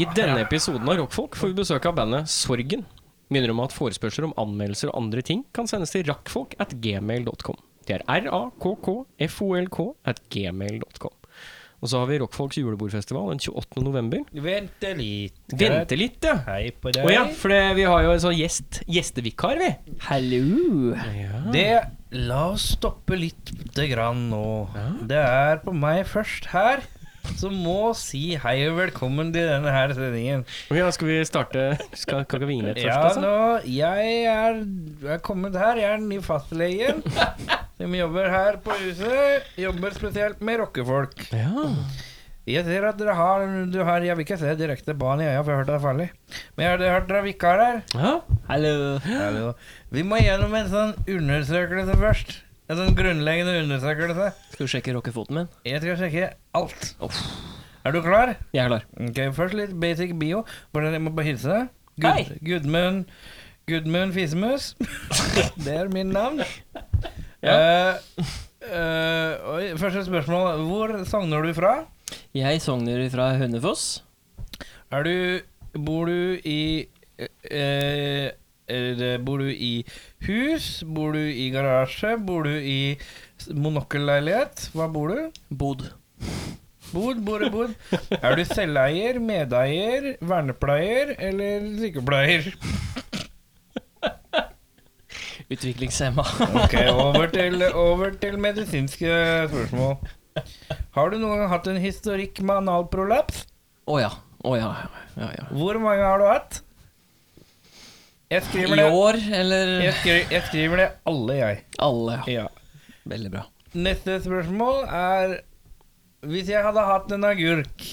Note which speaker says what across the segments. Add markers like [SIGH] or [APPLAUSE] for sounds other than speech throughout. Speaker 1: I denne episoden av Rockfolk får vi besøk av bandet Sorgen. Minner om at forespørsler om anmeldelser og andre ting kan sendes til rakkfolk at gmail.com. Det er r-a-k-k-f-o-l-k at gmail.com. Og så har vi Rockfolks julebordfestival den 28. november.
Speaker 2: Vente litt.
Speaker 1: Vente litt, ja.
Speaker 2: Hei på
Speaker 1: Å
Speaker 2: deg.
Speaker 1: ja, for det, vi har jo en sånn gjest, gjestevikar, vi.
Speaker 3: Hallo!
Speaker 2: Ah. Det La oss stoppe lite grann nå.
Speaker 1: Ah.
Speaker 2: Det er på meg først her som må si hei og velkommen til denne her sendingen.
Speaker 1: Å Ja, skal vi starte Skal Kaka Vingelet først,
Speaker 2: Ja,
Speaker 1: altså?
Speaker 2: nå, jeg er, jeg er kommet her. Jeg er den nye
Speaker 1: [LAUGHS]
Speaker 2: fastlegen som jobber her på huset. Jobber spesielt med rockefolk.
Speaker 1: Ja.
Speaker 2: Jeg ser at dere har, du har Jeg vil ikke se direkte barn i øya, for jeg har hørt det er farlig. Men jeg har hørt dere vikar her.
Speaker 1: ja.
Speaker 3: Hallo.
Speaker 2: Hallo. Vi må gjennom en sånn undersøkelse først. En sånn grunnleggende undersøkelse.
Speaker 3: Skal du sjekke rockefoten min?
Speaker 2: Jeg skal sjekke alt. Er du klar?
Speaker 3: Jeg er klar.
Speaker 2: Ok, Først litt basic bio. Hvordan jeg må bare hilse deg. Gud,
Speaker 3: Hei!
Speaker 2: Gudmund Gudmund Fisemus. [LAUGHS] det er min navn. Eh, eh, oi, første spørsmål. Hvor sogner du fra?
Speaker 3: Jeg sogner fra Hønefoss.
Speaker 2: Er du Bor du i eh, eh, eller Bor du i hus? Bor du i garasje? Bor du i s- monokkelleilighet? Hva bor du?
Speaker 3: Bod.
Speaker 2: Bod, bor, bod. Er du selveier, medeier, vernepleier eller sykepleier?
Speaker 3: Utviklingshemma. [LAUGHS]
Speaker 2: Ok, over til, over til medisinske spørsmål. Har du noen gang hatt en historikk med analprolaps?
Speaker 3: Å ja. Å ja. ja, ja.
Speaker 2: Hvor mange har du hatt? Jeg skriver
Speaker 3: I
Speaker 2: det,
Speaker 3: år, eller
Speaker 2: jeg skriver, jeg skriver det alle, jeg.
Speaker 3: Alle. ja.
Speaker 2: Ja.
Speaker 3: Veldig bra.
Speaker 2: Neste spørsmål er Hvis jeg hadde hatt en agurk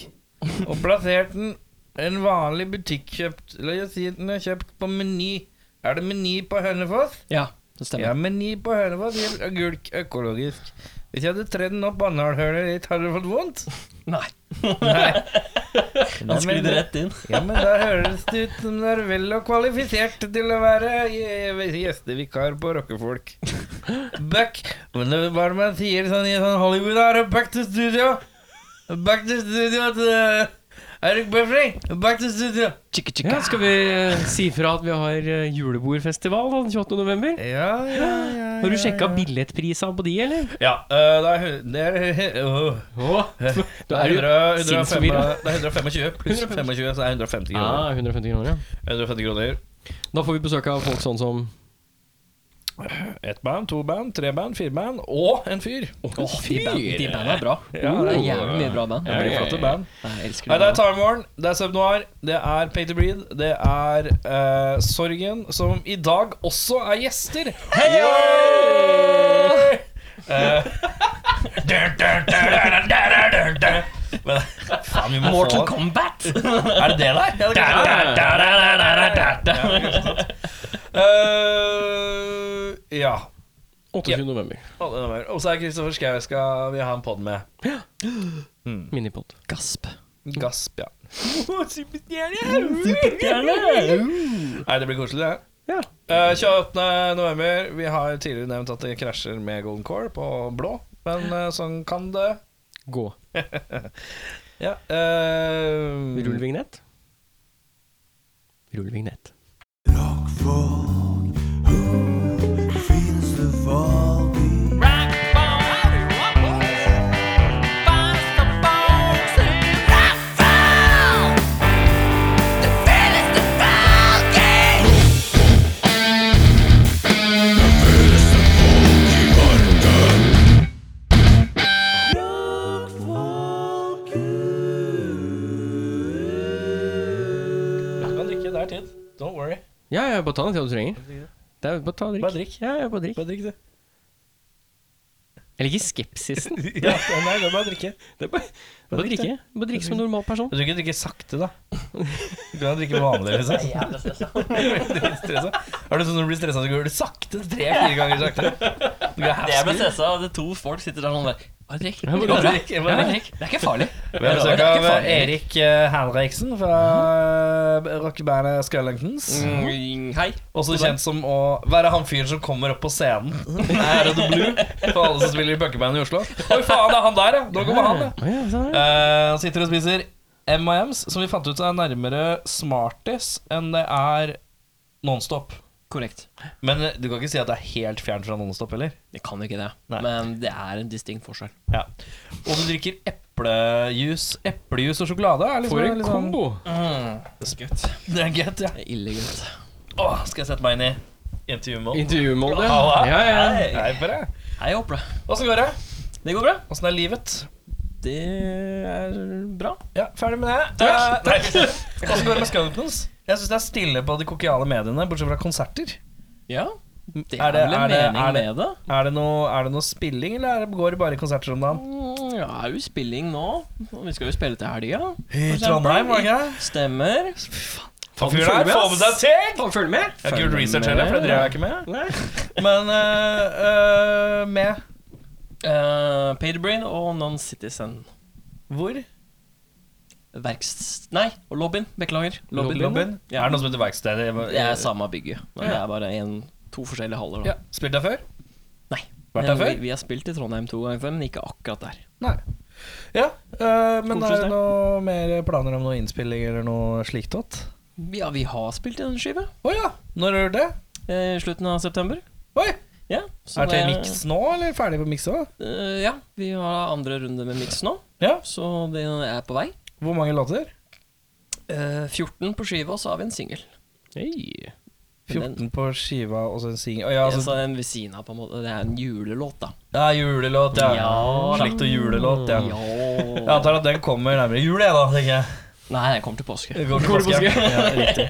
Speaker 2: og plassert den en vanlig butikkjøpt La oss si at den er kjøpt på Meny. Er det Meny på Hønefoss?
Speaker 3: Ja, det
Speaker 2: Ja,
Speaker 3: stemmer.
Speaker 2: Meny på Hønefoss gir agurk økologisk. Hvis jeg hadde tredd den opp analhølet ditt, hadde du fått vondt?
Speaker 3: Nei.
Speaker 2: Nei.
Speaker 3: Han sklidde rett inn.
Speaker 2: Ja, men da høres det ut som du er vel og kvalifisert til å være gje- gjestevikar på rockefolk. Back Men det er bare man sier sånn i sånn Hollywood her Back to studio! Back to studio til eh, Eirik Bøfring! Back to studio!
Speaker 3: Chicka, chicka.
Speaker 1: ja. Skal vi eh, si fra at vi har eh, julebordfestival da, den 28. november?
Speaker 2: Ja, ja, ja.
Speaker 1: Har du sjekka billettprisene på de, eller?
Speaker 2: Ja, eh, det er, hu- det er oh.
Speaker 1: Du
Speaker 2: Det er,
Speaker 1: er jo
Speaker 2: 100, 105,
Speaker 1: sinnsforvirra.
Speaker 2: det er 125 pluss 25, så det er 150 kroner.
Speaker 1: Ah, 150 kroner, ja.
Speaker 2: 150 kroner.
Speaker 1: Da får vi besøk av folk sånn som
Speaker 2: Ett band, to band, tre band, fire band og en fyr.
Speaker 3: Åh, de band- de bandene er bra.
Speaker 2: Ja,
Speaker 3: det er jævlig mye bra band.
Speaker 2: Det blir flotte band.
Speaker 3: Jeg elsker
Speaker 2: Nei, det er
Speaker 3: det.
Speaker 2: Time Warn, det er Subnoir, det er Pay to Breed, det er eh, Sorgen, som i dag også er gjester. [LAUGHS] Hei! Eh, Men faen, vi må
Speaker 3: Mortal
Speaker 2: få [LAUGHS]
Speaker 3: Kombat!
Speaker 2: Er det det der? Ja, det kan være. Eh, Ja.
Speaker 1: 28. november.
Speaker 2: Alle nummer. Og så er Kristoffer Schau skal vi ha en pod med.
Speaker 1: Minipod.
Speaker 3: Gasp.
Speaker 2: Gasp, ja.
Speaker 3: Superstjerne!
Speaker 2: Uh! Nei, det blir koselig, det.
Speaker 1: Ja.
Speaker 2: Eh, 28. november. Vi har tidligere nevnt at det krasjer med Golden Core på blå, men eh, sånn kan det.
Speaker 1: Gå.
Speaker 2: Mm. Ja. eh,
Speaker 1: Rull vignett. Rull vignett.
Speaker 2: Du kan drikke, det er tid. Don't worry.
Speaker 1: Ja, ja, bare ta den tida du trenger. Det er, bare ta og drikk.
Speaker 2: Bare drikk.
Speaker 1: Ja, ja, bare drikk.
Speaker 2: Bare drikk, du.
Speaker 1: Jeg liker skepsisen.
Speaker 2: [LAUGHS] Ja, nei, [LAUGHS] det er bare å drikke.
Speaker 1: Det er bare, bare
Speaker 2: drikk,
Speaker 1: drikke. Bare drikke som en normal person.
Speaker 2: Du kan ikke drikke [LAUGHS] sakte, da. Du kan drikke vanlig, liksom. [LAUGHS] Veldig stressa. Er det sånn når du blir stressa, så går du sakte? Tre-fire ganger sakte?
Speaker 3: Det jeg
Speaker 2: Du kan
Speaker 3: ble
Speaker 2: hefte.
Speaker 3: stressa av, det to folk sitter der og sånn der Bare drikk.
Speaker 1: Ja, bare
Speaker 3: Det går bra.
Speaker 2: drikk,
Speaker 3: Ja,
Speaker 2: bare
Speaker 3: bare drikk. Det er ikke farlig.
Speaker 2: Vi har
Speaker 3: altså,
Speaker 2: besøk av Erik eh, Henriksen fra eh, rockebandet Scullingtons.
Speaker 3: Mm, Hei.
Speaker 2: Også kjent som å være han fyren som kommer opp på scenen. Her er det blue for alle som spiller i punkeband i Oslo. Oi, faen, det er han der, ja! Nå kommer han, ja.
Speaker 1: Ja, sånn er det.
Speaker 2: Eh, sitter og spiser M&M's, som vi fant ut er nærmere Smarties enn det er Nonstop.
Speaker 3: Korrekt.
Speaker 2: Men eh, du kan ikke si at det er helt fjernt fra Nonstop heller.
Speaker 3: Det kan jo ikke det.
Speaker 2: Nei.
Speaker 3: Men det er en distinkt forskjell.
Speaker 2: Ja. Og du drikker eplejus. Eplejus og sjokolade er liksom
Speaker 1: For en
Speaker 2: litt sånn-
Speaker 1: kombo!
Speaker 3: Godt.
Speaker 2: Det er godt, ja.
Speaker 3: Det er ille godt.
Speaker 2: Åh, skal jeg sette meg inn i intervjumål?
Speaker 1: Intervjumål, ja.
Speaker 2: Halla.
Speaker 1: ja, ja.
Speaker 2: Hei, hei på deg.
Speaker 3: Hei, jeg håper det.
Speaker 2: Åssen går det?
Speaker 3: Det går bra.
Speaker 2: Åssen er livet?
Speaker 3: Det er bra.
Speaker 2: Ja, ferdig med det.
Speaker 3: Takk.
Speaker 2: Eh, nei. Åssen går det med Scumptons? Jeg syns det er stille på de kokiale mediene, bortsett fra konserter.
Speaker 3: Ja. Det
Speaker 2: Er
Speaker 3: er,
Speaker 2: det-
Speaker 3: vel
Speaker 2: er
Speaker 3: en
Speaker 2: det-
Speaker 3: mening
Speaker 2: er det-
Speaker 3: med det.
Speaker 2: Er det noe, er det noe spilling, eller er det- går det bare i konserter om dagen?
Speaker 3: Mm, Ja, det er jo spilling nå. Og Vi skal jo spille til helga.
Speaker 2: I
Speaker 3: For eksempel.
Speaker 2: Trondheim, var det ikke det?
Speaker 3: Stemmer.
Speaker 2: Han fyren der får med seg ting!
Speaker 1: Folk følger med!
Speaker 2: Jeg har
Speaker 3: Følg
Speaker 2: ikke gjort
Speaker 3: med.
Speaker 2: research heller, for det driver jeg ikke med.
Speaker 1: Nei.
Speaker 2: [LAUGHS] Men øh, øh, med
Speaker 3: Uh, Paterbrain og Non-Citizen.
Speaker 2: hvor?
Speaker 3: Verkst... Nei, og lobbyen. Beklager. Lobbyen.
Speaker 2: Lobbyen?
Speaker 3: Ja.
Speaker 2: Er det noe som heter verksted?
Speaker 3: Det er samme bygget. Men
Speaker 2: Ja.
Speaker 3: det er bare en, to forskjellige haller. Da.
Speaker 2: Ja. Spilt der før?
Speaker 3: Nei.
Speaker 2: Vært der
Speaker 3: Men
Speaker 2: før?
Speaker 3: Vi, vi har spilt i Trondheim to ganger før, men ikke akkurat der.
Speaker 2: Nei. Ja, øh, men
Speaker 3: Koser
Speaker 2: er det
Speaker 3: seg.
Speaker 2: noe mer planer om noe innspilling eller noe slikt åt?
Speaker 3: Ja, vi har spilt i den skive.
Speaker 2: Å ja, når har du gjort det?
Speaker 3: eh, I slutten av september.
Speaker 2: Oi!
Speaker 3: Ja, så
Speaker 2: Er det miks nå, eller ferdig på miks òg?
Speaker 3: eh, ja, vi har andre runde med miks nå,
Speaker 2: Ja.
Speaker 3: så det er på vei.
Speaker 2: Hvor mange låter?
Speaker 3: Eh, 14 på skiva, og så har vi en singel.
Speaker 1: Hei.
Speaker 2: 14 på skiva og så en singel. Å ja,
Speaker 3: Altså,
Speaker 2: altså,
Speaker 3: en ved siden av, på en måte. Det er en julelåt, da.
Speaker 2: ja, julelåt, ja.
Speaker 3: Ja, da.
Speaker 2: Slekt og julelåt, [LAUGHS] ja. Jeg
Speaker 3: Ja.
Speaker 2: antar at den kommer nærmere jul, jeg, da. tenker jeg.
Speaker 3: Nei, den kommer til påske.
Speaker 2: Det Går til påske. Ja, riktig.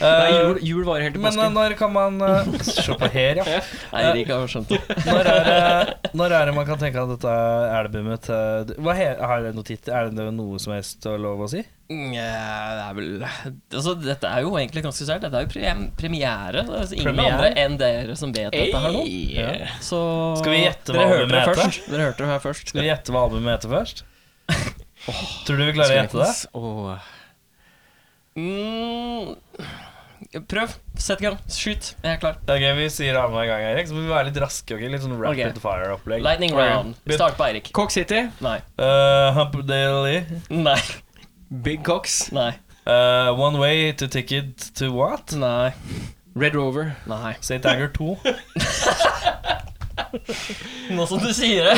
Speaker 1: Nei,
Speaker 2: Eh,
Speaker 1: jul, jul varer helt til
Speaker 2: men
Speaker 1: påske.
Speaker 2: eh, når kan man eh, Se på her, ja.
Speaker 3: Eirik har skjønt det.
Speaker 2: Når er, det, når er det man kan tenke at dette albumet eh, d- hva he, Er det noe titt, Er det noe som helst å lov å si?
Speaker 3: Mm, eh, Det er vel Altså, dette er jo egentlig ganske sært. Dette er jo pre premiere. Det er altså ingen
Speaker 2: Premiere?
Speaker 3: andre enn dere som vet dette her nå.
Speaker 2: Ja.
Speaker 3: Så
Speaker 2: Skal vi gjette hva
Speaker 3: dere hørte det
Speaker 2: albumet heter?
Speaker 3: først. Dere hørte det her først.
Speaker 2: Skal vi gjette hva albumet heter først? Tror du vi klarer å gjette det?
Speaker 1: Åh.
Speaker 3: Mm, prøv. Sett i gang. Skyt. Jeg er klar.
Speaker 2: Ok, Vi sier det annenhver gang, Erik, så må vi være litt raske. ok? Litt sånn rapid
Speaker 3: Ok.
Speaker 2: fire-opplegg.
Speaker 3: Lightning round.
Speaker 2: Begynn.
Speaker 3: Start på Eirik.
Speaker 1: Cox City.
Speaker 3: Nei.
Speaker 2: Eh, Humperdale
Speaker 3: Nei.
Speaker 1: Big Cox.
Speaker 3: Nei.
Speaker 2: eh, One Way to Ticket to What?
Speaker 3: Nei.
Speaker 1: Red Rover.
Speaker 3: Nei.
Speaker 2: St. Anger 2.
Speaker 3: Nå som du sier det.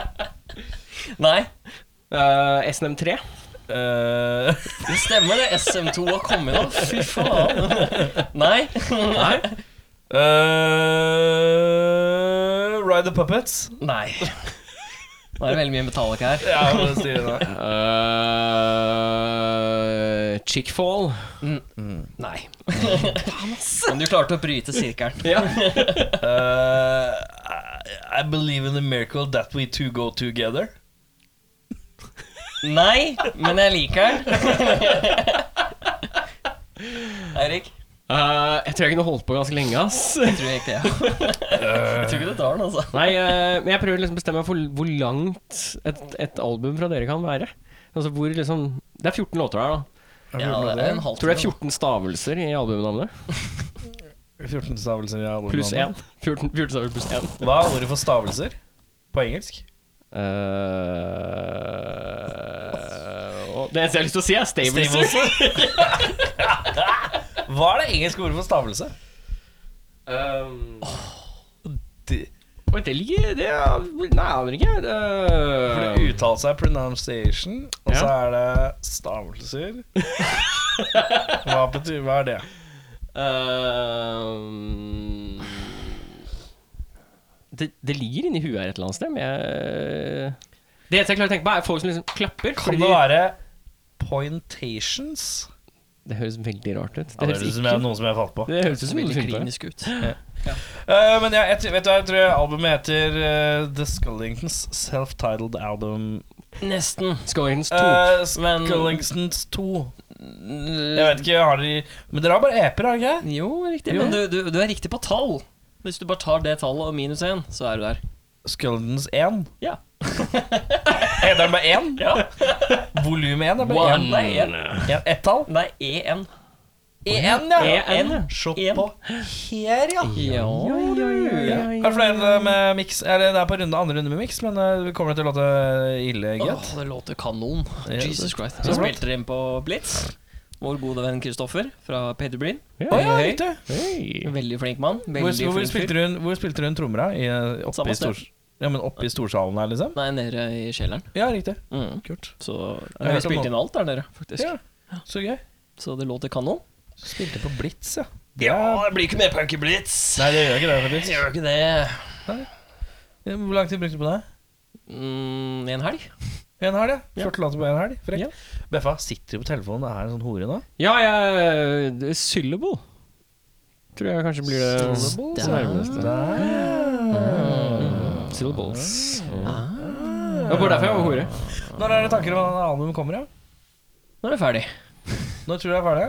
Speaker 3: [LAUGHS] Nei.
Speaker 1: Eh, SNM3.
Speaker 2: Eh,
Speaker 3: Det stemmer det. SM2 har kommet nå. Fy faen. Nei. Nei.
Speaker 2: eh, Ride the Puppets.
Speaker 3: Nei. Nå er det veldig mye Metallica her.
Speaker 2: Ja, det sier det.
Speaker 1: Uh, Chickfall.
Speaker 3: Nei. Men du klarte å bryte sirkelen.
Speaker 1: Ja.
Speaker 2: Eh, I I believe in the miracle that we two go together.
Speaker 3: Nei, men jeg liker den. Eirik?
Speaker 1: Eh, jeg tror jeg kunne holdt på ganske lenge, ass.
Speaker 3: Jeg tror ikke det. Jeg tror ikke du tar den, altså.
Speaker 1: Nei, eh, men jeg prøver liksom å bestemme meg for hvor langt et, et album fra dere kan være. Altså hvor liksom Det er 14 låter her, da.
Speaker 3: Ja, det er en halv
Speaker 1: Tror det er 14 stavelser i albumnavnet.
Speaker 2: 14 stavelser i alle
Speaker 1: Pluss
Speaker 2: navnene.
Speaker 1: én. [LAUGHS] 14, 14 stavelser pluss én.
Speaker 2: Hva er ordet for stavelser på engelsk?
Speaker 1: Eh, og det eneste jeg har lyst til å si, er stavelser.
Speaker 2: [LAUGHS] Hva er det engelske ordet for stavelse?
Speaker 1: Um,
Speaker 2: Det,
Speaker 1: Oi, det ligger det er, Nei, jeg aner ikke.
Speaker 2: for
Speaker 1: Uh,
Speaker 2: det uttales seg pronunciation, og så
Speaker 1: Ja.
Speaker 2: er det
Speaker 1: [LAUGHS]
Speaker 2: stavelser. Hva betyr Hva er det?
Speaker 1: Ehm, det, det ligger inni huet her et eller annet sted, men jeg Det eneste jeg klarer å tenke på, er folk som liksom klapper.
Speaker 2: Kan
Speaker 1: fordi
Speaker 2: det
Speaker 1: de-
Speaker 2: være pointations?
Speaker 1: det høres veldig rart ut. Det,
Speaker 2: Ja,
Speaker 1: høres,
Speaker 2: ut som
Speaker 1: ikke,
Speaker 2: jeg- noe som jeg falt på.
Speaker 1: det høres ut som noe du
Speaker 3: Veldig
Speaker 1: finner på. ja.
Speaker 3: klinisk ut.
Speaker 2: Eh, men jeg, jeg, tror- vet du hva, jeg tror albumet heter eh, The Scullingtons Self-Titled Album
Speaker 3: Nesten.
Speaker 1: Scoring's to.
Speaker 2: Eh,
Speaker 3: men-
Speaker 2: Scullingsons 2. Jeg vet ikke, har de Men dere har bare eper, har dere ikke?
Speaker 3: Jo, riktig. Men du, du, du er riktig på tall. Hvis du bare tar det tallet og minus én, så er du der.
Speaker 2: Scullingtons 1.
Speaker 3: Ja.
Speaker 2: [LAUGHS] Heter den bare 1?
Speaker 3: Ja.
Speaker 2: Volum 1 er bare
Speaker 3: One.
Speaker 2: 1.
Speaker 3: Nei, en.
Speaker 2: Ett tall?
Speaker 3: Nei, EN.
Speaker 2: EN, ja.
Speaker 1: EN, Eh, ja.
Speaker 2: Se
Speaker 1: EN.
Speaker 2: på her, ja.
Speaker 1: Ja, ja, ja,
Speaker 2: Er
Speaker 1: ja.
Speaker 2: det flere med mix? Eller det er på runde, andre runde med mix, men eh, vi kommer til å låte ille, gitt.
Speaker 3: Åh, det låter kanon.
Speaker 2: Ja,
Speaker 3: Jesus
Speaker 2: det-
Speaker 3: Christ.
Speaker 2: det
Speaker 3: Så
Speaker 2: er flott.
Speaker 3: spilte de inn på Blitz. Vår gode venn Kristoffer fra Peder Breen.
Speaker 1: Ja.
Speaker 2: Å
Speaker 3: Hei,
Speaker 2: ja,
Speaker 3: hei.
Speaker 2: riktig.
Speaker 1: Hei.
Speaker 3: Veldig flink mann.
Speaker 2: Eh, Hvor,
Speaker 3: Veldig
Speaker 2: hvor,
Speaker 3: flink fyr.
Speaker 2: spilte hun, hvor spilte hun trommer, da? I- eh, Oppe
Speaker 3: Samme
Speaker 2: i,
Speaker 3: sted.
Speaker 2: stor, ja, men oppe i storsalen her, liksom?
Speaker 3: Nei, nede i kjelleren.
Speaker 2: Ja, riktig.
Speaker 3: Mm.
Speaker 2: Kult.
Speaker 3: Så
Speaker 2: har
Speaker 3: ja, vi
Speaker 2: hørt om
Speaker 3: spilte
Speaker 2: han.
Speaker 3: inn alt der nede, faktisk.
Speaker 2: Ja, så gøy.
Speaker 3: Så det låter kanon.
Speaker 2: Spilte på Blitz, ja.
Speaker 3: det blir ikke mer punk i Blitz.
Speaker 2: Nei, det gjør ikke det. faktisk.
Speaker 3: Gjør ikke det.
Speaker 2: Hvor lang tid brukte du på det?
Speaker 3: Mm, en helg.
Speaker 2: En helg, ja. 14 låter på en helg. Frekk.
Speaker 1: Ja.
Speaker 2: Beffa sitter jo på telefonen og er en sånn hore nå.
Speaker 1: Ja, jeg det er Syllable. Tror jeg kanskje blir det
Speaker 3: Syllable?
Speaker 1: nærmeste.
Speaker 2: Der.
Speaker 1: Syllables. Mm.
Speaker 3: Ah.
Speaker 1: Det var bare derfor jeg var hore.
Speaker 2: Når er det tanker om at albumet kommer, ja?
Speaker 3: Nå er vi ferdig.
Speaker 2: Når tror du det er ferdig?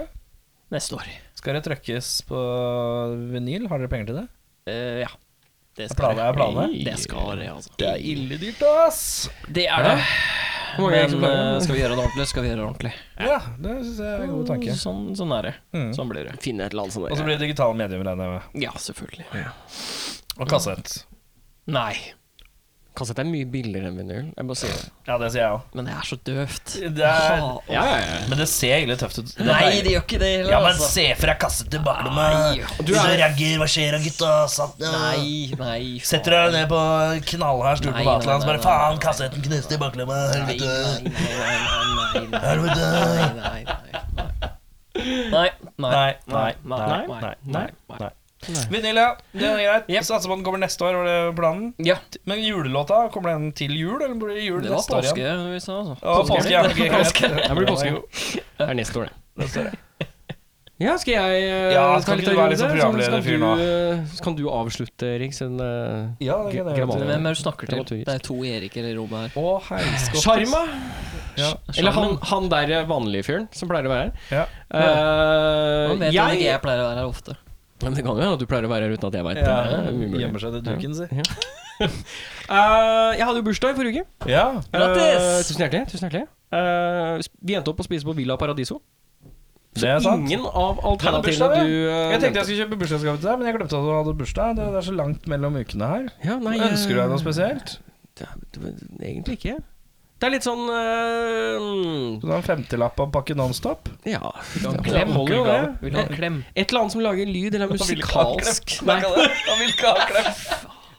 Speaker 3: Neste år.
Speaker 2: Skal det trykkes på vinyl? Har dere penger til det?
Speaker 3: Eh, ja. Det
Speaker 2: Planen er planen.
Speaker 3: Det skal det, altså.
Speaker 2: Det er ille dyrt, ass!
Speaker 3: Det er det.
Speaker 1: Hvor mange
Speaker 3: Men
Speaker 1: eksemplarer?
Speaker 3: eh, skal vi gjøre det ordentlig, skal vi gjøre det ordentlig.
Speaker 2: Ja, det syns jeg er en god tanke.
Speaker 3: Sånn, sånn er det.
Speaker 2: Mm.
Speaker 3: Sånn blir det.
Speaker 1: Finne et eller annet
Speaker 2: Og så
Speaker 1: sånt.
Speaker 2: blir det digitale medium, regner jeg med.
Speaker 3: Ja, selvfølgelig.
Speaker 2: Og kassett.
Speaker 3: Nei.
Speaker 1: Kassett er mye billigere enn vinyl. Jeg bare sier det.
Speaker 2: Ja, det sier jeg òg.
Speaker 3: Men det er så døvt.
Speaker 2: Det er-
Speaker 3: Ha-
Speaker 1: Ja, ja, ja.
Speaker 2: Men det ser ille tøft ut.
Speaker 3: Nei, det gjør ikke det heller,
Speaker 2: Ja, men
Speaker 3: altså.
Speaker 2: se fra kassett til
Speaker 3: Nei.
Speaker 2: baklomma.
Speaker 1: Du
Speaker 2: Du
Speaker 1: er-
Speaker 2: reagerer, hva skjer da, gutta? Satt, ja.
Speaker 3: Nei, nei.
Speaker 2: Setter deg ned på knallhard stol
Speaker 3: Nei,
Speaker 2: på Vaterland, så
Speaker 3: nei,
Speaker 2: bare
Speaker 3: nei,
Speaker 2: faen,
Speaker 3: nei.
Speaker 2: kassetten knuste i baklomma.
Speaker 3: Nei, nei, nei, nei,
Speaker 2: Helvete.
Speaker 3: nei, nei, nei,
Speaker 2: Helvete.
Speaker 3: nei, nei, nei,
Speaker 2: Nei, nei, nei, nei, nei, nei. Vinyl, ja. Det er greit.
Speaker 3: Yep.
Speaker 2: Satser på den kommer neste år, var det planen?
Speaker 3: Ja,
Speaker 2: Men julelåta, kommer den til jul, eller blir det jul
Speaker 3: det var
Speaker 2: neste år igjen?
Speaker 3: påske vi sa, altså.
Speaker 2: Å, påske, ja. ok, greit.
Speaker 1: Det blir påske. Det er neste år, det.
Speaker 2: Neste år, ja.
Speaker 1: Ja, skal jeg eh,
Speaker 2: Ja, skal ikke du være
Speaker 1: runde?
Speaker 2: litt sånn programlederfyr
Speaker 1: Sånn, skal du, eh, Så kan du avslutte, Erik, siden eh,
Speaker 2: Ja, det kan jeg
Speaker 1: Grammar.
Speaker 2: gjøre.
Speaker 3: Hvem er det du snakker til?
Speaker 1: Dramaturgisk.
Speaker 3: Det er to Eriker i rommet her.
Speaker 2: Å, heiskott.
Speaker 1: Sjarma?
Speaker 2: Ja.
Speaker 1: Eller han, han der vanlige fyren som pleier å være her.
Speaker 2: Ja.
Speaker 1: Eh,
Speaker 3: Han vet jo ikke jeg pleier å være her ofte.
Speaker 1: Men det kan jo hende at du pleier å være her uten at jeg veit
Speaker 2: Ja,
Speaker 1: det. er umulig.
Speaker 2: Gjemmer seg til duken, si.
Speaker 1: Eh, jeg hadde jo bursdag i forrige uke.
Speaker 2: Ja.
Speaker 1: Eh,
Speaker 3: Grattis!
Speaker 1: tusen hjertelig. Tusen hjertelig. Eh, sp- vi endte opp å spise på Villa Paradiso.
Speaker 2: Det er sant.
Speaker 1: Ingen av
Speaker 2: Jeg hadde bursdag,
Speaker 1: alternativene du
Speaker 2: jeg
Speaker 1: eh,
Speaker 2: tenkte
Speaker 1: nevnte.
Speaker 2: jeg skulle kjøpe bursdagsgave til deg, men jeg glemte at du hadde bursdag. Det det er så langt mellom ukene her.
Speaker 1: ja, nei, eh,
Speaker 2: Ønsker du deg noe spesielt?
Speaker 1: Det er- det- Egentlig ikke. Det er litt sånn eh,
Speaker 2: Du har en femtilapp av pakke Nonstop?
Speaker 1: Ja.
Speaker 3: Vil du ha en
Speaker 1: det
Speaker 3: klem?
Speaker 1: holder jo, det.
Speaker 3: Vil du ha en klem?
Speaker 1: Et eller annet som lager lyd, eller er musikalsk. Nei,
Speaker 2: Han vil ikke ha klem.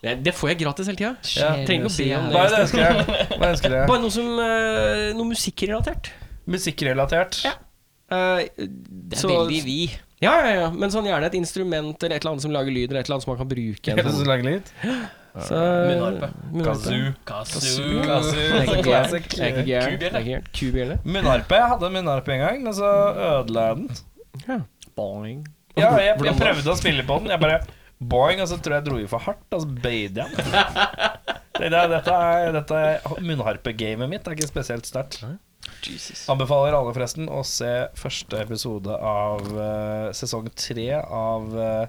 Speaker 1: det- det får jeg gratis hele tida.
Speaker 2: Ja,
Speaker 1: trenger ikke å be om
Speaker 2: Hva er det ønsker jeg? Hva ønsker jeg?
Speaker 1: Bare noe som eh, Noe musikkrelatert.
Speaker 2: Musikkrelatert.
Speaker 1: Ja. Eh,
Speaker 3: Det er
Speaker 1: så-
Speaker 3: veldig vi.
Speaker 1: Ja, ja, ja. Men sånn gjerne et instrument eller et eller annet som lager lyd, eller et eller annet som man kan bruke.
Speaker 2: Er det
Speaker 1: igjen.
Speaker 2: så lang lyd?
Speaker 1: Så-
Speaker 3: Munnharpe.
Speaker 1: Munnharpe.
Speaker 3: Kazoo.
Speaker 1: Det er ikke gærent.
Speaker 2: Classic.
Speaker 1: Det er ikke gærent. Det er ikke gærent. Kubjelle.
Speaker 2: Munnharpe. Jeg hadde en munnharpe en gang, men så ødela jeg den.
Speaker 3: Boing.
Speaker 2: Ja, jeg, jeg
Speaker 1: Hvordan da?
Speaker 2: prøvde å spille på den. Jeg bare boing, og så tror jeg jeg dro i for hardt, og så bøyde jeg den. Det er- Dette, er- dette er munnharpegamet mitt. Det er ikke spesielt sterkt.
Speaker 3: Jesus.
Speaker 2: Anbefaler alle forresten å se første episode av eh, sesong tre av eh,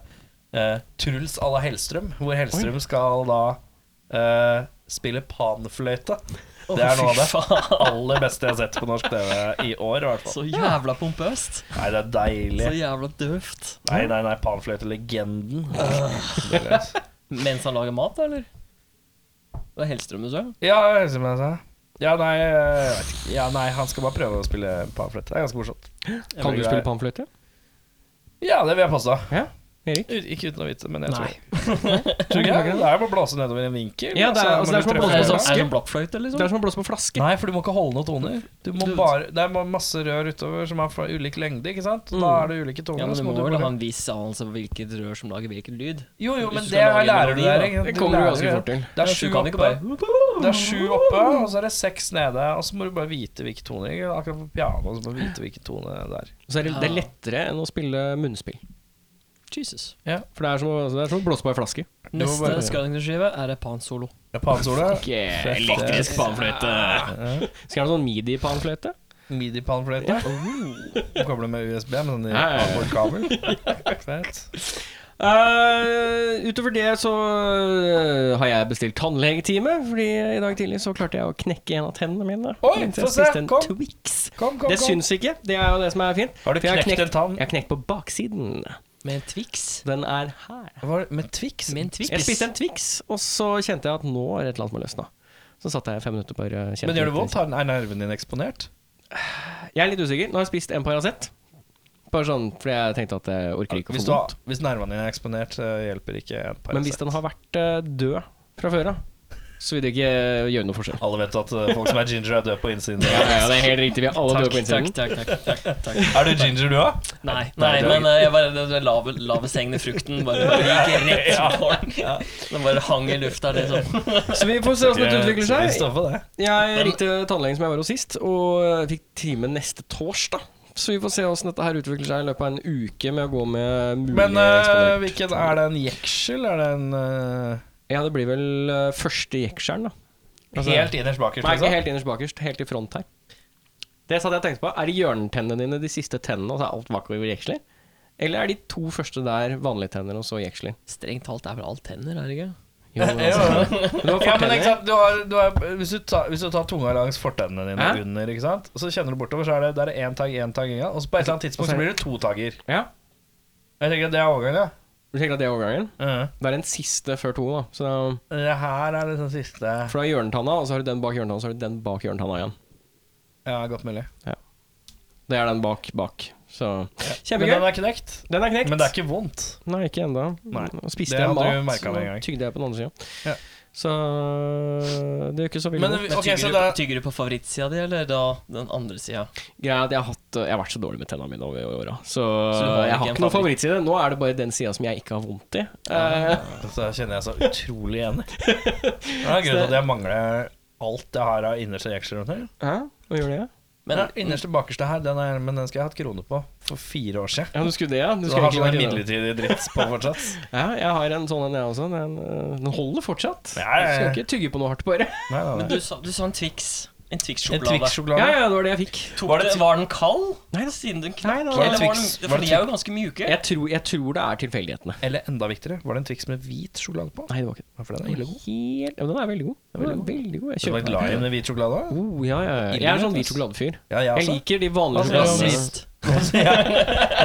Speaker 2: eh, Truls à la Hellstrøm, hvor Hellstrøm skal da eh, spille panfløyte. Det er noe av det aller beste jeg har sett på norsk TV i år, i hvert fall.
Speaker 3: Så jævla pompøst.
Speaker 2: Nei, det er deilig.
Speaker 3: Så jævla døvt.
Speaker 2: Nei, nei,
Speaker 3: [LAUGHS]
Speaker 2: nei, panfløytelegenden.
Speaker 3: Mens han lager mat, da, eller? Det er Hellstrøm du sa?
Speaker 2: ja, jeg hører som jeg sa. Ja nei, eh, jeg vet ikke. ja, nei, han skal bare prøve å spille panfløyte. Det er ganske morsomt.
Speaker 1: Kan du spille panfløyte?
Speaker 2: Ja, det vil jeg påstå.
Speaker 1: Ja. Erik?
Speaker 2: Ut- Ikke uten å vite, men jeg
Speaker 3: Nei.
Speaker 2: [LAUGHS] tror Tror ikke jeg. Det er jo bare å blåse nedover en vinkel.
Speaker 1: Ja, det er- altså, det er
Speaker 2: må
Speaker 1: som
Speaker 2: du
Speaker 1: å blåse
Speaker 2: treffe
Speaker 1: på
Speaker 2: hverandre.
Speaker 1: sånn-
Speaker 3: Er det blokkfløyte,
Speaker 1: Det er
Speaker 3: liksom?
Speaker 1: som å blåse på flaske.
Speaker 2: Nei, for du må ikke holde noen toner. Du må
Speaker 3: Du-
Speaker 2: bare, det er ma- masse rør utover som er fra ulik lengde. ikke sant? Da
Speaker 1: Mm.
Speaker 2: er det ulike toner.
Speaker 3: Ja, men
Speaker 2: så
Speaker 3: Du
Speaker 2: må
Speaker 3: må
Speaker 2: du
Speaker 3: vel
Speaker 2: bare-
Speaker 3: ha en viss anelse om hvilket rør som lager hvilken lyd?
Speaker 2: Jo, jo,
Speaker 3: hvis
Speaker 2: men
Speaker 3: du
Speaker 2: det
Speaker 3: skal lage
Speaker 2: lærer
Speaker 3: melodi,
Speaker 2: du der.
Speaker 3: da.
Speaker 2: ikke sant?
Speaker 1: Det kommer du
Speaker 2: lærer
Speaker 1: ganske fort til.
Speaker 2: Det er
Speaker 3: Ja,
Speaker 2: sju
Speaker 3: du kan ikke bare
Speaker 2: oppe. Det er sju oppe, og så er det seks nede. Og så må du bare vite hvilke toner. ikke? Akkurat på piano så må du vite hvilke toner det er.
Speaker 1: Så er det, det er lettere enn å spille munnspill.
Speaker 3: Jesus.
Speaker 1: For det er som å, det er som å blåse på ei flaske.
Speaker 2: må
Speaker 3: Neste
Speaker 2: bare-
Speaker 3: Skydinger-skive er et pansolo.
Speaker 2: Pansole.
Speaker 1: Yeah.
Speaker 2: Elektrisk
Speaker 3: panfløyte.
Speaker 1: [LAUGHS] Skal jeg ha en sånn midi-panfløyte?
Speaker 2: Midi-panfløyte. Du kobler med USB med sånn
Speaker 1: Ja, ja, ja.
Speaker 2: avbordkabel. Fett.
Speaker 1: Eh, utover det så eh, har jeg bestilt tannlegetime, fordi i dag tidlig så klarte jeg å knekke en av tennene mine.
Speaker 2: Oi,
Speaker 1: mens
Speaker 2: få
Speaker 1: jeg
Speaker 2: se,
Speaker 1: spiste en
Speaker 2: kom.
Speaker 1: Twix.
Speaker 2: Kom, kom,
Speaker 1: Det
Speaker 2: kom.
Speaker 1: syns ikke. Det er jo det som er fint.
Speaker 2: Har du
Speaker 1: For jeg
Speaker 2: knekt en tann?
Speaker 1: Jeg har knekt på baksiden.
Speaker 3: Med en Twix?
Speaker 1: Den er her.
Speaker 2: Var det med Twix?
Speaker 3: Med en Twix?
Speaker 1: Jeg spiste en Twix, og så kjente jeg at nå er det et eller annet som har løsna. Så satt jeg fem minutter og bare kjente
Speaker 2: Men gjør det vondt?
Speaker 1: litt-
Speaker 2: Har- Er nerven din eksponert?
Speaker 1: Jeg er litt usikker. Nå har jeg spist en Paracet. Bare sånn fordi jeg tenkte at jeg orker ikke å
Speaker 2: Hvis,
Speaker 1: få
Speaker 2: du har,
Speaker 1: vondt.
Speaker 2: hvis nervene dine er eksponert, eh, hjelper ikke en Paracet.
Speaker 1: Men hvis den har vært eh, død fra før av, så vil det ikke eh, gjøre noe forskjell.
Speaker 2: Alle vet at eh, folk som er ginger, er døde på innsiden.
Speaker 1: Ja, ja, det er helt riktig. Vi er alle døde på
Speaker 3: takk,
Speaker 1: innsiden.
Speaker 3: takk, takk, takk, takk.
Speaker 2: Er du ginger, du òg?
Speaker 3: Nei, nei,
Speaker 2: Nei, det var
Speaker 3: men eh, jeg bare, det, det lave, lave sengende frukten bare, bare gikk rett på den. Den bare hang i lufta, liksom.
Speaker 1: Så vi får se åssen dette utvikler
Speaker 2: Vi
Speaker 1: seg.
Speaker 2: står på det.
Speaker 1: Jeg ringte tannlegen som jeg var hos sist, og eh, fikk time neste torsdag. Så vi får se åssen dette her utvikler seg i løpet av en uke med å gå med mulig
Speaker 2: Men eh,
Speaker 1: eksponering.
Speaker 2: hvilken er det en jeksel? Er det en eh,
Speaker 1: Ja, det blir vel eh, første jekkskjern, da. Altså-
Speaker 2: helt innerst bakerst?
Speaker 1: Nei, ikke
Speaker 2: liksom?
Speaker 1: helt innerst bakerst. Helt i front her. Det satt jeg og tenkte på. Er det hjørnetennene dine de siste tennene, og så er alt bakover jeksler? Eller er de to første der vanlige tenner, og så
Speaker 2: [LAUGHS]
Speaker 1: jeksler?
Speaker 3: Strengt talt er vel alt tenner, er det ikke?
Speaker 1: Jo, men altså. Men Du har
Speaker 2: Ja, men
Speaker 1: fortenner.
Speaker 2: ikke sant, du har, du har, hvis, du tar, hvis du tar tunga langs fortennene dine
Speaker 1: Hæ?
Speaker 2: under, ikke sant? og så kjenner du bortover, så er det, det er én tagg, én tagg, én gang, og så på et eller annet tidspunkt så blir det to tagger.
Speaker 1: ja.
Speaker 2: Jeg tenker at Det er overgang, ja.
Speaker 1: Du tenker at det er overgangen?
Speaker 2: Mhm.
Speaker 1: Det er en siste før to, da. Så,
Speaker 2: Det her er liksom siste
Speaker 1: for du har hjørnetanna, og så har du den bak hjørnetanna, og så har du den bak hjørnetanna igjen.
Speaker 2: Ja, godt mulig.
Speaker 1: Det er den bak bak. Så
Speaker 2: Men den
Speaker 1: kjempegøy.
Speaker 2: er knekt.
Speaker 1: Den er knekt.
Speaker 2: Men det er ikke vondt.
Speaker 1: Nei, ikke ennå.
Speaker 2: Nei,
Speaker 1: Nå spiste
Speaker 2: det
Speaker 1: jeg
Speaker 2: hadde
Speaker 1: mat,
Speaker 2: du merket
Speaker 1: så
Speaker 2: med en
Speaker 1: nå
Speaker 2: gang.
Speaker 1: tygde jeg på den andre sida.
Speaker 2: Ja.
Speaker 1: Så øh, det gjør ikke så veldig
Speaker 2: Men
Speaker 1: vondt.
Speaker 3: Men
Speaker 2: Ok, så
Speaker 3: tygger,
Speaker 2: da-
Speaker 3: du, tygger du på favorittsida di, eller da den andre sida?
Speaker 1: Greia er at jeg har, hatt, øh, jeg har vært så dårlig med tennene mine over åra. Så,
Speaker 3: du
Speaker 1: øh,
Speaker 3: har
Speaker 1: jeg
Speaker 3: ikke en
Speaker 1: har ikke noen
Speaker 3: favoritt?
Speaker 1: favorittside. Nå er det bare den sida som jeg ikke har vondt i. Eh,
Speaker 2: Så kjenner jeg så utrolig igjen. Det er grunnen til at jeg mangler alt jeg har av innerste jeksler. rundt her.
Speaker 1: Hæ? Hva gjør det?
Speaker 3: Men
Speaker 2: ja, innerste bakerste her, den, er, men den skal jeg ha hatt krone på for fire år siden.
Speaker 1: Ja, du skulle det, ja? Du
Speaker 2: Så
Speaker 1: skulle
Speaker 2: jeg har
Speaker 1: egentlig
Speaker 2: sånn en
Speaker 1: vært inne.
Speaker 2: midlertidig dritt på
Speaker 1: [LAUGHS]
Speaker 2: fortsatt.
Speaker 1: ja, jeg har en sånn en, jeg også. Den, eh, den holder fortsatt.
Speaker 2: Ja, ja, ja.
Speaker 1: Jeg skal ikke tygge på noe hardt, bare.
Speaker 2: Nei, nei,
Speaker 3: men
Speaker 2: nei.
Speaker 3: du sa, du sa en Twix. En
Speaker 2: En
Speaker 3: Twix-sjokolade.
Speaker 1: Ja,
Speaker 2: Twix-sjokolade.
Speaker 1: ja, det var det jeg fikk.
Speaker 3: Tok Var, det- var den kald?
Speaker 1: Nei da.
Speaker 3: Siden den knakk?
Speaker 1: Nei,
Speaker 3: Eller
Speaker 1: da.
Speaker 2: Var
Speaker 3: Var
Speaker 2: det
Speaker 3: den,
Speaker 2: Twix? Var
Speaker 3: for
Speaker 2: det
Speaker 3: de er jo ganske mjuke.
Speaker 1: Jeg tror, jeg tror det er tilfeldighetene.
Speaker 2: Eller enda viktigere, var det en Twix med hvit sjokolade på?
Speaker 1: Nei, det var ikke det.
Speaker 2: Ja, For den er
Speaker 1: Helt,
Speaker 2: ille god.
Speaker 1: ja, men den er veldig god. Den er veldig god. Jeg
Speaker 2: Du var
Speaker 1: kjøper
Speaker 2: glad i
Speaker 1: den.
Speaker 2: en med hvit sjokolade? da?
Speaker 1: Oh, ja, ja. ja. Jeg er sånn hvit sjokoladefyr.
Speaker 2: Ja, jeg
Speaker 1: Altså, Jeg
Speaker 2: også.
Speaker 1: liker de
Speaker 2: Hva
Speaker 1: vanlige
Speaker 2: sier du om
Speaker 1: sjokoladene.
Speaker 3: Rasist.
Speaker 2: [LAUGHS]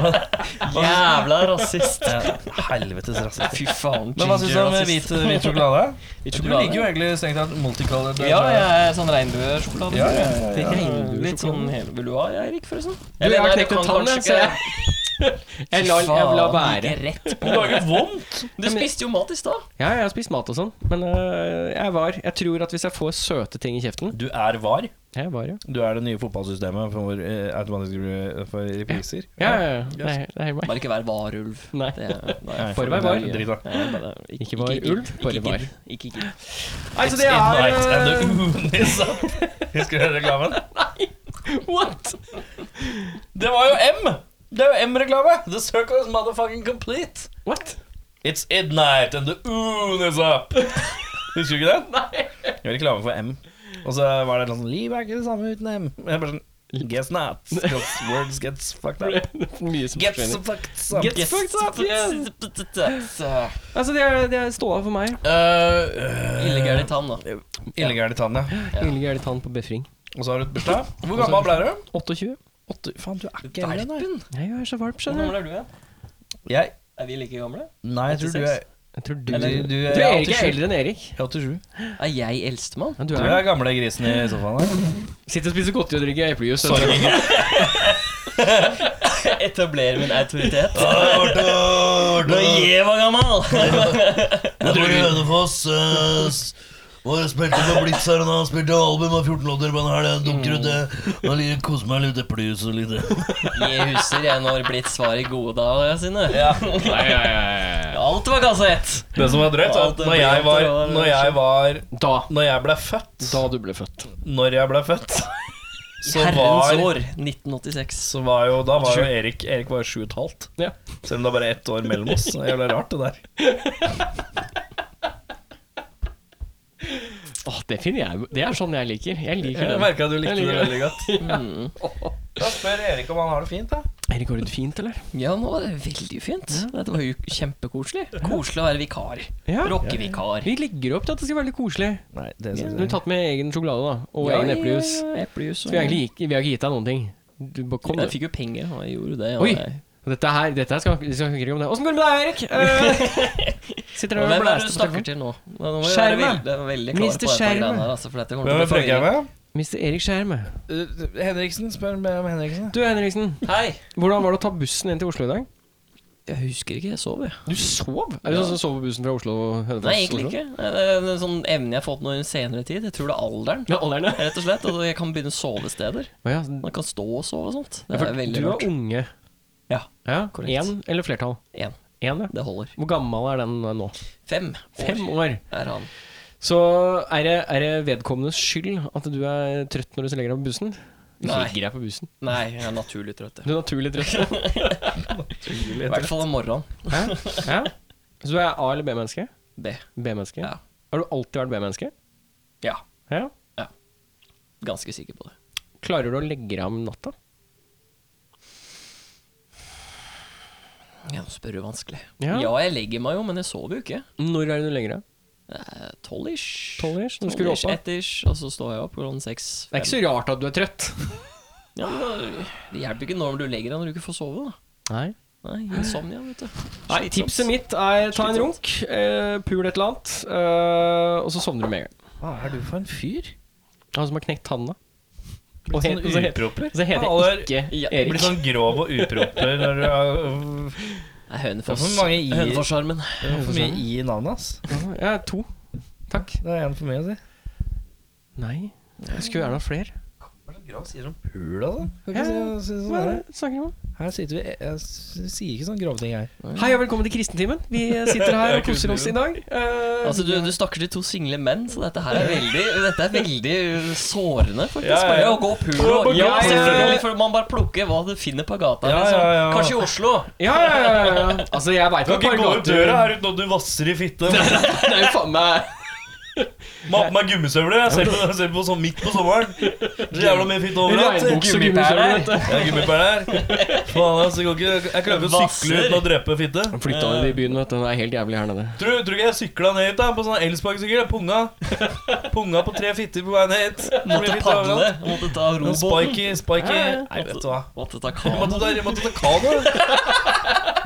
Speaker 3: Jævla rasist.
Speaker 2: Ja, helvetes rasist.
Speaker 3: Fy faen,
Speaker 2: Men hva syns du om hvit,
Speaker 3: ginger-rasist.
Speaker 2: hvit sjokolade?
Speaker 1: [LAUGHS]
Speaker 3: Hvit
Speaker 2: Du
Speaker 3: sjokolade?
Speaker 2: liker jo egentlig strengt tatt multicolored. eh,
Speaker 3: Ja, jeg er sånn regnbuesjokolade.
Speaker 2: Ja, ja, ja,
Speaker 1: ja. Regnbuesjokolade.
Speaker 3: Litt sånn hel- Vil du ha, Eirik, forresten?
Speaker 1: sånn. Du, jeg har knekt en tann, jeg, så jeg Jeg lar, jeg lar være.
Speaker 3: være.
Speaker 2: Det var ikke vondt!
Speaker 3: Du spiste jo mat i stad.
Speaker 1: Ja, jeg har spist mat og sånn, men øh, jeg var Jeg tror at hvis jeg får søte ting i kjeften
Speaker 2: Du er var.
Speaker 1: Jeg var, ja.
Speaker 2: Du er det nye fotballsystemet for eh, automatisk re- for repriser.
Speaker 1: Ja, ja, ja. Det er, det er helt meg.
Speaker 3: Bare ikke vær varulv.
Speaker 1: [LAUGHS] Nei.
Speaker 3: Det er- nei.
Speaker 2: Nei,
Speaker 1: Forvær var.
Speaker 2: det er Drit, da.
Speaker 3: Nei, bare-
Speaker 1: Ikke var ulv,
Speaker 3: gidd.
Speaker 1: bare
Speaker 3: Ikke
Speaker 1: var.
Speaker 3: gidd. Ikke gidd.
Speaker 1: Nei, så det
Speaker 2: It's
Speaker 1: er
Speaker 2: midnight
Speaker 1: øh,
Speaker 2: and the moon is up.
Speaker 1: [LAUGHS]
Speaker 2: Husker du reklamen?
Speaker 1: What?
Speaker 2: Det var jo M! Det er jo M-reklame! The circle is motherfucking complete.
Speaker 1: What?
Speaker 2: It's midnight and the moon is up. Husker du ikke den? Nei. Jeg var reklame for M. Og så var det noe sånn Livet er ikke det samme uten M. Jeg bare sånn Guess not. 'cause Words gets fucked up.
Speaker 1: Mye som
Speaker 2: Gets
Speaker 1: forsvinner.
Speaker 2: fucked up.
Speaker 1: Gets fucked up, yes.
Speaker 3: Så,
Speaker 1: Altså, det er, det er ståa for meg.
Speaker 2: Eh,
Speaker 3: Ille gærne tann, da.
Speaker 2: Illegale tann, ja.
Speaker 1: Lille gæli tann på befring.
Speaker 2: Og så har du et bursdag. Hvor gammel ble du?
Speaker 1: 28.
Speaker 2: Åtte Faen, du er ikke eldre, nei.
Speaker 3: Verpen.
Speaker 1: Jeg er så varm,
Speaker 3: Hvor
Speaker 1: skjønner du.
Speaker 3: gamle er du? igjen?
Speaker 2: Jeg
Speaker 3: Er vi like gamle?
Speaker 2: Nei, jeg tror du er
Speaker 1: Jeg tror du,
Speaker 3: Eller,
Speaker 1: du,
Speaker 2: du er
Speaker 1: er Erik er
Speaker 2: 87.
Speaker 1: eldre enn Erik.
Speaker 2: Jeg er 87.
Speaker 3: Er jeg eldstemann?
Speaker 1: Ja, du
Speaker 2: Du
Speaker 1: er.
Speaker 2: er gamle grisen i sofaen her.
Speaker 1: Sitter og spiser godteri og drikker eplejus. Sorry.
Speaker 3: Etablerer min autoritet. Da
Speaker 4: Arthur!
Speaker 3: jeg var gammel!
Speaker 4: Jeg tror Hønefoss eh, s- var og spilte på Blitz her, og han spilte album av 14 låter på en helg. Jeg Dunker ut det. Og jeg koser meg litt eplejus og litt
Speaker 3: Jeg husker jeg når Blitz var i gode dager sine.
Speaker 1: Nei, ja, ja, ja.
Speaker 3: Alt var kassett!
Speaker 2: Det som var drøyt, var at når jeg var, når jeg var
Speaker 1: Da,
Speaker 2: Når jeg ble født
Speaker 1: da du ble født.
Speaker 2: Når jeg ble født, så
Speaker 3: Herrens
Speaker 2: var
Speaker 3: år 1986.
Speaker 2: så var jo, Da var jo Erik Erik var sju og et halvt.
Speaker 1: Ja.
Speaker 2: Selv om det er bare ett år mellom oss. Det er Jævla rart, det der.
Speaker 1: Åh, det finner jeg Det er sånn jeg liker. Jeg liker
Speaker 2: Jeg
Speaker 1: det.
Speaker 2: merka du likte det
Speaker 1: Jeg liker det.
Speaker 2: veldig godt. Da spør Erik om han har det fint, da.
Speaker 1: Erik, går det fint, eller?
Speaker 3: Ja, nå var det veldig fint. Dette var jo kjempekoselig. Koselig å være vikar.
Speaker 1: Ja.
Speaker 3: Rockevikar.
Speaker 1: Vi legger opp til at det skal være litt koselig.
Speaker 5: Nei, det
Speaker 1: Du
Speaker 5: synes
Speaker 1: har tatt med egen sjokolade da og egen eplejus.
Speaker 3: Ja, ja, eplejus
Speaker 1: Så vi, har egentlig ikke- vi har ikke gitt deg noen ting. Du, bare kom,
Speaker 3: Jeg
Speaker 1: du.
Speaker 3: fikk jo penger, og jeg gjorde det. og
Speaker 1: Oi!
Speaker 3: jeg-
Speaker 1: Dette her, dette her skal, vi skal ikke om det. Åssen går det med deg, Erik? Eh, sitter
Speaker 3: Hvem
Speaker 1: dere og
Speaker 3: er det
Speaker 1: blæster
Speaker 3: du
Speaker 1: på
Speaker 3: snakker
Speaker 1: telefonen?
Speaker 3: til nå? Nå må vi være
Speaker 1: Skjermen.
Speaker 3: veldig, veldig klar på
Speaker 1: Mister
Speaker 3: dette
Speaker 1: Skjermen.
Speaker 3: greiene her. Altså, for dette kommer
Speaker 5: Hvem
Speaker 3: til å
Speaker 5: er
Speaker 3: bli
Speaker 5: frekk jeg
Speaker 3: forvirrende.
Speaker 5: med?
Speaker 1: Mr. Erik Skjerme.
Speaker 5: Uh, Henriksen? Spør meg om Henriksen.
Speaker 1: Du Henriksen,
Speaker 3: Hei!
Speaker 1: hvordan var det å ta bussen inn til Oslo i dag?
Speaker 3: Jeg husker ikke, jeg sov, jeg.
Speaker 1: Du sov? Er du sånn som sover på bussen fra Oslo og Hønefoss?
Speaker 3: Nei, egentlig ikke. Det er en sånn evne jeg har fått nå i en senere tid. Jeg tror det er alderen.
Speaker 1: Ja, alderen, ja.
Speaker 3: Rett og slett. Og jeg kan begynne sovesteder.
Speaker 1: Å ja.
Speaker 3: Man kan stå og sove og sånt. Det
Speaker 1: Ja,
Speaker 3: er
Speaker 1: for
Speaker 3: veldig
Speaker 1: du
Speaker 3: rart.
Speaker 1: er unge.
Speaker 3: Ja,
Speaker 1: Ja,
Speaker 3: Korrekt.
Speaker 1: Én eller flertall?
Speaker 3: én.
Speaker 1: Én, ja.
Speaker 3: Det holder.
Speaker 1: Hvor gammel er den nå?
Speaker 3: Fem år
Speaker 1: Fem år.
Speaker 3: er han.
Speaker 1: Så er det, er det vedkommendes skyld at du er trøtt når du legger deg på bussen? Du
Speaker 3: Nei.
Speaker 1: Ligger deg på bussen?
Speaker 3: Nei, jeg er naturlig trøtt. jeg.
Speaker 1: Du er
Speaker 3: [LAUGHS]
Speaker 1: naturlig trøtt.
Speaker 3: I hvert fall om morgenen.
Speaker 1: Hæ? Ja? Så du er A- eller B-menneske?
Speaker 3: B.
Speaker 1: B-menneske.
Speaker 3: Ja.
Speaker 1: Har du alltid vært B-menneske?
Speaker 3: ja.
Speaker 1: Ja.
Speaker 3: Ganske sikker på det.
Speaker 1: Klarer du å legge deg om natta?
Speaker 3: Ja, spør du vanskelig.
Speaker 1: Ja.
Speaker 3: Ja. jeg legger meg jo, men jeg sover jo ikke.
Speaker 1: Når er det du legger deg?
Speaker 3: Eh, Tolv-ish.
Speaker 1: 12-ish, når skulle du opp da?
Speaker 3: Ett-ish, og så står jeg opp klokken seks.
Speaker 1: Det er ikke så rart at du er trøtt.
Speaker 3: Ja, men det hjelper ikke når du legger deg når du ikke får sove. da
Speaker 1: Nei.
Speaker 3: Nei, Insomnia, vet du.
Speaker 1: Nei,
Speaker 3: Slitsomt.
Speaker 1: tipset mitt er ta en runk, eh, pul et eller annet, eh, og så sovner du med en gang.
Speaker 5: Hva er du for en fyr?
Speaker 1: Han som har knekt tanna. Og,
Speaker 5: Blitt
Speaker 1: het, og så
Speaker 5: sånn
Speaker 1: heter,
Speaker 5: uproper.
Speaker 1: så heter
Speaker 5: Alle
Speaker 1: jeg
Speaker 5: er-
Speaker 1: ikke
Speaker 3: Ja,
Speaker 5: Du
Speaker 1: Erik.
Speaker 5: blir sånn grov og uproper når du [LAUGHS] har øh,
Speaker 3: Nei, Hønefoss.
Speaker 5: Det er for mange i-
Speaker 3: Hønefossarmen.
Speaker 5: det er for mye i i navnet hans.
Speaker 1: Ja, to. Takk.
Speaker 5: Det er en for mye å si.
Speaker 1: Nei, jeg skulle gjerne hatt flere.
Speaker 5: Hva er det grav sier om pula, da? Kan
Speaker 1: Ja,
Speaker 5: ikke si- si sånn
Speaker 1: Hva er
Speaker 5: her.
Speaker 1: det du snakker om?
Speaker 5: Her sitter vi Jeg s- sier ikke sånne grove ting her.
Speaker 1: Hei og velkommen til kristentimen. Vi sitter her og koser oss i dag. Eh,
Speaker 3: Altså, du, du snakker til to single menn, så dette her er veldig Dette er veldig uh, sårende, faktisk.
Speaker 5: Ja, ja, ja.
Speaker 3: Bare å gå pul og
Speaker 1: Ja,
Speaker 3: Ja,
Speaker 1: ja, ja.
Speaker 3: selvfølgelig, for man bare plukker hva du finner på gata.
Speaker 5: Ja,
Speaker 3: liksom.
Speaker 5: ja, ja.
Speaker 3: Kanskje i Oslo.
Speaker 1: ja, ja, ja, ja. Altså, jeg veit
Speaker 2: Kan ikke gå ut døra her uten at du vasser i fitte.
Speaker 1: Det er jo faen meg
Speaker 2: Må ha på meg gummisøvler. Jeg ser på, jeg ser på sånn midt på sommeren. Så jævla mye fitte overalt.
Speaker 1: regnbukse og
Speaker 3: Gummipæler.
Speaker 1: gummisøvler. vet du.
Speaker 2: Jeg er gummipæler. Faen, altså, jeg, kan ikke, jeg klarer ikke å sykle
Speaker 3: Vasser.
Speaker 2: uten å drepe fitte.
Speaker 1: Han Flytta ned i byen, vet du. Det er helt jævlig her nede.
Speaker 2: Tror tror du ikke jeg sykla ned hit da på sånn elsparkesykkel? Punga Punga på tre fitter på veien hit. Så mye
Speaker 3: Måtte
Speaker 2: fitte
Speaker 3: padle.
Speaker 2: overalt.
Speaker 3: Måtte ta
Speaker 2: Noen
Speaker 3: robåten.
Speaker 2: Spiky, spiky
Speaker 3: Ja, ja.
Speaker 2: Nei, vet du hva.
Speaker 3: Måtte ta
Speaker 2: Jeg måtte
Speaker 3: kano.
Speaker 2: ta, jeg måtte ta kano.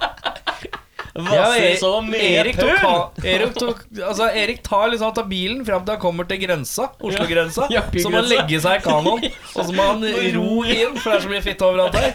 Speaker 3: Vasse som
Speaker 2: Erik tok,
Speaker 3: pul.
Speaker 2: ka- Erik tok Altså, Erik tar liksom han tar bilen fram til han kommer til grensa, Oslo-grensa.
Speaker 1: Ja,
Speaker 2: Så må han
Speaker 1: bygrensa.
Speaker 2: legge seg i kanoen, og så må han ro inn, for det er så mye fitte overalt her.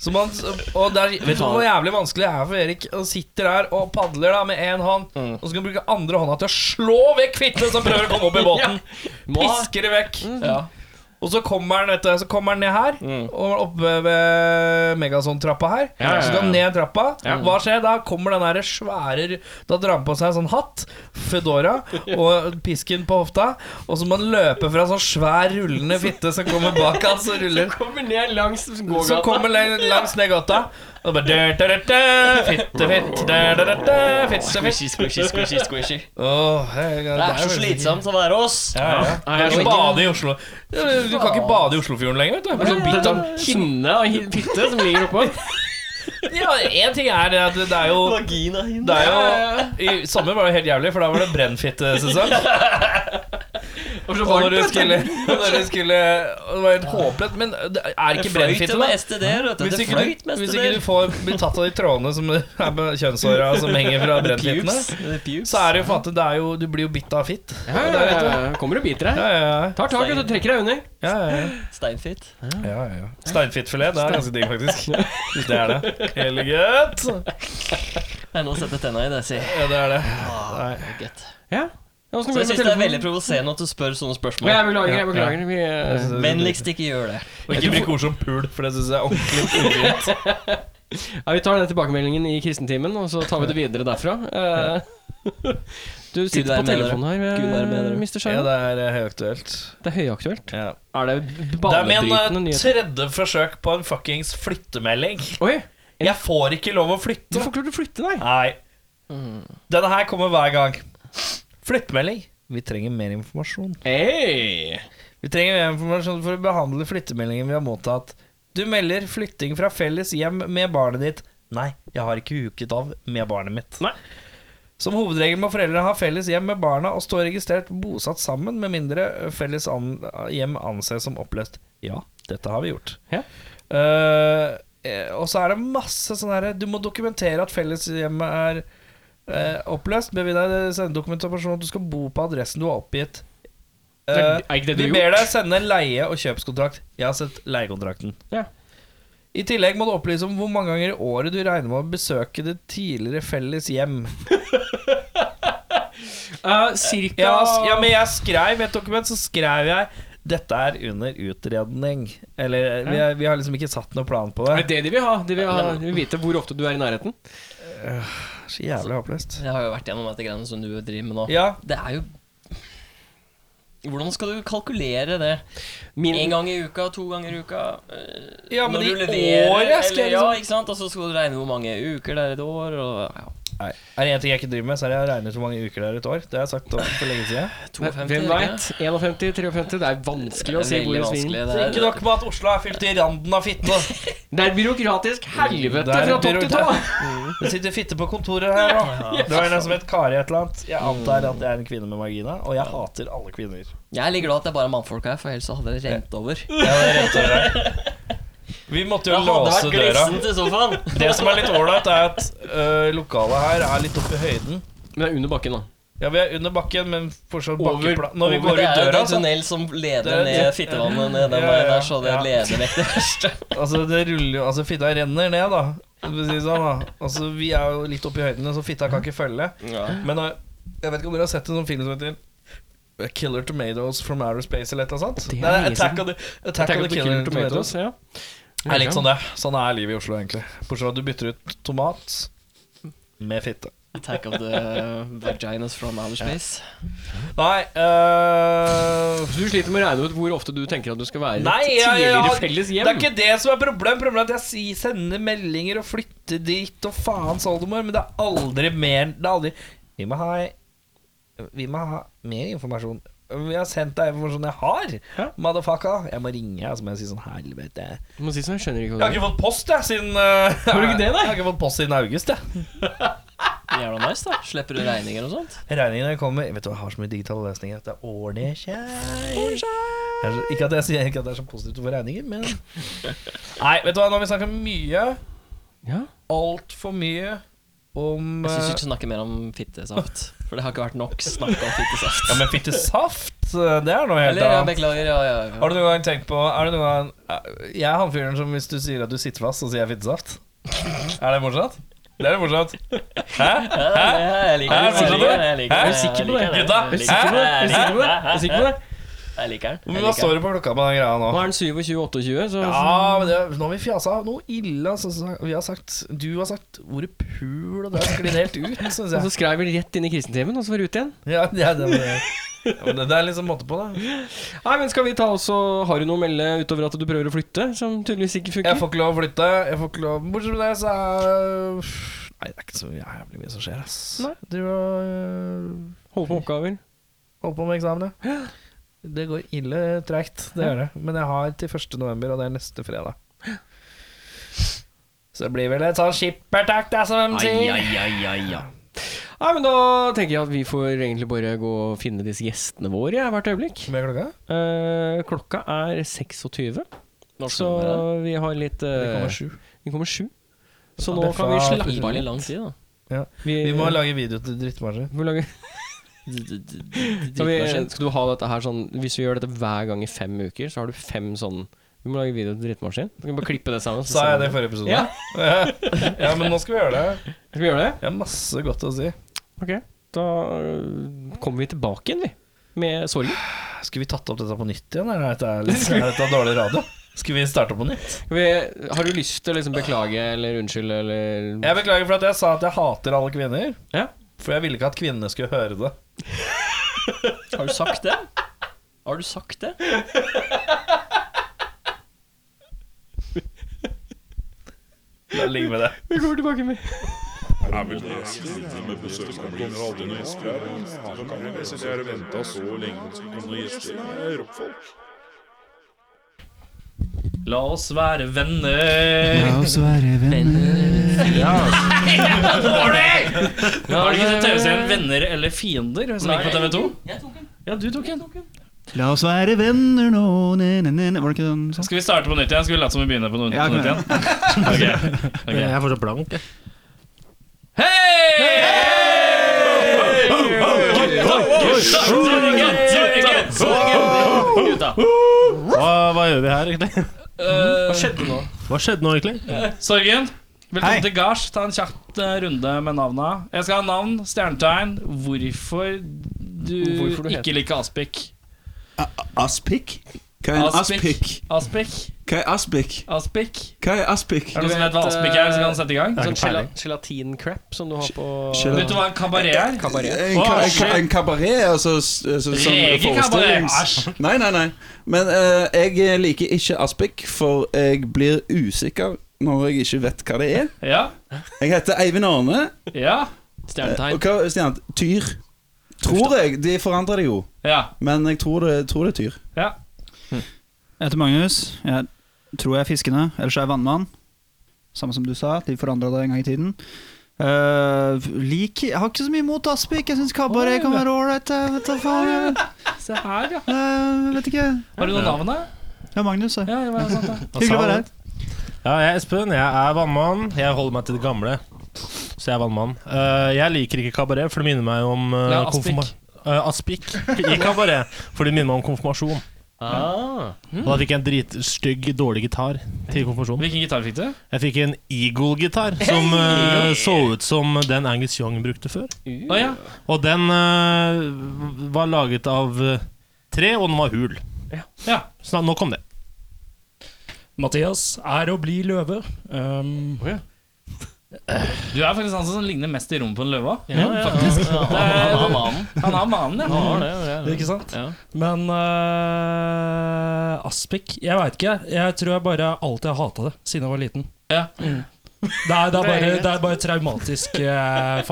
Speaker 2: Så man, og det er, vet du hvor jævlig vanskelig det er for Erik? Han sitter der og padler da med én hånd, og så kan han bruke andre hånda til å slå vekk fitte som prøver å komme opp i båten.
Speaker 1: Må ha-
Speaker 2: Pisker det vekk.
Speaker 3: Mm. Ja. [LAUGHS]
Speaker 2: Og så kommer han, vet du, så kommer han ned her,
Speaker 3: Mm.
Speaker 2: og oppe ved Megason-trappa her.
Speaker 1: Ja, ja, ja.
Speaker 2: Så går han ned trappa.
Speaker 1: Ja.
Speaker 2: Hva skjer? Da kommer den der svære Da drar han på seg en sånn hatt, fedora, og pisken på hofta. Og så må han løpe fra sånn svær rullende fitte som kommer bak han, så ruller
Speaker 1: Kommer ned langs
Speaker 2: så kommer lang- langs ned gata. Og bare dø, dø, dø, dø, Fitte, fitte, dø, dø, dø, dø, fitte, fitte.
Speaker 3: Squishy, squishy, squishy, squishy.
Speaker 2: Åh, jeg-
Speaker 3: Det er så slitsomt å være oss.
Speaker 2: Ja, ja. Du kan ikke bade i Oslo Du kan ikke bade i Oslofjorden lenger, vet du. Det er sånn bitt av-
Speaker 1: Kinne av hi- fitte som ligger oppå.
Speaker 2: Ja, en ting er det at det er jo
Speaker 3: Vagina hin.
Speaker 2: det er jo, I sommer var det helt jævlig, for da var det brennfittesesong.
Speaker 1: Og så
Speaker 2: [LAUGHS] Og når du skulle, når du skulle og Det var helt håpløst. Men det er
Speaker 3: Det
Speaker 2: ikke
Speaker 3: fløyt
Speaker 2: brennfitte,
Speaker 3: med
Speaker 2: da.
Speaker 3: STD-er, vet du.
Speaker 2: Hvis
Speaker 3: Det
Speaker 2: ikke,
Speaker 3: fløyt
Speaker 2: du,
Speaker 3: med
Speaker 2: hvis ikke du
Speaker 3: STD-er.
Speaker 2: får bli tatt av de trådene som er på kjønnshåra som henger [LAUGHS] fra brennfittene,
Speaker 3: Pubes. Det er pubes.
Speaker 2: så er det jo faen at det er jo Du blir jo bitt av fitt.
Speaker 1: Ja, ja, ja. Kommer og biter deg.
Speaker 2: Ja, ja,
Speaker 1: Tar tak og trekker deg under.
Speaker 2: ja. ja,
Speaker 3: Steinfitt.
Speaker 2: ja, ja, ja. Steinfittfilet, det er ganske digg, faktisk. Det er det. Elegant.
Speaker 3: Nei, nå setter jeg tenna i det, sier jeg.
Speaker 2: Ja, det er det.
Speaker 3: Ah, gutt.
Speaker 1: Ja. Ja, hvordan
Speaker 3: Så jeg
Speaker 1: går det med
Speaker 3: syns det er
Speaker 1: telefonen?
Speaker 3: veldig provoserende at du spør sånne
Speaker 1: Ja,
Speaker 3: spørsmål.
Speaker 1: jeg beklager, jeg beklager. Vi, eh,
Speaker 3: Vennligst ikke gjør det.
Speaker 2: Og ikke bruk ord som pul, for det syns jeg er ordentlig ugint.
Speaker 1: ja, vi tar den tilbakemeldingen i kristentimen, og så tar vi det videre derfra. Eh, [LAUGHS] Du sitter
Speaker 3: være med
Speaker 1: på
Speaker 3: dere.
Speaker 1: telefonen her,
Speaker 3: Gud være med
Speaker 1: eh,
Speaker 3: dere.
Speaker 1: Mr.
Speaker 2: Ja,
Speaker 1: Skjerm.
Speaker 2: det er eh, høyaktuelt.
Speaker 1: Det er høyaktuelt.
Speaker 2: Ja.
Speaker 1: Er det
Speaker 2: Det er min
Speaker 1: banebrytende
Speaker 2: eh,
Speaker 1: nyheter?
Speaker 2: tredje forsøk på en fuckings flyttemelding.
Speaker 1: Oi!
Speaker 2: Jeg får ikke lov å
Speaker 1: Du
Speaker 2: flytte.
Speaker 1: får klart å flytte deg.
Speaker 2: Nei. Denne her kommer hver gang. Flyttemelding. Vi trenger mer informasjon.
Speaker 1: Hey.
Speaker 2: Vi trenger mer informasjon for å behandle flyttemeldingen vi har mottatt Du melder flytting fra felles hjem med barnet ditt. Nei, jeg har ikke huket av med barnet mitt.
Speaker 1: Nei.
Speaker 2: Som hovedregel må foreldre ha felles hjem med barna og stå registrert bosatt sammen, med mindre eh, felles an eh, hjem anses som oppløst. Ja, dette har vi gjort.
Speaker 1: Ja.
Speaker 2: Eh, eh, og så er det masse sånn herre Du må dokumentere at felleshjemmet er eh, oppløst. Bevi deg sende dokumentasjon at du skal bo på adressen du har oppgitt. Eh,
Speaker 1: Det er- er ikke det du
Speaker 2: vi
Speaker 1: har
Speaker 2: ber
Speaker 1: gjort?
Speaker 2: deg sende en leie- og kjøpskontrakt. Jeg har sett leiekontrakten.
Speaker 1: Ja.
Speaker 2: I tillegg må du opplyse om hvor mange ganger i året du regner med å besøke ditt tidligere felles hjem.
Speaker 1: Eh, cirka
Speaker 2: Ja, s- ja, men jeg skrev i et dokument, så skrev jeg dette er under utredning. Eller vi, er, vi har liksom ikke satt noen plan på
Speaker 1: Er
Speaker 2: det.
Speaker 1: det det de vil ha? De vil, ha, de vil vite hvor ofte du er i nærheten?
Speaker 2: Så jævlig håpløst.
Speaker 3: Jeg har jo vært gjennom dette greiene som du driver med nå.
Speaker 2: Ja,
Speaker 3: Det er jo Hvordan skal du kalkulere det?
Speaker 1: Min,
Speaker 3: Én gang i uka, to ganger i uka? eh,
Speaker 2: Ja, men
Speaker 3: når du
Speaker 2: i
Speaker 3: leverer,
Speaker 2: året skal
Speaker 3: eller-
Speaker 2: jeg liksom-
Speaker 3: Ja, ikke sant? Og så skal du regne hvor mange uker det er i et år, og ja.
Speaker 2: liksom- Nei. Er det én ting jeg ikke driver med, så er det å regne ut hvor mange uker det er i et år. Det har jeg sagt om for lenge
Speaker 3: [LAUGHS]
Speaker 2: siden.
Speaker 3: 52,
Speaker 1: Hvem
Speaker 3: ikke?
Speaker 1: veit? 51, 53 Det er vanskelig å si
Speaker 3: Veldig
Speaker 1: hvor det
Speaker 3: vanskelig,
Speaker 1: svinger.
Speaker 3: det er-
Speaker 2: Ikke nok med at Oslo er fylt i randen av fitte.
Speaker 3: [LAUGHS]
Speaker 1: Det er et byråkratisk helvete
Speaker 2: Det er
Speaker 1: fra
Speaker 2: et
Speaker 1: topp til tå!
Speaker 2: Det sitter fitte på kontoret her nå. Det var en som het Kari et eller annet. Jeg antar at jeg er en kvinne med margina, og jeg hater alle kvinner.
Speaker 3: Jeg er litt glad at det er bare mannfolk her, for ellers så hadde det rent over. Det
Speaker 2: [LAUGHS] Vi måtte jo
Speaker 3: hadde vært
Speaker 2: låse døra.
Speaker 3: glissent i så
Speaker 2: [LAUGHS]
Speaker 3: fall.
Speaker 2: Det som er litt ålreit, er at øh, lokalet her er litt oppe i høyden.
Speaker 1: [LAUGHS] Men det er under bakken, da.
Speaker 2: Ja, vi er under bakken, men fortsatt
Speaker 1: Over-
Speaker 2: bakkeplan. Når vi
Speaker 3: Men
Speaker 2: går
Speaker 3: det
Speaker 2: ut
Speaker 3: er sånn- jo
Speaker 2: døra,
Speaker 3: en
Speaker 2: så
Speaker 3: tunnel som
Speaker 2: Det
Speaker 3: leder
Speaker 2: er-
Speaker 3: ned fittevannet ned den
Speaker 2: Ja,
Speaker 3: veien
Speaker 2: ja,
Speaker 3: der, så det
Speaker 2: ja.
Speaker 3: leder vekk det
Speaker 2: [LAUGHS]
Speaker 3: verste.
Speaker 2: Altså, det ruller jo Altså, fitta renner ned, da. For å si det sånn, da. Altså, vi er jo litt oppe i høydene, så fitta kan ikke følge. Men eh, jeg vet ikke om dere har sett en sånn film som heter eh, Killer Tomatoes from Outer Space eller et eller annet sånt?
Speaker 1: Det
Speaker 2: Nei,
Speaker 1: er lenge
Speaker 2: Attack of the, Attack
Speaker 1: Attack
Speaker 2: of the Killer Tomatoes.
Speaker 1: ja.
Speaker 2: Det er litt sånn det. Sånn er livet i Oslo, egentlig. Bortsett fra at du bytter ut tomat med fitte.
Speaker 3: Attack of the
Speaker 2: uh,
Speaker 3: vaginas from outer space.
Speaker 2: Nei eh,
Speaker 1: Du sliter med å regne ut hvor ofte du tenker at du skal være i
Speaker 2: Nei,
Speaker 1: et
Speaker 2: jeg- jeg
Speaker 1: tidligere
Speaker 2: har-
Speaker 1: felles
Speaker 2: Det er
Speaker 1: hjem.
Speaker 2: ikke det som er problemet. Problemet er at jeg si- sender meldinger og flytter dit og faens oldemor, men det er aldri mer Det er aldri Vi må ha Vi må ha mer informasjon. Vi har sendt deg informasjon jeg har.
Speaker 1: Ja.
Speaker 2: Motherfucka. Jeg må ringe, og så må jeg si sånn helvete.
Speaker 1: Du må si sånn, jeg skjønner
Speaker 2: Jeg
Speaker 1: ikke hva
Speaker 2: har
Speaker 1: det er.
Speaker 2: ikke fått post, jeg, siden eh,
Speaker 1: du ikke det, da?
Speaker 2: Jeg har ikke fått post siden august, jeg.
Speaker 3: Jævla nice, da. Slipper du regninger og sånt?
Speaker 2: Regningene kommer Vet du hva, jeg har så mye digitale løsninger at det ordner seg. Jeg er så- Ikke at jeg sier ikke at det er så positivt å få regninger,
Speaker 3: [LAUGHS]
Speaker 2: men Nei, vet du hva, nå har vi snakket mye.
Speaker 1: Ja.
Speaker 2: altfor mye om
Speaker 3: Jeg syns
Speaker 2: eh,
Speaker 3: ikke du snakker mer om fittesaft. For det har ikke vært nok snakk om fittesaft.
Speaker 2: Ja, men fittesaft, det er noe helt
Speaker 3: Eller, ja,
Speaker 2: annet.
Speaker 3: beklager, ja, ja. ja.
Speaker 2: Har du noen gang tenkt på Er du noen gang eh, Jeg er han fyren som hvis du sier at du sitter fast, så sier jeg fittesaft. Er det morsomt? Det er det morsomt. Hæ?
Speaker 3: Ja, ja, Jeg liker
Speaker 2: Hæ?
Speaker 3: den. Jeg liker den, jeg liker
Speaker 2: Hæ?
Speaker 3: den,
Speaker 2: Er
Speaker 1: du sikker på det?
Speaker 3: jeg liker den, jeg
Speaker 2: Gutta?
Speaker 3: liker
Speaker 2: Hæ?
Speaker 3: den,
Speaker 1: Er du sikker på det? Er du sikker på det?
Speaker 3: Jeg liker den. jeg
Speaker 2: Hvor mye
Speaker 3: liker den.
Speaker 2: står det på klokka på den greia
Speaker 1: Nå
Speaker 2: nå?
Speaker 1: er den 27-28, så
Speaker 2: Ja, men det, Nå har vi fjasa noe ille. Altså, så vi har sagt, du har sagt ordet pul, og det har sklidd helt ut, syns
Speaker 1: Og så
Speaker 2: jeg.
Speaker 1: skrev vi rett inn i kristentimen, og så var det ut igjen.
Speaker 2: Ja, ja, det, det, ja, men det, det er liksom måte på, da.
Speaker 1: Nei, men skal vi ta også Har du noe å melde utover at du prøver å flytte, som tydeligvis
Speaker 2: Jeg
Speaker 1: ikke funker?
Speaker 2: får ikke lov å flytte. Jeg får ikke lov Bortsett fra det, så er Nei, det er ikke så jævlig mye som skjer, ass.
Speaker 1: Nei.
Speaker 2: Du har øh,
Speaker 1: Holder på med oppgaver.
Speaker 2: holdt på med eksamen, ja. Det går ille treigt, det gjør det. Men jeg har til 1. november, og det er neste fredag. Så det blir vel et sånn skippertak, det, som de sier.
Speaker 1: Nei, men da tenker jeg at vi får egentlig bare gå og finne disse gjestene våre ja, hvert øyeblikk.
Speaker 2: Med klokka?
Speaker 1: Eh, klokka er 26,
Speaker 3: Norsk
Speaker 1: så
Speaker 3: nummer, da.
Speaker 1: vi har litt eh,
Speaker 2: Det kommer sju.
Speaker 1: vi kommer sju. Så
Speaker 2: Ja,
Speaker 1: nå
Speaker 2: det
Speaker 1: kan vi
Speaker 2: faen.
Speaker 1: slappe av
Speaker 3: Veldig
Speaker 1: litt.
Speaker 3: lang tid, da.
Speaker 2: Ja.
Speaker 1: Vi,
Speaker 2: Vi må lage video til drittmarsjer.
Speaker 1: vi må lage, skal, vi,
Speaker 3: Dritmaskin.
Speaker 1: skal du ha dette her sånn Hvis vi gjør dette hver gang i fem uker, så har du fem sånn Vi må lage video til drittmaskin. Så kan vi bare klippe det sammen. så
Speaker 2: Sa
Speaker 1: sender
Speaker 2: jeg det i
Speaker 1: vi
Speaker 2: forrige episode?
Speaker 1: Ja.
Speaker 2: Ja. [LAUGHS] ja, men nå skal vi gjøre det.
Speaker 1: Skal vi gjøre det?
Speaker 2: Jeg har masse godt å si.
Speaker 1: Ok. Da øh, kommer vi tilbake igjen, vi. Med sorgen.
Speaker 2: Skulle vi tatt opp dette på nytt igjen, eller er dette, er dette dårlig radio? Skulle vi starte på nytt?
Speaker 1: Skal vi, har du lyst til å liksom beklage eller unnskylde eller
Speaker 2: Jeg beklager for at jeg sa at jeg hater alle kvinner.
Speaker 1: Ja.
Speaker 2: For jeg ville ikke at kvinnene skulle høre det.
Speaker 3: Har du sagt det? Har du sagt det?
Speaker 2: La det ligge med det.
Speaker 1: Vi kommer tilbake med
Speaker 6: venta så lenge på å komme noen gjester. Det er rockfolk.
Speaker 7: La oss være venner.
Speaker 6: oss være
Speaker 7: Var det ikke den TV-serien Venner eller fiender som gikk på TV2? Ja, du tok en.
Speaker 6: La oss være venner nå ne, ne, ne, ne. Var det ikke den sånn?
Speaker 7: Skal vi starte på nytt igjen? Skal vi late som vi begynner på noe
Speaker 6: Ja,
Speaker 7: på nytt igjen? Ok.
Speaker 8: Jeg er fortsatt blank, jeg.
Speaker 3: Gutta.
Speaker 8: Hva, hva gjør vi her, egentlig?
Speaker 7: Eh,
Speaker 8: Hva skjedde nå, egentlig?
Speaker 7: Sorgen, velkommen
Speaker 6: Hei.
Speaker 7: til gards. Ta en kjapp eh, runde med navna. Jeg skal ha navn, stjernetegn, hvorfor du
Speaker 1: Hvorfor du heter-
Speaker 7: ikke liker Aspik.
Speaker 6: Aspik? Hva er en aspik?
Speaker 7: Aspik.
Speaker 6: Hva er aspik?
Speaker 7: Aspik.
Speaker 6: Hva er aspik?
Speaker 7: Er det noen som
Speaker 1: vet,
Speaker 7: vet hva Aspik er, så
Speaker 1: eh,
Speaker 7: kan sette i gang?
Speaker 1: Sånn
Speaker 8: ikke peiling.
Speaker 1: gela- gelatin-crap som du har på
Speaker 6: Gel-
Speaker 7: Vet du hva en kabaret er?
Speaker 1: kabaret.
Speaker 6: En, ka en, ka en kabaret, altså s- så, sånn
Speaker 7: Rege kabaret.
Speaker 6: forestillings... Nei, nei, nei. Men eh, jeg liker ikke aspik, for jeg blir usikker når jeg ikke vet hva det er.
Speaker 7: Ja.
Speaker 6: Jeg heter Eivind Arne. Eh,
Speaker 7: Ja.
Speaker 6: Og
Speaker 3: Stjernetegn.
Speaker 6: hva, Stian, tyr. Tror jeg. De forandrer det jo,
Speaker 7: Ja.
Speaker 6: men jeg tror det, tror det er tyr.
Speaker 7: ja.
Speaker 9: Jeg heter Magnus. Jeg tror jeg er fiskene, ellers er jeg vannmann. Samme som du sa, de forandra det en gang i tiden. Eh, lik Jeg har ikke så mye imot Aspik. Jeg syns kabaret kan være ålreit. jeg Vet da faen. jeg.
Speaker 7: Se her, ja.
Speaker 9: Eh, vet ikke.
Speaker 7: Har du noe navn her?
Speaker 9: Ja, Magnus. jeg.
Speaker 7: Ja, det var sant, det.
Speaker 9: [LAUGHS] Hyggelig å være her.
Speaker 8: Ja, jeg er Espen. Jeg er vannmann. Jeg holder meg til det gamle, så jeg er vannmann. Eh, jeg liker ikke kabaret, for det minner meg om eh,
Speaker 7: Ja, aspik.
Speaker 8: konfirma- Eh, aspik i kabaret, for det minner meg om konfirmasjon.
Speaker 1: Ah.
Speaker 8: Og da fikk jeg en dritstygg, dårlig gitar til konfirmasjonen.
Speaker 7: Hvilken gitar fikk du?
Speaker 8: Jeg fikk en Eagle-gitar som eh, så ut som den Angus Young brukte før.
Speaker 10: Uh.
Speaker 7: Å ja.
Speaker 8: Og den eh, var laget av eh, tre, og den var hul.
Speaker 7: ja.
Speaker 8: Så da- nå kom det.
Speaker 10: Mathias er å bli løve. Um,
Speaker 7: Du er faktisk han som ligner mest i rommet på en løve.
Speaker 3: Ja, ja, ja. Ja, han har mannen.
Speaker 7: Han har manen, ja.
Speaker 3: Han har det, ja, ja.
Speaker 10: ikke sant?
Speaker 3: Ja.
Speaker 10: Men eh, Aspik Jeg veit ikke. Jeg tror jeg bare alltid har hata det siden jeg var liten.
Speaker 7: Ja.
Speaker 10: Det er, det, er bare, det er bare traumatisk eh,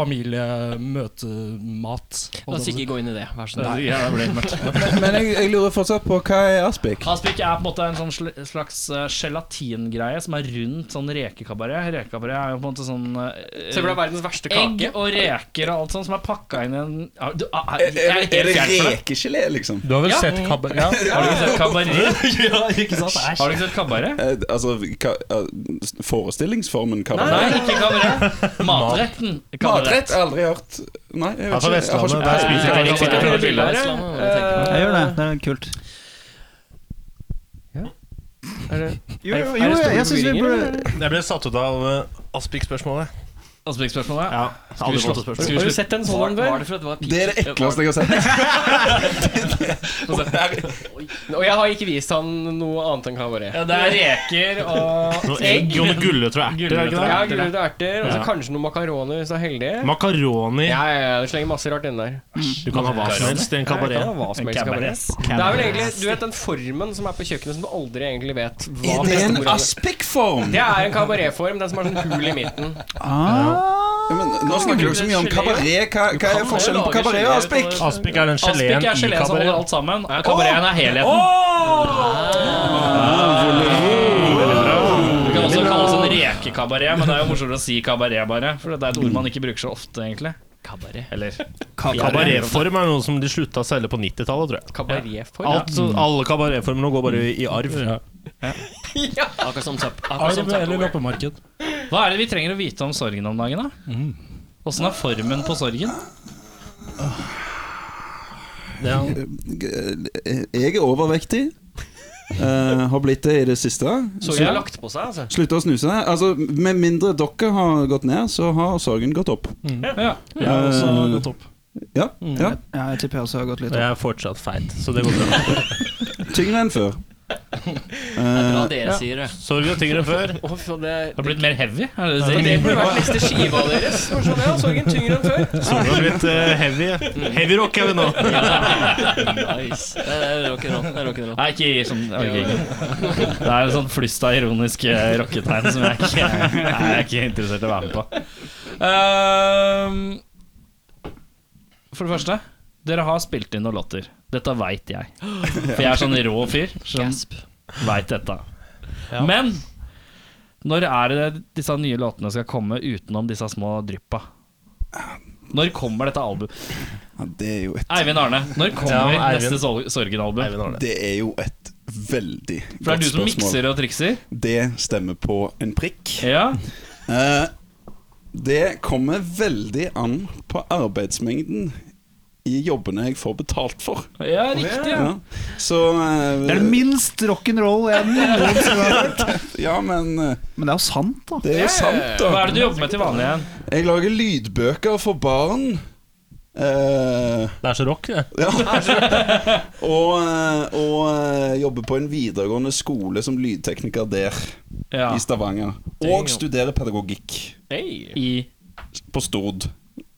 Speaker 10: familiemøtemat.
Speaker 3: La oss ikke gå inn i det. Vær så snill.
Speaker 7: Ja, det ble mørkt.
Speaker 6: Men jeg, jeg lurer fortsatt på hva er aspik?
Speaker 7: Aspik er på en måte en sånn sl- slags eh, gelatingreie som er rundt sånn rekekabaret. Rekekabaret er jo på en måte sånn eh,
Speaker 1: Se for deg verdens verste
Speaker 7: Egg
Speaker 1: kake.
Speaker 7: og reker og alt sånt som er pakka inn i en Ja, du- ah,
Speaker 6: Er,
Speaker 7: Jeg
Speaker 6: er,
Speaker 7: er
Speaker 6: er
Speaker 7: helt
Speaker 6: det
Speaker 7: fjern for det.
Speaker 6: rekegelé, liksom?
Speaker 8: Du har vel
Speaker 7: Ja.
Speaker 8: sett kabaret? Ja.
Speaker 7: Har du ikke sett [LAUGHS] kabaret?
Speaker 10: ja, ikke sant? Æsj.
Speaker 7: Har du ikke sett kabaret?
Speaker 6: Eh, altså ka, eh, forestillingsformen kabaret?
Speaker 7: Nei, ikke kabaret. Matretten.
Speaker 6: Matrett? Aldri hørt. Nei, jeg
Speaker 8: Ja,
Speaker 6: vet
Speaker 8: fra
Speaker 6: ikke. Jeg
Speaker 8: Vestlandet.
Speaker 6: har ikke
Speaker 8: Der spiser
Speaker 7: Ja,
Speaker 8: jeg
Speaker 7: ja,
Speaker 8: ikke.
Speaker 7: ja.
Speaker 3: Jeg vil være slam, og tenke
Speaker 7: Eh,
Speaker 3: på det.
Speaker 9: Jeg gjør det. Det er kult.
Speaker 1: Er det,
Speaker 9: Jo,
Speaker 1: er det-
Speaker 9: jo,
Speaker 1: er det
Speaker 9: jo
Speaker 1: store
Speaker 9: jeg syns vi
Speaker 1: forvirringer,
Speaker 9: burde
Speaker 8: Jeg ble satt ut av eh, Aspik-spørsmålet.
Speaker 7: Aspik-spørsmålet.
Speaker 8: Ja. Aldri fått et spørsmål.
Speaker 1: har du sett en sånn
Speaker 3: Var,
Speaker 1: en
Speaker 3: var
Speaker 1: før?
Speaker 3: det for at det var
Speaker 6: Det er [LAUGHS] det ekleste jeg har sett.
Speaker 1: Og jeg har ikke vist han noe annet enn kabaret.
Speaker 7: Ja, det er reker og
Speaker 8: Noe egg og noe gulrøtter og erter, er det ikke
Speaker 1: Ja,
Speaker 8: det?
Speaker 1: Gulrøtter og erter, og så
Speaker 8: Ja.
Speaker 1: kanskje noen makaroner hvis du er heldig.
Speaker 8: Makaroni.
Speaker 1: Ja, ja, ja, det slenger masse rart inn der.
Speaker 8: Du kan ha hva som helst i en
Speaker 1: Ja,
Speaker 8: kabaret.
Speaker 1: hva som helst kabaret. Det er vel egentlig du vet, den formen som er på kjøkkenet som du aldri egentlig vet hva
Speaker 6: Det er en
Speaker 1: bestemor hadde.
Speaker 6: aspik-form!
Speaker 1: Det er en kabaretform, den som er sånn hul i midten.
Speaker 9: Ah.
Speaker 6: Ja, men nå snakker dere så mye om kabaret. Hva, hva er forskjellen på kabaret og aspik?
Speaker 8: Aspik er den geleen
Speaker 7: Aspik er
Speaker 8: i
Speaker 7: geleen som holder
Speaker 8: kabaret.
Speaker 7: alt sammen. og Kabareten er helheten. Du kan også kalle det sånn rekekabaret, men det er jo morsommere å si kabaret, bare. For det er et ord man ikke bruker så ofte, egentlig.
Speaker 3: Kabaret.
Speaker 7: Eller
Speaker 8: Kabaretform er noe som de slutta å selge på 90-tallet, tror jeg.
Speaker 1: Kabaretform?
Speaker 8: Alt, alle kabaretformene går bare i arv.
Speaker 3: Akkurat som Zapp. Akkurat som
Speaker 10: Arv
Speaker 3: Zapp.
Speaker 10: eller loppemarked?
Speaker 7: Hva er det vi trenger å vite om sorgen om dagen, da? Åssen er formen på sorgen?
Speaker 6: Jeg er overvektig. Eh, har blitt det i det siste.
Speaker 1: Så hun har lagt på seg, altså.
Speaker 6: Slutta å snuse. Altså, Med mindre dere har gått ned, så har sorgen gått opp.
Speaker 7: Ja.
Speaker 10: Ja, også gått opp.
Speaker 6: Ja, ja.
Speaker 9: Ja, jeg tipper jeg også har gått litt
Speaker 8: Og
Speaker 9: opp.
Speaker 8: jeg er fortsatt feit, så det går bra.
Speaker 6: Tyngre enn før.
Speaker 3: Hva
Speaker 6: Eh,
Speaker 3: dere sier, det.
Speaker 8: Sorg er tyngre enn før.
Speaker 1: Å, fy faen, det,
Speaker 7: Det har blitt mer heavy, er det det
Speaker 1: det
Speaker 7: du sier?
Speaker 1: burde vært
Speaker 3: [LAUGHS]
Speaker 1: neste skiva deres. for Sånn, ja, sorgen tyngre enn før.
Speaker 8: Sorg har blitt eh, heavy. Heavy rock er vi nå.
Speaker 3: Nice. Det er rock'n'roll. Det er rock'n'roll.
Speaker 7: Nei, ikke i sånn ok, ikke. Det er en sånn flust av ironiske rocketegn som jeg ikke, [LAUGHS] nei, jeg er ikke interessert i å være med på. Ehm, for det første, dere har spilt inn noen låter. Dette veit jeg. For jeg er sånn rå fyr som
Speaker 3: Gasp.
Speaker 7: veit dette. Men når er det disse nye låtene skal komme utenom disse små dryppa? Når kommer dette albumet?
Speaker 6: Ja, det er jo et
Speaker 7: Eivind Arne, når kommer
Speaker 8: Ja, Eivind.
Speaker 7: neste Sor- Sorgen-album?
Speaker 6: Det er jo et veldig
Speaker 7: For det
Speaker 6: godt
Speaker 7: er du som
Speaker 6: spørsmål.
Speaker 7: mikser og trikser?
Speaker 6: Det stemmer på en prikk.
Speaker 7: Ja.
Speaker 6: Eh, det kommer veldig an på arbeidsmengden i jobbene jeg får betalt for.
Speaker 7: ja, riktig. Ja.
Speaker 6: Ja. Så eh,
Speaker 11: Det er det minst rock'n'roll jeg noensinne har hørt.
Speaker 6: Ja, men eh,
Speaker 11: Men det er jo sant, da.
Speaker 6: det er jo sant,
Speaker 7: Hva er
Speaker 6: da.
Speaker 7: det du jobber med til vanlig igjen?
Speaker 6: Jeg lager lydbøker for barn. Eh,
Speaker 8: Det er så rock, det.
Speaker 6: ja. [LAUGHS] og eh, og eh, jobber på en videregående skole som lydtekniker der,
Speaker 7: Ja.
Speaker 6: i Stavanger. Og studerer pedagogikk.
Speaker 7: I
Speaker 6: på Stord.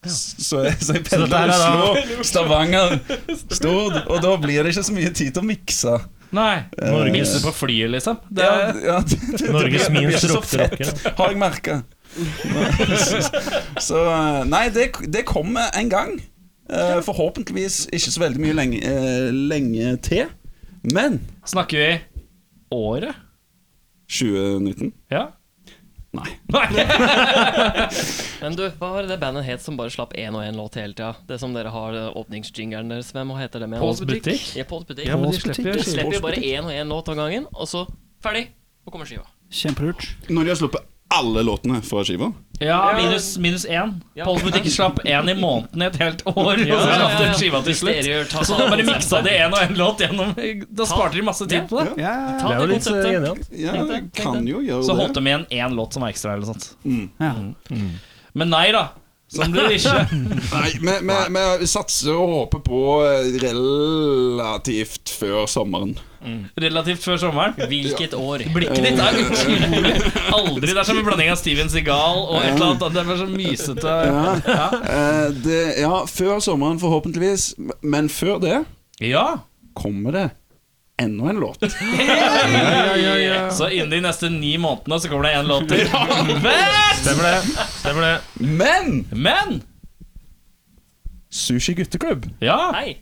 Speaker 6: S- Så jeg, så jeg
Speaker 8: dette her
Speaker 6: pendler
Speaker 8: er
Speaker 6: Oslo, Stavanger, Stord. Og da blir det ikke så mye tid til å mikse.
Speaker 7: Nei.
Speaker 8: Norges-
Speaker 7: Mikser på flyet, liksom. Det
Speaker 6: Ja,
Speaker 7: er,
Speaker 6: ja, det, det, det
Speaker 8: Norges
Speaker 6: blir- det blir
Speaker 8: minst
Speaker 6: ikke så
Speaker 8: rockte
Speaker 6: fett, har jeg merka. Så eh, Nei, det, det kommer en gang. Eh, Forhåpentligvis ikke så veldig mye lenge, eh, lenge til. Men
Speaker 7: snakker vi året?
Speaker 6: 2019?
Speaker 7: Ja.
Speaker 6: Nei.
Speaker 3: Men du, hva var det det bandet het som bare slapp én og én låt hele tida? Det som dere har eh, åpningsjingeren deres, hvem hva heter det med?
Speaker 7: Pauls Butikk?
Speaker 3: Ja, Pauls Butikk.
Speaker 7: Ja, men de slipper
Speaker 3: De
Speaker 7: jo
Speaker 3: slipper jo bare én og én låt av gangen, og så ferdig. Og kommer skiva.
Speaker 11: Kjempelurt.
Speaker 6: Når de har sluppet alle låtene fra skiva?
Speaker 7: Ja, minus, minus én.
Speaker 3: Ja.
Speaker 7: Pauls Butikk slapp én i måneden i et helt år. og så slapp de skiva til slutt.
Speaker 3: Dere gjør- ta-
Speaker 7: Så da bare miksa de én og én låt gjennom. Da sparte de masse tid på det.
Speaker 11: Ja,
Speaker 3: Ta
Speaker 8: Det
Speaker 3: det
Speaker 8: er jo litt eh,
Speaker 3: konseptet.
Speaker 8: genialt.
Speaker 6: Ja,
Speaker 3: Tenkte
Speaker 6: jeg
Speaker 3: jeg, tenkte
Speaker 6: kan
Speaker 3: jeg.
Speaker 6: jo gjøre
Speaker 7: Så
Speaker 6: det.
Speaker 7: holdt de igjen én låt som var ekstra. eller sånt
Speaker 3: Mm.
Speaker 7: Mm.
Speaker 11: ja.
Speaker 7: Men nei da. [LAUGHS] Sånn blir det ikke.
Speaker 6: Nei, vi, vi, vi satser og håper på eh, relativt før sommeren.
Speaker 7: Relativt før sommeren.
Speaker 3: Hvilket år?
Speaker 7: Blikket ditt er utrolig aldri Det er som en blanding av Steven Seagal og et eller annet. Det er bare så mysete.
Speaker 6: Eh, det, ja, før sommeren forhåpentligvis. Men før det
Speaker 7: Ja.
Speaker 6: kommer det enda en låt.
Speaker 7: Så innen de neste ni månedene så kommer det én låt til. Men-
Speaker 8: Stemmer det. Stemmer det.
Speaker 6: Men
Speaker 7: Men
Speaker 6: Sushi Gutteklubb,
Speaker 7: Ja.
Speaker 3: Nei.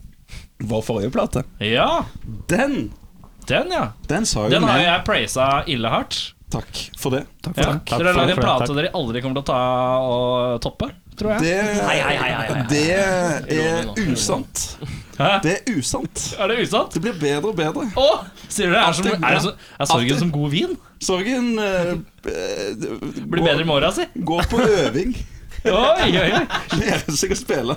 Speaker 6: vår forrige plate,
Speaker 7: ja
Speaker 6: den
Speaker 7: Den, ja.
Speaker 6: Den sa jo
Speaker 7: Den har jo
Speaker 6: meg
Speaker 7: jeg praisa ille hardt.
Speaker 6: takk for det.
Speaker 7: Ja. Dere har
Speaker 8: Takk
Speaker 7: lagd en
Speaker 8: for det,
Speaker 7: plate
Speaker 8: takk.
Speaker 7: dere aldri kommer til å ta og toppe.
Speaker 6: Det,
Speaker 3: Hei, hei, hei, hei, hei.
Speaker 6: det er usant.
Speaker 7: Hæ?
Speaker 6: Det er usant.
Speaker 7: Er det usant?
Speaker 6: Det blir bedre og bedre.
Speaker 7: Å! Sier dere, er, som, er, det så, er sorgen som god vin?
Speaker 6: Sorgen eh, eh,
Speaker 7: Blir bedre i morgen, si.
Speaker 6: går på øving.
Speaker 7: [LAUGHS] Oi, oi, oi.
Speaker 6: lære seg å spille.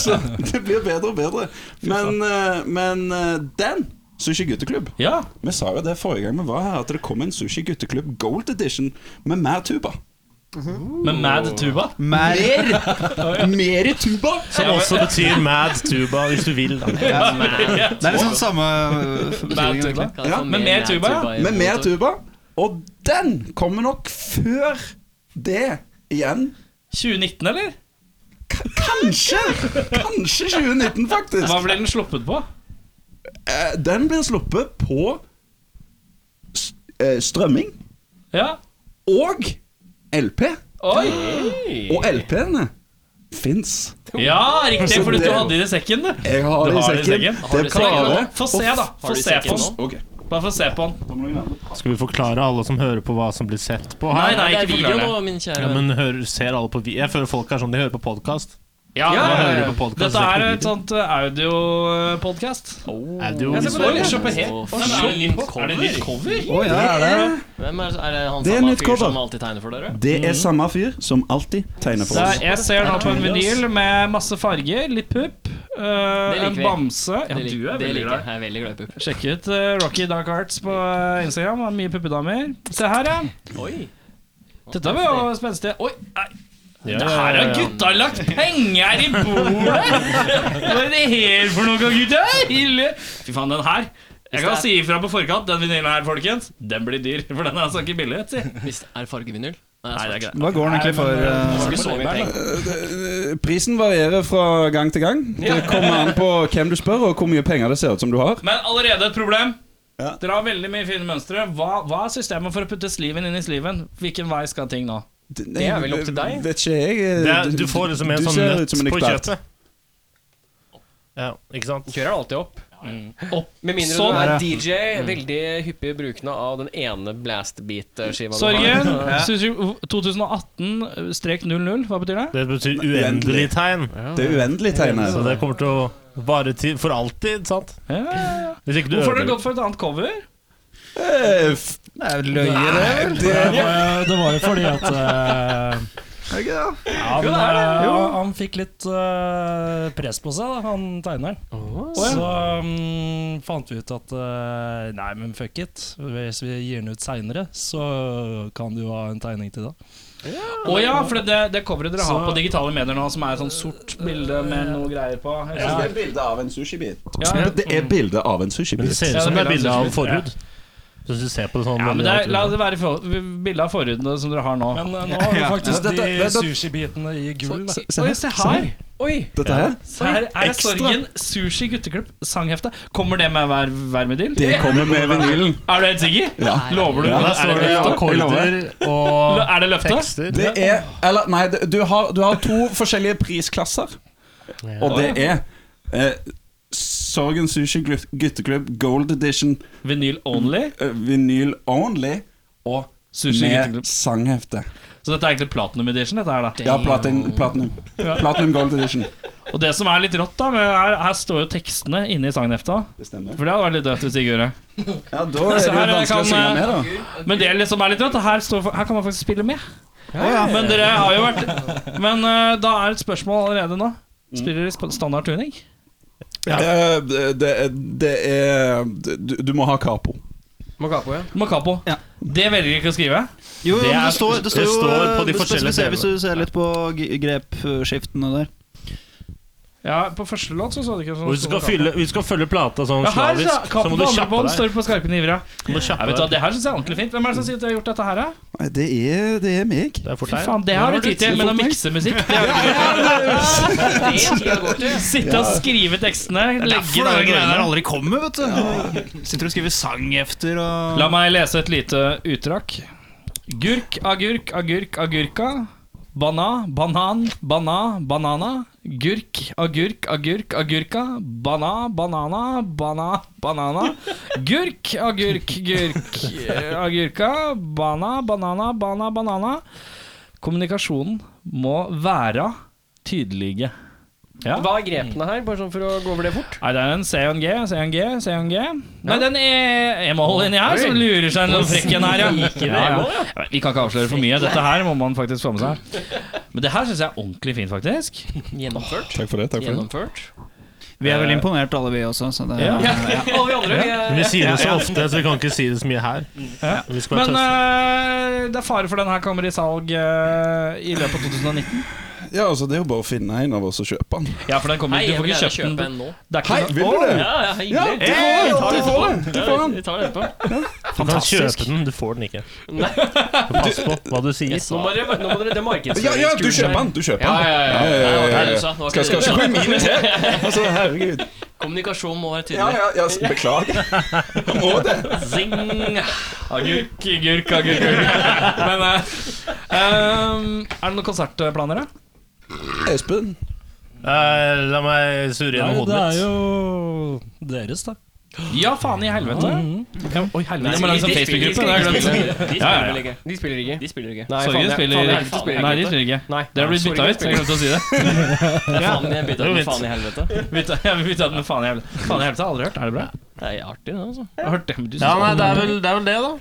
Speaker 6: Så det blir bedre og bedre. Men, eh, men eh, den Sushi Gutteklubb
Speaker 7: Ja.
Speaker 6: Vi sa jo det forrige gang vi var her, at det kom en Sushi Gutteklubb Gold Edition med mer tuba.
Speaker 7: Med Mad Tuba.
Speaker 11: Mer [LAUGHS]
Speaker 6: Mer i tuba!
Speaker 8: Som også betyr Mad Tuba, hvis du vil. Da.
Speaker 11: Det er liksom samme
Speaker 7: Mad
Speaker 11: feeling.
Speaker 7: Tuba.
Speaker 3: Kan jeg
Speaker 6: Ja,
Speaker 3: få
Speaker 7: men mer Altså, tuba, ja.
Speaker 3: i
Speaker 6: Med mer
Speaker 3: motor?
Speaker 6: tuba. Og den kommer nok før det igjen.
Speaker 7: 2019, eller?
Speaker 6: K kanskje! Kanskje 2019, faktisk.
Speaker 7: Hva ble den sluppet på?
Speaker 6: Eh, Den blir sluppet på s- eh, strømming
Speaker 7: Ja.
Speaker 6: og LP.
Speaker 7: Oi!
Speaker 6: Og LP-ene fins.
Speaker 7: Ja, riktig, fordi du hadde det i sekken, du.
Speaker 6: Jeg har
Speaker 7: Du
Speaker 6: det i
Speaker 7: har det i
Speaker 6: sekken.
Speaker 7: sekken?
Speaker 6: Det er klare.
Speaker 7: Få se, da. Få se på den.
Speaker 6: Ok.
Speaker 7: Bare få se på den.
Speaker 8: Skal vi forklare alle som hører på, hva som blir sett på
Speaker 7: Nei,
Speaker 8: her?
Speaker 7: nei,
Speaker 3: Det er
Speaker 7: ikke
Speaker 3: video
Speaker 7: forklar det.
Speaker 3: nå, min kjære.
Speaker 8: Ja, men hører, ser alle på vi- Jeg føler folk er sånn de hører på podkast.
Speaker 7: Ja, ja,
Speaker 8: Nå hører
Speaker 7: ja.
Speaker 8: du på podcast,
Speaker 7: Dette
Speaker 8: ser
Speaker 7: er
Speaker 8: på
Speaker 7: et
Speaker 8: video.
Speaker 7: sånt audiopodkast.
Speaker 8: Oh. Audio. liksom-
Speaker 7: Jeg ser på det.
Speaker 3: Åh, fy faen.
Speaker 7: Er det nytt cover?
Speaker 11: Å ja, er det
Speaker 3: Hvem er, er det han
Speaker 6: Det er
Speaker 3: samme
Speaker 6: nytt
Speaker 3: fyr
Speaker 6: cover.
Speaker 3: som alltid tegner for dere?
Speaker 6: Det er samme fyr som alltid tegner for
Speaker 7: Så
Speaker 6: oss.
Speaker 7: jeg ser nå på en vinyl med masse farger, litt pupp, øh,
Speaker 3: liker
Speaker 7: en
Speaker 3: vi.
Speaker 7: bamse Ja,
Speaker 3: det lik-
Speaker 7: du er
Speaker 3: det liker
Speaker 7: veldig
Speaker 3: jeg.
Speaker 7: glad.
Speaker 3: Jeg er veldig glad i pupp.
Speaker 7: Sjekk ut øh, Rocky Dark Arts på øh, Instagram. har Mye puppedamer. Se her, ja.
Speaker 3: Oi.
Speaker 7: Dette var jo spenstig. Oi, nei.
Speaker 8: Ja,
Speaker 7: Det her har gutta lagt penger i bordet! Hva er det her for noe, gutta? Ille. Fy faen, den her. Jeg kan si ifra på forkant, den vinylen her, folkens, den blir dyr. For den er så ikke billig. Si.
Speaker 3: Hvis det er fargevinyl? Nei,
Speaker 7: Nei, det er greit.
Speaker 11: Hva går den egentlig for? eh,
Speaker 3: Ikke så mye penger.
Speaker 6: Eh, Prisen varierer fra gang til gang. Det kommer an på hvem du spør, og hvor mye penger det ser ut som du har.
Speaker 7: Men allerede et problem.
Speaker 6: Ja.
Speaker 7: Dere har veldig mye fine mønstre. Hva, hva er systemet for å putte sliven inn i sliven? Hvilken vei skal ting nå?
Speaker 6: Det
Speaker 3: er vel opp til deg.
Speaker 6: Vet ikke jeg. eh,
Speaker 8: Det er, du får liksom en
Speaker 6: du
Speaker 8: sånn
Speaker 6: ser
Speaker 8: nøtt
Speaker 6: ut som en
Speaker 8: på
Speaker 6: ekspert.
Speaker 8: kjøpet. Ja, ikke sant?
Speaker 3: Kjører alltid opp.
Speaker 1: Mm. Med mindre
Speaker 7: Sånn.
Speaker 1: du er DJ, veldig hyppig brukende av den ene blastbeat-skiva. du har.
Speaker 7: Sorgen, synes du- eh, 2018-00, hva betyr det?
Speaker 8: Det betyr uendelig tegn.
Speaker 6: Det er uendelig tegnet.
Speaker 8: Så det kommer til å vare til for alltid, sant? Hvis ikke du
Speaker 7: Hvorfor har dere
Speaker 8: ødelegger-
Speaker 7: gått for et annet cover?
Speaker 6: Eh, f-
Speaker 12: Det var jo, det var jo fordi at
Speaker 6: [LAUGHS]
Speaker 12: eh, ja, men, eh, Han fikk litt eh, press på seg, da, han tegneren. Så mm, fant vi ut at eh, nei, men fuck it. Hvis vi gir den ut seinere, så kan du ha en tegning til da.
Speaker 7: Å ja, for det, det coveret dere har
Speaker 12: Så-
Speaker 7: på digitale medier nå, som er et sånt sort bilde med noe greier på jeg
Speaker 6: Det
Speaker 7: synes
Speaker 6: er bilde av en sushibit.
Speaker 7: Ja, ja.
Speaker 6: Det er bilde av en
Speaker 8: Men det
Speaker 6: sushibit.
Speaker 8: ser ut
Speaker 7: Ja,
Speaker 8: som det
Speaker 7: det
Speaker 8: er bilde
Speaker 7: bildet
Speaker 8: av
Speaker 7: er
Speaker 8: forhud. Så hvis du ser på det sånn
Speaker 7: Ja, men det er,
Speaker 8: veldig
Speaker 7: La
Speaker 8: naturlig.
Speaker 7: det være for- bildet av forhudene som dere har nå.
Speaker 12: Men eh, nå har vi faktisk
Speaker 6: Ja, dette-
Speaker 12: de
Speaker 6: dette-
Speaker 12: sushibitene i gull. da.
Speaker 6: Se
Speaker 7: Oi,
Speaker 6: her.
Speaker 7: se her! Oi!
Speaker 6: Dette her.
Speaker 7: Så her er
Speaker 6: Ekstra.
Speaker 7: Sorgen sushi gutteklipp sanghefte. Kommer det med hver, hver med
Speaker 6: Det kommer med vinylen.
Speaker 7: Er du helt sikker?
Speaker 6: Ja.
Speaker 7: Lover du?
Speaker 8: Ja, der
Speaker 7: er,
Speaker 8: står
Speaker 7: det
Speaker 8: det
Speaker 7: løfte?
Speaker 8: akkorder og
Speaker 7: er det løfte?
Speaker 8: tekster.
Speaker 6: Det er Eller, nei, det- du har, du har to forskjellige prisklasser. Og det er eh, Sorgen Sushi Glut- Gutteklubb Gold Edition
Speaker 7: Vinyl only?
Speaker 6: eh, vinyl only og
Speaker 7: Sushi
Speaker 6: med
Speaker 7: gutteklubb.
Speaker 6: sanghefte.
Speaker 7: Så dette er egentlig platinum edition? dette her da
Speaker 6: Ja, platin, platinum. Platinum Gold Edition.
Speaker 7: Og det som er litt rått, da men her, her står jo tekstene inne i sanghefta.
Speaker 6: Det stemmer.
Speaker 7: For det hadde vært litt dødt hvis ikke gjorde det.
Speaker 6: Ja, da
Speaker 7: Så
Speaker 6: er det jo
Speaker 7: her
Speaker 6: vanskelig
Speaker 7: kan,
Speaker 6: å synge
Speaker 7: eh,
Speaker 6: med, da.
Speaker 7: Men det som er litt rått, her, står, her kan man faktisk spille med. Men dere har jo vært Men eh, da er et spørsmål allerede nå. Spiller dere sp- standard tuning?
Speaker 6: Eh, Det, det er du, du må ha capo.
Speaker 1: Må kapo, ja.
Speaker 7: Macapo.
Speaker 11: Ja.
Speaker 7: Det velger dere ikke å skrive.
Speaker 11: Jo,
Speaker 8: Det
Speaker 11: det,
Speaker 8: er-
Speaker 11: det, står, det står
Speaker 8: det
Speaker 11: jo
Speaker 8: står på de
Speaker 11: eh, det
Speaker 8: forskjellige
Speaker 11: spesifiserer Hvis du ser litt på g- grepskiftene der.
Speaker 7: Ja, På første låt så så det ikke sånn
Speaker 8: Og hvis du skal, fylle, hvis du skal følge plata sånn
Speaker 7: ja, her, så,
Speaker 8: slavisk, så
Speaker 7: Kappen
Speaker 8: må
Speaker 7: på
Speaker 8: du
Speaker 7: andre
Speaker 8: kjappe
Speaker 7: bånd
Speaker 8: deg.
Speaker 7: står på skarpe nivra.
Speaker 8: Du må kjappe
Speaker 7: Vet du hva,
Speaker 8: deg.
Speaker 7: Det her syns jeg er ordentlig fint. Hvem er det som sier at de har gjort dette her, da?
Speaker 6: Det er, det er meg.
Speaker 8: Det er fort
Speaker 7: Fy
Speaker 8: her.
Speaker 7: faen, det har du tid til, men å mikse musikk det [LAUGHS] har du ikke tid til. Sitte og skrive tekstene, legge
Speaker 11: Derfor er
Speaker 7: det
Speaker 11: det greiene der
Speaker 7: greiene.
Speaker 11: aldri kommer, vet du. Sitter og skriver sang efter og
Speaker 7: La meg lese et lite utdrag. Gurk, agurk, agurk, agurka. Bana, banan, bana, banana. Gurk, agurk, agurk, agurka. Bana, banana, bana, banana. Gurk, agurk, gurk, eh, agurka. Bana, banana, bana, banana. Kommunikasjonen må være tydelige. Ja.
Speaker 1: Hva er grepene her, bare sånn for å gå over det fort?
Speaker 7: Nei, det er en CNG, CNG, CNG. Nei, den E-mål inni her som lurer seg noen frekken her, ja. ja, ja. Ja, Vi kan ikke avsløre for mye. Dette her må man faktisk få med seg. Men det her syns jeg er ordentlig fint, faktisk.
Speaker 3: Gjennomført.
Speaker 6: Takk for det. takk for det
Speaker 3: Gjennomført.
Speaker 11: Vi er veldig imponert, alle vi også. Så det,
Speaker 7: Eh, Ja.
Speaker 3: Og vi andre, vi
Speaker 8: Men
Speaker 3: er
Speaker 8: vi sier det så ofte, så vi kan ikke si det så mye her. Vi skal
Speaker 7: Men
Speaker 8: være tøffe.
Speaker 7: eh, det er fare for den her kommer i salg eh, i løpet av 2019.
Speaker 6: Ja, altså, Det er jo bare å finne en av oss og kjøpe den.
Speaker 7: Ja, for den kommer
Speaker 3: Hei,
Speaker 7: Du
Speaker 3: jeg
Speaker 7: får
Speaker 3: vil
Speaker 7: ikke
Speaker 3: gjerne
Speaker 7: kjøpt
Speaker 3: kjøpe
Speaker 7: den.
Speaker 3: en nå.
Speaker 7: Det er ikke
Speaker 6: Hei,
Speaker 7: noe-
Speaker 6: vil du det?
Speaker 3: Ja, ja,
Speaker 6: Ja,
Speaker 3: hyggelig.
Speaker 6: du får den! Du får den! Du får den.
Speaker 3: Vi tar det etterpå.
Speaker 8: Du kan kjøpe den, du får den ikke. Så Pass på hva du sier.
Speaker 1: Nå må dere, nå må dere det er
Speaker 6: Ja, ja, du
Speaker 1: markedsføringskurset
Speaker 6: kjøper
Speaker 1: her.
Speaker 6: den! du kjøper
Speaker 1: Ja, ja, ja.
Speaker 6: den Ja, ja, ja, ja, ja.
Speaker 3: Nei, det var ikke det du sa. Det var ikke
Speaker 6: Skal, skal
Speaker 3: det du
Speaker 6: ikke gå i mine [LAUGHS] til! Altså, herregud.
Speaker 3: Kommunikasjon må være
Speaker 6: Ja,
Speaker 3: tydelig.
Speaker 6: ja, ja, så beklager. Jeg Må det.
Speaker 3: Zing!
Speaker 7: Agurk, agurk, agurk. agurk. Men eh, eh, Er det noen konsertplaner, da?
Speaker 6: Espen,
Speaker 8: Eh, la meg surre
Speaker 12: Nei,
Speaker 8: gjennom
Speaker 12: det
Speaker 8: hodet
Speaker 12: er
Speaker 8: mitt.
Speaker 12: jo deres, da.
Speaker 7: Ja, faen i helvete. mm. Ja, Oi, helvete. Det må lages en Facebook-gruppe. det har jeg glemt.
Speaker 3: De
Speaker 7: Ja, ja,
Speaker 3: spiller ikke.
Speaker 1: De spiller ikke.
Speaker 3: De spiller ikke.
Speaker 1: Nei,
Speaker 7: Sorgen
Speaker 1: faen, jeg-
Speaker 7: spiller-
Speaker 1: faen, jeg- de spiller
Speaker 7: Nei, de
Speaker 1: ikke.
Speaker 7: spiller ikke.
Speaker 1: Nei,
Speaker 7: Dere har blitt bytta
Speaker 1: Sorgen
Speaker 7: ut. Jeg
Speaker 1: spiller
Speaker 7: glemte å si det.
Speaker 3: Faen, jeg bytta
Speaker 8: Det er jo
Speaker 3: ut med
Speaker 8: vits.
Speaker 3: faen i helvete.
Speaker 7: Bytta, jeg bytta ut med faen i helvete. Faen i helvete har jeg aldri hørt. Er det bra?
Speaker 3: Det er artig, det, altså.
Speaker 7: Jeg har hørt det, men du
Speaker 8: Ja, nei,
Speaker 7: synes
Speaker 8: det er vel det, er vel det da.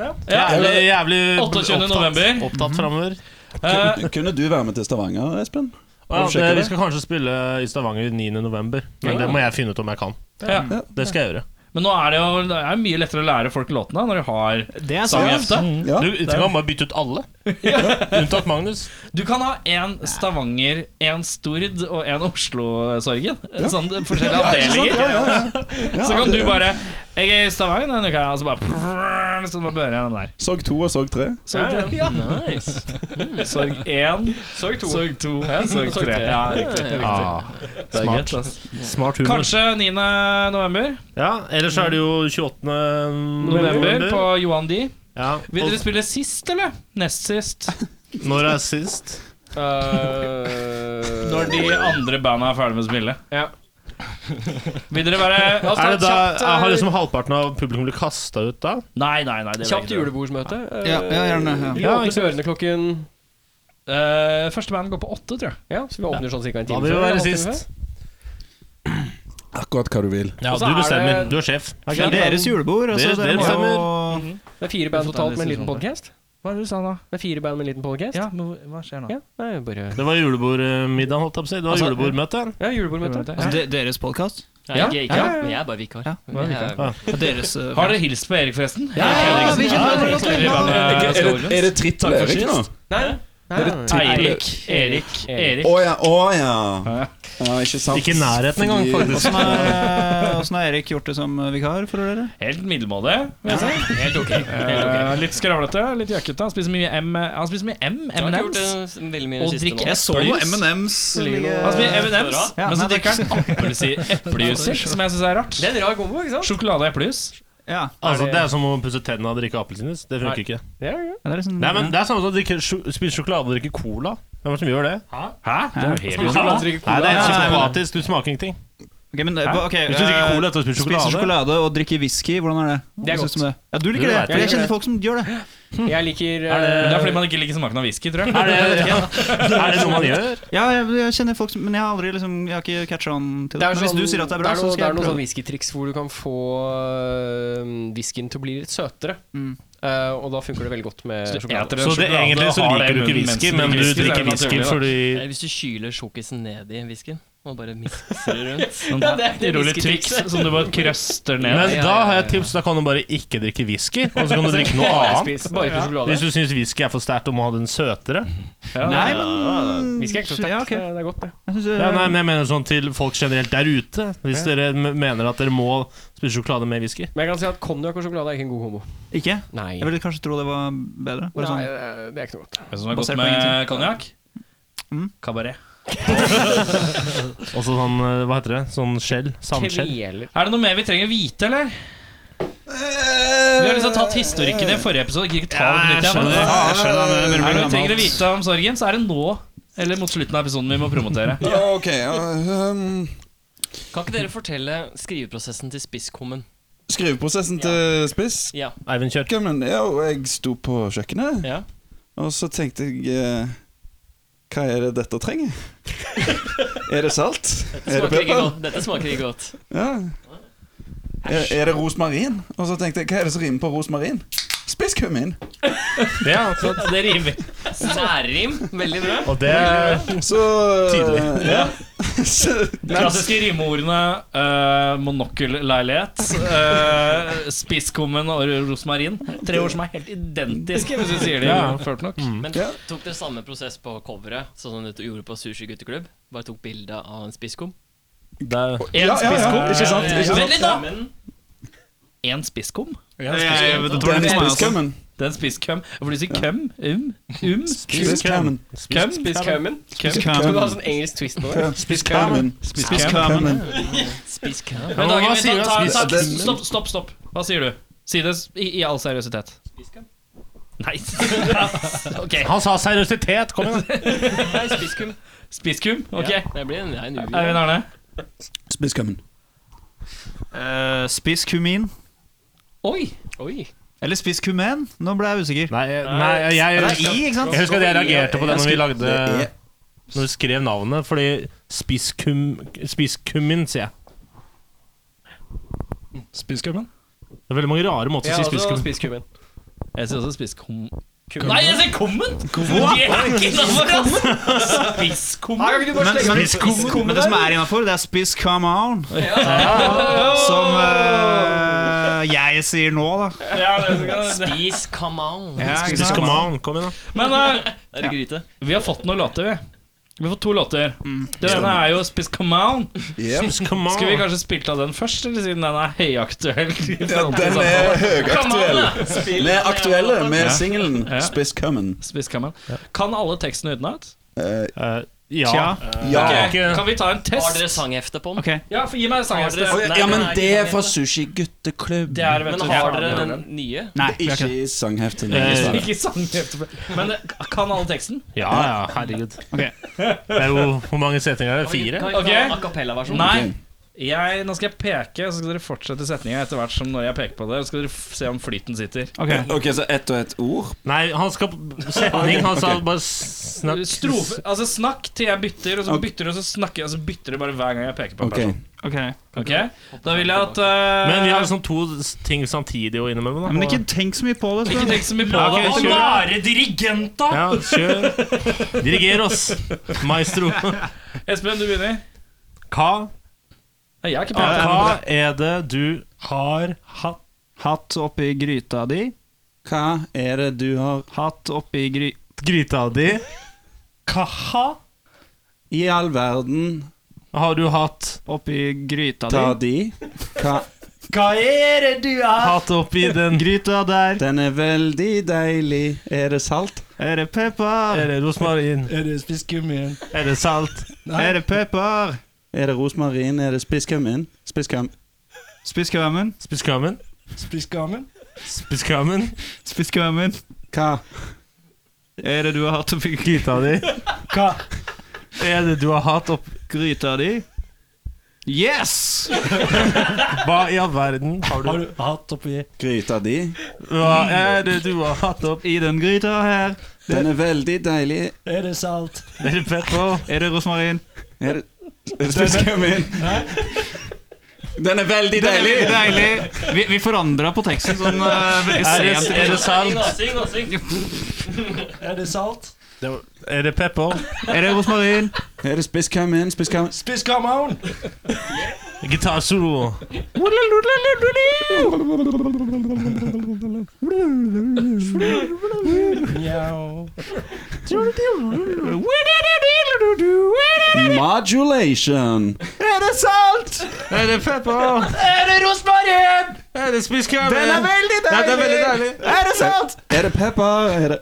Speaker 7: Ja,
Speaker 8: Jævlig, jævlig
Speaker 7: 28. november.
Speaker 8: opptatt, opptatt framover.
Speaker 7: Eh,
Speaker 6: kunne du være med til Stavanger, Espen?
Speaker 8: Ja,
Speaker 6: Har du
Speaker 8: det, vi
Speaker 6: sjekket det?
Speaker 8: skal kanskje spille i Stavanger 9. november, men det må jeg finne ut om jeg kan.
Speaker 7: ja.
Speaker 8: Det skal jeg gjøre.
Speaker 7: Men nå er det jo det er mye lettere å lære folk låtene når de har
Speaker 11: det er sant. Mm.
Speaker 7: sanghefte.
Speaker 6: Ja.
Speaker 8: Du, du kan bare bytte ut alle, unntatt Magnus.
Speaker 7: Du kan ha én Stavanger, én Stord og én Oslo-sorgen. Sånn
Speaker 11: [LAUGHS]
Speaker 7: forskjellige avdelinger. [LAUGHS] Så kan du bare Jeg er i Stavanger denne uka, og så bare [LAUGHS] Så bare bører jeg den der.
Speaker 6: Sorg to og sorg tre.
Speaker 7: Sorg ja. Nice. Sorg 1, sorg 2, sorg,
Speaker 3: tre.
Speaker 7: 3. Ja, riktig. Det er
Speaker 8: Ah, Smart.
Speaker 7: greit, ass.
Speaker 8: Smart humor.
Speaker 7: Kanskje 9. november.
Speaker 8: Ja, ellers er det jo 28.
Speaker 7: November på
Speaker 8: november.
Speaker 7: Johan D.
Speaker 8: Ja,
Speaker 7: Vil dere
Speaker 8: og
Speaker 7: spille sist, eller? Nest [LAUGHS] sist.
Speaker 8: når er sist?
Speaker 1: Øh,
Speaker 7: Eh. Når de andre banda er ferdig med å spille. Vil dere være altså,
Speaker 8: Er det da,
Speaker 7: kjapt, eh,
Speaker 8: har liksom halvparten av publikum blitt kasta ut da?
Speaker 7: Nei, nei, nei. Det vil jeg
Speaker 1: Kjapt
Speaker 7: ikke gjøre.
Speaker 1: julebordsmøte. Eh,
Speaker 11: Ja, ja, gjerne, ja.
Speaker 1: Vi åpner dørene klokken
Speaker 12: Eh, første band går på åtte, tror jeg.
Speaker 1: Ja, så vi åpner sånn ca. en
Speaker 8: Da
Speaker 1: time
Speaker 8: vil vi
Speaker 1: før,
Speaker 8: være
Speaker 1: en halvtime
Speaker 8: sist.
Speaker 6: Akkurat hva du vil.
Speaker 8: Ja,
Speaker 1: Og så
Speaker 8: du
Speaker 1: er
Speaker 8: bestemmer.
Speaker 1: det-
Speaker 8: Du er sjef.
Speaker 1: før.
Speaker 11: Det er deres julebord. Altså,
Speaker 8: Dere-
Speaker 11: dere
Speaker 8: dere
Speaker 11: må
Speaker 8: bestemmer.
Speaker 11: jo
Speaker 1: Det er fire band totalt med en liten podcast.
Speaker 4: Hva er det du sa nå?
Speaker 1: Det er fire band med en liten podcast.
Speaker 4: Ja, men
Speaker 7: Altså,
Speaker 4: hva- hva skjer nå?
Speaker 1: Ja, nei, bare
Speaker 8: Det var julebordmiddag, holdt jeg på å si. Det var julebordmøte.
Speaker 1: Ja, julebordmøte.
Speaker 11: Altså, de- deres podkast?
Speaker 3: Ja, jeg, ikke, men jeg er bare vikar. Jeg er-
Speaker 11: Deres eh,
Speaker 7: Har dere hilst på Erik, forresten?
Speaker 11: Ja, ja, vi kjenner hverandre godt. vi. Ja, ja,
Speaker 6: Er det, er det trippel
Speaker 12: Takk for
Speaker 6: Erik nå?
Speaker 1: Nei, nei, nei, nei.
Speaker 7: Eirik, Erik, Erik.
Speaker 6: Å ja, å ja. ja. Ikke sant.
Speaker 8: Ikke i nærheten engang,
Speaker 6: Fordi-
Speaker 8: faktisk.
Speaker 11: Åssen har, åssen har Erik gjort det som vikar for dere?
Speaker 7: Helt middelmådig, vil jeg si. Helt ok. Eh, Litt skravlete, litt jakkete. Han spiser mye M Han spiser mye M,
Speaker 3: Jeg har ikke gjort
Speaker 7: M&M's.
Speaker 3: det veldig mye i
Speaker 7: Og
Speaker 3: det siste
Speaker 7: drikke
Speaker 3: nå.
Speaker 7: S. så noe
Speaker 11: M&M's Altså,
Speaker 7: Han spiser M&M's,
Speaker 11: Ja,
Speaker 7: men
Speaker 11: nei,
Speaker 7: så
Speaker 11: det er
Speaker 7: drikker han appelsi- eplejusser, som jeg syns er rart.
Speaker 1: Det er en rar kombo, ikke sant?
Speaker 7: Sjokolade og eplejus.
Speaker 11: Ja,
Speaker 8: Altså, det er som å pusse tennene og drikke appelsinjuice. Det funker ikke.
Speaker 1: Ja, ja.
Speaker 11: det er liksom
Speaker 8: Nei, men Det er samme som å drikke, sjo- spise sjokolade og drikke cola. Hvem er det som gjør det?
Speaker 7: Hæ? Det er jo helt
Speaker 1: Sjokolade, drikke
Speaker 8: Nei,
Speaker 1: cola.
Speaker 8: det er
Speaker 11: Ja,
Speaker 8: helt
Speaker 11: ja, ja, men-
Speaker 8: psykopatisk. Du smaker ingenting.
Speaker 11: Ok, men det, ok,
Speaker 8: Hvis du drikker
Speaker 11: eh,
Speaker 8: cola etter å spise
Speaker 11: Spiser
Speaker 8: sjokolade
Speaker 11: sjokolade og drikker whisky, hvordan er det?
Speaker 1: Det er
Speaker 11: Hva synes du om
Speaker 1: godt.
Speaker 11: det? Ja, du
Speaker 8: Du
Speaker 11: liker det?
Speaker 8: vet
Speaker 11: for Jeg
Speaker 1: det.
Speaker 11: kjenner folk som gjør det.
Speaker 1: Jeg liker
Speaker 8: Er
Speaker 1: eh,
Speaker 11: sånn-
Speaker 7: Men Det er fordi man ikke liker smaken av whisky, tror jeg.
Speaker 8: er det, [LAUGHS] er det noe man gjør?
Speaker 11: Ja, jeg, jeg kjenner folk som Men jeg har aldri liksom Jeg har ikke catcha on til det.
Speaker 1: er
Speaker 11: Men hvis
Speaker 1: sånn-
Speaker 11: du sier at det er bra,
Speaker 1: noe,
Speaker 11: så skal jeg
Speaker 1: Det er noen sånn
Speaker 11: prøve.
Speaker 1: whiskytriks hvor du kan få øh, whiskyen til å bli litt søtere.
Speaker 11: Mm.
Speaker 1: Eh, og da funker det veldig godt med sjokolade.
Speaker 8: Så det, egentlig så liker du ikke whisky, men du drikker whisky fordi
Speaker 3: Eh, Hvis du kyler sjokkisen ned i whiskyen og bare mikser det rundt
Speaker 8: [LAUGHS]
Speaker 7: Urolig triks som du bare krøster ned.
Speaker 8: Men da har jeg et tips. Da kan du bare ikke drikke whisky, og [LAUGHS] så kan du drikke noe annet.
Speaker 1: Spis bare ikke sjokolade.
Speaker 8: Hvis du syns whisky er for sterkt og må ha den søtere.
Speaker 11: Nei, men
Speaker 1: Whisky er ikke så sterkt.
Speaker 11: Ja, ok.
Speaker 1: Det er godt, det.
Speaker 11: Jeg synes,
Speaker 8: Ja, nei, men jeg mener sånn til folk generelt der ute. Hvis dere m- mener at dere må spise sjokolade med whisky.
Speaker 1: Men jeg kan si at konjakk og sjokolade er ikke en god homo.
Speaker 11: Ikke?
Speaker 1: Nei.
Speaker 11: Jeg ville kanskje tro det var bedre. Bare
Speaker 1: Nei,
Speaker 11: sånn
Speaker 1: eh, det er ikke noe godt.
Speaker 7: Hva som er godt
Speaker 11: Basert på
Speaker 7: med
Speaker 11: ingenting.
Speaker 7: konjakk?
Speaker 11: Mm.
Speaker 7: Kabaret.
Speaker 8: Og så sånn, eh, hva heter det? Sånn skjell? Sandskjell?
Speaker 1: Kveler.
Speaker 7: Er det noe mer vi trenger å vite, eller? Vi har liksom tatt historikken i forrige episode. Jeg kan ikke ta det på nytt, jeg, men-
Speaker 8: jeg skjønner det.
Speaker 7: Er det noe vi trenger å vite om sorgen, så er det nå. Eller mot slutten av episoden vi må promotere.
Speaker 6: Ja, ok. ja, um,
Speaker 3: Kan ikke dere fortelle skriveprosessen til Spisskummen?
Speaker 6: skriveprosessen til Spiss
Speaker 3: Ja.
Speaker 8: Eivind, kjør.
Speaker 6: men ja, og Jeg sto på kjøkkenet,
Speaker 3: ja.
Speaker 6: og så tenkte jeg eh, Hva er det dette trenger? [LAUGHS] er det salt? Er
Speaker 3: Smaker ikke
Speaker 6: det pepper?
Speaker 3: godt. Dette smaker ikke godt.
Speaker 6: Ja. Er, er det rosmarin? Og så tenkte jeg, hva er det som rimer på rosmarin? Spisskummin!
Speaker 8: Ja,
Speaker 7: Det rimer.
Speaker 3: Særrim. Veldig bra.
Speaker 8: og det
Speaker 6: Så
Speaker 8: Tydelig.
Speaker 6: Ja. [LAUGHS] så,
Speaker 7: De klassiske rimeordene uh, monokkelleilighet, eh, spisskummen og rosmarin. Tre ord som er helt identiske, hvis du sier det
Speaker 8: Ja.
Speaker 7: ført nok.
Speaker 3: Men
Speaker 6: Ja.
Speaker 3: tok dere samme prosess på coveret sånn som dere gjorde på Sushi gutteklubb? Bare tok bilde av en spisskum?
Speaker 8: Det er
Speaker 7: En
Speaker 6: ja, ja,
Speaker 7: spisskum.
Speaker 6: Ikke sant? Ikke sant?
Speaker 7: Vent litt, da!
Speaker 3: Men
Speaker 7: En spisskum?
Speaker 6: Den
Speaker 11: altså-
Speaker 6: spisskummen.
Speaker 7: Den spisskum. Hvorfor du sier køm? Um? Um?
Speaker 6: Spisskummen.
Speaker 7: Køm?
Speaker 1: Spis kummen. Skal du ha
Speaker 11: Spisskummen.
Speaker 1: sånn engelsk twist på det?
Speaker 6: Spisskummen.
Speaker 7: Spisskum.
Speaker 3: spisskam.
Speaker 7: Men
Speaker 8: Ja,
Speaker 7: Dagen,
Speaker 8: hva
Speaker 7: vi
Speaker 8: sier du?
Speaker 7: tar- tar-
Speaker 8: Spiss-
Speaker 7: tar-
Speaker 6: den-
Speaker 7: Stopp, stopp, stopp. Hva sier du? Si det s- i, i all seriøsitet. Nei. ok.
Speaker 8: Han sa seriøsitet! Kom igjen.
Speaker 3: Nei, spisskum.
Speaker 7: Spisskum? Ok.
Speaker 3: Ja, det blir en, det er en uvi.
Speaker 7: Eivind Arne?
Speaker 6: Spisskummen.
Speaker 11: eh, Spis kumin.
Speaker 7: Oi!
Speaker 1: Eh, Oi.
Speaker 11: Eller spis kumen. Nå ble jeg usikker.
Speaker 8: Nei, nei jeg,
Speaker 11: Det
Speaker 8: jeg,
Speaker 11: er i, ikke sant?
Speaker 8: jeg husker at jeg reagerte på det når vi
Speaker 6: Det
Speaker 8: lagde
Speaker 6: er
Speaker 8: Når vi skrev navnet, fordi spisskum, spisskummin, sier jeg.
Speaker 12: Spisskummen.
Speaker 8: Det er veldig mange rare måter
Speaker 1: Jeg
Speaker 8: å si
Speaker 1: har
Speaker 7: altså,
Speaker 1: også
Speaker 8: spisskummin.
Speaker 1: spist kummen.
Speaker 7: Jeg sier også spisskum... Nei, jeg sier kummen! Det er ikke innafor, ass! Spisskum?
Speaker 1: Kan ikke du bare
Speaker 11: Men,
Speaker 1: slenge
Speaker 11: men,
Speaker 1: litt skummen
Speaker 11: men det som er innafor, det er spis come on. Som eh, jeg sier nå, da.
Speaker 3: Spis come on.
Speaker 11: ikke sant?
Speaker 8: Spisskumman, kom igjen, da.
Speaker 7: Men eh,
Speaker 3: Er det gryte?
Speaker 7: vi har fått noen låter, vi. Vi har fått to låter. Den ene er jo Spiss Come On.
Speaker 6: Yeah.
Speaker 8: Spisskumman.
Speaker 7: Skulle vi kanskje spilt av den først, eller siden den er høyaktuell?
Speaker 6: Ja, Den er høyaktuell. Vi er aktuelle med singelen
Speaker 7: Ja.
Speaker 6: 'Spisskummen'.
Speaker 7: Spiss Come On. Kan alle tekstene utenat?
Speaker 6: Eh,
Speaker 8: Eh, ja.
Speaker 11: Tja.
Speaker 6: ja.
Speaker 8: Ok.
Speaker 7: Kan vi ta en
Speaker 3: Har
Speaker 7: test?
Speaker 3: dere sanghefte på den?
Speaker 11: Ok.
Speaker 7: Ja, for gi meg en sang.
Speaker 3: Har dere-
Speaker 7: Jesper.
Speaker 3: Nei,
Speaker 6: ja, men
Speaker 3: nei, nei,
Speaker 6: det er fra
Speaker 3: nei.
Speaker 6: Sushi Gutteklubb.
Speaker 7: Det er det, vet
Speaker 3: Men
Speaker 7: du.
Speaker 3: har dere den nye?
Speaker 11: Nei, vi har
Speaker 6: Ikke
Speaker 11: ikke det.
Speaker 6: i sangheftet.
Speaker 8: Eh,
Speaker 7: [LAUGHS]
Speaker 6: dessverre.
Speaker 7: Ikke sang etterpå. Men eh, kan alle teksten?
Speaker 8: Ja, ja, herregud. Det er jo Hvor mange setninger er det? Fire?
Speaker 3: Kan vi ta
Speaker 7: Ok.
Speaker 3: a cappella-versjonen?
Speaker 7: Nei. Jeg, nå skal jeg peke, så skal dere fortsette setninga etter hvert som når jeg peker på det. Så skal dere f- se om flyten sitter.
Speaker 6: Ok, så ett og ett ord.
Speaker 8: Nei, han skal Setning. Han sa bare snakk.
Speaker 7: Strofe, altså snakk til jeg bytter, og så bytter du, og så snakker jeg, og så bytter du bare hver gang jeg peker på en
Speaker 6: Ok
Speaker 11: Ok
Speaker 7: person. Ok? Da vil jeg at eh,
Speaker 8: Men vi har liksom to s- ting samtidig å innimellom. da.
Speaker 11: Men ikke tenk så mye på det.
Speaker 7: [LAUGHS] Ikke
Speaker 11: Spør.
Speaker 7: tenk så mye på det.
Speaker 8: ok,
Speaker 7: Å,
Speaker 8: kjør.
Speaker 7: nei!
Speaker 12: Bare dirigent, da!
Speaker 8: Ja, kjør. Diriger oss, maestro.
Speaker 7: Espen, du begynner.
Speaker 8: Hva,
Speaker 7: Nei, Jeg har ikke pekt.
Speaker 8: hva er det du har hatt?
Speaker 11: Hatt oppi gryta di.
Speaker 6: Hva er det du har
Speaker 11: Hatt oppi gry...
Speaker 8: Gryta di? Hva
Speaker 6: I all verden
Speaker 8: har du hatt?
Speaker 11: Oppi gryta di.
Speaker 6: ta de? Hva
Speaker 8: Hva er det du har hatt oppi den
Speaker 11: Gryta der,
Speaker 6: Den er veldig deilig. Er det salt?
Speaker 11: er det pepper?
Speaker 8: Er det rosmarin?
Speaker 11: Eh.
Speaker 12: Er det spist kummen?
Speaker 8: Er det salt?
Speaker 11: Er det pepper?
Speaker 6: Er det rosmarin? Er det spisskummin? Spisskam...
Speaker 11: Spiss kvæmen.
Speaker 8: Spiss kammen?
Speaker 12: Spist gammel?
Speaker 8: Spiss kammen?
Speaker 11: Spiss kvæmen.
Speaker 6: Hva?
Speaker 11: Er det du har hatt oppi
Speaker 8: Gryta di? Hva er det du har hatt opp...
Speaker 11: gryta di? Yes!
Speaker 8: Hva i all verden har du
Speaker 12: Har du hatt oppi
Speaker 6: Gryta di?
Speaker 8: Hva er det du har hatt opp?
Speaker 11: I den gryta her
Speaker 6: Den er veldig deilig.
Speaker 12: Er det salt?
Speaker 8: Er det pepper?
Speaker 11: er det rosmarin.
Speaker 6: Er det, er det spisskummin? Den er veldig deilig!
Speaker 11: Deilig. Vi, vi forandra på teksten sånn eh, veldig
Speaker 8: Er det,
Speaker 11: sent.
Speaker 8: er det
Speaker 3: Syng
Speaker 8: salt?
Speaker 3: da, syng da, syng.
Speaker 11: [LAUGHS]
Speaker 12: Er det salt?
Speaker 8: Er det pepper?
Speaker 11: Er det rosmarin?
Speaker 6: Er det spisskummin? Spisskum...
Speaker 12: Spiss gammel!
Speaker 8: Gitarsolo?
Speaker 12: Mjau.
Speaker 6: Modulation.
Speaker 11: Er det pepper?
Speaker 8: Er det spiskammen? Den er veldig
Speaker 6: Den er veldig deilig. Er det salt? Er det pepper? Er det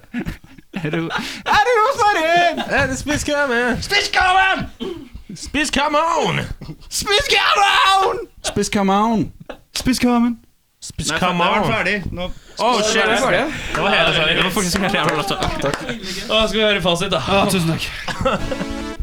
Speaker 11: Er det,
Speaker 8: Er det spiskammen? Spiskammen!
Speaker 6: spisskamon?
Speaker 11: spiss kvæmen.
Speaker 8: Spiskammen!
Speaker 11: Nå
Speaker 8: Oh, shit. Det var hele sangen.
Speaker 7: Å, skal vi høre fasit, da?
Speaker 11: tusen takk.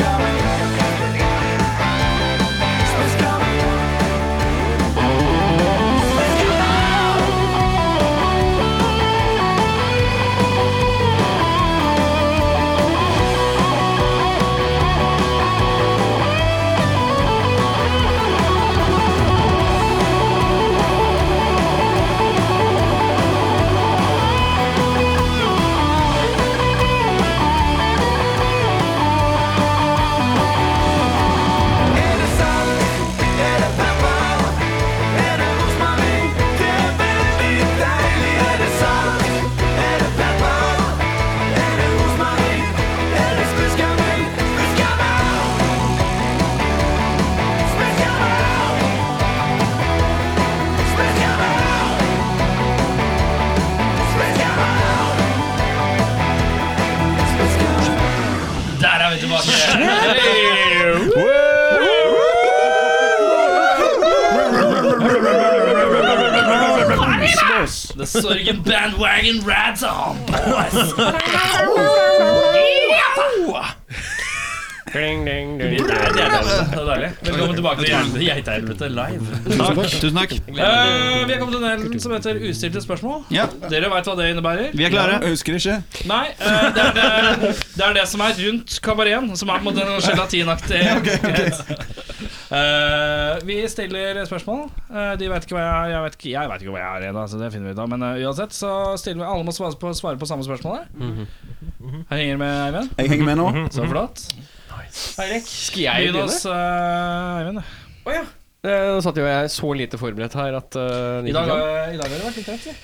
Speaker 9: Let's go.
Speaker 2: The Sorgen bandwagon rats on, boys!
Speaker 1: Ding, ding, ding, ding.
Speaker 2: Det er
Speaker 8: altså.
Speaker 2: deilig. Det er deilig. Velkommen tilbake til Geit- Geitehelvete live.
Speaker 9: Tusen takk.
Speaker 2: Eh, vi er kommet til den delen som heter Ustilte spørsmål.
Speaker 9: Ja,
Speaker 2: Dere veit hva det innebærer?
Speaker 9: vi er klare.
Speaker 6: Jeg husker det ikke.
Speaker 2: Nei, eh, det, er det, det er det som er rundt kabareten, som er på en måte en gelatinaktig [LAUGHS] Eh, Vi stiller spørsmål. Eh, de vet ikke hva jeg er. Jeg vet ikke, jeg vet ikke hva jeg er ennå, så det finner vi ut av. Men eh, uansett så stiller vi alle må svare på, svare på samme spørsmål. her. Her henger det med Eivind.
Speaker 6: Jeg henger med
Speaker 1: Mhm,
Speaker 6: nå.
Speaker 2: Så flott.
Speaker 1: Skal jeg
Speaker 2: Begynn
Speaker 1: begynne?
Speaker 2: oss, eh, Eivind.
Speaker 1: Eh, Nå satt jo jeg så lite forberedt her at eh,
Speaker 2: I
Speaker 1: det gikk
Speaker 2: dag,
Speaker 1: ikke an.
Speaker 2: eh, i dag har det vært litt tett.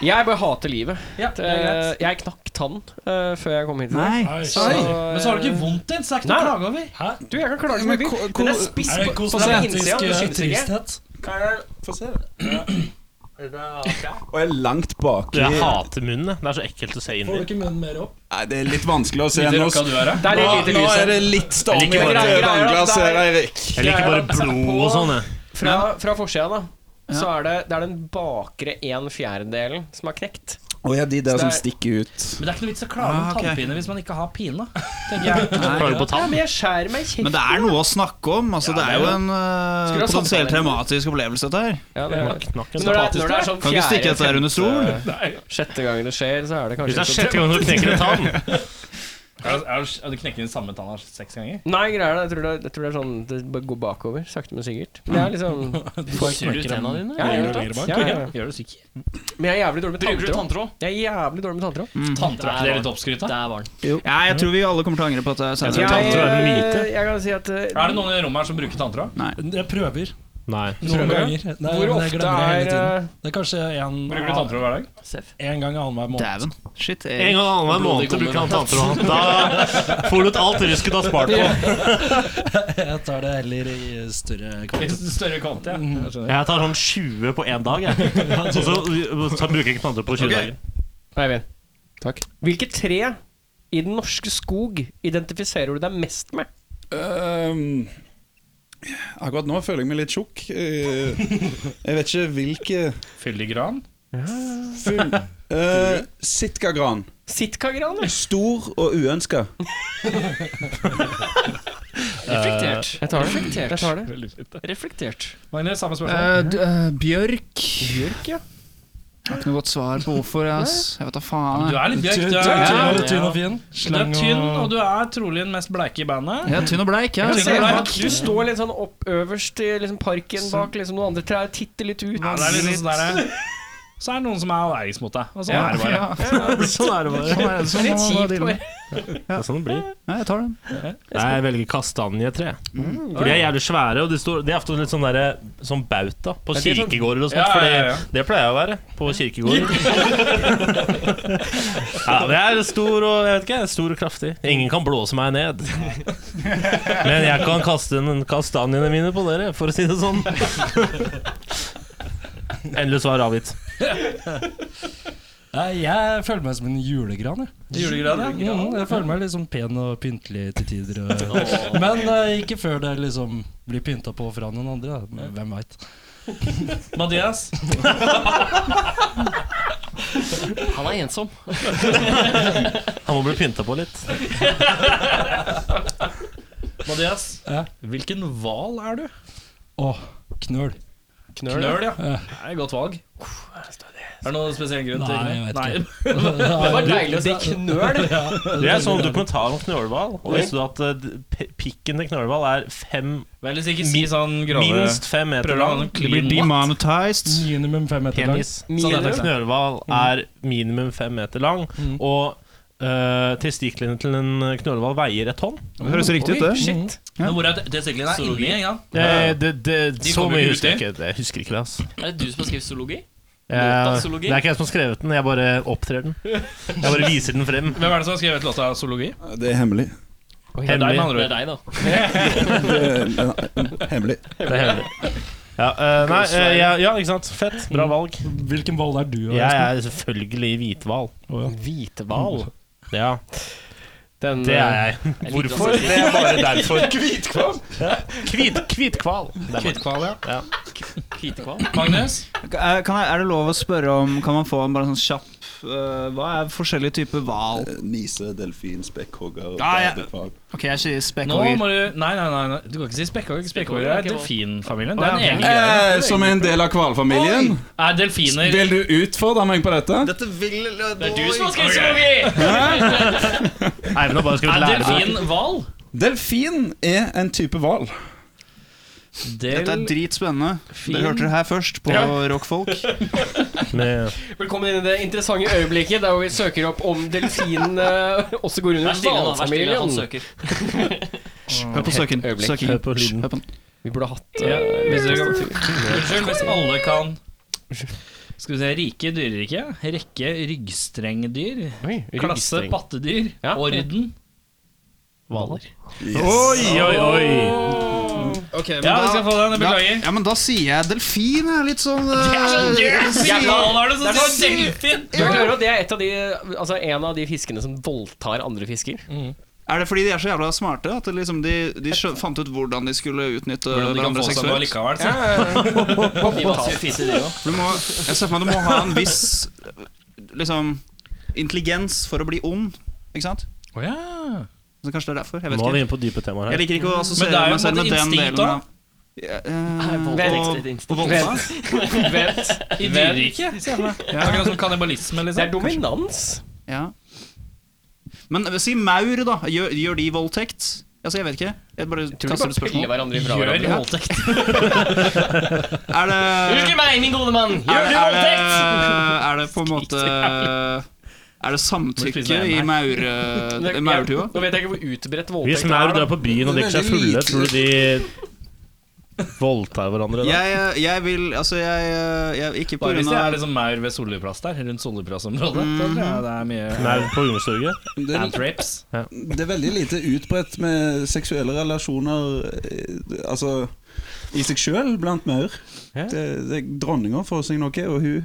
Speaker 1: Jeg bare hater livet.
Speaker 2: Ja, det er
Speaker 1: Eh,
Speaker 2: greit.
Speaker 1: jeg knakk tann eh, før jeg kom hit. i dag.
Speaker 9: Nei.
Speaker 3: Nice.
Speaker 1: Så,
Speaker 2: Oi,
Speaker 1: eh,
Speaker 2: Men så har du ikke vondt igjen, så det er ikke noe å
Speaker 1: Nei.
Speaker 2: klage over.
Speaker 1: Du, jeg kan klage så mye.
Speaker 6: hvor-
Speaker 1: Den er spiss
Speaker 3: Er
Speaker 1: på
Speaker 3: det
Speaker 1: på den
Speaker 3: kosmetisk
Speaker 1: innsida. Du
Speaker 3: eh,
Speaker 1: syns ikke.
Speaker 3: tristhet?
Speaker 6: Få se. Og jeg er langt baki.
Speaker 8: Jeg hater munnen. jeg. Det er så ekkelt å se inn
Speaker 3: Får
Speaker 8: i.
Speaker 3: du ikke munnen mer opp?
Speaker 6: Nei, det er litt vanskelig å se nå.
Speaker 2: Hva du er, da?
Speaker 1: Det er
Speaker 6: Nå,
Speaker 1: litt lite
Speaker 6: nå
Speaker 1: lys
Speaker 6: er
Speaker 1: her.
Speaker 6: det litt storm i
Speaker 8: Jeg liker bare-
Speaker 6: øyeglasset her, Eirik.
Speaker 8: Jeg liker bare blod og sånn. jeg.
Speaker 1: Fra, fra forsida, da. Så er det, det er den bakre en fjerdedelen som er knekt.
Speaker 6: Å ja, de der
Speaker 1: Så det
Speaker 6: som
Speaker 1: er-
Speaker 6: stikker ut.
Speaker 2: Men det er ikke noe vits å klage om
Speaker 9: Ah, ok.
Speaker 2: tannpine hvis man ikke har pine. tenker jeg.
Speaker 8: Klager på
Speaker 1: Ja,
Speaker 8: tann.
Speaker 1: men jeg skjærer meg i kjeften.
Speaker 9: Men det er noe å snakke om. Altså, det er jo en eh,
Speaker 1: Skulle ha samtale.
Speaker 9: potensielt traumatisk opplevelse, dette her.
Speaker 1: Ja, det er. Men
Speaker 8: Knakken.
Speaker 1: når det, er, når det er sånn
Speaker 9: Kan ikke stikke dette her under stol.
Speaker 1: femte- sjette gang det skjer, så er det
Speaker 8: Hvis
Speaker 1: kanskje ikke
Speaker 8: det er
Speaker 1: så-
Speaker 8: sjette gang du knekker en tann
Speaker 2: Er det- er det- er Du knekker den samme tanna seks ganger?
Speaker 1: Nei, greier det. Jeg tror det, er- jeg tror det er sånn Det bare går bakover, sakte, men sikkert. Men jeg er liksom
Speaker 3: Du knekker tennene dine?
Speaker 1: Ja, ja,
Speaker 3: Lenger og lenger bak?
Speaker 1: ja, ja, ja.
Speaker 2: Gjør du sikkert.
Speaker 1: Men jeg er jævlig dårlig med
Speaker 7: Bruker du
Speaker 1: tanntråd.
Speaker 7: tanntråd?
Speaker 1: Jeg er jævlig dårlig med tanntråd.
Speaker 2: Tanntråd, er ikke det litt oppskrytt? da?
Speaker 7: Der var den.
Speaker 9: Ja, jeg tror vi alle kommer til å angre på dette
Speaker 1: Jeg,
Speaker 9: senere.
Speaker 8: tanntråd er en myte.
Speaker 1: jeg kan si at eh,
Speaker 2: Er det noen i rommet her som bruker tanntråd?
Speaker 3: Jeg prøver.
Speaker 8: Nei.
Speaker 3: Noen
Speaker 1: Prøver du?
Speaker 3: ganger. Nei,
Speaker 1: Hvor
Speaker 3: men jeg glemmer
Speaker 1: ofte
Speaker 3: det hele
Speaker 1: er,
Speaker 3: tiden.
Speaker 1: eh,
Speaker 3: Det er kanskje en,
Speaker 2: Bruker du tanntråd hver dag?
Speaker 7: Seff.
Speaker 3: en gang annenhver måned.
Speaker 9: Dæven. Shit.
Speaker 8: En
Speaker 9: Jeg,
Speaker 8: gang annenhver
Speaker 7: Blodig
Speaker 8: måned bruker han
Speaker 7: gommer.
Speaker 8: tanntråd. Da får du ut alt rusket du har spart på.
Speaker 3: Jeg tar det heller i større
Speaker 2: I
Speaker 3: kvantitet.
Speaker 2: større kvant, ja. Jeg skjønner.
Speaker 8: Jeg tar sånn 20 på én dag, jeg. Og så, så bruker jeg ikke tanntråd på 20 dager.
Speaker 1: Eivind. Takk. Hvilke tre i den norske skog identifiserer du deg mest med?
Speaker 6: Øhm, Ehm, akkurat nå føler jeg meg litt
Speaker 9: [LAUGHS]
Speaker 6: tjukk. Eh, jeg vet ikke hvilke
Speaker 2: Fyldigran?
Speaker 6: Full
Speaker 9: eh,
Speaker 6: uh, Sitkagran.
Speaker 1: Sitkagran, eller?
Speaker 6: Stor og uønska.
Speaker 7: Reflektert.
Speaker 1: Jeg tar det. Jeg tar det.
Speaker 7: Reflektert.
Speaker 2: Magnus, samme spørsmål.
Speaker 9: Eh, d- eh, Bjørk.
Speaker 1: Bjørk, ja.
Speaker 9: Jeg har ikke noe godt svar på hvorfor. jeg, Ass. Jeg vet da faen.
Speaker 2: Du
Speaker 9: jeg.
Speaker 2: er litt bjørk. Du
Speaker 3: Tynn-
Speaker 2: er,
Speaker 3: tynn- Tynn og fin.
Speaker 2: du er tynn, og du er trolig den mest bleike i bandet.
Speaker 9: Jeg er tynn og bleik.
Speaker 2: Jeg
Speaker 9: Jeg.
Speaker 2: tenker det er-
Speaker 1: Du står litt sånn opp øverst i liksom parken bak liksom noen andre trær, titter litt ut.
Speaker 2: Ja, det er litt sånn der, eh, Så er det noen som er allergisk mot deg. Og sånn er det bare.
Speaker 8: [LAUGHS] Sånn er det bare.
Speaker 1: Det er litt kjipt. bare.
Speaker 8: Det er sånn det blir.
Speaker 9: Ja, jeg tar den.
Speaker 8: Nei, jeg velger kastanjetre. For de er jævlig svære, og de, står, de er ofte litt sånn, der, sånn bauta på
Speaker 1: Ja, de er sånn-
Speaker 8: kirkegårder og sånt.
Speaker 2: Ja, ja, ja.
Speaker 8: For det, det pleier jeg å være på kirkegårder. ja, det er stor og jeg vet ikke, jeg er stor og kraftig. Ingen kan blåse meg ned. Men jeg kan kaste en- kastanjene mine på dere, for å si det sånn. Endelig svar avgitt.
Speaker 3: Nei, jeg føler meg som en julegran. Jeg.
Speaker 2: Julegran, ja.
Speaker 3: Mm, jeg føler meg liksom pen og pyntelig til tider. [LAUGHS] Og, men eh, ikke før det liksom blir pynta på fra noen andre. Da. Men Hvem veit.
Speaker 2: Mathias,
Speaker 7: Han er ensom.
Speaker 8: Han må bli pynta på litt.
Speaker 2: Mathias.
Speaker 3: Ja.
Speaker 2: Hvilken hval er du?
Speaker 3: Å, knøl.
Speaker 2: Knøl, ja. Det er et godt valg. Er det noen spesiell grunn til
Speaker 3: Nei, jeg vet
Speaker 2: [LAUGHS] Nei.
Speaker 1: Det var deilig å si knøl.
Speaker 8: Det er sånn dokumentar om knølhval. Og visste du at eh, p- pikken til knølhval er fem,
Speaker 2: Vel, ikke si sånn grove
Speaker 8: minst fem meter
Speaker 2: Prøver å ha
Speaker 8: lang?
Speaker 2: noen clean
Speaker 9: Demonetized.
Speaker 3: Minimum fem meter lang.
Speaker 8: Penis.
Speaker 1: Sånn er det.
Speaker 8: Knølhval
Speaker 2: Mm.
Speaker 8: er minimum fem meter lang, og eh, testiklene til en knølhval veier et tonn.
Speaker 9: Det høres riktig ut, det.
Speaker 1: Shit.
Speaker 2: Men hvor er det- testiklene er inni en gang?
Speaker 8: Eh, det, det,
Speaker 2: De
Speaker 8: så
Speaker 2: kommer
Speaker 8: mye
Speaker 2: ikke
Speaker 8: husker jeg
Speaker 2: uti.
Speaker 8: ikke. Det jeg husker ikke det, altså.
Speaker 7: Er det du som har skrevet zoologi?
Speaker 8: Eh,
Speaker 7: Notasologi?
Speaker 8: det er ikke jeg som har skrevet den, jeg bare opptrer den. Jeg bare viser den frem.
Speaker 2: Hvem er det som har skrevet låta 'Zoologi'?
Speaker 6: Det er hemmelig.
Speaker 2: Det er deg, med
Speaker 8: Hemmelig.
Speaker 2: andre
Speaker 7: Det er
Speaker 2: ord.
Speaker 7: deg, da.
Speaker 6: Det er hemmelig.
Speaker 8: Det er hemmelig. Ja, eh, nei, eh, ja, ja, ikke sant. Fett. Bra valg.
Speaker 3: Hvilken ball er du?
Speaker 1: Mm.
Speaker 8: Jeg er selvfølgelig hvithval.
Speaker 1: Hvithval.
Speaker 8: Ja.
Speaker 1: Den,
Speaker 8: Det er jeg. Hvorfor? Det er bare
Speaker 2: [LAUGHS]
Speaker 8: derfor. Kvitkval. Kvitkval.
Speaker 1: Kvitkval, ja.
Speaker 8: Ja.
Speaker 1: Kvitkval?
Speaker 2: Magnus?
Speaker 9: Eh, Kan jeg, er det lov å spørre om Kan man få en bare sånn kjapp eh, Hva er forskjellige typer hval?
Speaker 6: Nise, delfin, spekkhogger,
Speaker 9: Ah, ja.
Speaker 6: badekar.
Speaker 9: Ok, jeg sier
Speaker 2: Nå må
Speaker 9: spekkhogger.
Speaker 2: du Nei, nei, nei, nei. du kan ikke si spekkhogger. Spekkhogger er delfinfamilien. Det er en egen greie.
Speaker 6: Eh, som er en del av hvalfamilien.
Speaker 2: Er delfiner
Speaker 6: Vil du utfordre meg på dette?
Speaker 13: Dette vil
Speaker 3: Det er du som har skrevet zoologi!
Speaker 8: Eivind har bare skrevet
Speaker 2: Er
Speaker 8: lærebok.
Speaker 2: delfin hval?
Speaker 6: Delfin er en type hval.
Speaker 9: Dette er dritspennende. Dere hørte det her først på Rockfolk.
Speaker 8: Med-
Speaker 1: Velkommen inn i det interessante øyeblikket der hvor vi søker opp om delfinene også går
Speaker 3: Vær
Speaker 1: under
Speaker 3: stille nå, vær stille. Han
Speaker 1: hvalfamilien.
Speaker 3: søker.
Speaker 9: Hør på søken.
Speaker 1: Øyeblikk.
Speaker 9: søken.
Speaker 8: Hør på lyden.
Speaker 9: Hør på den.
Speaker 1: Vi burde hatt
Speaker 2: Ja,
Speaker 1: eh,
Speaker 2: hvis dere Unnskyld, hvis alle kan Skal vi se Rike dyrerike. Rekke ryggstrengdyr.
Speaker 1: Oi,
Speaker 2: Klasse
Speaker 1: ryggstreng.
Speaker 2: pattedyr.
Speaker 1: Ja.
Speaker 2: Orden.
Speaker 1: Hvaler.
Speaker 8: Oi, oi, oi.
Speaker 9: Ok, men
Speaker 2: Ja, vi skal
Speaker 9: da,
Speaker 2: få den. Jeg
Speaker 9: da,
Speaker 2: beklager.
Speaker 9: ja, men da sier jeg delfin. Jeg er litt sånn eh,
Speaker 2: Jævla hvaler, det som sier delfin!
Speaker 1: Du klarer at det er et av de, altså en av de fiskene som voldtar andre fisker.
Speaker 9: Er det fordi de er så jævla smarte at det liksom de, de skjø- fant ut hvordan de skulle utnytte hverandre seksuelt?
Speaker 2: likevel.
Speaker 3: De maser jo fiser, de òg.
Speaker 9: Du må, jeg ser for meg du må ha en viss liksom, intelligens for å bli ond. Ikke sant?
Speaker 2: Oh, ja.
Speaker 9: Så kanskje det er derfor. Jeg vet
Speaker 8: Nå er vi
Speaker 9: ikke.
Speaker 8: inne på dype temaer
Speaker 9: Jeg
Speaker 8: her.
Speaker 9: liker ikke å
Speaker 2: Men det er
Speaker 9: assosiere
Speaker 2: jo
Speaker 9: meg
Speaker 2: på en
Speaker 9: selv med
Speaker 2: måte
Speaker 9: den
Speaker 2: instinkt,
Speaker 9: delen
Speaker 2: da.
Speaker 9: av ja, eh,
Speaker 1: Vent,
Speaker 9: og voldta.
Speaker 1: vent.
Speaker 2: I dyreriket. ser jeg for meg. Akkurat som kannibalisme,
Speaker 1: Det er
Speaker 2: liksom.
Speaker 1: dominans.
Speaker 9: Ja. Men eh, si maur, da. Gjør, gjør de voldtekt? Altså, jeg vet ikke. Jeg bare
Speaker 1: Tror du
Speaker 9: kaster
Speaker 1: bare
Speaker 9: et spørsmål.
Speaker 1: piller hverandre fra
Speaker 2: Gjør
Speaker 1: hverandre?
Speaker 2: voldtekt.
Speaker 9: Er det,
Speaker 3: Unnskyld meg, min gode mann!
Speaker 9: er,
Speaker 3: Gjør
Speaker 9: det,
Speaker 3: du
Speaker 9: er, det,
Speaker 3: voldtekt?
Speaker 9: er det på en måte Er det samtykke
Speaker 2: spise
Speaker 9: i
Speaker 2: en
Speaker 9: maur, eh,
Speaker 1: Jeg-
Speaker 9: maurtua?
Speaker 1: Nå vet jeg ikke hvor utbredt
Speaker 8: Hvis
Speaker 1: voldtekt
Speaker 8: maur
Speaker 1: er.
Speaker 8: drar
Speaker 1: da.
Speaker 8: på byen og drikker seg fulle, tror du de voldtar hverandre da?
Speaker 9: Jeg, jeg vil Altså, jeg, jeg Ikke på
Speaker 2: Bare hvis
Speaker 9: grunn
Speaker 2: det er
Speaker 9: av
Speaker 2: liksom maur ved Solliplass der, rundt Solliplassområdet. Mm Det er mye
Speaker 8: Maur på Ungdomstorget?
Speaker 6: Det er,
Speaker 2: antraps.
Speaker 6: det er veldig lite utbredt med seksuelle relasjoner eh, Altså i seg sjøl blant maur.
Speaker 1: Ja.
Speaker 6: Det, det Dronninga får seg noe, og hun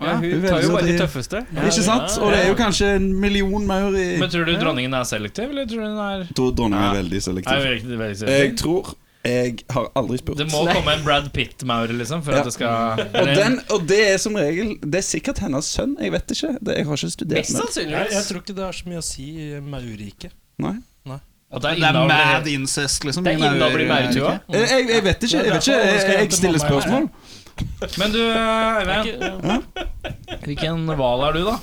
Speaker 1: Ja, hun
Speaker 6: Hun
Speaker 1: tar jo
Speaker 6: velger
Speaker 1: bare de
Speaker 6: de-
Speaker 1: tøffeste.
Speaker 6: Ikke sant? Og det er jo kanskje en million maur i
Speaker 2: Men tror du dronningen er selektiv, eller tror du hun er
Speaker 6: Jeg tror dronninga
Speaker 2: Ja.
Speaker 6: er veldig
Speaker 2: Nei,
Speaker 6: selektiv.
Speaker 2: veldig, veldig
Speaker 6: Jeg
Speaker 2: selektiv?
Speaker 6: tror Jeg har aldri spurt.
Speaker 2: Det må komme en Brad Pitt-maur, liksom, for
Speaker 6: Ja.
Speaker 2: at det skal
Speaker 6: Og, den, og det er som regel Det er sikkert hennes sønn. Jeg vet ikke. Det, jeg har ikke studert
Speaker 1: Mest
Speaker 6: med
Speaker 14: Jeg, jeg
Speaker 1: sannsynligvis.
Speaker 14: tror ikke det har så mye å si i mauriket.
Speaker 6: Nei.
Speaker 2: At det er
Speaker 9: Det er
Speaker 2: innavl-
Speaker 9: mad incest, liksom.
Speaker 1: Det er
Speaker 9: i maur-
Speaker 1: innavl i maurtua.
Speaker 9: ikke?
Speaker 6: Eh, Jeg, jeg, jeg vet ikke. Jeg, vet ikke. jeg, jeg, jeg stiller spørsmål.
Speaker 2: Men du, Øyvind. Hvilken hval er du, da?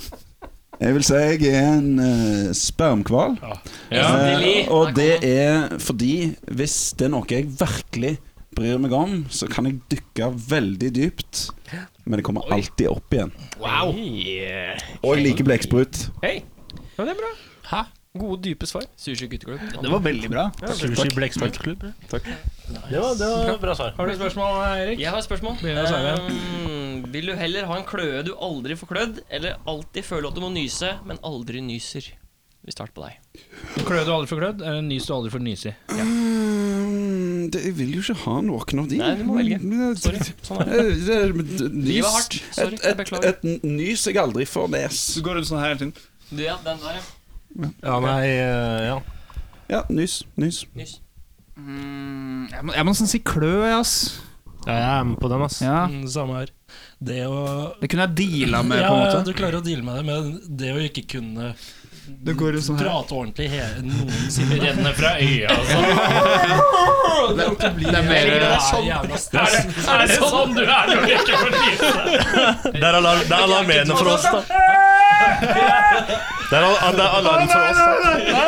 Speaker 6: Jeg vil si jeg er en uh, spermhval. Eh, og det er fordi hvis det er noe jeg virkelig bryr meg om, så kan jeg dykke veldig dypt. Men det kommer alltid opp igjen.
Speaker 1: Wow.
Speaker 6: Og jeg liker blekksprut.
Speaker 1: Hei. Ja, det er bra. Gode, dype svar. Sushi gutteklubb.
Speaker 9: Det var veldig bra.
Speaker 8: Sushi Blekksprøyteklubb? Det var, det var bra svar.
Speaker 2: Har du spørsmål, Erik?
Speaker 3: Jeg har et spørsmål.
Speaker 2: Begynner å svare.
Speaker 3: Ehm, vil du heller ha en kløe du aldri får klødd, eller alltid føle at du må nyse, men aldri nyser? Vi starter på deg.
Speaker 2: Klø du aldri får klødd, eller nys du aldri får nyse i?
Speaker 6: Mm, det, jeg vil jo ikke ha noen av de.
Speaker 3: Nei, du må velge.
Speaker 6: Men, eh,
Speaker 3: Sorry. Sånn er det.
Speaker 6: eh, det-
Speaker 3: Livet
Speaker 6: det-
Speaker 3: er
Speaker 6: Nys.
Speaker 3: hardt. Sorry,
Speaker 6: Et,
Speaker 3: jeg
Speaker 6: et,
Speaker 3: beklager.
Speaker 6: et nys jeg aldri får nes.
Speaker 9: går rundt sånn her hele tiden.
Speaker 3: Du, ja, den der, ja.
Speaker 8: Ja, nei, eh, ja.
Speaker 6: Ja, nys. Nys.
Speaker 3: Nys.
Speaker 9: Mm, Jeg må, jeg må nesten si klø, jeg, ass.
Speaker 8: ja, jeg er med på den, ass.
Speaker 9: Ja.
Speaker 14: Mm, Samme her. Det å
Speaker 9: Det kunne jeg deala med,
Speaker 14: ja,
Speaker 9: på en
Speaker 14: ja,
Speaker 9: måte.
Speaker 14: du klarer å deale med det, men det å ikke kunne
Speaker 9: Det går rundt sånn her.
Speaker 14: prate ordentlig hele noensinne
Speaker 2: Renne fra øya, altså.
Speaker 14: Det
Speaker 2: mer-
Speaker 14: er jævla stress.
Speaker 2: Er det sånn du er når du ikke får nyse?
Speaker 8: Der er alarm- der er alarmerende for oss,
Speaker 3: altså.
Speaker 8: da. Der er al- det er alarm for oss. da.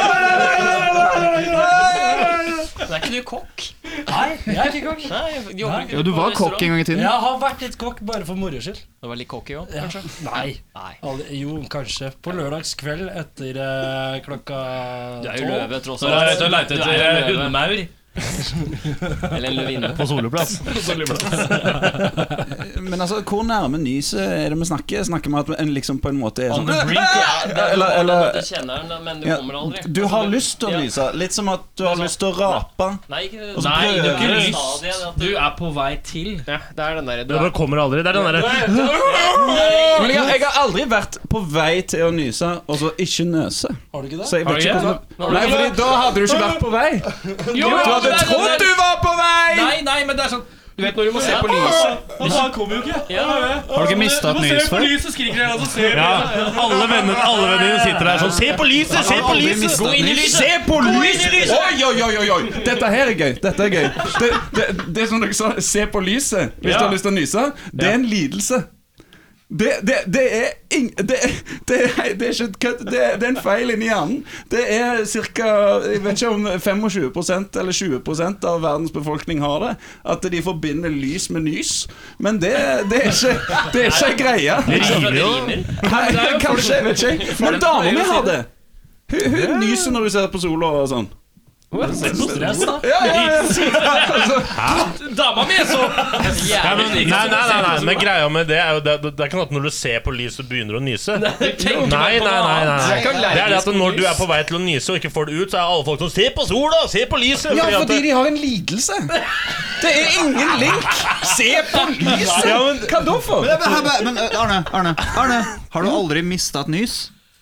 Speaker 3: Men er ikke du kokk?
Speaker 14: Nei, jeg er ikke kokk.
Speaker 3: Nei, jobber ikke
Speaker 9: Ja, du
Speaker 3: på
Speaker 9: var
Speaker 3: restaurant?
Speaker 9: kokk en gang i tiden.
Speaker 14: Jeg har vært litt kokk bare for moro skyld.
Speaker 3: Du var litt cocky òg,
Speaker 14: Ja.
Speaker 3: kanskje?
Speaker 14: Nei.
Speaker 3: Nei.
Speaker 14: Aldri- Jo, kanskje. På lørdagskveld etter eh, klokka
Speaker 3: Du er jo løve, tross
Speaker 2: Du er ute og leter
Speaker 3: Du er jo
Speaker 2: etter
Speaker 3: løve.
Speaker 2: hundemaur.
Speaker 3: Eller en løvinne.
Speaker 8: På soloplass.
Speaker 9: Men altså, hvor nærme nyset er det vi snakker? Snakker vi at en liksom på en måte er
Speaker 8: On
Speaker 9: sånn
Speaker 8: the brink.
Speaker 9: [LAUGHS] Eller,
Speaker 3: Du
Speaker 9: eller
Speaker 3: kjenner den, men du
Speaker 9: ja,
Speaker 3: kommer aldri. Altså,
Speaker 9: Du har lyst til
Speaker 3: Ja.
Speaker 9: å nyse. Litt som at du har lyst til å rape.
Speaker 3: Nei, ikke det.
Speaker 9: Og så
Speaker 3: Nei,
Speaker 9: prøver
Speaker 3: du har ikke
Speaker 9: du.
Speaker 3: lyst. Det, at
Speaker 7: Du er på vei til.
Speaker 3: ja, det er den derre
Speaker 8: Det bare kommer aldri. Det er den derre
Speaker 9: Men jeg, jeg har aldri vært på vei til å nyse, og så ikke nøse. Har du ikke det? Så jeg vet ikke
Speaker 7: Har
Speaker 9: hvordan Nei, fordi da hadde du ikke vært på vei.
Speaker 7: Jo,
Speaker 9: Du hadde trodd du var på vei!
Speaker 7: Nei, nei, men det er sånn
Speaker 1: Du vet når du må se på lyset.
Speaker 8: Han kommer jo ikke.
Speaker 6: Har du ikke mista et nys før?
Speaker 7: lyset skriker jeg, og så ser
Speaker 8: Ja, alle vennene alle vennene dine sitter der sånn Se på lyset! Se på lyset!
Speaker 9: Gå inn i lyset! Se på lyset! Oi, oi, oi, oi, oi! Dette her er gøy. Dette er gøy. Det, det, det er som dere sa, se på lyset hvis du har lyst til å nyse, det er en lidelse. Det, det, det er ing... Det, det, er- det er ikke et kødd. Det, er- det er en feil inni hjernen. Det er ca. Jeg vet ikke om 25 eller 20 av verdens befolkning har det. At de forbinder lys med nys. Men det, det er ikke Det er ikke greia.
Speaker 8: Det rimer jo.
Speaker 9: Nei, kanskje, jeg vet ikke. Men dama mi har det. Hun, hun nyser når hun ser på sola og sånn. Ja, ja, ja. Altså,
Speaker 7: Dama mi, så
Speaker 12: [LAUGHS]
Speaker 8: Nei, men, nei, nei, nei, nei, men greia med det er jo Det, det er ikke noe at når du ser på lyset, du begynner å nyse. Nei, nei, nei, nei, nei. Det er det at når du er på vei til å nyse og ikke får det ut, så er alle folk sånn Se på sola! Se på lyset!
Speaker 9: ja,
Speaker 8: at
Speaker 9: fordi
Speaker 8: det-
Speaker 9: de har en lidelse. Det er ingen link. Se på lyset! Hva da for?
Speaker 6: Men, men, men, men, Arne, Arne, Arne, har du aldri mista et nys?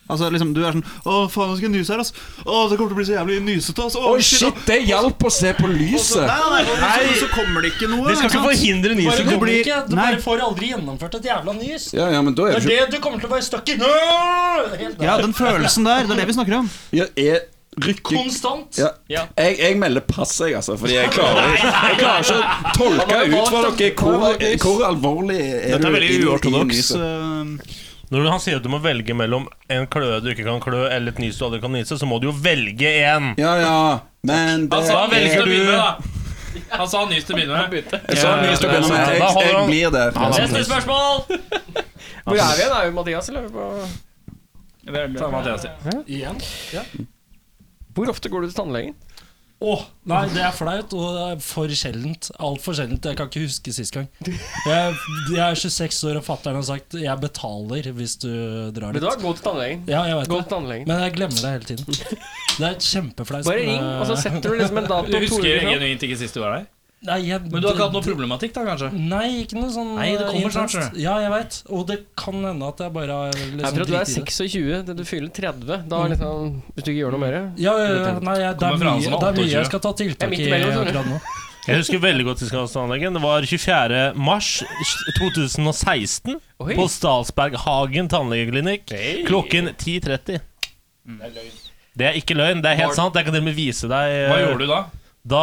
Speaker 6: Altså liksom, Du er sånn 'Å, faen, jeg skal nyse her, ass'. 'Å, det kommer til å bli så jævlig nysete', ass. Å,
Speaker 9: Å, shit, det hjalp å se på lyset.
Speaker 6: Nei, nei, nei, nei. Så, så kommer det ikke noe.
Speaker 8: De skal ikke
Speaker 9: sånn-
Speaker 6: sant?
Speaker 8: forhindre
Speaker 12: Bare
Speaker 8: nyset.
Speaker 12: kommer
Speaker 6: blir-
Speaker 12: ikke, du
Speaker 6: Nei.
Speaker 12: bare får aldri gjennomført et jævla nys.
Speaker 9: Ja, ja, men da
Speaker 12: Det
Speaker 9: er
Speaker 12: er
Speaker 9: det ikke
Speaker 12: det du kommer til å være stuck i. Helt der.
Speaker 6: Ja, den følelsen der. Det er det vi snakker om.
Speaker 9: ja, jeg rykker
Speaker 12: Konstant.
Speaker 9: ja. jeg, jeg melder pass, jeg, altså. Fordi jeg klarer, jeg klarer ikke å tolke ut for dere hvor, hvor alvorlig er
Speaker 8: Dette er
Speaker 9: du
Speaker 8: veldig
Speaker 9: inn i
Speaker 8: uortodoks.
Speaker 9: nyset.
Speaker 6: Så,
Speaker 8: Når han sier at du må velge mellom en kløe du ikke kan klø, eller et nys du aldri kan nyse, så må du jo velge én.
Speaker 9: Ja, ja, men det
Speaker 7: Han sa nys
Speaker 9: er
Speaker 7: til å begynne med, da. Han sa nys til å begynne med.
Speaker 9: Jeg sa nys til å begynne med.
Speaker 8: Ja, da
Speaker 9: Jeg,
Speaker 8: holder
Speaker 9: jeg
Speaker 8: han-
Speaker 9: blir det.
Speaker 3: Neste spørsmål! Hvor er vi igjen? Er vi Mathias, eller? er vi på-
Speaker 7: Ta Mathias igjen.
Speaker 12: Igjen.
Speaker 1: Hvor ofte går du til tannlegen?
Speaker 12: Åh, nei, det er flaut, og det er for sjeldent. Altfor sjeldent. Jeg kan ikke huske sist gang. Jeg, jeg er 26 år, og fatter'n har sagt 'jeg betaler hvis du drar
Speaker 1: Vet du hva,
Speaker 12: dit'.
Speaker 1: gå til tannlegen.
Speaker 12: Ja, jeg vet
Speaker 1: Gå til
Speaker 12: det.
Speaker 1: tannlegen.
Speaker 12: Men jeg glemmer det hele tiden. Det er kjempeflaut.
Speaker 1: Bare ring, og så setter du liksom en dato.
Speaker 7: [LAUGHS] Du husker
Speaker 1: Tore,
Speaker 7: genuint ikke sist du var der?
Speaker 12: Nei, jeg,
Speaker 7: Men du har ikke hatt noe problematikk, da, kanskje?
Speaker 12: Nei, ikke noe sånn
Speaker 7: Nei, det kommer snart,
Speaker 12: intenst.
Speaker 7: tror
Speaker 12: Ja, jeg veit. Og det kan hende at jeg bare har liksom
Speaker 1: Jeg tror du er
Speaker 12: driti i det.
Speaker 1: 26 til du fyller 30. Da
Speaker 12: Mm.
Speaker 1: er liksom, Hvis du ikke gjør noe mer
Speaker 12: Ja, ja, ja, nei, jeg, det,
Speaker 7: Kommer
Speaker 12: er
Speaker 7: fra han som
Speaker 12: mye,
Speaker 7: er
Speaker 12: det er mye
Speaker 7: 28.
Speaker 12: jeg skal ta tiltak
Speaker 1: midt
Speaker 12: i
Speaker 1: imellom, skjønner du.
Speaker 12: akkurat nå.
Speaker 8: Jeg husker veldig godt Fiskehavstanleggen. Det var 24. mars 2016
Speaker 1: Oi.
Speaker 8: på Statsberghagen tannlegeklinikk klokken 10.30.
Speaker 7: Mm.
Speaker 8: Det er ikke løgn. Det er helt sant. Jeg kan til og med vise deg eh,
Speaker 7: Hva gjorde du da?
Speaker 8: Da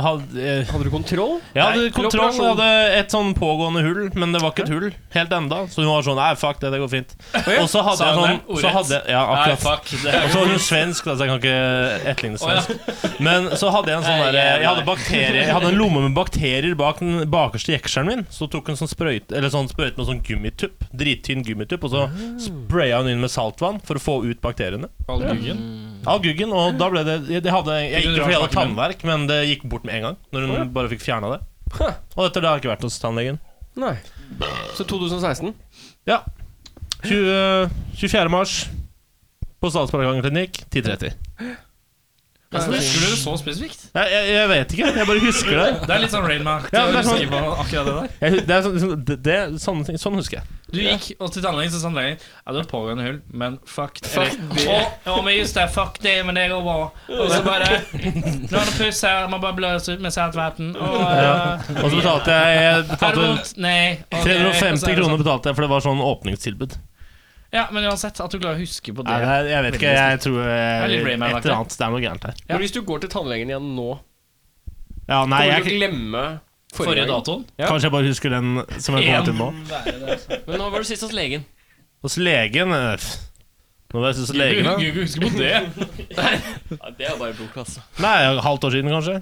Speaker 8: hadde eh,
Speaker 1: Hadde du kontroll?
Speaker 8: Jeg hadde
Speaker 1: Nei,
Speaker 8: kontroll. Jeg
Speaker 1: operasjon.
Speaker 8: hadde et sånn pågående hull, men det var ikke et hull helt enda. Så hun var sånn Nei, fuck det, det går fint. Og så hadde
Speaker 7: Sa
Speaker 8: jeg sånn
Speaker 7: hun det?
Speaker 8: så
Speaker 7: Ordrett?
Speaker 8: hadde, jeg- Ja,
Speaker 7: Nei,
Speaker 8: akkurat.
Speaker 7: fuck. Det er
Speaker 8: Og så var hun svensk, da, så jeg kan ikke etterligne svensk. Men så hadde jeg en sånn der, jeg hadde bakterier Jeg hadde en lomme med bakterier bak den bakerste jekkskjeren min. Så tok hun sånn sprøyte Eller sånn sprøyte med sånn gummitupp. Drittynn gummitupp. Og så spraya hun inn med saltvann for å få ut bakteriene.
Speaker 7: Albugen.
Speaker 8: Av guggen. Og da ble det Jeg, hadde, jeg gikk jo fordi jeg
Speaker 7: Ikke rart
Speaker 8: hadde
Speaker 7: smaken din.
Speaker 8: tannverk, men det gikk bort med en gang. Når hun bare fikk fjerna det. Og dette har jeg ikke vært hos tannlegen.
Speaker 1: Nei. Så 2016.
Speaker 8: Ja. 20, 24. mars på Statsparkgangen klinikk 10.30.
Speaker 7: Altså, husker du det så spesifikt?
Speaker 8: Jeg, jeg, jeg vet ikke. Jeg bare husker det.
Speaker 7: Det er litt sånn Rainmark.
Speaker 8: Ja, det er sånn-
Speaker 7: akkurat det der.
Speaker 8: Jeg, hu- det er sånn, sånn- det, det, sånne ting, sånn husker jeg.
Speaker 7: Du gikk og til tannlegen, så sa tannlegen Ja, du har et pågående hull, men fuck det. Og, og med just det, fuck det, men det går bra. Og så bare Nå er det puss her, man bare bløser ut med saltvann. Og
Speaker 8: Og
Speaker 7: uh,
Speaker 8: så betalte jeg, jeg
Speaker 7: Er det
Speaker 8: betalte
Speaker 7: vondt? Nei. ok. Og så
Speaker 8: 350
Speaker 7: er det sånn-
Speaker 8: kroner, betalte jeg, for det var sånn åpningstilbud.
Speaker 7: Ja, men uansett, at du klarer å huske på
Speaker 8: Nei,
Speaker 7: det.
Speaker 8: det er, jeg vet ikke. Jeg tror jeg,
Speaker 7: Det er litt
Speaker 8: et
Speaker 7: Rayman-aktig.
Speaker 8: eller annet. Det er noe gærent her.
Speaker 1: Men hvis du går til tannlegen igjen nå,
Speaker 8: Ja, nei,
Speaker 1: kommer du til å
Speaker 8: jeg,
Speaker 1: glemme
Speaker 7: Forrige
Speaker 1: forrige dag?
Speaker 7: datoen.
Speaker 8: kanskje jeg bare husker den som jeg kommer til nå.
Speaker 3: Men nå var du sist hos legen.
Speaker 8: Hos legen eh, pff. Nå var jeg hos legen, da.
Speaker 7: Gud, husker på det.
Speaker 3: Ja, det er bare blok, altså.
Speaker 8: Nei, halvt år siden, kanskje.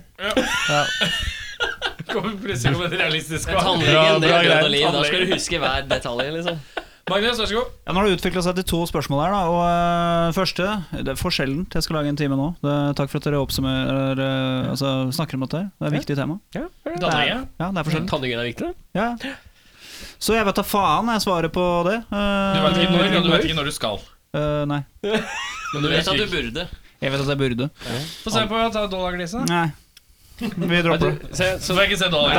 Speaker 7: Kommer plutselig med et realistisk svar.
Speaker 3: Tannlegen, det
Speaker 8: bra
Speaker 3: er død
Speaker 8: greier.
Speaker 3: og liv. Da skal du huske hver detalj, liksom.
Speaker 2: Magnus, vær så
Speaker 7: Mm.
Speaker 2: god.
Speaker 9: Ja, nå har det utvikla seg til to spørsmål her. da Og eh, første Det er for sjeldent jeg skal lage en time nå. Det, takk for at dere oppsummerer eh, Altså snakker om dette. her Det er et viktig tema.
Speaker 3: Dannøya.
Speaker 9: Ja, det er for sjeldent.
Speaker 3: Tannhygiene er viktig. det.
Speaker 9: Ja. Så jeg vet da faen jeg svarer på det. Eh,
Speaker 2: Du vet ikke når,
Speaker 7: Mm.
Speaker 2: du vet ikke når du skal.
Speaker 9: eh, nei.
Speaker 3: Men du vet at du burde.
Speaker 9: Jeg vet at jeg burde.
Speaker 7: Få se på ta dollarglisa.
Speaker 9: Nei. Vi dropper det.
Speaker 1: Se,
Speaker 2: Så får jeg ikke se da.
Speaker 9: Det
Speaker 2: Liksom.
Speaker 9: blir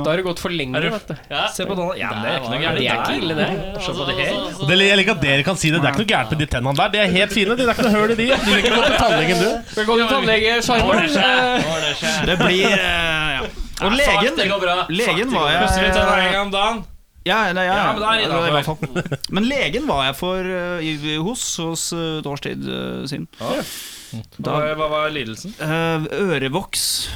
Speaker 1: da
Speaker 9: noe.
Speaker 1: har det gått for lenge.
Speaker 2: Er du-
Speaker 1: vet du.
Speaker 3: Ja.
Speaker 7: Se på dollar. Ja, men det er ikke noe
Speaker 3: Det
Speaker 7: gærent.
Speaker 3: er ikke ille, det.
Speaker 2: Se på det her.
Speaker 3: Altså,
Speaker 8: Det, jeg liker at dere kan si det. Det er ikke noe gærent med de tennene der. De er helt fine. Det er ikke noe høl i de. Du vil ikke gå til tannlegen, du.
Speaker 1: Velkommen til tannlege
Speaker 3: Ordner
Speaker 1: Sjarmor.
Speaker 3: seg. Ordner seg.
Speaker 9: Det blir eh, ja. Og legen,
Speaker 3: Det går bra.
Speaker 9: legen var
Speaker 7: Eh,
Speaker 9: jeg
Speaker 2: Pusser litt tenner en gang om dagen.
Speaker 9: Ja, nei, ja, ja.
Speaker 2: men det er i dag,
Speaker 9: i hvert fall. Men legen var jeg for eh, i, hos hos eh, et års tid eh, siden.
Speaker 2: Hva, hva var lidelsen?
Speaker 9: Eh, ørevoks.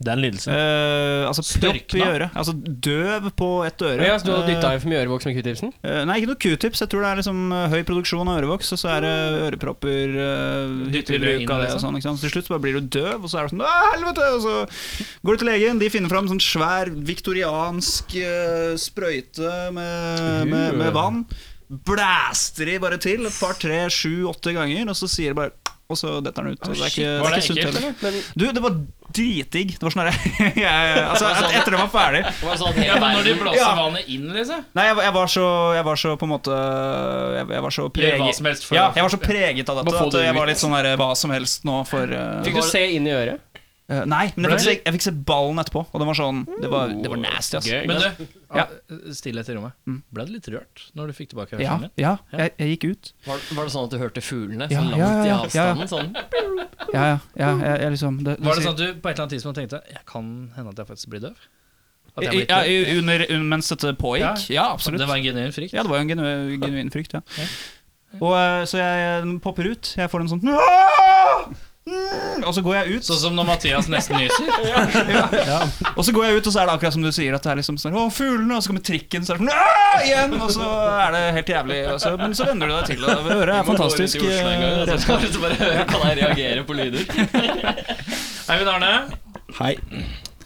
Speaker 8: Det er en lidelse.
Speaker 9: eh, altså propp i
Speaker 3: Størkna?
Speaker 9: øret. Altså døv på ett øre.
Speaker 1: Ja, så du hadde dytta
Speaker 9: Eh,
Speaker 1: inn for mye ørevoks med q-tipsen?
Speaker 9: eh, nei, ikke noe q-tips. Jeg tror det er liksom eh, høy produksjon av ørevoks, og så er det ørepropper, eh, hyppig
Speaker 2: Dytter det inn,
Speaker 9: bruk av det og sånn. Ikke sant? Så til slutt så bare blir du døv, og så er det sånn Å, helvete! Og så går du til legen, de finner fram sånn svær viktoriansk eh, sprøyte med, med, med vann. Blæster de bare til et par, tre, sju, åtte ganger, og så sier de bare og så detter den ut. og det er ikke,
Speaker 2: Var
Speaker 9: det er
Speaker 2: det
Speaker 9: ikke sunt
Speaker 2: ekkelt,
Speaker 9: heller.
Speaker 2: eller?
Speaker 9: Du, det var dritdigg. Det var sånn herre [LAUGHS] jeg- altså, et- Etter det var ferdig.
Speaker 3: Det var sånn
Speaker 2: Ja,
Speaker 3: hele
Speaker 2: men når de
Speaker 3: verden.
Speaker 2: blåser
Speaker 9: Ja.
Speaker 2: vannet inn, liksom?
Speaker 9: Nei, jeg, var- jeg, var så, jeg var så på en måte Jeg, jeg var så
Speaker 2: Gjør hva
Speaker 9: preget
Speaker 2: som helst for
Speaker 9: ja,
Speaker 2: å-
Speaker 9: jeg var så preget av dette
Speaker 1: Bare få
Speaker 9: at
Speaker 1: det
Speaker 9: jeg var
Speaker 1: ut.
Speaker 9: litt sånn herre hva som helst nå for eh,
Speaker 1: Fikk du se inn i øret?
Speaker 9: eh, Nei, men jeg fikk, se, jeg fikk se ballen etterpå, og den var sånn Det var,
Speaker 2: Oh,
Speaker 9: det var nasty, ass.
Speaker 2: Men du,
Speaker 9: Ja.
Speaker 7: ah,
Speaker 2: stillhet i rommet.
Speaker 8: Mm.
Speaker 2: Ble du litt rørt når du fikk tilbake
Speaker 9: Ja,
Speaker 2: hørselen din?
Speaker 9: ja jeg, jeg gikk ut.
Speaker 3: Var, var det sånn at du hørte fuglene
Speaker 9: Ja,
Speaker 3: så langt
Speaker 9: ja, ja,
Speaker 3: i
Speaker 9: ja, ja.
Speaker 3: avstanden? Sånn.
Speaker 9: Ja, ja. ja jeg, jeg liksom det,
Speaker 2: Var det sånn at du på et eller annet tidspunkt tenkte Jeg kan hende at jeg faktisk blir døv? At jeg
Speaker 9: ja,
Speaker 2: blir døv?
Speaker 9: i- under, un- mens dette pågikk? Ja, absolutt.
Speaker 2: Det var en genuin frykt.
Speaker 9: Ja, det var jo en genu genuin frykt, ja. Og eh, Så jeg den popper ut. Jeg får en sånn «Aah!» Mm, Og så går jeg ut,
Speaker 2: Sånn som når Mathias nesten
Speaker 9: [LAUGHS]
Speaker 2: nyser.
Speaker 9: og så går jeg ut, og så er det akkurat som du sier. At det er liksom sånn, Å, fuglene, og så kommer trikken, så er det sånn «Aah!» igjen, og så er det helt jævlig. Og så, men så venner du deg til det. og Øret er fantastisk. eh,
Speaker 3: Så skal du bare høre hvordan jeg reagerer på lyder.
Speaker 9: [LAUGHS]
Speaker 2: Eivind Arne,
Speaker 6: Hei.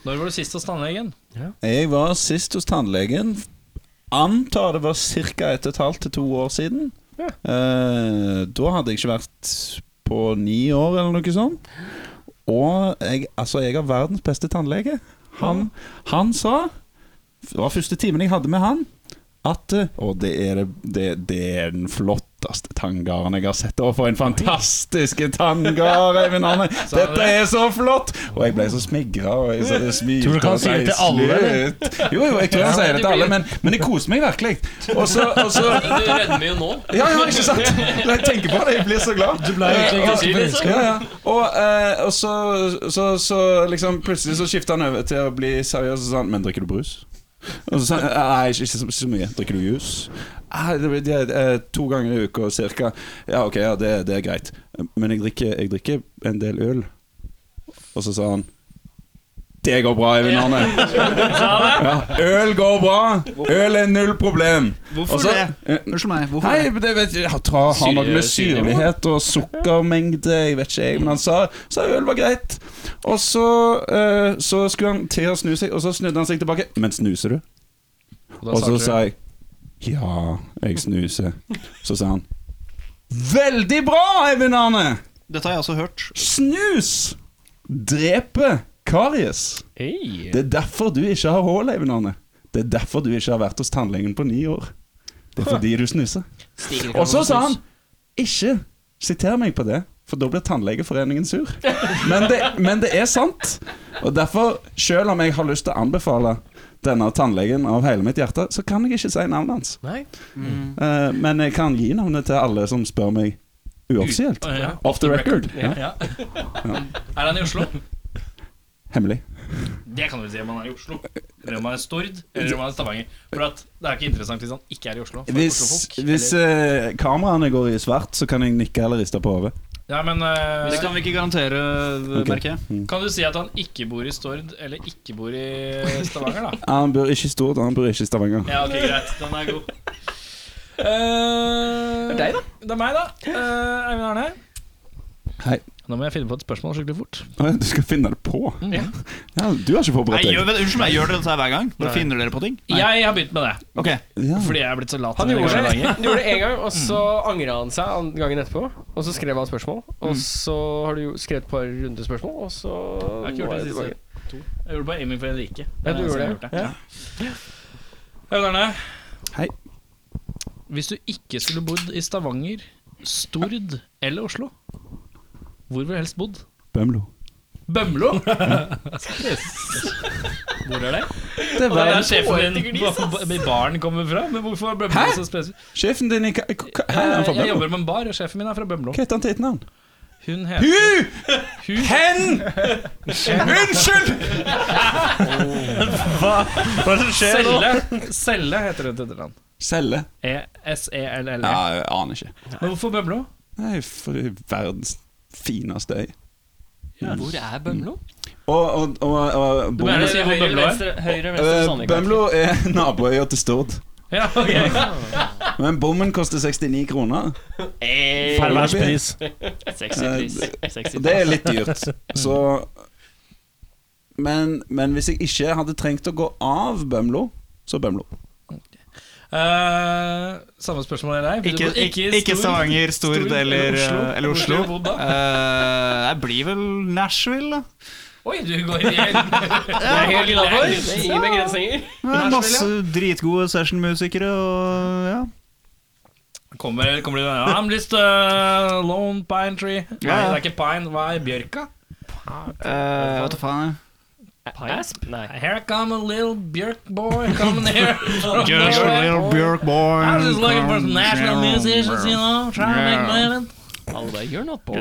Speaker 2: når var du sist hos tannlegen?
Speaker 6: Jeg var sist hos tannlegen. Antar det var ca. ett og et halvt til to år siden. Eh, da hadde jeg ikke vært på ni år, eller noe sånt. Og jeg, altså, jeg har verdens beste tannlege. Han, han sa Det var første timen jeg hadde med han, at eh, Og det er, det- det, det er den flotteste tanngarden jeg har sett. Å, for en fantastisk tanngard, Eivind Arne! Dette er så flott! Og jeg ble så smigra. og jeg så- smilte
Speaker 8: Tror du ikke han
Speaker 6: og
Speaker 8: sier det til
Speaker 6: reiste
Speaker 8: alle, eller?
Speaker 6: litt. Jo, jo, jeg tror han sier det til alle, men, men jeg koser meg virkelig. Og så, og så
Speaker 3: Du rødmer jo nå.
Speaker 6: ja, ja, ikke sant? Når jeg tenker på det, jeg blir så glad. Du ble
Speaker 3: egentlig ganske forelska.
Speaker 6: Ja, ja. Og, eh, og så, så, så liksom plutselig så skifter han over til å bli seriøs og sånn Men drikker du brus? Og så sa han Nei, ikke, ikke, så- ikke så mye. Drikker du jus? «Nei, Det blir det, eh, to ganger i uka cirka. Ja, ok, ja, det, det er greit. Men jeg drikker, jeg drikker en del øl. Og så sa han Det går bra, Eivind Arne. [LAUGHS] Ja, øl går bra. Øl er null problem.
Speaker 9: Hvorfor
Speaker 6: Og så- Eh,
Speaker 9: det? Unnskyld meg. Hvorfor
Speaker 6: Nei,
Speaker 9: det?
Speaker 6: men det vet jeg jeg tror, Har noe med syrlighet og sukkermengde Jeg vet ikke, jeg, men han sa, sa øl var greit. Og så, eh, så skulle han til å snu seg, og så snudde han seg tilbake. Men snuser du? Og så sa jeg ja, jeg snuser. Så sa han Veldig bra, Eivind Arne!
Speaker 9: Dette har jeg også hørt.
Speaker 6: Snus dreper karies. Det er derfor du ikke har hull, Eivind Arne. Det er derfor du ikke har vært hos tannlegen på ni år. Det er fordi du snuser. Og så sa han Ikke siter meg på det, for da blir Tannlegeforeningen sur. Men det, men det er sant. Og derfor, selv om jeg har lyst til å anbefale denne tannlegen av hele mitt hjerte, så kan jeg ikke si navnet hans.
Speaker 1: Nei.
Speaker 2: Mm.
Speaker 6: Eh, men jeg kan gi navnet til alle som spør meg uoffisielt.
Speaker 2: Ja.
Speaker 6: Off the record. Ja.
Speaker 2: Er han i Oslo?
Speaker 6: Hemmelig.
Speaker 2: Det kan du si om han er i Oslo. Eller om han er i Stord, eller om han er i Stavanger. For at det er ikke interessant hvis han ikke er i Oslo. For
Speaker 6: Hvis,
Speaker 2: Oslofolk,
Speaker 6: hvis eh, kameraene går i svart, så kan jeg nikke eller riste på hodet.
Speaker 2: eller- Ja, men eh,
Speaker 9: Det kan vi ikke garantere, merker jeg.
Speaker 2: Kan du si at han ikke bor i Stord, eller ikke bor i Stavanger, [LAUGHS] da?
Speaker 6: Han bor ikke i Stord, han bor ikke i Stavanger.
Speaker 2: Ja, ok, greit. Den er god.
Speaker 7: Eh,
Speaker 2: det er deg, da. Det er meg, da. Eh, Eivind Arne.
Speaker 6: Hei.
Speaker 2: Nå Nå må jeg finne på et spørsmål skikkelig fort.
Speaker 6: Å, Du skal finne det på?
Speaker 7: Mhm.
Speaker 6: Ja. du har ikke forberedt
Speaker 9: Nei,
Speaker 6: deg?
Speaker 9: gjør, vet, du, unnskyld meg, gjør dere dette her hver gang? Dere finner dere på ting?
Speaker 7: Jeg har begynt med det,
Speaker 9: Ok,
Speaker 6: Ja.
Speaker 7: fordi jeg er blitt så lat.
Speaker 1: Han
Speaker 7: i
Speaker 1: gjorde det,
Speaker 7: engasjementet.
Speaker 1: Mm. han gjorde det en gang, og så angra han seg an- gangen etterpå. Og så skrev han spørsmål, og så har du jo skrevet et par runde spørsmål, og så
Speaker 7: Jeg har ikke gjort det de siste to. Jeg gjorde bare aiming for Henrike.
Speaker 1: Ja, du
Speaker 7: Det er
Speaker 1: gjorde
Speaker 7: jeg
Speaker 1: det.
Speaker 7: som har gjort det. Hei, Bjarne.
Speaker 6: Hei.
Speaker 7: Hvis du ikke skulle bodd i Stavanger, Stord eller Oslo, hvor ville du helst bodd?
Speaker 6: Bømlo.
Speaker 7: Bømlo? Hvor er det? Det er der sjefen din på, på- i baren kommer fra. Men hvorfor er Bømlo så spesifikt?
Speaker 6: Sjefen din i ka- ka- ka- Hei, han er fra
Speaker 7: Jeg
Speaker 6: Bømlo.
Speaker 7: jobber med en bar, og sjefen min er fra Bømlo.
Speaker 6: Hva heter han til etternavn?
Speaker 7: Hun heter
Speaker 8: Hva er det som skjer nå?
Speaker 7: Selle. E Selle heter hun til etternavn.
Speaker 6: Selle?
Speaker 7: E-S-E-L-L-E.
Speaker 6: Ja, jeg aner ikke.
Speaker 7: E. Men hvorfor Bømlo?
Speaker 6: Nei, for verdens fineste øy.
Speaker 3: Hvor er Bømlo?
Speaker 6: Og, og, og, og
Speaker 7: Du mener å
Speaker 6: Bømlo,
Speaker 7: si hvor Bømlo er?
Speaker 3: venstre, høyre, venstre,
Speaker 6: Eh,
Speaker 3: Sandvika.
Speaker 6: Bømlo er [LAUGHS] naboøya til Stord.
Speaker 7: Ja, ok.
Speaker 6: Men bommen koster 69 kroner.
Speaker 3: Eh,
Speaker 8: Pervers pris.
Speaker 3: Sexy
Speaker 6: Eh,
Speaker 3: pris. Sexy
Speaker 6: Og
Speaker 3: pris.
Speaker 6: det er litt dyrt. Så men, men hvis jeg ikke hadde trengt å gå av Bømlo, så Bømlo.
Speaker 7: Eh, samme spørsmål til deg. Vil du
Speaker 9: Ikke,
Speaker 7: bo-
Speaker 9: ikke,
Speaker 7: i
Speaker 9: ikke
Speaker 7: Stord?
Speaker 9: Stavanger, Stord
Speaker 7: Stord
Speaker 9: eller Oslo.
Speaker 7: Oslo.
Speaker 9: Eller
Speaker 7: Hvor skulle
Speaker 9: Oslo.
Speaker 7: du bodd da?
Speaker 9: Eh, jeg blir vel Nashville, da.
Speaker 7: Oi, du går i [LAUGHS] Det er
Speaker 1: Det
Speaker 7: helt innafor.
Speaker 1: er ingen begrensninger.
Speaker 9: Det er Masse dritgode sessionmusikere og ja.
Speaker 7: Kommer, kommer du I'm just a lone pine tree. Nei, det er ikke pine. Hva er bjørka?
Speaker 9: Eh, Hva faen?
Speaker 3: Eh, Asp? Nei.
Speaker 7: Here come a little bjørk boy coming [LAUGHS] here. from nowhere.
Speaker 9: Bjørkborn
Speaker 7: I'm just looking for some national musicians, you know. Trying to make a living.
Speaker 3: Alle, you're not born.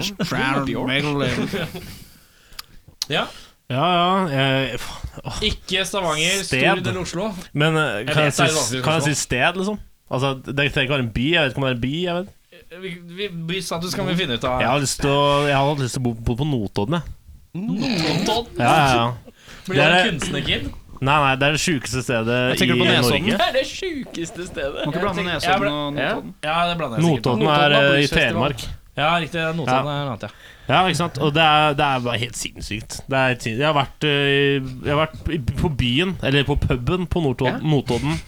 Speaker 7: Ja.
Speaker 8: Ja, ja. Jeg, faen.
Speaker 7: Ikke Stavanger,
Speaker 8: Sted.
Speaker 7: Stord eller Oslo.
Speaker 8: men eh,
Speaker 7: Jeg
Speaker 8: kan jeg,
Speaker 7: vet det er et
Speaker 8: si,
Speaker 7: vanskelig
Speaker 8: kan jeg
Speaker 7: spørsmål.
Speaker 8: si sted, liksom? Altså, Det trenger ikke være en by. Jeg vet ikke om det er en by. Jeg vet
Speaker 7: Vi, vi, vi sa at du skal vi finne ut av
Speaker 8: Jeg har lyst til å, jeg har hatt lyst til å bo, bo på Notodden, jeg.
Speaker 7: Notodden?
Speaker 8: Ja, ja, ja.
Speaker 7: Blir du en
Speaker 8: Det er-
Speaker 7: kunstnerkid?
Speaker 8: Nei, nei, det er det sjukeste stedet i
Speaker 9: tenker du på Nesodden?
Speaker 8: Norge.
Speaker 3: Det er det sjukeste stedet.
Speaker 9: Må ikke blande
Speaker 7: jeg
Speaker 9: Nesodden
Speaker 7: ble-
Speaker 9: og
Speaker 3: Ja.
Speaker 9: Notodden.
Speaker 7: Ja, det blander jeg sikkert.
Speaker 8: Notodden
Speaker 3: Notodden
Speaker 8: er
Speaker 3: er
Speaker 8: eh, i
Speaker 3: bluesfestival.
Speaker 8: Telemark.
Speaker 7: Ja, riktig. Notodden er noe annet, ja.
Speaker 8: Ja, ikke sant? Og det er, det er bare helt sinnssykt. Det er helt sinnssykt. Jeg har vært, eh, jeg har vært i- på byen, eller på puben på Notodden, Notodden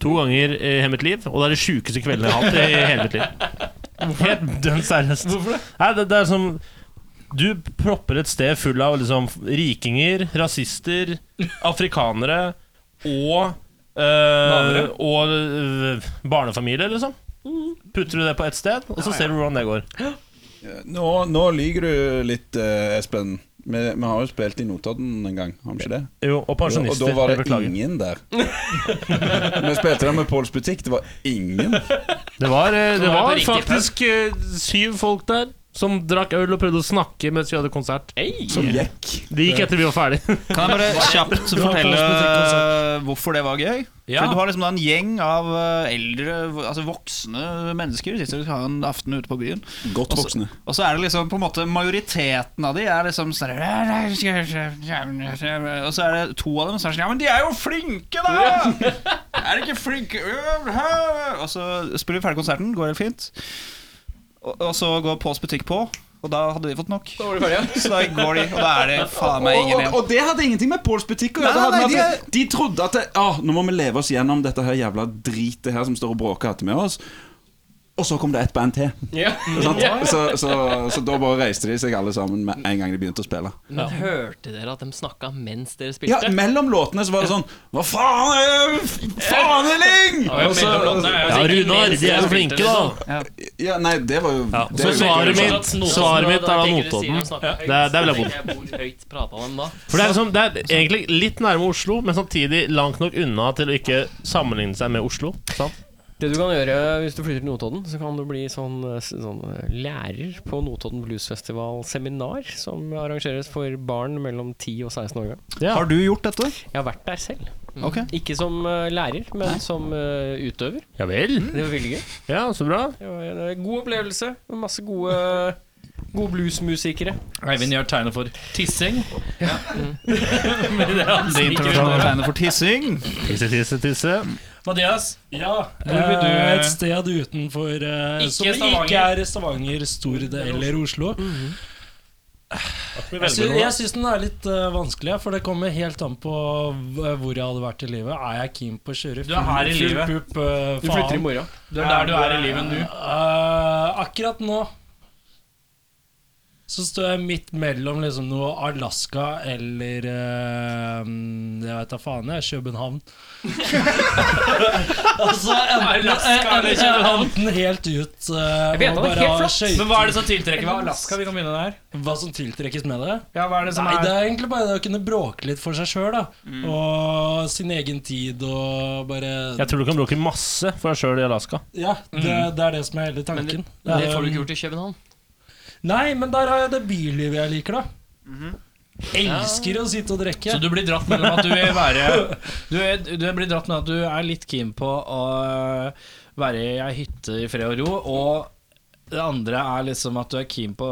Speaker 8: to ganger i hele mitt liv. Og det er de sjukeste kveldene jeg har hatt i hele mitt liv. Helt dønn seriøst. Hvorfor det? Nei, det, det er som Du propper et sted full av liksom rikinger, rasister, afrikanere og eh, og eh, barnefamilier, liksom. Putter du det på ett sted, og så ser du hvordan det går.
Speaker 6: Nå, nå lyver du litt, eh, Espen. Vi, vi har jo spilt i Notodden en gang, har vi ikke det?
Speaker 8: Jo, og
Speaker 6: Og
Speaker 8: pensjonister.
Speaker 6: da var
Speaker 8: jeg
Speaker 6: det
Speaker 8: beklager.
Speaker 6: ingen der. [LAUGHS] vi spilte der med Påls butikk, det var ingen.
Speaker 8: Det var, eh, det
Speaker 3: var
Speaker 8: var
Speaker 3: det på riktig
Speaker 8: faktisk eh, syv folk der som drakk øl og prøvde å snakke mens vi hadde konsert.
Speaker 6: Som gikk.
Speaker 8: Det gikk etter vi var ferdig.
Speaker 9: Kan jeg bare kjapt fortelle eh, hvorfor det var gøy?
Speaker 7: Ja.
Speaker 9: For Du har liksom da en gjeng av eh, eldre, altså voksne mennesker. Sitter og har en aften ute på byen.
Speaker 6: Godt voksne.
Speaker 9: Og så er det liksom på en måte majoriteten av de er liksom sånn Og så er det to av dem som er sånn Ja, men de er jo flinke, da! [LAUGHS] Er de ikke flinke? Og så spiller vi ferdig konserten, går helt fint. Og, og så går Påls butikk på, og da hadde de fått nok. Så da går de, og da er det faen meg ingen
Speaker 6: Og, og,
Speaker 9: igjen.
Speaker 6: og det hadde ingenting med Påls butikk å gjøre.
Speaker 9: Nei,
Speaker 6: Det hadde
Speaker 9: nei,
Speaker 6: med at de trodde at det, «Åh, Nå må vi leve oss gjennom dette her jævla dritet her som står og bråker etter med oss. Og så kom det ett band til. Sant? Så, så, så da bare reiste de seg alle sammen med en gang de begynte å spille.
Speaker 3: Men hørte dere at de snakka mens dere
Speaker 6: Ja,
Speaker 3: spilte?
Speaker 6: Mellom låtene så var det sånn Hva faen er Faneling! Og så- Altså,
Speaker 8: Ja, Runar, de er jo flinke, da.
Speaker 6: Ja, nei, det var jo
Speaker 8: Ja,
Speaker 6: det
Speaker 8: så
Speaker 6: er jo-
Speaker 8: svaret
Speaker 6: det er jo-
Speaker 8: mitt, svaret mitt er da Notodden. Der- der vil jeg bo.
Speaker 3: Hvor høyt prata man da?
Speaker 8: For det er, liksom, det er egentlig litt nærme Oslo, men samtidig langt nok unna til å ikke sammenligne seg med Oslo. Sant?
Speaker 1: Det du kan gjøre hvis du flytter til Notodden, så kan du bli sånn, eh, s- sånn eh, lærer på Notodden Bluesfestival-seminar, som arrangeres for barn mellom 10 og 16 år. gammel.
Speaker 9: Har du gjort dette?
Speaker 1: Jeg har vært der selv.
Speaker 9: Ok.
Speaker 1: Ikke som eh, lærer, men som eh, utøver.
Speaker 8: Ja vel?
Speaker 1: Det var veldig gøy.
Speaker 8: Ja, så bra.
Speaker 1: Det var en eh, god opplevelse. med Masse gode, gode bluesmusikere.
Speaker 7: Eivind gjør tegnet for tissing. [LAUGHS]
Speaker 9: Det internasjonale tegnet for tissing.
Speaker 8: Tisse, tisse, tisse.
Speaker 7: Mathias,
Speaker 12: Hvor vil du
Speaker 7: Eh,
Speaker 12: Et sted utenfor eh,
Speaker 7: Ikke
Speaker 12: Som
Speaker 7: Stavanger. Mm-hmm.
Speaker 12: ikke er Stavanger, Stord eller Oslo. Jeg sy- Jeg syns den er litt eh, vanskelig, ja, for det kommer helt an på v- hvor jeg hadde vært i livet. Er jeg keen på å kjøre
Speaker 7: Du er her i
Speaker 12: full- full
Speaker 7: livet.
Speaker 12: pupp, eh,
Speaker 3: Du flytter i
Speaker 12: faen?
Speaker 3: morgen.
Speaker 7: Det er der du er i livet nå.
Speaker 12: Eh, akkurat nå så står jeg midt mellom liksom noe Alaska eller eh, Jeg vet da faen, jeg. København. [LAUGHS] altså enten, enten, enten helt ut eh,
Speaker 3: vet det, det er
Speaker 12: og bare
Speaker 3: helt
Speaker 12: ha
Speaker 3: flatt.
Speaker 12: skøyter
Speaker 7: Men hva er det som tiltrekker ved Alaska? Vi kan begynne der.
Speaker 12: Hva som tiltrekkes med det?
Speaker 7: Ja, hva er det som
Speaker 12: Nei,
Speaker 7: er
Speaker 12: det er egentlig bare det å kunne bråke litt for seg sjøl, da.
Speaker 3: Mm.
Speaker 12: Og sin egen tid og bare
Speaker 8: Jeg tror du kan bråke masse for deg sjøl i Alaska.
Speaker 12: Ja, det, det er det som er hele
Speaker 3: Men
Speaker 12: tanken.
Speaker 3: Det får du
Speaker 12: Um,
Speaker 3: ikke gjort i København.
Speaker 12: Nei, men der har jeg det bylivet jeg liker, da. Elsker å sitte og drikke.
Speaker 7: Så du blir dratt mellom at du vil være [LAUGHS] Du, er, du blir dratt med at du er litt keen på å øh, være i ei hytte i fred og ro, og det andre er liksom at du er keen på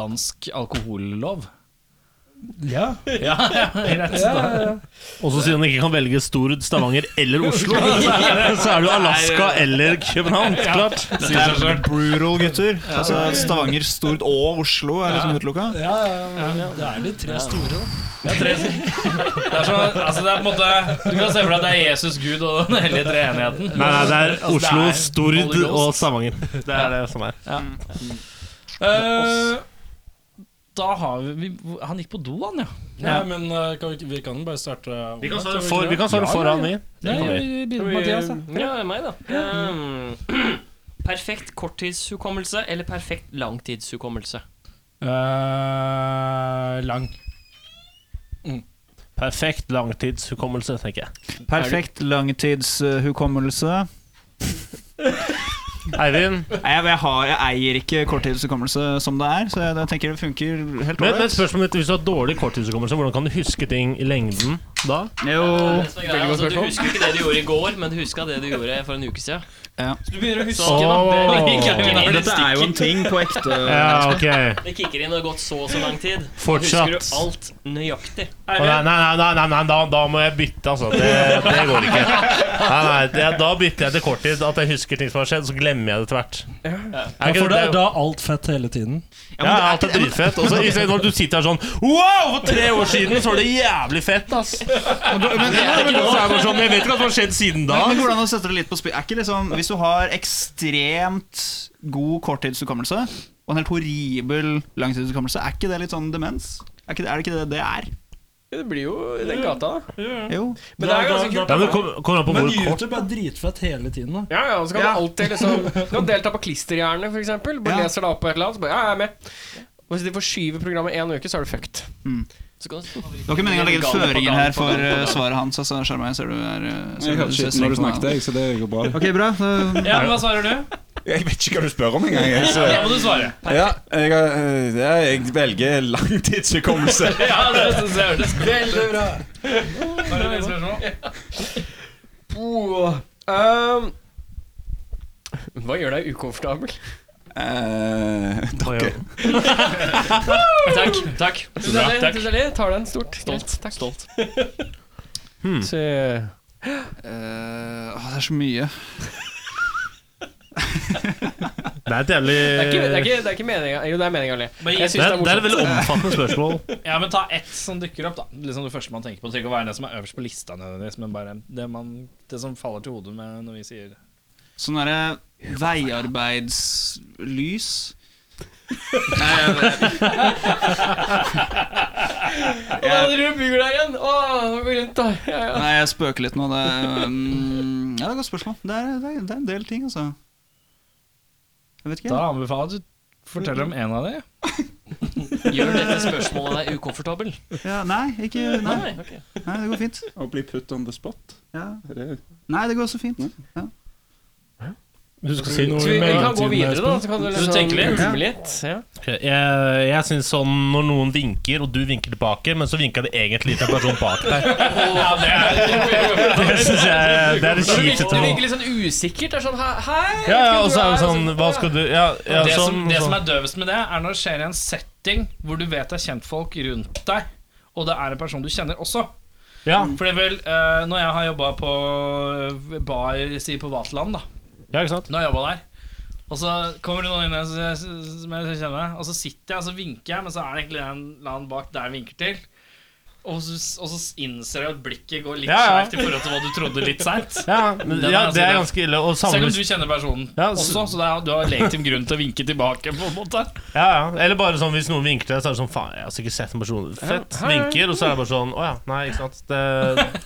Speaker 7: dansk alkohollov.
Speaker 12: Ja.
Speaker 7: Ja, rett
Speaker 12: Ja, ja, ja.
Speaker 8: Også siden du ikke kan velge Stord, Stavanger eller Oslo, så er det, [LAUGHS] så er det jo Alaska eller København. Klart.
Speaker 9: Brutal gutter. Altså Stavanger, Stord og Oslo er liksom utelukka.
Speaker 12: Ja, ja, ja, men Det er de tre store, da.
Speaker 7: Det er, sånn, altså det er på en måte Du kan se for deg at det er Jesus, Gud og den hellige treenigheten.
Speaker 8: Nei, nei, det er Oslo,
Speaker 7: det er
Speaker 8: Stord og
Speaker 7: Holy Ghost.
Speaker 8: Stavanger. Det er det som er.
Speaker 7: Eh, da har vi, vi Han gikk på do, han, ja.
Speaker 12: Nei, men uh, kan vi, ikke- vi kan bare starte uh,
Speaker 8: Vi kan
Speaker 12: omvendt,
Speaker 8: starte
Speaker 12: gjør
Speaker 8: for,
Speaker 12: ikke
Speaker 8: vi
Speaker 12: det?
Speaker 8: kan starte foran, vi.
Speaker 7: Nei, vi begynner med Mathias, da.
Speaker 3: Mm, Ja, det er meg, da. Ehm, [CLEARS THROAT] perfekt korttidshukommelse eller perfekt langtidshukommelse?
Speaker 12: Eh, lang.
Speaker 8: Perfekt langtidshukommelse, tenker jeg.
Speaker 11: Perfekt langtidshukommelse.
Speaker 8: Eivind,
Speaker 9: Nei, Jeg, jeg, har, jeg eier ikke korttidshukommelse som det er, så jeg, jeg tenker det funker helt
Speaker 8: men, men
Speaker 9: ålreit.
Speaker 8: spørsmålet mitt, hvis du har dårlig korttidshukommelse, hvordan kan du huske ting i lengden da?
Speaker 9: Jo,
Speaker 3: Det som er greia, altså, du husker ikke det du gjorde i går, men du huska det du gjorde for en uke siden.
Speaker 9: Ja.
Speaker 3: Så du begynner å huske, da. Det
Speaker 8: Åh.
Speaker 3: kicker inn, når det
Speaker 9: dette er jo en ting på ekte.
Speaker 8: [LAUGHS] Ja, ok.
Speaker 3: stikker. Det kicker inn og det har gått så og så lang tid. Husker
Speaker 8: Fortsatt.
Speaker 3: du alt nøyaktig.
Speaker 8: Å, nei, nei, nei, nei, nei da, da må jeg bytte, altså. Det, det går ikke. Nei, nei, det, Da bytter jeg til korttid. At jeg husker ting som har skjedd, så glemmer jeg det etter hvert.
Speaker 12: Ja,
Speaker 8: Er ikke
Speaker 12: for
Speaker 8: det,
Speaker 12: det er da alt fett hele tiden.
Speaker 9: Ja,
Speaker 8: ja,
Speaker 9: men det er-
Speaker 8: alt er dritfett. Og så i stedet for at du sitter her sånn Wow, for tre år siden så var det jævlig fett, ass.
Speaker 9: [LAUGHS]
Speaker 8: Og du- Men, ja, men, så er det bare sånn, jeg vet ikke hva som har skjedd siden da.
Speaker 9: Men, men hvordan å sette det litt på spill Er ikke liksom Hvis du har ekstremt god korttidshukommelse og en helt horribel langtidshukommelse, er ikke det litt sånn demens? Er, ikke det, er det ikke det det er?
Speaker 4: Det blir jo i den gata.
Speaker 9: Jo.
Speaker 4: Men det er ganske kult.
Speaker 8: Ja, men det kom- kommer an på
Speaker 12: Men
Speaker 8: hvor kort
Speaker 12: YouTube er dritfett hele tiden, da.
Speaker 4: Ja, ja, og så kan du alltid liksom Du kan delta på klisterhjerne, for eksempel. Bare
Speaker 9: Ja.
Speaker 4: leser deg opp på et eller annet, så bare Ja, jeg er med. Og hvis de forskyver programmet én uke, så er du fucked.
Speaker 3: Så kan du
Speaker 9: Det var ikke meningen å legge føringer her for eh, svaret hans. Altså, Skjermøy, ser du er eh, ser
Speaker 6: Jeg
Speaker 9: du-
Speaker 6: hørte
Speaker 9: ser
Speaker 6: ikke
Speaker 9: streng på
Speaker 6: når du
Speaker 9: Eh, meg.
Speaker 6: snakket, jeg, så det går bra.
Speaker 9: Ok, bra. så-
Speaker 7: Ja, men Hva svarer du?
Speaker 6: [LAUGHS] Jeg vet ikke hva du spør om engang. jeg, så-
Speaker 7: Da må du svare.
Speaker 6: Ja, jeg, øh, ja, jeg velger langtidshukommelse.
Speaker 8: [LAUGHS]
Speaker 7: Ja, det synes jeg hørtes veldig bra Har du noen spørsmål?
Speaker 4: Oh, ehm,
Speaker 9: um.
Speaker 4: hva gjør deg ukomfortabel?
Speaker 6: Eh, dere.
Speaker 9: [LAUGHS]
Speaker 3: Takk. takk
Speaker 4: Tusen takk. Tusen takk. Tar den stort. Stolt. Takk.
Speaker 3: Stolt.
Speaker 8: Mm.
Speaker 4: Så,
Speaker 9: Eh, åh, det er så mye.
Speaker 8: Det er et jævlig
Speaker 4: det er ikke, det er ikke, det er ikke meninga Jo, det er meninga å le.
Speaker 7: Bare
Speaker 4: Jeg
Speaker 7: gi-
Speaker 4: synes det er
Speaker 8: det er et
Speaker 4: morsomt.
Speaker 8: veldig omfattende spørsmål.
Speaker 7: Ja, men Ta ett som dukker opp. da Liksom Det første man tenker på. Det trenger ikke å være det som er øverst på lista, nødvendigvis men bare det, man, det som faller til hodet med når vi sier
Speaker 9: Sånn derre veiarbeidslys. Nei, jeg vet-
Speaker 4: Rubbygler der igjen! Åh, nå går jeg rundt da. Ja, ja.
Speaker 9: Nei, jeg spøker litt nå. Det, er, mm, ja, det er et godt spørsmål. Det er, det, er, det er en del ting, altså. Jeg vet ikke.
Speaker 7: Da anbefaler jeg at du forteller om en av de.
Speaker 3: Gjør dette spørsmålet deg ukomfortabel?
Speaker 9: Ja, nei, ikke, nei,
Speaker 3: Nei, ok.
Speaker 9: nei, det går fint.
Speaker 6: Å bli put on the spot.
Speaker 9: Ja.
Speaker 6: Det-
Speaker 9: Nei, det går så fint.
Speaker 6: Mm.
Speaker 9: Ja.
Speaker 8: Du skal si noe
Speaker 4: Så vi, vi kan gå videre, da. Så kan du liksom
Speaker 7: tenker litt?
Speaker 4: tenke litt. Ja.
Speaker 8: Jeg, jeg synes sånn når noen vinker, og du vinker tilbake, men så vinka det egentlig til en person bak
Speaker 4: [LAUGHS]
Speaker 8: deg. Det synes jeg Det er det
Speaker 4: Det virker,
Speaker 8: kjipeste
Speaker 4: det
Speaker 8: nå.
Speaker 4: virker litt sånn usikkert. Det er sånn he- Hei! jeg vet
Speaker 8: Ja, ja,
Speaker 4: ikke hvor
Speaker 8: og så er det sånn Hva skal du Ja, ja
Speaker 7: det,
Speaker 8: sånn,
Speaker 7: som, det som
Speaker 8: sånn.
Speaker 7: er døvest med det, er når det skjer i en setting hvor du vet det er kjentfolk rundt deg, og det er en person du kjenner også.
Speaker 8: Ja,
Speaker 7: For det er vel, eh, når
Speaker 2: eh,
Speaker 7: jeg har jobba på bar si på Vaterland, da
Speaker 8: ja, ikke sant?
Speaker 7: Når jeg jobbet der
Speaker 2: Og så kommer det noen inn her som jeg- som jeg kjenner, og så sitter jeg og så vinker, jeg, men så er det egentlig en eller annen bak der jeg vinker til. Og så, og så innser jeg at blikket går litt
Speaker 8: Ja, ja.
Speaker 2: skjevt i forhold til hva du trodde litt seint.
Speaker 8: Ja, men,
Speaker 2: Den er
Speaker 8: ja,
Speaker 2: altså-
Speaker 8: det er ganske ille. Og
Speaker 2: Selv om
Speaker 8: samles,
Speaker 2: du kjenner personen
Speaker 8: Ja,
Speaker 2: også,
Speaker 8: så-
Speaker 2: så det er, du har legitim grunn til å vinke tilbake. på en måte
Speaker 8: ja, ja. Eller bare sånn hvis noen vinker til deg, så er det sånn Faen, jeg har sikkert sett en person fett vinker, og så er det bare sånn Å ja, nei, ikke sant. Det,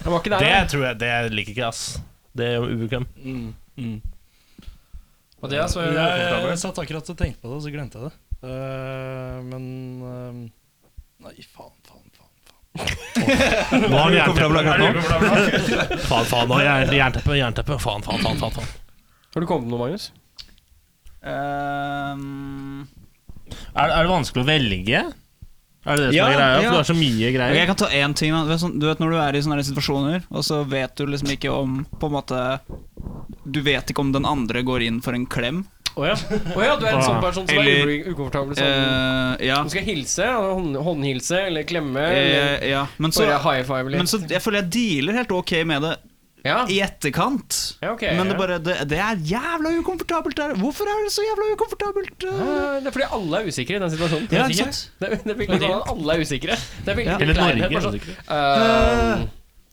Speaker 1: Jeg var ikke der,
Speaker 8: det
Speaker 1: da.
Speaker 8: tror jeg Det liker ikke jeg, ass. Det gjør meg ubekvem.
Speaker 2: Mathias, hva gjør du?
Speaker 12: Jeg, jeg satt akkurat og tenkte på det, og så glemte jeg det. Eh, men ehm, Nei, faen, faen, faen.
Speaker 8: Nå har han jernteppe.
Speaker 2: Blablabla.
Speaker 8: [LAUGHS] Faen, faen, nå har jeg jernteppe, jernteppe. Faen, faen, faen. faen, faen.
Speaker 1: Har du kommet med noe, Magnus?
Speaker 9: Ehm,
Speaker 8: Er, er det vanskelig å velge? Er det det som
Speaker 9: Ja,
Speaker 8: er greia? For
Speaker 9: ja.
Speaker 8: du har så mye
Speaker 9: ok, jeg
Speaker 8: greier.
Speaker 9: kan ta én ting. da. Du vet, sånn, du vet når du er i sånne her situasjoner, og så vet du liksom ikke om På en måte Du vet ikke om den andre går inn for en klem.
Speaker 1: Å ja. Å ja, du er en
Speaker 8: Ah,
Speaker 1: sånn person som
Speaker 9: Eller-
Speaker 1: er u- ukomfortabel sånn
Speaker 9: Eh, ja.
Speaker 1: Du skal hilse, hånd, håndhilse eller klemme eller
Speaker 9: Eh, ja. Men så,
Speaker 1: bare high five
Speaker 9: men
Speaker 1: litt.
Speaker 9: så jeg føler jeg dealer helt ok med det
Speaker 1: Ja.
Speaker 9: i etterkant.
Speaker 1: Ja, ok,
Speaker 9: men det,
Speaker 1: ja.
Speaker 9: bare, det, det er jævla ukomfortabelt der. Hvorfor er det så jævla ukomfortabelt? eh?
Speaker 1: Eh, Det er fordi alle er usikre i den situasjonen.
Speaker 9: Ja, ikke sant?
Speaker 1: Det er, det er veldig bra at alle er usikre. Det er veldig
Speaker 8: Eller
Speaker 1: bra at det er
Speaker 8: Norge.
Speaker 1: bare
Speaker 8: altså.
Speaker 1: sånn,
Speaker 8: er det ikke?
Speaker 1: eh,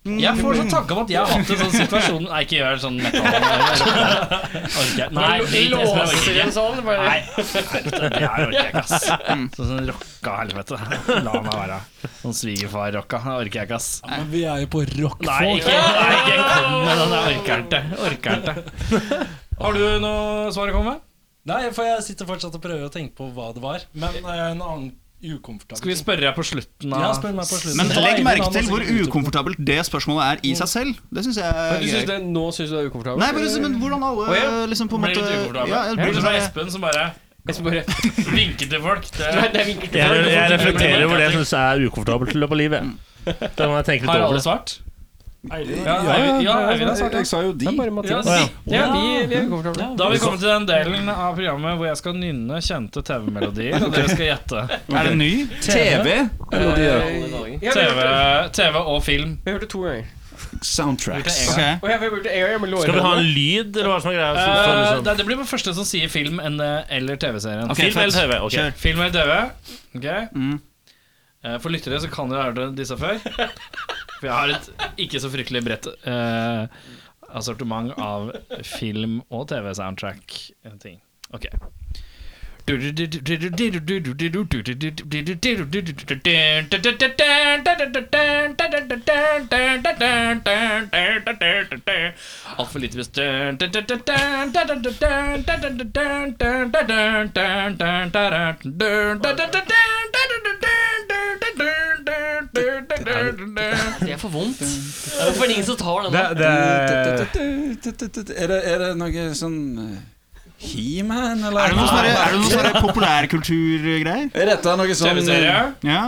Speaker 9: Mm.
Speaker 2: Jeg får sånn tanke om at jeg har hatt en sånn situasjon Nei, ikke gjør sånn metal. Orker jeg- Nei, drit, Espen, jeg orker
Speaker 1: låser
Speaker 2: ikke.
Speaker 1: en sånn. Bare.
Speaker 2: Det her orker jeg ikke,
Speaker 7: [LAUGHS]
Speaker 2: ass. Sånn sånn rocka helvete. La meg være. Sånn svigerfar-rocka. Det orker jeg ikke, ass.
Speaker 12: Men vi er jo på
Speaker 2: Nei,
Speaker 12: rockfolk.
Speaker 2: ikke, nei, ikke kom med den. Jeg orker ikke. Orker ikke. Har du noe svar å komme med?
Speaker 12: Nei, for jeg sitter fortsatt og prøver å tenke på hva det var. Men eh, en annen ukomfortabel
Speaker 2: Skal vi spørre deg på slutten
Speaker 12: Ja,
Speaker 2: av
Speaker 12: spør meg på slutten.
Speaker 9: Men
Speaker 12: Ta
Speaker 9: legg
Speaker 12: egen
Speaker 9: merke
Speaker 12: navn
Speaker 9: til
Speaker 12: og
Speaker 9: hvor
Speaker 12: sikkert utdyp det.
Speaker 9: ukomfortabelt det spørsmålet er i seg selv. Det syns jeg er
Speaker 1: Men Du synes
Speaker 9: gøy.
Speaker 1: det, nå syns du det er ukomfortabelt?
Speaker 9: Nei, bare, men hvordan
Speaker 1: Å,
Speaker 9: alle
Speaker 1: ja.
Speaker 9: liksom på en
Speaker 2: Blir
Speaker 9: måte
Speaker 2: litt ukomfortabel.
Speaker 9: ja, det blir
Speaker 2: Bortsett
Speaker 9: sånn
Speaker 2: fra
Speaker 9: her-
Speaker 2: Espen, som bare
Speaker 1: Jeg skal bare
Speaker 2: vinker til folk. Det
Speaker 1: Nei, det er vinkel.
Speaker 8: Jeg, jeg reflekterer over det jeg syns er ukomfortabelt i løpet av livet. Da må jeg tenke litt
Speaker 2: har
Speaker 8: over
Speaker 2: alle
Speaker 8: det.
Speaker 2: svart?
Speaker 12: Eilig.
Speaker 2: Ja, Eivind ja, Eivind har svart.
Speaker 6: Jeg sa jo de.
Speaker 1: Det er bare Mathias.
Speaker 2: Ja,
Speaker 1: Ja,
Speaker 2: si.
Speaker 1: vi, vi er ukomfortable.
Speaker 2: Da har vi kommet til den delen av programmet hvor jeg skal nynne kjente TV-melodier. Og dere skal gjette.
Speaker 9: Er det ny?
Speaker 6: TV. Eh,
Speaker 1: Ja, vi,
Speaker 2: TV,
Speaker 1: hørte, [LAUGHS]
Speaker 2: TV og film.
Speaker 1: vi hørte to ganger.
Speaker 6: Soundtracks.
Speaker 9: Ok.
Speaker 1: Og jeg hørte en gang med lårene.
Speaker 8: Skal vi ha en lyd, eller hva som er greia? Så, så,
Speaker 2: Eh,
Speaker 8: liksom.
Speaker 2: det, det blir den første som sier film enn, eh, eller TV-serien.
Speaker 9: Ok,
Speaker 8: Film
Speaker 9: fett.
Speaker 8: eller TV? Ok.
Speaker 2: Film eller TV. ok?
Speaker 9: Mm.
Speaker 2: Eh, For lyttere så kan dere ha hørt disse før. For jeg har et ikke så fryktelig bredt eh, assortiment av film- og TV-soundtrack-ting. Ok. Altfor lite best
Speaker 7: Det er for vondt. Det er for ingen som tar den.
Speaker 6: Det,
Speaker 7: da.
Speaker 6: det er, det, er det noe sånn eh, He-Man, eller?
Speaker 9: Er det noe sånn her- er det noe sånn [LAUGHS] her populærkulturgreier?
Speaker 6: Er dette noe sånn
Speaker 2: TV-serie?
Speaker 9: Ja.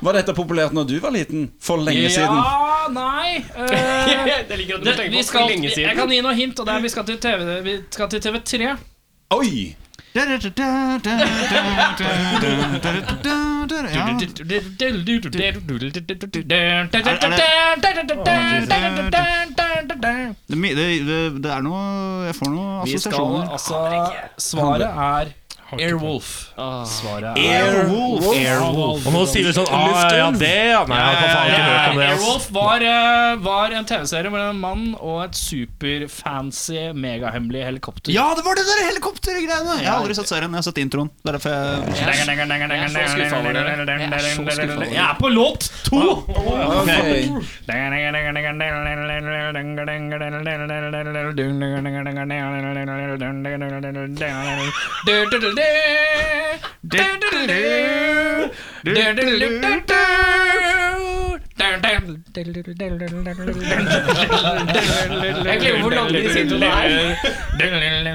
Speaker 6: Var dette populært når du var liten? For lenge siden?
Speaker 2: Ja,
Speaker 1: [LAUGHS]
Speaker 2: nei eh,
Speaker 1: Jeg liker at du
Speaker 2: det,
Speaker 1: tenker
Speaker 2: vi
Speaker 1: på
Speaker 2: skal,
Speaker 1: for lenge
Speaker 2: Jeg
Speaker 1: siden.
Speaker 2: kan gi noe hint, og det er vi skal til, TV, vi skal til TV3.
Speaker 6: Oi!
Speaker 9: Ja. Det, er mye- det, det, det er noe Jeg får noen
Speaker 2: Vi skal
Speaker 9: assosiasjoner.
Speaker 2: altså Svaret er Airwolf. Svaret er
Speaker 6: Airwolf.
Speaker 8: Og nå sier vi sånn ah, ja, det, ja. Nei, jeg har faen ikke hørt om det. Ass.
Speaker 2: Airwolf var, eh, var en TV-serie med en mann og et superfancy, megahemmelig helikopter.
Speaker 9: Ja, det var det der helikoptergreiene! Jeg har aldri sett serien, jeg har sett introen. Det er derfor jeg
Speaker 2: Jeg er
Speaker 7: så skuffet over dere. Jeg er så skuffet over dere.
Speaker 2: Jeg er på låt to!
Speaker 6: Ok.
Speaker 1: Jeg glemmer hvor lange de sitter der.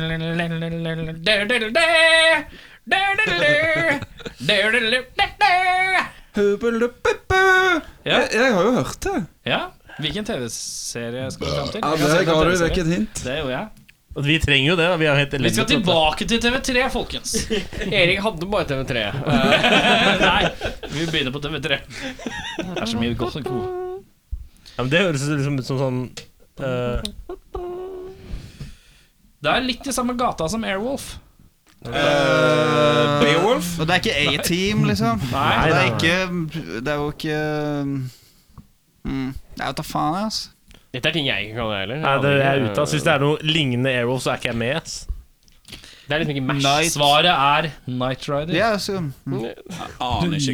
Speaker 6: Jeg, jeg har jo hørt det.
Speaker 2: Ja, hvilken TV-serie skal vi fram til?
Speaker 6: Ja,
Speaker 2: Jeg
Speaker 6: Der
Speaker 2: ser på
Speaker 6: ga du
Speaker 2: TV-serie.
Speaker 6: vekk et hint.
Speaker 2: Det gjorde jeg.
Speaker 8: Og Vi trenger jo det. da, Vi er jo helt
Speaker 2: Vi skal
Speaker 8: elendige på dette.
Speaker 2: tilbake til TV3, folkens.
Speaker 1: Erik hadde bare TV3.
Speaker 2: Nei, vi begynner på TV3. Det er så mye godt og god.
Speaker 8: Ja, men det høres liksom ut som sånn eh,
Speaker 7: Det er litt i samme gata som Airwolf.
Speaker 6: Beowulf?
Speaker 11: Og det er ikke A-Team, liksom.
Speaker 7: Nei,
Speaker 11: det er ikke Det er jo ikke mm, Nei, vet da faen, jeg, altså.
Speaker 1: Dette er ting jeg ikke kan gjøre heller.
Speaker 8: Nei, det er jeg ute av. Så Hvis det er noe lignende Airwolf, så er ikke jeg med. ass.
Speaker 1: Det er liksom ikke mash.
Speaker 7: Svaret er Night Rider.
Speaker 11: Ja, så, mm.
Speaker 6: Aner ikke hva det er.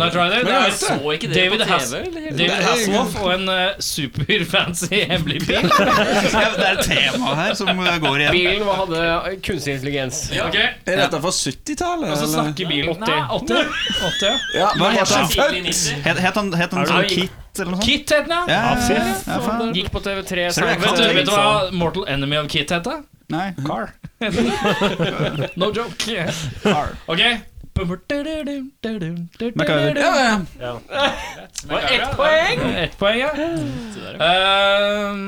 Speaker 7: Night Rider det er
Speaker 3: Så ikke det på
Speaker 7: David
Speaker 3: TV?
Speaker 7: Hass- David Hasselhoff og en eh, superfancy hemmelig bil.
Speaker 9: Ja,
Speaker 7: [LAUGHS]
Speaker 9: det er et tema her som eh, går igjen.
Speaker 1: Bilen var- hadde kunstig intelligens.
Speaker 7: Ok,
Speaker 6: Er dette fra 70-tallet?
Speaker 7: Og så
Speaker 6: eller?
Speaker 7: snakker bilen 80. 80 ja.
Speaker 6: Ja,
Speaker 9: Hva
Speaker 6: men
Speaker 9: heter
Speaker 6: hva
Speaker 9: han?
Speaker 6: skjer?
Speaker 9: Het, het han, het han sånn Kit eller noe sånt?
Speaker 7: Kit het den, ja.
Speaker 9: Ja, ja, ja.
Speaker 11: ja, faen.
Speaker 1: Gikk på TV3
Speaker 9: Ser du, jeg
Speaker 7: Vet
Speaker 9: kan
Speaker 7: du, vet
Speaker 9: ting,
Speaker 7: du hva Mortal Enemy of Kit het? da?
Speaker 11: Nei.
Speaker 7: No joke. Ok.
Speaker 11: MacGyver.
Speaker 7: Ja, ja. Var ett poeng. Ett poeng, ja. Um,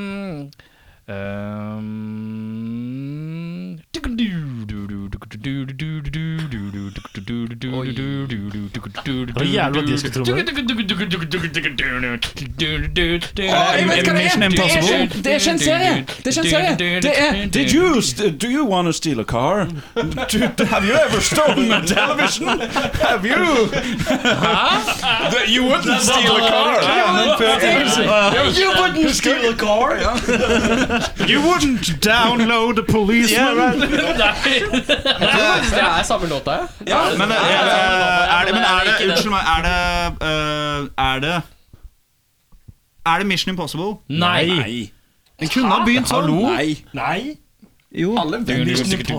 Speaker 7: um,
Speaker 8: Det var jævlig at de skulle tromme.
Speaker 11: Mission Impossible.
Speaker 6: Det er ikke en serie! Det er ikke en serie! Det er Did you st Do you wanna steal a car? Do, have you ever stolen a television? Have you? That you wouldn't steal a car! You wouldn't steal a car!
Speaker 9: You wouldn't download a policeman.
Speaker 1: Det er samme låta, ja.
Speaker 9: Men, eh, er det, men er det Unnskyld meg, er det eh, Er det Er det Mission Impossible?
Speaker 7: Nei.
Speaker 6: Nei.
Speaker 9: Den kunne ha begynt sånn.
Speaker 6: Nei.
Speaker 8: Nei.
Speaker 6: Alle vet jo sikkert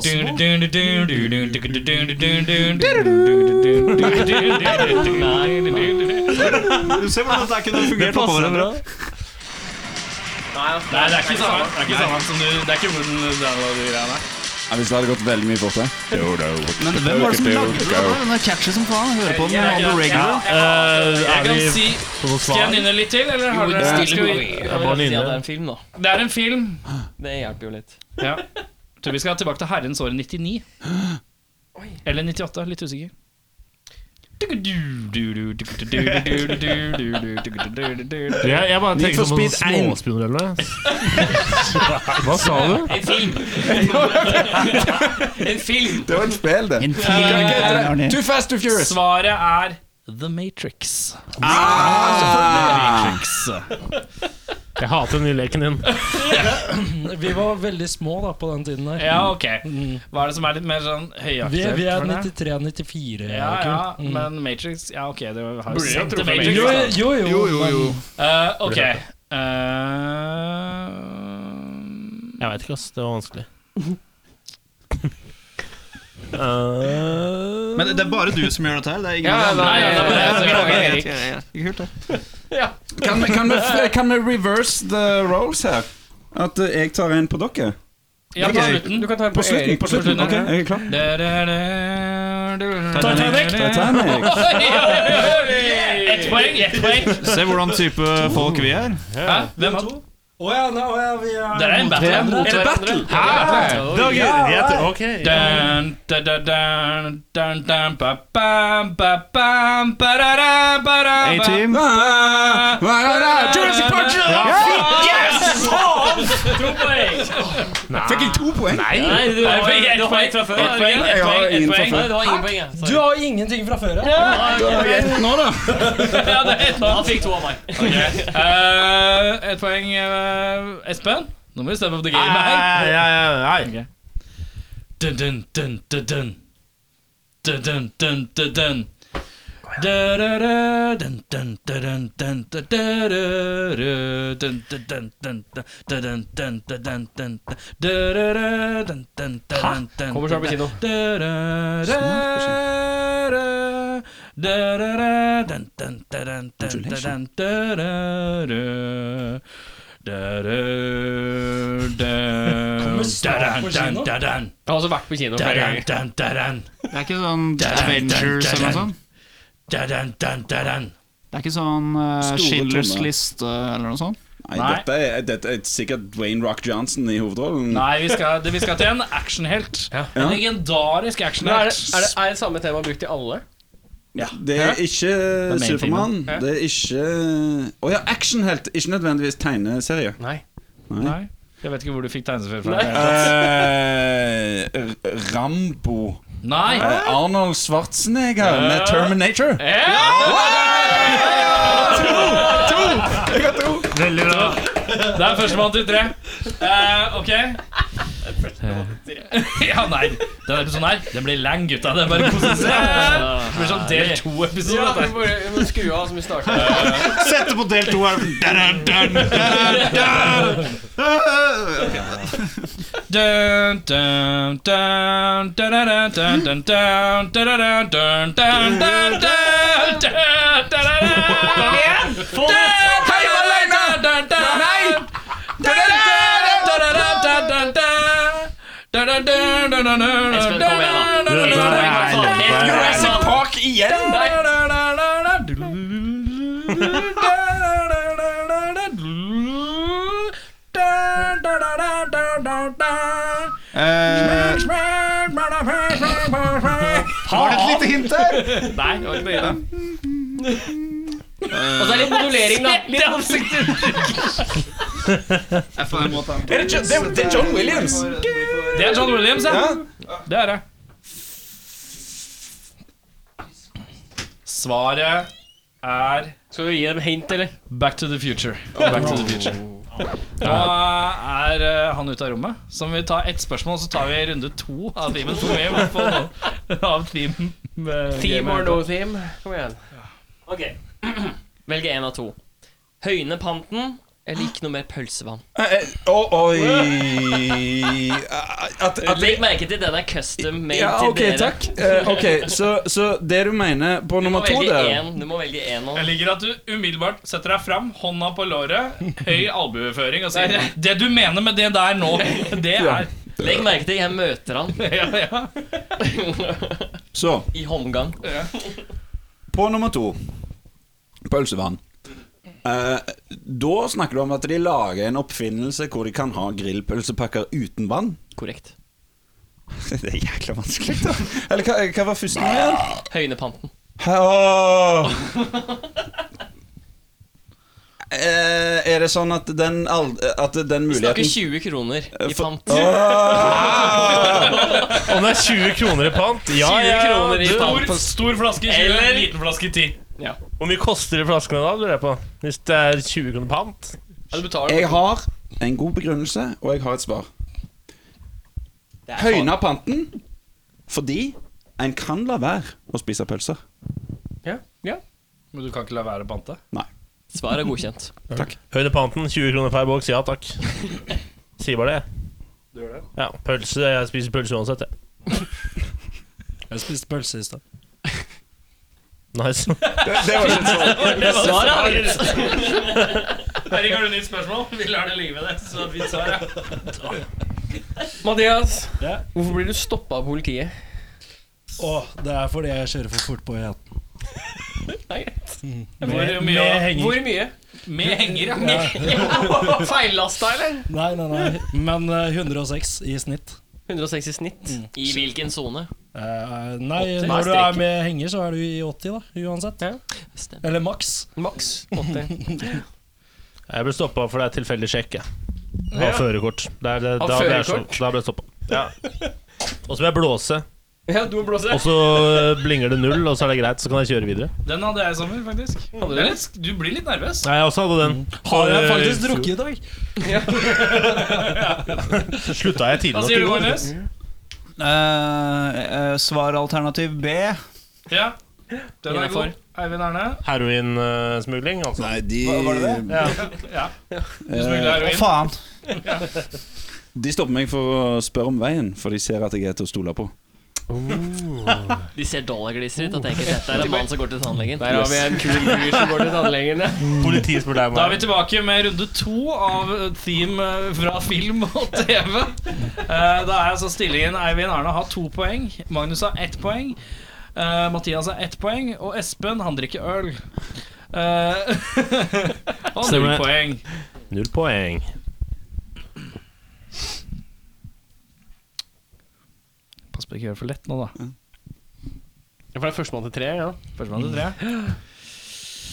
Speaker 9: Du ser hvordan dette er kunne fungert oppå hverandre.
Speaker 7: Nei, det er ikke samme Det er ikke samme som du Det er ikke hvordan du greier deg.
Speaker 6: Ja, Hvis det hadde gått veldig mye fortere.
Speaker 11: Men hvem var det som lagde den? Det var den der catchy som faen. Jeg Hører på den on the regular.
Speaker 12: eh,
Speaker 7: Jeg
Speaker 8: Er
Speaker 7: kan
Speaker 8: vi
Speaker 7: si
Speaker 8: på noe
Speaker 7: Skal jeg
Speaker 8: svar?
Speaker 7: nynne litt til, eller har
Speaker 3: Jo,
Speaker 7: dere
Speaker 3: det
Speaker 7: skal vi-
Speaker 3: Jeg
Speaker 8: bare
Speaker 3: vil si
Speaker 8: nynne.
Speaker 3: at det er en film, da.
Speaker 7: Det er en film.
Speaker 3: Det hjelper jo litt.
Speaker 7: Ja. Tror vi skal tilbake til herrens år 99. Eller 98, litt usikker.
Speaker 8: Jeg, jeg bare
Speaker 6: Need
Speaker 8: tenker
Speaker 6: for
Speaker 8: på noen
Speaker 6: Speed 1.
Speaker 8: småspioner eller noe. Hva sa du?
Speaker 3: En film! en film!
Speaker 6: Det var et spill, det.
Speaker 11: Arne.
Speaker 6: Too fast, too furious.
Speaker 7: Svaret er The Matrix.
Speaker 6: Ah,
Speaker 2: Ah!
Speaker 8: Jeg hater den nye leken din.
Speaker 12: Vi var veldig små da på den tiden der.
Speaker 7: Ja, ok. Hva er det som er litt mer sånn
Speaker 12: Vi,
Speaker 7: høyaktuelt?
Speaker 12: vi er
Speaker 7: for deg?
Speaker 12: 93-94.
Speaker 7: ja, Mm. ja, men Matrix Ja, ok, det har jo
Speaker 1: Burde jeg
Speaker 7: sendt
Speaker 1: tro på
Speaker 7: til Matrix.
Speaker 1: Matrix,
Speaker 12: Jo,
Speaker 7: da.
Speaker 12: jo, jo. men-
Speaker 7: Eh, ok.
Speaker 8: Jeg veit ikke, ass. Det var vanskelig. Eh,
Speaker 9: Men det er bare du som gjør dette her. Det er ingen
Speaker 1: Ja,
Speaker 9: andre.
Speaker 1: nei,
Speaker 7: det er bare jeg som gjør
Speaker 9: Ja, ja,
Speaker 7: det.
Speaker 9: ja, ja. Kult, det.
Speaker 6: Kan vi, kan, vi, kan vi reverse the roles her? At eh, jeg tar en på dere?
Speaker 7: Eh, ja, på slutten.
Speaker 1: Du kan ta en
Speaker 6: På slutten.
Speaker 1: Erik.
Speaker 6: på slutten, Ok, jeg er klar.
Speaker 7: Titanic!
Speaker 6: Titanic.
Speaker 7: Ett poeng, ett poeng.
Speaker 9: Se hvordan type folk vi er.
Speaker 7: Hæ? Hvem to?
Speaker 12: Å ja, nei, å ja, vi er
Speaker 7: Det er en battle.
Speaker 12: mot
Speaker 7: Det er en battle. Hæ?
Speaker 8: det var gøy. Jeg tror- ok.
Speaker 7: Dun, dun, dun, dun, dun, dun, ba, bam, ba, bam, ba, da, da, ba, da, ba.
Speaker 9: A-Team.
Speaker 6: Jurassic Park!
Speaker 7: To poeng.
Speaker 6: Fikk jeg to poeng?
Speaker 3: Nei, du
Speaker 7: Nei,
Speaker 3: har
Speaker 7: poeng,
Speaker 3: du
Speaker 7: ett
Speaker 3: har
Speaker 7: poeng
Speaker 3: ett fra før.
Speaker 7: Ett poeng,
Speaker 6: Jeg
Speaker 7: ett
Speaker 6: har
Speaker 7: poeng, ett
Speaker 6: ingen fra
Speaker 7: poeng.
Speaker 6: før.
Speaker 3: Nei, du har ingen poeng. jeg. Sorry.
Speaker 12: Du har jo ingenting fra før
Speaker 6: Nå,
Speaker 12: av.
Speaker 6: da.
Speaker 7: Ja, det er ett poeng.
Speaker 3: Han fikk to av meg.
Speaker 7: Eh, Ett poeng, eh, Espen. Nå må vi steppe opp the game her.
Speaker 8: Nei, nei, nei, nei.
Speaker 7: Dun, dun, dun, dun, dun. Dun, dun, dun, dun, dun. Da-da-da, dun, dun, da-dun, dun, da-da-da-da, dun, dun, dun, dun, da-dun, dun, da-dun, dun, da- da-da-da, dun, dun, da-dun, dun,
Speaker 1: Kommer snart på kino.
Speaker 7: da-da-da, da-da-da, dun, dun, da-dun, dun, da-dun, da-da-da. Da-da, da,
Speaker 12: snart på
Speaker 7: da-dun,
Speaker 12: kino.
Speaker 7: da-dun,
Speaker 1: Jeg har også vært på kino flere
Speaker 7: da-dun,
Speaker 1: ganger.
Speaker 7: da-dun, da-dun.
Speaker 9: Det er ikke sånn Avengers eller noe sånt?
Speaker 7: Da-dun, da-dun, da-dun.
Speaker 9: Det er ikke sånn uh,
Speaker 6: Store
Speaker 9: Schindlers
Speaker 6: tommer.
Speaker 9: liste eller noe sånt?
Speaker 6: Nei, dette er, dette er sikkert Dwayne Rock Johnson i hovedrollen.
Speaker 7: Nei, vi skal, det- vi skal til en actionhelt. En legendarisk
Speaker 1: Men er det,
Speaker 7: actionhelt.
Speaker 1: er det er det samme tema brukt i alle?
Speaker 6: Ja, det er ikke Supermann. Det er ikke Å ja, actionhelt. Ikke nødvendigvis tegneserie.
Speaker 1: Nei.
Speaker 6: Nei.
Speaker 7: Nei. Jeg vet ikke hvor du fikk tegneserie fra.
Speaker 6: Eh, R- Rambo.
Speaker 7: Nei!
Speaker 6: Eh, Arnold Schwarzenegger med Terminator.
Speaker 7: Veldig bra. Det er førstemann til tre. Eh, ok. [LAUGHS] ja, nei. Denne episoden sånn her Den blir lang, gutta. Det er bare å kose seg. Det blir sånn del to-episode. dette her.
Speaker 3: vi må skru av som vi starta.
Speaker 9: Sette på del to her. Dun, dun, dun, dun, dun. Ok.
Speaker 7: Dun, dun, dun, dun, dun, dun, dun, dun, dun, dun, dun, dun, dun, dun, dun, dun, dun, dun. Dun, dun, dun, dun, dun. Dun, dun, dun, dun, dun, dun. Dun, dun, dun, dun, dun, dun,
Speaker 3: Espen, kom igjen, da.
Speaker 7: dun, dun, dun, dun.
Speaker 6: Jurassic Park igjen!
Speaker 9: Eh, Har du et lite hint her?
Speaker 3: Og så er det litt modulering, da.
Speaker 6: Er det, Jo- det, det er John Williams.
Speaker 7: Det er John Williams, ja. Det er det. Svaret er
Speaker 3: Skal vi gi dem hint, eller?
Speaker 7: Back to the future. Back to the future. Nå er eh, han ute av rommet. Så om vi tar ett spørsmål, så tar vi runde to av teamen. For mye, i hvert fall, av teamen.
Speaker 3: Theme or no theme? Kom igjen. Ok. [CLEARS THROAT] Velge én av to. Høyne panten eller ikke noe mer pølsevann.
Speaker 6: Eh, eh, å, Oi At, at
Speaker 3: Legg merke til den er custom made
Speaker 6: Ja,
Speaker 3: til
Speaker 6: ok,
Speaker 3: dere.
Speaker 6: takk. Eh, ok, så, så det du mener på
Speaker 3: Du må
Speaker 6: nummer to
Speaker 3: velge
Speaker 6: der
Speaker 3: én. Du må velge én nå.
Speaker 7: Jeg liker at du umiddelbart setter deg fram, hånda på låret, høy albueføring og sier Det du mener med det der
Speaker 3: [LAUGHS]
Speaker 7: nå, det er
Speaker 3: Legg merke til jeg møter han
Speaker 7: ja, ja.
Speaker 6: Så,
Speaker 3: i håndgang.
Speaker 6: på nummer to Pølsevann. Eh, da snakker du om at de lager en oppfinnelse hvor de kan ha grillpølsepakker uten vann. [LAUGHS]
Speaker 3: Korrekt.
Speaker 6: Det er jækla vanskelig, da. Eller hva, hva var første nå igjen?
Speaker 3: Høynepanten.
Speaker 6: Åh. Eh, er det sånn at den, ald- at den
Speaker 3: Vi snakker
Speaker 6: muligheten
Speaker 3: 20 kroner i
Speaker 6: for-
Speaker 3: pant.
Speaker 8: Om det er 20 kroner i pant? Ja,
Speaker 3: 20
Speaker 8: Ah, ja.
Speaker 3: kroner i
Speaker 8: Du,
Speaker 3: pant.
Speaker 7: Stor, stor flaske 20,
Speaker 3: Eller-
Speaker 7: liten flaske 10.
Speaker 8: Hvor mye koster de flaskene da, lurer jeg på? Hvis det er 20 kroner pant?
Speaker 3: Ja, du betaler.
Speaker 6: Jeg har en god begrunnelse, og jeg har et svar. Høyna panten fordi en kan la være å spise pølser.
Speaker 7: Men du kan ikke la være å pante?
Speaker 3: Svaret er godkjent.
Speaker 8: Høyde panten, 20 kroner per boks, ja
Speaker 12: [LAUGHS]
Speaker 8: takk. Sier bare det. Du gjør det? Ja, pølse, Jeg spiser pølse uansett, jeg.
Speaker 12: [LAUGHS] Jeg spiste pølse i stad.
Speaker 8: Nice.
Speaker 6: sånn.
Speaker 3: Svaret er
Speaker 7: [LAUGHS] Erik, har du nytt spørsmål? Vi lar det ligge med det. Så fint svar, ja.
Speaker 3: Mathias,
Speaker 12: Ja.
Speaker 3: hvorfor blir du stoppa av politiet?
Speaker 12: Å, det er fordi jeg kjører for fort på E18. Mm.
Speaker 3: Det er greit.
Speaker 12: Med,
Speaker 7: Hvor
Speaker 12: med
Speaker 7: mye-
Speaker 12: henger.
Speaker 3: Hvor mye?
Speaker 7: Med henger, ja. [LAUGHS]
Speaker 3: Feillasta, eller?
Speaker 12: Nei, nei, nei. Men eh, 106 i snitt.
Speaker 3: 160 snitt.
Speaker 7: Mm.
Speaker 3: I hvilken sone?
Speaker 12: Eh, nei,
Speaker 3: 80.
Speaker 12: når
Speaker 3: Nei,
Speaker 12: du er
Speaker 3: strek.
Speaker 12: med henger, så er du i 80, da. Uansett.
Speaker 3: Stemmer.
Speaker 12: Eller maks.
Speaker 3: Maks 80.
Speaker 8: Jeg ble stoppa for det er tilfeldig sjekk, jeg. Av førerkort. Det er det,
Speaker 3: Av
Speaker 8: da, ble jeg
Speaker 3: førerkort?
Speaker 8: så- da ble jeg stoppa. Ja. Og så må jeg blåse,
Speaker 3: Ja, du må blåse.
Speaker 8: og så eh, blinger det null, og så er det greit, så kan jeg kjøre videre.
Speaker 7: Den hadde jeg i sommer, faktisk. Det er litt, du blir litt nervøs.
Speaker 8: Nei, jeg også hadde den. eh,
Speaker 12: Har jeg faktisk drukket i dag?
Speaker 8: Slutta jeg tidlig
Speaker 7: Hva
Speaker 8: nok
Speaker 7: sier
Speaker 8: i
Speaker 7: du,
Speaker 8: går?
Speaker 7: Magnus?
Speaker 11: Eh, eh, svaralternativ B.
Speaker 7: Ja. Den er
Speaker 3: Innenfor.
Speaker 7: god. Eivind Erne.
Speaker 8: Heroinsmugling, altså.
Speaker 6: [LAUGHS] Nei, de,
Speaker 7: Ja. Du
Speaker 6: Eh,
Speaker 7: smugler
Speaker 11: Å,
Speaker 7: heroin.
Speaker 11: faen.
Speaker 6: de stopper meg for å spørre om veien, for de ser at jeg er til å stole på.
Speaker 3: De ser dollargliser ut og tenker dette er en mann som går til tannlegen.
Speaker 1: Der har vi en kul fyr som går til tannlegen. ja.
Speaker 8: Politiet spurte deg om
Speaker 7: Da er vi
Speaker 8: det.
Speaker 7: tilbake med runde to av Team eh, fra film og [LAUGHS] TV. Eh, Da er altså stillingen Eivind Arne har to poeng. Magnus har ett poeng. eh, Mathias har ett poeng. Og Espen, han drikker øl. Eh, [LAUGHS] Og null
Speaker 8: Stemmer.
Speaker 7: poeng.
Speaker 8: Null poeng.
Speaker 7: Pass på ikke å gjøre det for lett nå, da.
Speaker 1: For det er førstemann til tre, ja.
Speaker 7: Førstemann til tre.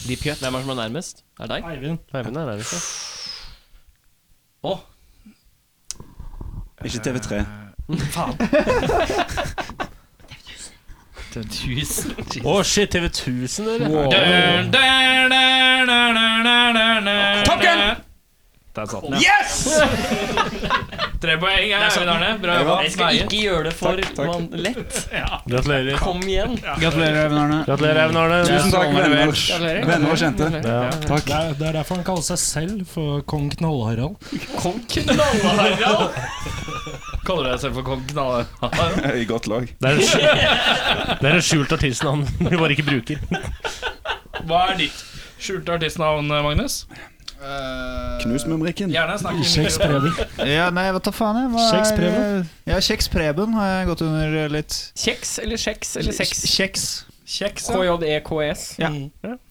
Speaker 3: Deep cut. Hvem er det som er nærmest? Er det deg?
Speaker 12: Eivind.
Speaker 1: Eivind er her, ikke
Speaker 7: Å,
Speaker 6: Ikke TV3.
Speaker 8: Å, shit, TV 1000, dere.
Speaker 7: Top Gun! Der satt den. Yes! Tre poeng er Øyvind Arne. Bra jobba.
Speaker 3: Jeg skal ikke gjøre det for man lett.
Speaker 8: Gratulerer.
Speaker 3: Kom igjen.
Speaker 11: Gratulerer, Even Arne.
Speaker 8: Gratulerer, Even Arne.
Speaker 6: Tusen takk, venner,
Speaker 1: Gratulerer.
Speaker 6: venner og kjente. Takk.
Speaker 12: Det er, det er derfor han kaller seg selv for kong Knallharald.
Speaker 7: Kong Knallharald. Kaller du deg selv for kong Knallharald?
Speaker 6: [LAUGHS] I godt lag.
Speaker 8: Det er en skjult, det er en skjult artistnavn [LAUGHS] vi bare ikke bruker.
Speaker 7: Hva er ditt skjulte artistnavn, eh, Magnus?
Speaker 6: Knus mumrikken.
Speaker 7: Gjerne snakk i
Speaker 12: Kjeks
Speaker 7: mikrofonen.
Speaker 12: Preben.
Speaker 11: Ja, nei, hva da faen jeg? Hva
Speaker 12: Kjeks
Speaker 11: er-
Speaker 12: Preben?
Speaker 11: Ja, Kjeks Preben har jeg gått under eh, litt.
Speaker 1: Kjeks eller kjeks eller sex?
Speaker 11: Kjeks.
Speaker 7: Kjeks, ja.
Speaker 3: E
Speaker 1: KJEKS.
Speaker 11: Ja. Nei,
Speaker 7: Du
Speaker 11: vent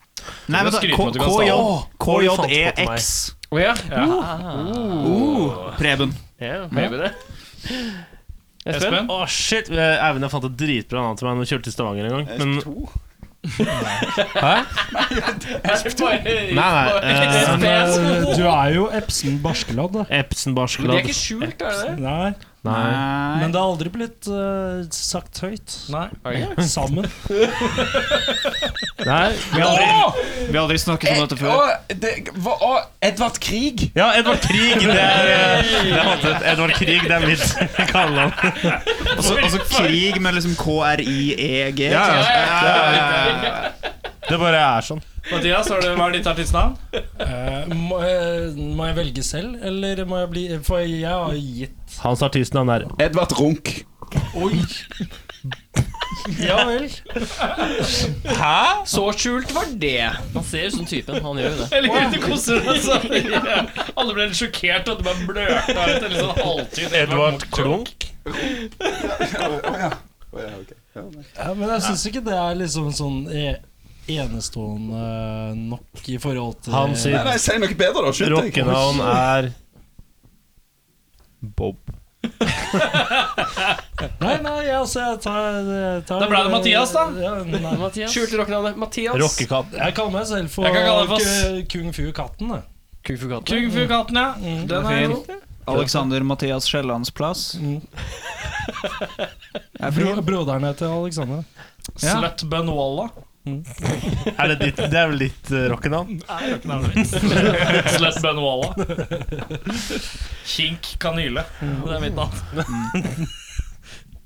Speaker 11: da.
Speaker 7: kan skryte med at du kan
Speaker 11: KJ
Speaker 8: stave. E
Speaker 11: KJEX.
Speaker 7: Oh,
Speaker 1: Å ja.
Speaker 11: Preben.
Speaker 8: Ja.
Speaker 7: Maybe det. Espen?
Speaker 8: Å, shit. eh, Even, jeg fant et dritbra navn til meg når jeg kjørte til Stavanger en gang. Men Nei, nei. eh,
Speaker 12: Men eh, du er jo Epsen Barskeladd, da.
Speaker 8: Epsen
Speaker 1: Det er
Speaker 8: Barskeladd.
Speaker 1: ikke skjult, er det det?
Speaker 12: Nei.
Speaker 8: Nei.
Speaker 12: Men det har aldri blitt eh, sagt høyt.
Speaker 7: Nei.
Speaker 12: [LAUGHS] Sammen.
Speaker 8: Nei.
Speaker 11: Vi har aldri snakket om dette
Speaker 3: Eh,
Speaker 11: før.
Speaker 6: Edvard Krig!
Speaker 8: Ja, Edvard Krig. Det er, eh, det er hatet. Edvard Krig, det er mitt kallenavn.
Speaker 11: Altså, altså krig med liksom K-R-I-E-G.
Speaker 8: Ja, ja. Det bare er sånn.
Speaker 7: Mathias, har du, hva er ditt artistnavn?
Speaker 12: Eh, må, eh, må jeg velge selv, eller må jeg bli For jeg har gitt
Speaker 8: Hans artistnavn er
Speaker 6: Edvard Runk.
Speaker 12: Ja vel.
Speaker 1: Så skjult var det.
Speaker 3: Han ser ut som typen. Han gjør jo det.
Speaker 7: Jeg liker at du koser deg sånn. Alle ble litt sjokkert og du bare blørta ut en litt sånn halvtid.
Speaker 8: Edvard Klunk.
Speaker 12: Ja, men jeg syns ikke det er liksom sånn eh, enestående nok i forhold til
Speaker 8: Han sier-
Speaker 6: Nei, nei, Si noe bedre, da. Skyt deg.
Speaker 8: Rockenavn er Bob.
Speaker 12: Nei, nei, altså, jeg tar, jeg tar
Speaker 7: Da ble det Mathias, da.
Speaker 12: Ja, nei, Mathias.
Speaker 1: Skjult rockenavn. Mathias.
Speaker 8: Rockekatt.
Speaker 12: Jeg kaller meg selv for
Speaker 7: Jeg kan kalle meg for-
Speaker 12: Ku- Kung Fu Katten. da.
Speaker 1: Kung fu katten.
Speaker 7: Kung fu katten, ja. Den er god.
Speaker 11: Alexander Mathias Skjellandsplass. Jeg er
Speaker 12: Bro,
Speaker 11: fin.
Speaker 12: broderen heter Alexander.
Speaker 11: Ja.
Speaker 7: Slut Benwalla.
Speaker 8: Er det, ditt, det er vel ditt uh, rockenavn?
Speaker 7: Slut Benwalla. Kink kanyle. Det er mitt navn.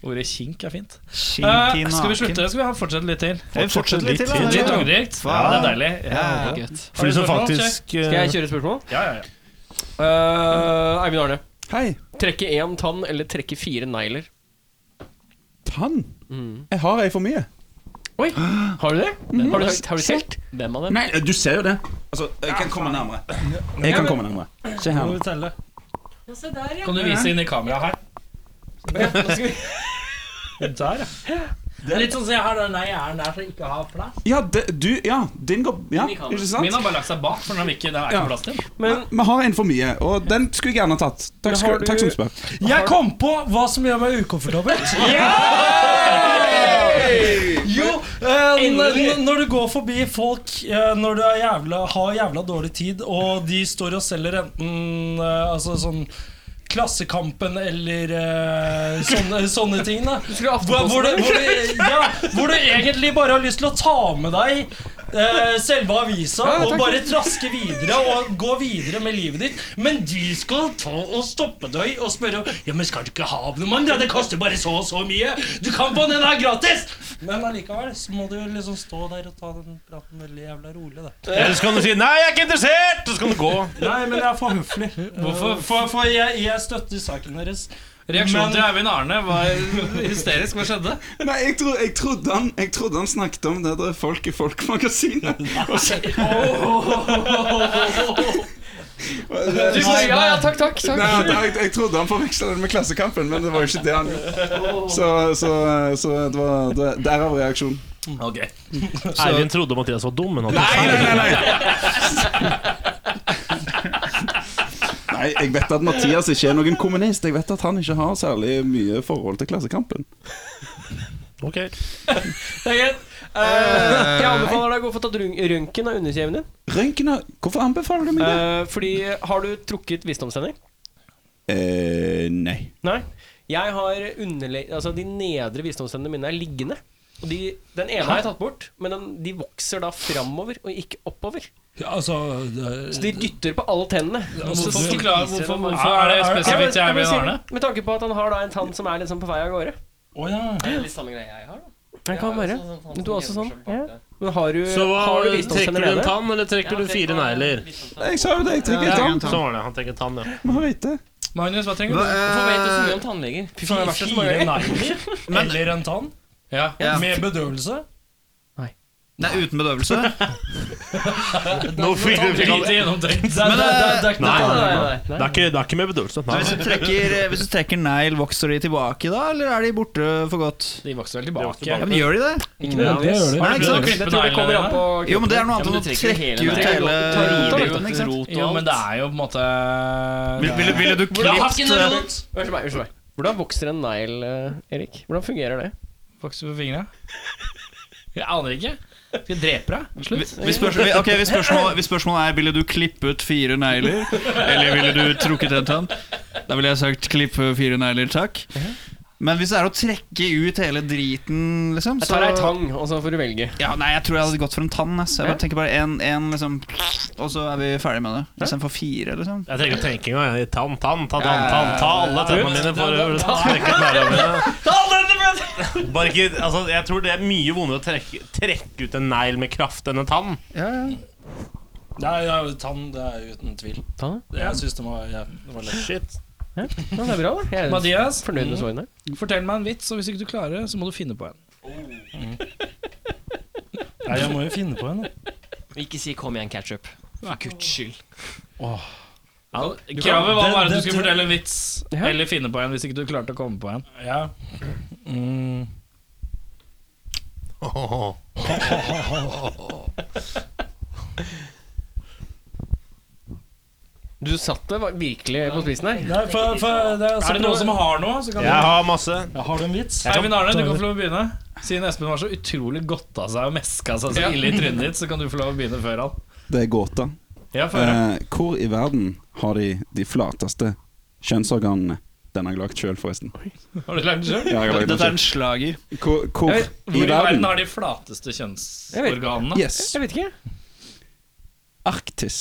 Speaker 7: Ordet kink er fint. Eh,
Speaker 11: Skinky
Speaker 7: skal vi
Speaker 11: naken.
Speaker 7: slutte? Skal vi ha- fortsette litt til?
Speaker 11: Jeg fortsetter litt til, da.
Speaker 7: Litt
Speaker 11: Ja.
Speaker 7: tungrikt. Ja, det er deilig. Ja,
Speaker 11: Ja.
Speaker 3: Gutt.
Speaker 8: For de som
Speaker 7: Har du spørsmål,
Speaker 8: faktisk eh,
Speaker 1: Skal jeg kjøre et spørsmål?
Speaker 7: ja, ja.
Speaker 1: Eh, Eivind Arne.
Speaker 6: Hei.
Speaker 1: Trekke én tann eller trekke fire negler?
Speaker 6: Tann.
Speaker 7: Mm.
Speaker 6: Jeg har ei for mye.
Speaker 1: Oi, har du det?
Speaker 9: Mm.
Speaker 1: Har du, har du telt?
Speaker 3: Hvem av dem?
Speaker 6: Nei, du ser jo det. Altså, jeg kan komme nærmere. Jeg kan komme nærmere. Se her.
Speaker 12: Må
Speaker 6: nå.
Speaker 12: vi telle?
Speaker 7: Kan du vise inn i kameraet her? Der, ja.
Speaker 12: Litt sånn som jeg har den der hjernen der som ikke har plass.
Speaker 6: Ja, det, du Ja, din går Ja, ikke
Speaker 7: Min
Speaker 6: sant?
Speaker 7: har bare lagt seg bak, for den har vi ikke, det er ikke
Speaker 6: Ja.
Speaker 7: plass til.
Speaker 1: Men
Speaker 6: Vi har en for mye, og den skulle jeg gjerne tatt. Takk, skal,
Speaker 1: du-
Speaker 6: takk som spør.
Speaker 12: Jeg kom på hva som gjør meg ukomfortabel. Jo, eh, n- n- når du går forbi folk eh, når du er jævla, har jævla dårlig tid, og de står og selger enten eh, altså sånn Klassekampen eller eh, sånne, sånne ting. Da. Hvor, hvor, du, hvor, du, [LAUGHS] ja, hvor du egentlig bare har lyst til å ta med deg eh, selve avisa og bare traske videre og gå videre med livet ditt. Men de skal ta og stoppe deg og spørre Ja, men skal du ikke ha abonnement? Ja, det koster bare så og så mye. Du kan få den her gratis! Men allikevel så må du jo liksom stå der og ta den praten veldig jævla rolig, da.
Speaker 8: Eller så kan du si 'nei, jeg er ikke interessert', og så kan du gå.
Speaker 12: Nei, men jeg er for høflig. For, for, for jeg, jeg støtter saken deres.
Speaker 7: Reaksjonen
Speaker 12: Men-
Speaker 7: til Eivind Arne var hysterisk. Hva skjedde?
Speaker 6: [LAUGHS] Nei, jeg, tro, jeg, trodde han, jeg trodde han snakket om det der Folk i [LAUGHS] Folk-magasinet. Og så- [LAUGHS]
Speaker 1: du sa ja, ja, takk, takk.
Speaker 6: Nei,
Speaker 1: takk.
Speaker 6: jeg, jeg, jeg trodde han forveksla det med Klassekampen, men det var jo ikke det han gjorde. Så, så, så det var det, derav reaksjonen.
Speaker 8: Eivind trodde Mathias var dum, men han
Speaker 6: Nei, nei, nei, nei. Nei, Jeg vet at Mathias ikke er noen kommunist. Jeg vet at han ikke har særlig mye forhold til Klassekampen.
Speaker 8: Ok.
Speaker 1: Det er greit. Eh, jeg anbefaler deg å gå få tatt røn- røntgen av underkjeven din. Mm.
Speaker 6: Røntgen Hvorfor anbefaler du meg det?
Speaker 1: Eh, fordi har du trukket visdomstenner?
Speaker 6: Eh, nei.
Speaker 1: Nei. Jeg har underle... Altså, de nedre visdomstennene mine er liggende. Og de, den ene har jeg tatt bort, men den, de vokser da framover og ikke oppover.
Speaker 12: Ja, altså det-
Speaker 1: Så de dytter på alle tennene. Og så
Speaker 12: hvorfor-
Speaker 1: spiser
Speaker 7: Forklar
Speaker 1: de
Speaker 7: hvorfor,
Speaker 1: dem.
Speaker 7: hvorfor er det spesifikt
Speaker 1: Ja,
Speaker 7: jeg
Speaker 1: men-
Speaker 7: vil
Speaker 1: ja,
Speaker 7: Arne?
Speaker 1: men- Med tanke på at han har da en tann som er liksom på vei av gårde.
Speaker 12: Å ja.
Speaker 3: Det er litt samme greia jeg har, da.
Speaker 1: Jeg kan
Speaker 3: Jeg
Speaker 1: være.
Speaker 3: har jo sånn-
Speaker 1: Men du er også sånn.
Speaker 3: sånn-
Speaker 1: Ja. Men har du,
Speaker 8: Så hva,
Speaker 1: har du
Speaker 8: trekker
Speaker 1: visdomstenner
Speaker 8: du en
Speaker 1: nede?
Speaker 8: tann, eller trekker du fire negler?
Speaker 6: Jeg sa jo det, jeg trenger
Speaker 11: Ja,
Speaker 6: tann.
Speaker 11: tann.
Speaker 8: Sånn var det. Han trekker tann, ja.
Speaker 6: Må vite.
Speaker 7: Magnus, hva trenger du?
Speaker 3: Hvorfor vet du så mye om tannleger? Fy faen, jeg har vært der så mange
Speaker 12: Fire
Speaker 3: ganger.
Speaker 12: negler eller en tann?
Speaker 7: Ja.
Speaker 12: Med bedøvelse?
Speaker 9: Det er uten bedøvelse.
Speaker 8: No freedom.
Speaker 7: Det er
Speaker 8: Nei,
Speaker 7: lite gjennomtenkt.
Speaker 9: Men eh,
Speaker 8: nei, nei.
Speaker 1: Nei, nei.
Speaker 8: Det er ikke, det er ikke med bedøvelse. Nei.
Speaker 9: hvis, du trekker, eh, hvis du trekker negl, vokser de tilbake da, eller er de borte for godt?
Speaker 7: De vokser vel
Speaker 8: tilbake.
Speaker 9: Ja, men Gjør de det?
Speaker 12: Ja, det gjør det.
Speaker 9: Nei, ikke sant?
Speaker 1: Jeg tror det kommer an på
Speaker 9: Jo, men det er noe
Speaker 3: Ja,
Speaker 9: annet
Speaker 3: men du
Speaker 9: enn å
Speaker 3: trekker
Speaker 9: trekke
Speaker 3: hele
Speaker 9: ut hele
Speaker 3: neglen.
Speaker 1: Tar
Speaker 9: roten,
Speaker 1: roten,
Speaker 9: ikke sant?
Speaker 7: Jo, men det er jo på en måte
Speaker 9: Ville vil, ville du
Speaker 3: Hvordan
Speaker 9: klippet
Speaker 3: hakken er rot?
Speaker 1: Unnskyld meg. unnskyld meg Hvordan vokser en negl, eh, Erik? Hvordan fungerer det?
Speaker 7: Vokser på fingrene. Jeg aner ikke. Skal jeg drepe deg? Slutt.
Speaker 9: hvis, spørs, ok, hvis, spørsmålet, hvis spørsmålet er Ville du klippet fire negler, eller ville du trukket en tann? Da ville jeg sagt klippe fire negler, takk. Men hvis det er å trekke ut hele driten, liksom
Speaker 1: Jeg tar ei tang, og så får du velge.
Speaker 9: Ja, nei, jeg tror jeg hadde gått for en tann. ass. Jeg bare tenker bare en, en liksom Og så er vi ferdig med det. Istedenfor fire, liksom.
Speaker 8: Jeg trenger ikke å tenke engang. jeg. Tann, tann, ta tann, tann. Ta alle tennene mine for å trekke ut neglene mine. Bare ikke, altså, jeg tror det er mye vondere å trekke, trekke ut en negl med kraft enn en tann.
Speaker 12: Det er, ja, tann, det er uten tvil.
Speaker 1: Tann,
Speaker 12: Det, jeg syns det var, ja, det var lett.
Speaker 8: Shit.
Speaker 1: Ja, det er bra, da. Jeg er
Speaker 7: Mathias,
Speaker 1: fornøyd med svarene.
Speaker 7: fortell meg en vits, og hvis ikke du klarer det, så må du finne på en.
Speaker 12: Nei, jeg må jo finne på en. da.
Speaker 3: Ikke si 'kom igjen, ketchup'. For guds skyld.
Speaker 7: Kravet var
Speaker 12: det-
Speaker 7: bare at du
Speaker 12: det-
Speaker 7: skulle
Speaker 12: det-
Speaker 7: fortelle en vits,
Speaker 1: Ja.
Speaker 7: eller finne på en hvis ikke du klarte å komme på en.
Speaker 12: Ja. Mm.
Speaker 1: Du satt det virkelig på spissen her.
Speaker 12: Nei, for, for, det er, så
Speaker 7: Er det noen som har noe, så kan
Speaker 8: Jeg har masse.
Speaker 12: Ja, har du en vits?
Speaker 7: Eivind Arne, du kan få lov å begynne. Siden Espen var så utrolig godta seg og meska seg så ille i trynet ditt, så kan du få lov å begynne før han.
Speaker 6: Det er gåta.
Speaker 7: Ja, før han.
Speaker 6: Eh, hvor i verden har de de flateste kjønnsorganene? Den har jeg lagd sjøl, forresten.
Speaker 7: Har du lagd det sjøl?
Speaker 6: Ja, jeg har lagd den
Speaker 9: Dette er
Speaker 6: selv.
Speaker 9: en slager.
Speaker 6: Hvor, hvor
Speaker 7: Jeg vet,
Speaker 6: Eh, i verden?
Speaker 7: har de flateste kjønnsorganene?
Speaker 6: Yes.
Speaker 1: Jeg vet ikke.
Speaker 6: Arktis.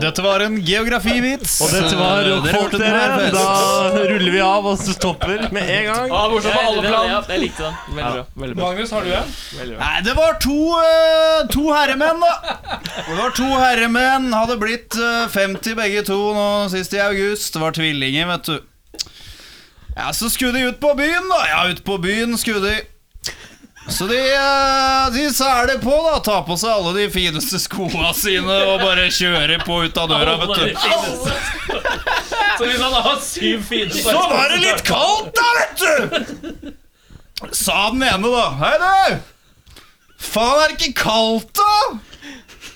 Speaker 9: Dette var en geografivits.
Speaker 8: Og dette var
Speaker 9: Eh, dere
Speaker 8: Rockfort,
Speaker 9: hørte den her
Speaker 8: dere.
Speaker 9: først.
Speaker 8: Da ruller vi av og stopper med en gang.
Speaker 3: Bortsett fra alle plan. Ja, jeg likte den. Veldig bra. Veldig bra.
Speaker 7: Magnus, har du en?
Speaker 9: Nei, det var to, eh, to herremenn, da. Og det var to herremenn. Hadde blitt eh, 50 begge to nå sist i august. Det var tvillinger, vet du. Ja, Så skulle de ut på byen, da. Ja, ut på byen skulle de. Så de, eh, de sæler på, da. Tar på seg alle de fineste skoa sine og bare kjører på ut av døra, vet du.
Speaker 7: Så hvis han har syv fine
Speaker 9: Så var det litt kaldt da, vet du Sa den ene da Hei du Faen er det ikke kaldt da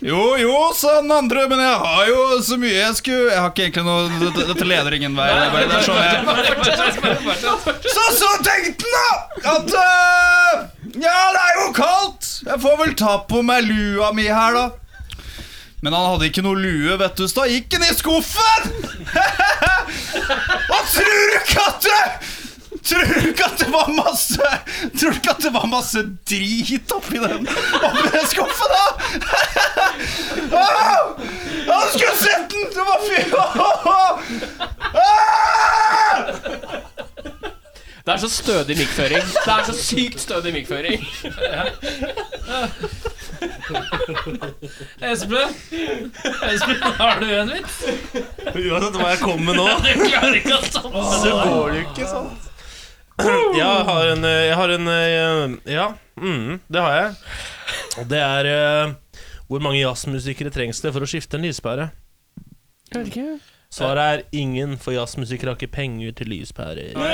Speaker 9: Jo, jo, sa den andre Men jeg har jo så mye jeg skulle Jeg har ikke egentlig noe Dette, dette leder ingen vei Det er bare- det er sånn jeg så, så tenkte han da at eh, Ja, det er jo kaldt. Jeg får vel ta på meg lua mi her, da. Men han hadde ikke noe lue, vet du, så da gikk han i skuffen! [LAUGHS] Og tror du ikke at det Tror du ikke at det var masse Tror du ikke at det var masse drit oppi den, oppi den skuffen, da? Au! Ja, du skulle sett den! Det var fy...
Speaker 1: Det er så stødig mikkføring.
Speaker 3: Det er så sykt stødig mikkføring.
Speaker 7: Espen, Espen, har du en vits?
Speaker 8: Uansett hva jeg kommer
Speaker 7: [LAUGHS]
Speaker 8: med nå,
Speaker 7: Jeg klarer ikke å
Speaker 8: så
Speaker 7: stoppe.
Speaker 8: går det jo ikke sånn. [CLEARS THROAT] Jeg har en eh, Jeg har en eh, Ja, mm, det har jeg. Og det er eh, Hvor mange jazzmusikere trengs det for å skifte en lyspære?
Speaker 1: Jeg vet ikke.
Speaker 8: Svaret er ingen, for jazzmusikere har ikke penger til lyspærer.
Speaker 1: Det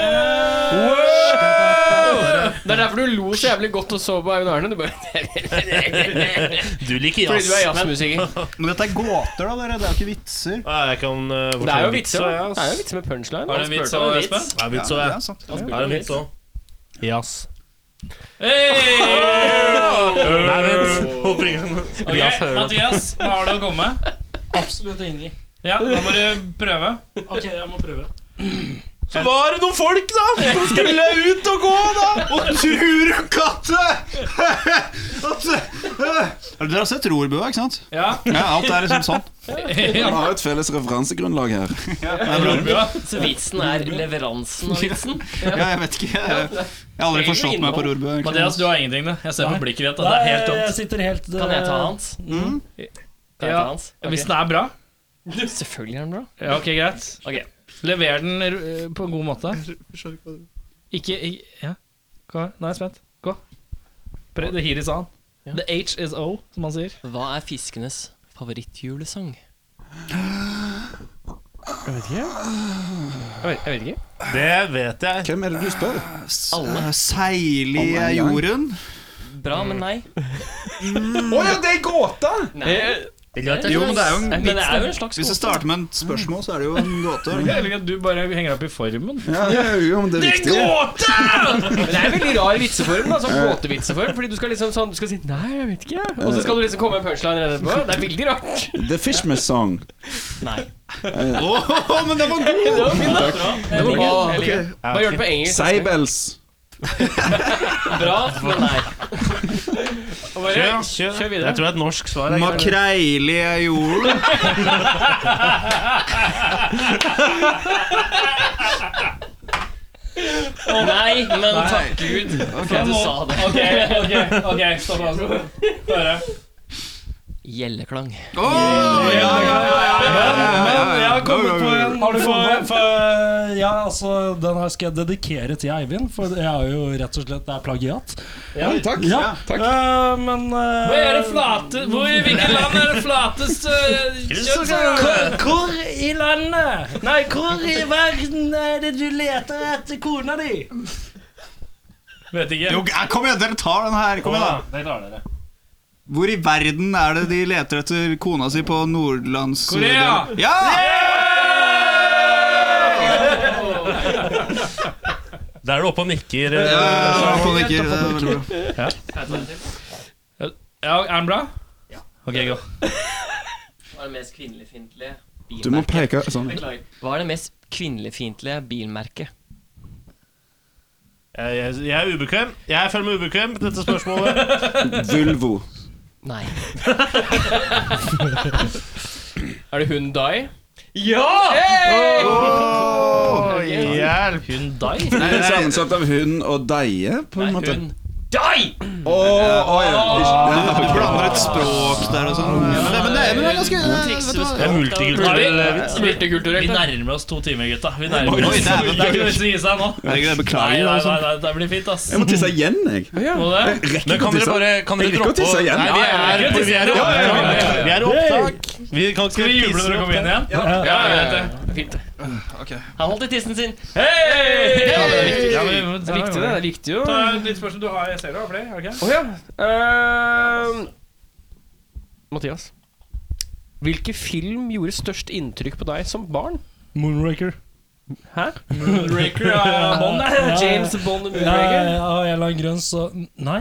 Speaker 1: er derfor du lo så jævlig godt og så på Eivind Arne. Du bare
Speaker 8: [LAUGHS] Du liker
Speaker 1: Fordi
Speaker 8: jazz.
Speaker 1: du er jazzmusiker.
Speaker 9: Men dette er gåter, da, dere. Det er jo ikke vitser.
Speaker 8: Ja, jeg kan
Speaker 1: Det
Speaker 8: eh,
Speaker 1: er
Speaker 8: fortelle
Speaker 1: jo vitser.
Speaker 8: vitser,
Speaker 1: da.
Speaker 8: jeg,
Speaker 1: Det
Speaker 8: ass.
Speaker 1: er jo vitser med punchline.
Speaker 7: Har du
Speaker 1: da.
Speaker 7: en vits
Speaker 3: spurte om
Speaker 7: av
Speaker 3: en
Speaker 7: Espen?
Speaker 3: vits.
Speaker 8: Det er vitser, jeg.
Speaker 9: sant.
Speaker 8: Det er en vits òg. Jazz.
Speaker 7: Hey!
Speaker 8: Nei, vent. Håper ingen
Speaker 7: Ok, Mathias, hva har du å komme med?
Speaker 12: Absolutt ingenting.
Speaker 7: Ja, da må du prøve. Ok, jeg må prøve.
Speaker 8: Så var det noen folk, da, som skulle ut og gå, da.
Speaker 9: Og tror du katte! At, eh, Dere har sett rorbua, ikke sant?
Speaker 7: Ja,
Speaker 9: Ja, alt er liksom
Speaker 7: [LAUGHS]
Speaker 9: sånn.
Speaker 6: Vi har et felles referansegrunnlag her.
Speaker 3: Så vitsen er leveransen av vitsen?
Speaker 9: Ja, jeg vet ikke. Jeg, jeg har aldri forstått meg på rorbua. egentlig.
Speaker 7: Mathias, du har ingenting, det. Jeg ser på blikket ditt at det er helt
Speaker 12: Nei,
Speaker 7: tomt.
Speaker 12: jeg sitter helt
Speaker 3: Kan jeg ta hans?
Speaker 6: Mm.
Speaker 3: Kan jeg
Speaker 7: Ja,
Speaker 3: ta hans? Ok.
Speaker 7: Hvis den er bra.
Speaker 3: Selvfølgelig er den bra.
Speaker 7: Ja, ok, greit.
Speaker 3: Ok.
Speaker 7: Lever den eh, på en god måte.
Speaker 9: Skjønner ikke hva du-
Speaker 7: Ikke i- Ja. Gå. Nå er jeg spent. Gå. Pre the heat is on.
Speaker 3: Ja.
Speaker 7: The H is O, som han sier.
Speaker 3: Hva er fiskenes favorittjulesang?
Speaker 1: Jeg vet, jeg vet ikke.
Speaker 8: Det vet jeg.
Speaker 6: Hvem er det du spør?
Speaker 9: S- eh, Seil i eh, jorden.
Speaker 3: Bra,
Speaker 1: Mm.
Speaker 3: men nei.
Speaker 6: Mm. Å ja, det er gåta!
Speaker 3: nei.
Speaker 9: Jo, men det er jo en
Speaker 3: Men det er jo en slags
Speaker 9: Hvis jeg starter med et spørsmål, så er det jo en gåte.
Speaker 7: Jeg liker at du bare henger opp i formen.
Speaker 6: Ja, det er jo om det er viktig.
Speaker 1: Men det er en veldig rar vitseform. Da, sånn gåtevitseform. Fordi du skal liksom sånn Du skal si 'nei, jeg vet ikke', og så skal du liksom komme med en punchline etterpå. Det er veldig rart.
Speaker 6: The Fishmas Song.
Speaker 3: Nei.
Speaker 9: Åh, men den var god!
Speaker 1: Hva
Speaker 6: Ah,
Speaker 3: Jeg liker
Speaker 1: hva gjør du på engelsk?
Speaker 6: Seibels.
Speaker 3: Bra, men
Speaker 6: [LAUGHS]
Speaker 3: nei.
Speaker 8: Kjør, kjør. Jeg tror det er et norsk svar. jeg.
Speaker 9: Makreil i jorden.
Speaker 3: Nei, men takk Gud for at du sa det.
Speaker 7: Ok, ok, ok, stopp altså. Bare.
Speaker 3: Gjelleklang.
Speaker 9: Åh, ja, ja, ja, ja, ja, ja, ja, ja.
Speaker 7: Jeg har kommet på en
Speaker 12: Har du for, for, ja, altså, den her skal jeg dedikere til Eivind, for jeg er jo rett og slett det er plagiat.
Speaker 6: Oi, takk.
Speaker 12: Ja,
Speaker 6: takk.
Speaker 12: eh, men eh,
Speaker 7: Hvor er det flate Hvor i hvilket land er det flatest eh, kjønnsorgan?
Speaker 12: Hvor i landet Nei, hvor i verden er det du leter etter kona di?
Speaker 7: Vet ikke.
Speaker 9: Jo, eh, kom igjen, dere tar den her. Kom igjen, da.
Speaker 7: Det klarer dere.
Speaker 9: Hvor i verden er det de leter etter kona si på nordlands...
Speaker 7: Korea!
Speaker 9: Ja!
Speaker 8: Da er du oppe og nikker.
Speaker 9: Ja,
Speaker 8: eh,
Speaker 9: ja, ja, det er veldig bra.
Speaker 7: Ja, er den bra? Ok, gå.
Speaker 3: Hva er det mest kvinnelig-fiendtlige
Speaker 6: Du må peke sånn.
Speaker 3: bilmerket? Hva er det mest kvinnelig-fiendtlige bilmerket?
Speaker 8: Jeg, jeg, jeg er ubekvem. Jeg føler meg ubekvem på dette spørsmålet.
Speaker 6: Vulvo.
Speaker 3: Nei.
Speaker 1: Er det Hundai?
Speaker 8: Hjelp!
Speaker 3: Hundai?
Speaker 6: Det er sammensatt av hund og deie, på en måte.
Speaker 3: Hun
Speaker 6: Å, å, ja.
Speaker 9: Du
Speaker 6: Ikke-
Speaker 9: blander et språk der og sånn. Ja, men det, men det, men det er ganske
Speaker 3: trikser
Speaker 9: eh,
Speaker 3: med
Speaker 8: Det er
Speaker 3: språk.
Speaker 8: multikulturell eh, vits.
Speaker 7: Vi
Speaker 1: Multikulturelt. da.
Speaker 7: nærmer oss to timer, gutta. Vi nærmer
Speaker 9: Oi,
Speaker 7: oss. Det
Speaker 9: dæven,
Speaker 7: er ikke noe vits i å gi seg nå.
Speaker 9: vet
Speaker 7: Nei,
Speaker 9: du hva.
Speaker 7: nei,
Speaker 9: Beklager.
Speaker 7: nei,
Speaker 9: altså.
Speaker 7: nei, det blir fint, ass.
Speaker 6: Jeg må tisse igjen, jeg.
Speaker 7: Må det?
Speaker 6: Rekker
Speaker 8: Men
Speaker 6: ikke å
Speaker 8: kan dere
Speaker 6: tisse.
Speaker 8: bare kan dere
Speaker 6: Jeg liker å
Speaker 8: droppe
Speaker 6: tisse igjen.
Speaker 8: Nei, vi er
Speaker 7: Ja, ja, ja.
Speaker 8: vi er i
Speaker 7: Ja, ja,
Speaker 8: opptak.
Speaker 7: ja, ja, ja.
Speaker 8: Vi er i opptak. Vi kan ikke
Speaker 7: Skal vi juble når vi
Speaker 8: tisse.
Speaker 7: kommer inn igjen?
Speaker 9: Ja.
Speaker 7: ja, ja, ja.
Speaker 3: Han holdt i tissen sin.
Speaker 7: Hei!
Speaker 3: Ja, det er viktig.
Speaker 7: Ja, men,
Speaker 1: Det er viktig, det. Det er viktig jo.
Speaker 7: Ta et nytt spørsmål. Du har, jeg ser du har flere, har du ikke?
Speaker 1: Å ja. Ehm, Mathias. Hvilken film gjorde størst inntrykk på deg som barn?
Speaker 12: Moonraker.
Speaker 1: Hæ?
Speaker 7: Raker av Bond,
Speaker 12: Ja, ja,
Speaker 1: [LAUGHS]
Speaker 12: ja.
Speaker 1: James Bond og
Speaker 12: Ja,
Speaker 1: Moonraker?
Speaker 12: av en eller annen grunn, så Nei.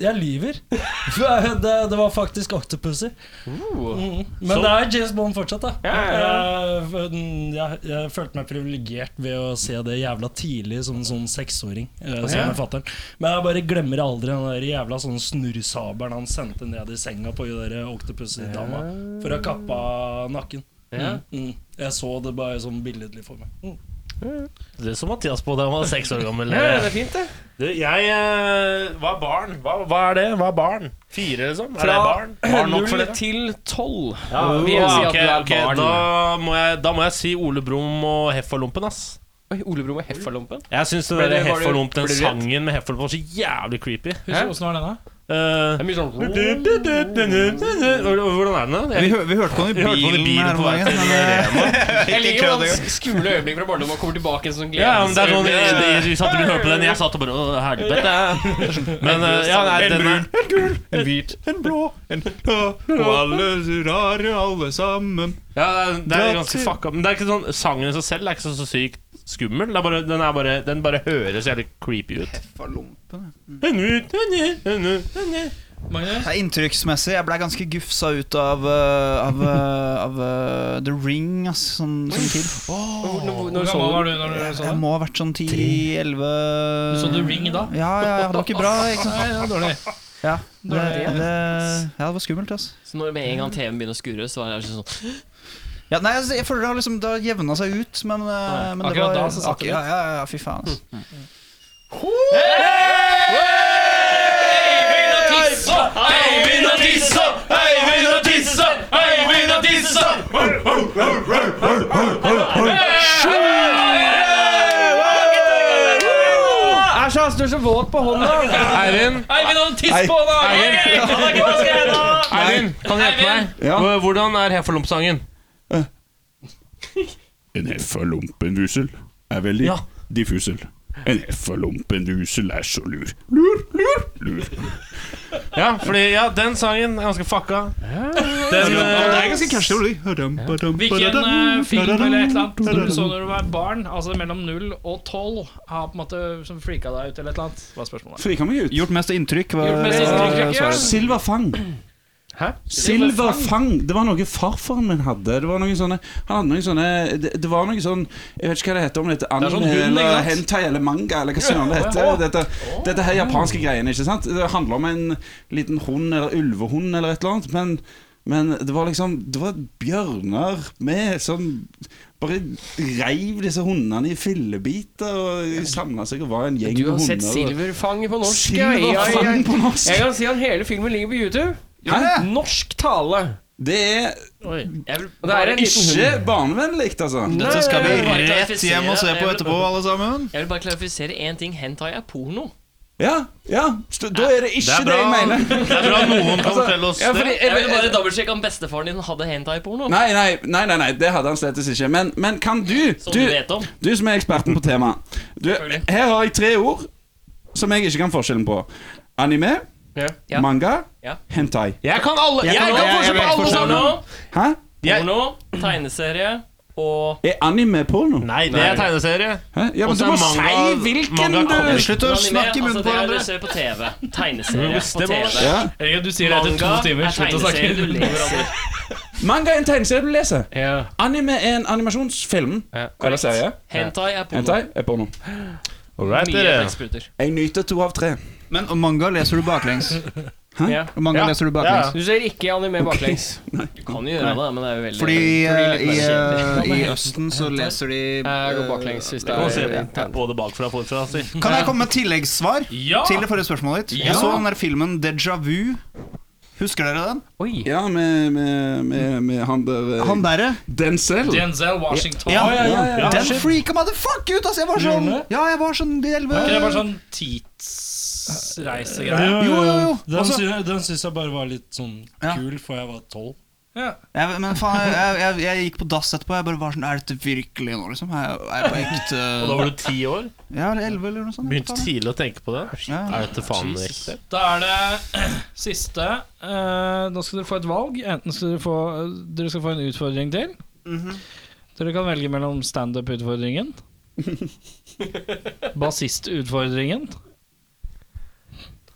Speaker 12: Jeg lyver. [LAUGHS] Det, det var faktisk Octopussy. Mm. Men det er James Bond fortsatt, da.
Speaker 1: Ja, ja,
Speaker 12: Eh, for den- Jeg, jeg følte meg privilegert ved å se det jævla tidlig som en sånn seksåring. eh, sammen med fatteren. Men jeg bare glemmer aldri den der jævla sånn snurrsabelen han sendte ned i senga på hun der Octopussy-dama for å kappe av nakken. Mm. Jeg så det bare som billedlig for meg. Mm.
Speaker 8: Det så Mathias på da han var seks år gammel.
Speaker 1: Ja, det er fint, det.
Speaker 8: Du, jeg eh, var barn. Hva, hva er det? Hva er barn? Fire, liksom? Er det barn? Barn nok for
Speaker 1: Null
Speaker 8: dere?
Speaker 1: til tolv.
Speaker 8: Ja,
Speaker 1: vil jeg si at du
Speaker 8: ok,
Speaker 1: er
Speaker 8: ok,
Speaker 1: barn.
Speaker 8: Da, må jeg, da må jeg si Ole Brumm og Heffalumpen, ass.
Speaker 1: Oi, Ole Bro og Heffalompen.
Speaker 8: Jeg syns
Speaker 1: Ble det- var det-
Speaker 8: Heffalump, den
Speaker 1: ble det rett?
Speaker 8: sangen med Heffalump, var så jævlig creepy.
Speaker 1: Hæ?
Speaker 7: Husker åssen var den, da?
Speaker 8: Eh,
Speaker 1: Det er mye sånn
Speaker 8: du, du, du, du, du, du, du. Hvordan er den, da?
Speaker 9: Vi,
Speaker 8: Jeg,
Speaker 9: hø vi hørte på den
Speaker 8: vi
Speaker 9: i
Speaker 8: hørte på den i
Speaker 9: bilen
Speaker 8: bilen
Speaker 9: her
Speaker 8: på
Speaker 9: om
Speaker 8: vei
Speaker 9: dagen.
Speaker 8: til
Speaker 11: eh, [LAUGHS]
Speaker 8: Rema.
Speaker 1: Jeg liker
Speaker 9: kødd
Speaker 1: hvordan skumle øyeblikk fra barndommen kommer tilbake. i en Sånn
Speaker 8: Ja, men det er sånn,
Speaker 1: gledesøyeblikk.
Speaker 8: de, de satt og hørte på den. Jeg satt og bare Å, helvete. Men eh, ja, nei, den er
Speaker 9: En hvit, en blå, en Og alle rare, alle sammen.
Speaker 8: Ja, det er ganske fucka Men det er ikke sånn sangen i seg selv er ikke så, så sykt skummel. Det er bare, den, er bare, den bare høres jævlig creepy ut.
Speaker 9: Heffalumpen.
Speaker 8: Men
Speaker 7: Magnus?
Speaker 11: Det er inntrykksmessig. Jeg ble ganske gufsa ut av, eh, av, eh, av eh, The Ring ass, som, som kid.
Speaker 7: Hvor gammel var du når du så
Speaker 11: Jeg
Speaker 7: den?
Speaker 11: må ha vært sånn 10-11
Speaker 7: Du så The Ring da?
Speaker 11: Ja, ja, ja, det var ikke bra. Ikke
Speaker 7: [LAUGHS]
Speaker 11: sant?
Speaker 7: Nei, det var dårlig.
Speaker 11: Ja, det, det, ja, det var skummelt, ass.
Speaker 3: Så når med en gang TV-en begynner å skure, så er det sånn
Speaker 11: Ja, nei, altså, jeg føler det har liksom Det har jevna seg ut, men, eh, men det
Speaker 7: Akkurat
Speaker 11: var
Speaker 7: da så satt
Speaker 11: ak-
Speaker 7: det
Speaker 11: ja, ja, ja, fy faen, ass.
Speaker 7: Eivind og tissa! Eivind og tissa! Eivind og tissa!
Speaker 2: Æsj, han står så våt på hånda.
Speaker 8: Eivind,
Speaker 7: Eivind og tiss på da!
Speaker 8: Eivind, kan du hjelpe meg?
Speaker 6: Ja.
Speaker 8: Hva- Hvordan er Heffalump-sangen?
Speaker 6: En heffalumpenvusel er veldig
Speaker 8: Ja.
Speaker 6: diffusel. En heffalumpenvusel er så lur. Lur, lur, lur.
Speaker 8: Ja, fordi, ja, den sangen er ganske fucka. Den, eh,
Speaker 9: er ganske catchy melodi. Radam-badam,
Speaker 7: Hvilken
Speaker 9: badadam,
Speaker 7: eh, film
Speaker 9: badadam,
Speaker 7: eller et eller annet som du
Speaker 9: badadam.
Speaker 7: så når du var barn, altså mellom 0 og 12, har på en måte som frika deg ut eller et eller annet? Hva er spørsmålet?
Speaker 6: Frika meg ut.
Speaker 9: Gjort mest inntrykk var
Speaker 7: Gjort mest inntrykk, ja.
Speaker 9: svaret.
Speaker 6: Silverfang.
Speaker 7: Hæ?
Speaker 6: Silverfang! Det var noe farfaren min hadde. Det var noen sånne, han hadde noen sånne det, det var noe sånn Jeg vet ikke hva det heter. Om det heter anime
Speaker 7: sånn hund, ikke
Speaker 6: eller
Speaker 7: sant?
Speaker 6: hentai eller manga eller hva søren det heter. Dette, dette her japanske greiene, ikke sant? Det handler om en liten hund eller ulvehund eller et eller annet. Men, men det var liksom Det var bjørner med som bare reiv disse hundene i fillebiter og samla seg og var en gjeng
Speaker 1: Du har
Speaker 6: med
Speaker 1: sett
Speaker 6: hunder.
Speaker 1: Silverfang på norsk? ja. Ja, ja, ja.
Speaker 6: Silverfang på
Speaker 1: Jeg
Speaker 6: norsk!
Speaker 1: kan si at hele filmen ligger på YouTube.
Speaker 6: Hæ?
Speaker 1: Norsk tale.
Speaker 6: Det er
Speaker 1: Og det er en liten
Speaker 6: ikke
Speaker 1: hund.
Speaker 6: barnevennlig, altså.
Speaker 9: Dette skal vi
Speaker 3: Jeg vil bare
Speaker 9: rett
Speaker 3: klarifisere.
Speaker 9: hjem og se
Speaker 3: Jeg
Speaker 9: på
Speaker 3: vil-
Speaker 9: etterpå, alle sammen.
Speaker 3: Jeg vil bare klarifisere én ting. Hentai er porno.
Speaker 6: Ja, ja, så da er det ikke det, jeg mener.
Speaker 8: det er bra noen
Speaker 9: Altså,
Speaker 8: kan fortelle oss
Speaker 6: Ja,
Speaker 8: det.
Speaker 6: fordi,
Speaker 3: Jeg vil bare dobbeltsjekke om bestefaren din hadde hentai-porno.
Speaker 6: [LAUGHS] nei, nei, nei, nei, nei, det hadde han slett ikke. Men, men kan du
Speaker 3: Som
Speaker 6: du,
Speaker 3: du vet om.
Speaker 6: du som er eksperten på temaet. Du,
Speaker 3: Selvfølgelig.
Speaker 6: her har jeg tre ord som jeg ikke kan forskjellen på. Anime,
Speaker 3: Ja.
Speaker 6: manga,
Speaker 3: Ja.
Speaker 6: hentai.
Speaker 8: Jeg kan alle! Jeg
Speaker 3: Jeg
Speaker 8: kan
Speaker 3: kan
Speaker 8: forskjell på alle
Speaker 3: Porno,
Speaker 8: sammen!
Speaker 6: Hæ?
Speaker 8: Jeg-
Speaker 3: porno, tegneserie og
Speaker 6: Er anime porno?
Speaker 8: Nei, det er tegneserie.
Speaker 6: Hæ?
Speaker 8: Og
Speaker 6: Ja, men du
Speaker 8: så er
Speaker 6: må
Speaker 8: manga-
Speaker 6: si hvilken, eh,
Speaker 8: manga kommer.
Speaker 6: du!
Speaker 9: Slutt å
Speaker 3: Anime,
Speaker 9: snakke i munnen
Speaker 3: altså,
Speaker 9: på
Speaker 3: det er
Speaker 9: hverandre.
Speaker 3: Det ser på TV. Tegneserie
Speaker 8: Hvis
Speaker 3: på
Speaker 8: det var-
Speaker 3: TV.
Speaker 6: Ja.
Speaker 7: Erik, du sier det etter to
Speaker 3: Manga
Speaker 7: timer.
Speaker 3: er
Speaker 7: Slutt å snakke.
Speaker 3: tegneserie du lever av.
Speaker 6: Manga er en tegneserie du leser.
Speaker 7: Ja.
Speaker 6: Anime er en animasjonsfilm. Eller serie.
Speaker 3: Hentai er porno.
Speaker 6: Hentai er porno.
Speaker 8: Alright,
Speaker 3: Mye
Speaker 8: dere.
Speaker 3: flekspruter.
Speaker 6: Jeg nyter to av tre.
Speaker 9: Men manga leser du baklengs.
Speaker 6: Hæ?
Speaker 9: Og Manga
Speaker 8: Ja.
Speaker 9: leser du baklengs.
Speaker 1: Du ser ikke anime baklengs.
Speaker 3: Du kan jo gjøre det, da, men det er jo veldig
Speaker 9: Fordi
Speaker 3: det blir litt
Speaker 9: eh, i,
Speaker 3: mer kjedelig.
Speaker 9: eh, i Østen så leser de eh,
Speaker 1: Jeg går baklengs hvis det
Speaker 8: Kan se
Speaker 1: er
Speaker 8: både bakfra og forfra. Si.
Speaker 9: Kan jeg komme med et tilleggssvar
Speaker 7: Ja!
Speaker 9: til det forrige spørsmålet ditt? Jeg så den der filmen Deja Vu. Husker dere den?
Speaker 6: Ja, med, med, med, med han der eh,
Speaker 9: Han derre.
Speaker 6: Denzel.
Speaker 7: Denzel Washington.
Speaker 9: Ja.
Speaker 6: ja, ja, ja.
Speaker 9: Den freaka meg the fuck ut! Altså, jeg var sånn Ja, jeg var sånn de elleve
Speaker 7: Er ikke det bare sånn tidsreisegreie?
Speaker 12: Jo,
Speaker 9: jo, jo.
Speaker 12: Den,
Speaker 9: Også-
Speaker 12: sy den syns jeg bare var litt sånn
Speaker 9: Ja.
Speaker 12: kul, for jeg var tolv.
Speaker 9: Jeg- Men faen, jeg, jeg, jeg, jeg gikk på dass etterpå. Jeg bare var sånn Er dette virkelig nå, liksom? Er jeg, er jeg på ekte
Speaker 8: Og da var du ti år.
Speaker 9: Ja, eller elleve, eller noe sånt.
Speaker 8: Begynte
Speaker 9: faen.
Speaker 8: tidlig å tenke på det. Er dette faen riktig?
Speaker 7: Da er det [CLEARS THROAT] siste. Eh, nå skal dere få et valg. Enten skal dere få Dere skal få en utfordring til. Mhm. Dere kan velge mellom [LAUGHS] standup-utfordringen, bassist-utfordringen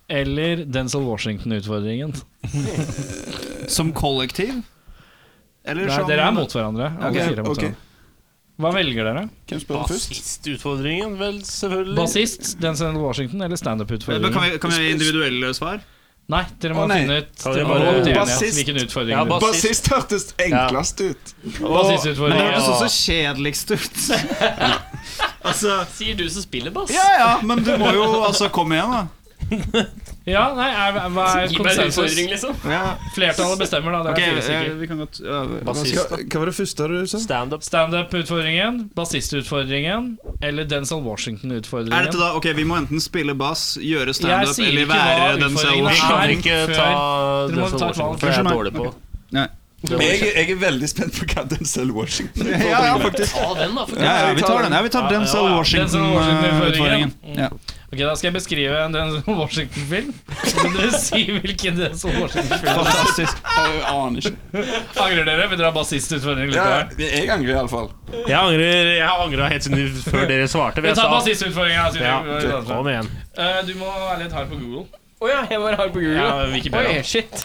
Speaker 7: eller Denzil Washington-utfordringen.
Speaker 9: Som kollektiv? Eller
Speaker 7: Nei,
Speaker 9: som
Speaker 7: Dere er mot hverandre. Alle
Speaker 6: Ok,
Speaker 7: fire er mot
Speaker 6: ok.
Speaker 7: hverandre. Hva velger dere?
Speaker 6: Hvem spør først?
Speaker 8: Siste utfordringen, vel, selvfølgelig.
Speaker 7: Bassist, Denzil Washington eller
Speaker 9: Men kan
Speaker 7: standup-utfordringen?
Speaker 9: vi, kan vi individuelle svar?
Speaker 7: Nei, dere må
Speaker 6: Å, nei.
Speaker 7: finne ut
Speaker 8: Kan vi
Speaker 7: dere må
Speaker 8: bare-
Speaker 7: komme til enighet
Speaker 6: Bassist.
Speaker 7: hvilken utfordring
Speaker 8: Ja,
Speaker 7: dere-
Speaker 8: bass-
Speaker 6: Bassist hørtes enklest ut.
Speaker 9: Men det
Speaker 7: Bassistutfordringen.
Speaker 9: hørtes også kjedeligst ut. altså
Speaker 3: Sier du som spiller bass?
Speaker 9: Ja ja, men du må jo altså Kom igjen, da.
Speaker 7: Ja, nei, er, hva er
Speaker 3: Gi meg en
Speaker 7: konsensus?
Speaker 3: utfordring, liksom.
Speaker 9: Ja.
Speaker 7: Flertallet bestemmer, da. Det
Speaker 9: Ok,
Speaker 7: er fire
Speaker 9: eh,
Speaker 7: stykker.
Speaker 9: vi kan godt ja, vi-
Speaker 8: Bassist.
Speaker 6: Hva, hva var det første du sa?
Speaker 8: Standup.
Speaker 7: Standup-utfordringen, bassistutfordringen eller Denzel
Speaker 9: Er dette
Speaker 7: Washington-utfordringen.
Speaker 9: da Ok, vi må enten spille bass, gjøre
Speaker 7: Jeg
Speaker 9: standup
Speaker 7: sier
Speaker 9: eller
Speaker 7: ikke hva
Speaker 9: være den
Speaker 7: utfordringen
Speaker 8: Vi
Speaker 9: selv.
Speaker 8: kan
Speaker 7: Nei,
Speaker 8: ikke
Speaker 7: før-
Speaker 8: ta
Speaker 7: Dere må
Speaker 8: den som
Speaker 7: ta et
Speaker 8: Washington,
Speaker 7: valg.
Speaker 8: for jeg er
Speaker 9: Unnskyld meg.
Speaker 8: dårlig på
Speaker 9: Nei.
Speaker 6: Jeg, jeg er veldig spent på hva Denzel Washington
Speaker 9: Ja, ja, faktisk.
Speaker 3: Ta den, da. For
Speaker 9: Ja, ja, vi tar den. Ja, vi tar den selv
Speaker 7: ja. Denzel Mm. Washington-utfordringen.
Speaker 9: Washington-utfordringen. Ja.
Speaker 7: Ok, Da skal jeg beskrive en Denzel Washington-film. Så dere si hvilken Denzel Washington-film
Speaker 9: Fantastisk.
Speaker 6: Jeg aner ikke.
Speaker 7: Angrer dere? Vil dere ha bassistutfordring
Speaker 6: Ja,
Speaker 7: likevel?
Speaker 6: jeg angrer iallfall.
Speaker 8: Jeg angrer Jeg har angret helt siden du- før dere svarte. for
Speaker 7: Vi
Speaker 8: jeg sa-
Speaker 7: tar bassistutfordringen. da, siden
Speaker 8: ja,
Speaker 7: vi-
Speaker 8: Kom igjen.
Speaker 7: Eh, Du må være litt hard på Google.
Speaker 1: Å ja, jeg var hard på Google.
Speaker 8: Ja, Wikipedia.
Speaker 1: Oi, shit.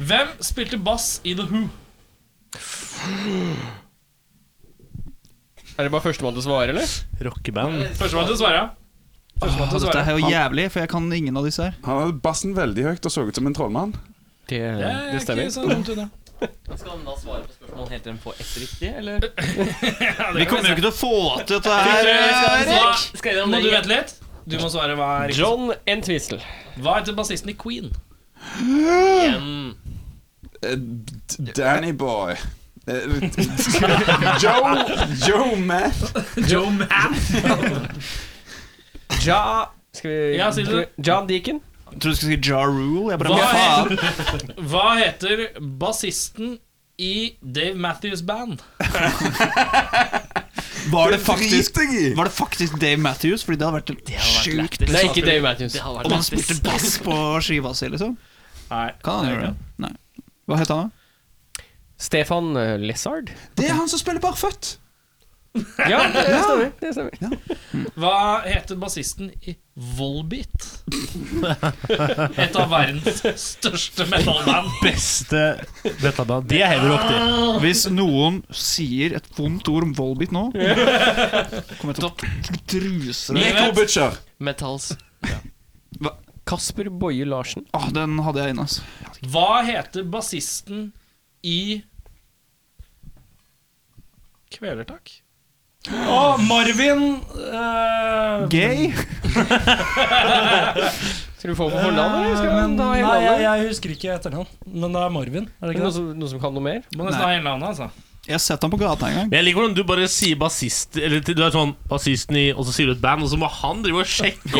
Speaker 7: Hvem spilte bass i The Who?
Speaker 1: Er det bare førstemann til å svare, eller?
Speaker 8: Rockeband.
Speaker 7: Førstemann til å svare. Førstemann
Speaker 1: Ah,
Speaker 7: til å
Speaker 11: Dette
Speaker 7: svare.
Speaker 11: er jo jævlig, for jeg kan ingen av disse her.
Speaker 6: Han hadde bassen veldig høyt og så ut som en trollmann.
Speaker 1: Det, det
Speaker 7: Ikke
Speaker 1: stemmer.
Speaker 7: så dumt unna.
Speaker 3: Skal han da svare på spørsmålet helt til de får ett riktig, eller?
Speaker 9: Vi kommer jo ikke til å få til dette her.
Speaker 7: Erik!
Speaker 3: Skal jeg
Speaker 7: Må du vente litt? Du må svare hva er riktig.
Speaker 1: John Entwistle.
Speaker 7: Hva heter bassisten i Queen?
Speaker 6: Eh, D- Danny Boy. Eh, [LAUGHS] Joe Joe Math.
Speaker 7: Joe Mann.
Speaker 1: Ja Skal vi
Speaker 7: Ja, sier du.
Speaker 1: John Deacon.
Speaker 9: Jeg trodde du skulle si Ja Rule. Jeg bare,
Speaker 7: Hva
Speaker 9: faen.
Speaker 7: heter, hva heter bassisten i Dave Matthews Band?
Speaker 9: Var det
Speaker 6: Drit
Speaker 9: faktisk
Speaker 6: deg i!
Speaker 9: var det faktisk Dave Matthews? Fordi det hadde vært en sjukt
Speaker 1: Det er ikke Dave Matthews.
Speaker 9: Om han spilte bass på skiva si, liksom?
Speaker 7: Nei.
Speaker 9: Kan han gjøre det? Nei. Hva het han, da?
Speaker 1: Stefan eh, Lessard.
Speaker 6: Det er han som spiller Barføtt!
Speaker 1: Ja, det stemmer. Det stemmer.
Speaker 7: Hva heter bassisten i Volbeat?
Speaker 1: [LAUGHS]
Speaker 7: Et av verdens største metalband.
Speaker 8: Beste metalband. De er heavy rock, de.
Speaker 9: Hvis noen sier et vondt ord om Volbit nå Kommer jeg til å truse deg.
Speaker 6: Neko Butcher.
Speaker 3: Metals.
Speaker 1: Kasper Boje Larsen.
Speaker 9: Åh, den hadde jeg inne, altså.
Speaker 7: Hva heter bassisten i Kvelertak? Å, Marvin eh,
Speaker 9: Gay?
Speaker 1: Skal du få på fornavn, eller? Skal
Speaker 12: Men,
Speaker 1: vi ta hele
Speaker 12: nei, jeg,
Speaker 1: navnet?
Speaker 12: jeg husker ikke etternavn, men det er Marvin. Er
Speaker 1: Er det
Speaker 12: det ikke
Speaker 1: Noen
Speaker 12: det?
Speaker 1: som, noen som kan noe mer?
Speaker 7: Må nesten ha hele navnet, altså.
Speaker 9: Jeg har sett han på gata en gang.
Speaker 8: Jeg liker hvordan du bare sier bassist Eller du er sånn bassisten i Og så sier du et band, og så må han drive og sjekke om,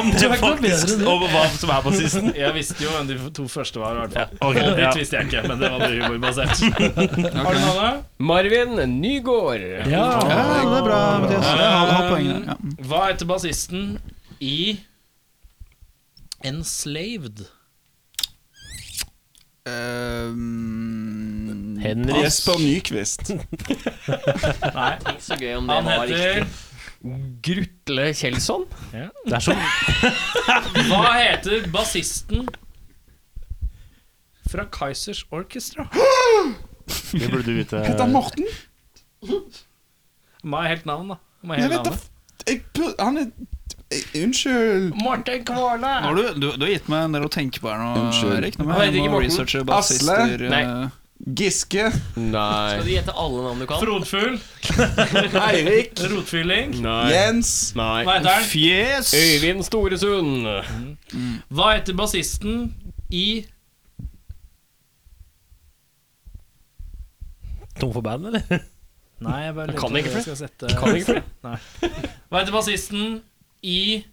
Speaker 8: om det
Speaker 12: er ikke noe
Speaker 8: faktisk
Speaker 12: bedre, du.
Speaker 8: Om hva som er bassisten.
Speaker 7: Jeg visste jo hvem de to første var. i hvert fall.
Speaker 8: Ok, ja.
Speaker 7: Volbeat visste jeg ikke, men det var bare humorbasert. Har du navnet?
Speaker 1: Marvin Nygård.
Speaker 12: Ja,
Speaker 9: Ja, det er bra, Mathias. Jeg har, har poenget der. Ja.
Speaker 7: Hva heter bassisten i Enslaved?
Speaker 8: Henry
Speaker 6: Jesper Nyquist.
Speaker 7: Nei,
Speaker 3: Ikke så gøy om det
Speaker 7: han
Speaker 3: var riktig.
Speaker 7: heter
Speaker 1: Grutle Kjelsson.
Speaker 8: Det er så
Speaker 7: Hva heter bassisten fra Kaizers Orchestra?
Speaker 8: Det burde du vite.
Speaker 6: Heter han Morten?
Speaker 7: Må ha helt navn, da. Må ha
Speaker 6: Jeg
Speaker 7: helt
Speaker 6: vet da
Speaker 7: navnet.
Speaker 6: f- jeg pu- Han er jeg- Unnskyld.
Speaker 7: Morten Kvåle.
Speaker 9: Nå har du, du, du har gitt meg en del å tenke på her nå,
Speaker 6: Unnskyld.
Speaker 9: Erik. Nå må
Speaker 1: Hva heter
Speaker 9: jeg jeg
Speaker 1: ikke
Speaker 9: må
Speaker 1: Morten?
Speaker 9: researche bassister
Speaker 6: Asle?
Speaker 9: eh,
Speaker 1: Nei.
Speaker 6: Giske.
Speaker 3: Skal
Speaker 1: Nei.
Speaker 3: du gjette alle navn du kan?
Speaker 7: Frotfugl.
Speaker 6: Eirik.
Speaker 7: Rotfylling.
Speaker 1: Nei.
Speaker 6: Jens.
Speaker 1: Nei.
Speaker 7: Hva heter han?
Speaker 9: Fjes!
Speaker 1: Øyvind Storesund.
Speaker 7: Hva heter bassisten i
Speaker 8: Tom for band, eller?
Speaker 7: Nei, jeg bare
Speaker 1: Kan ikke flere.
Speaker 7: jeg skal sette
Speaker 1: Kan ikke flere.
Speaker 7: Hva heter bassisten i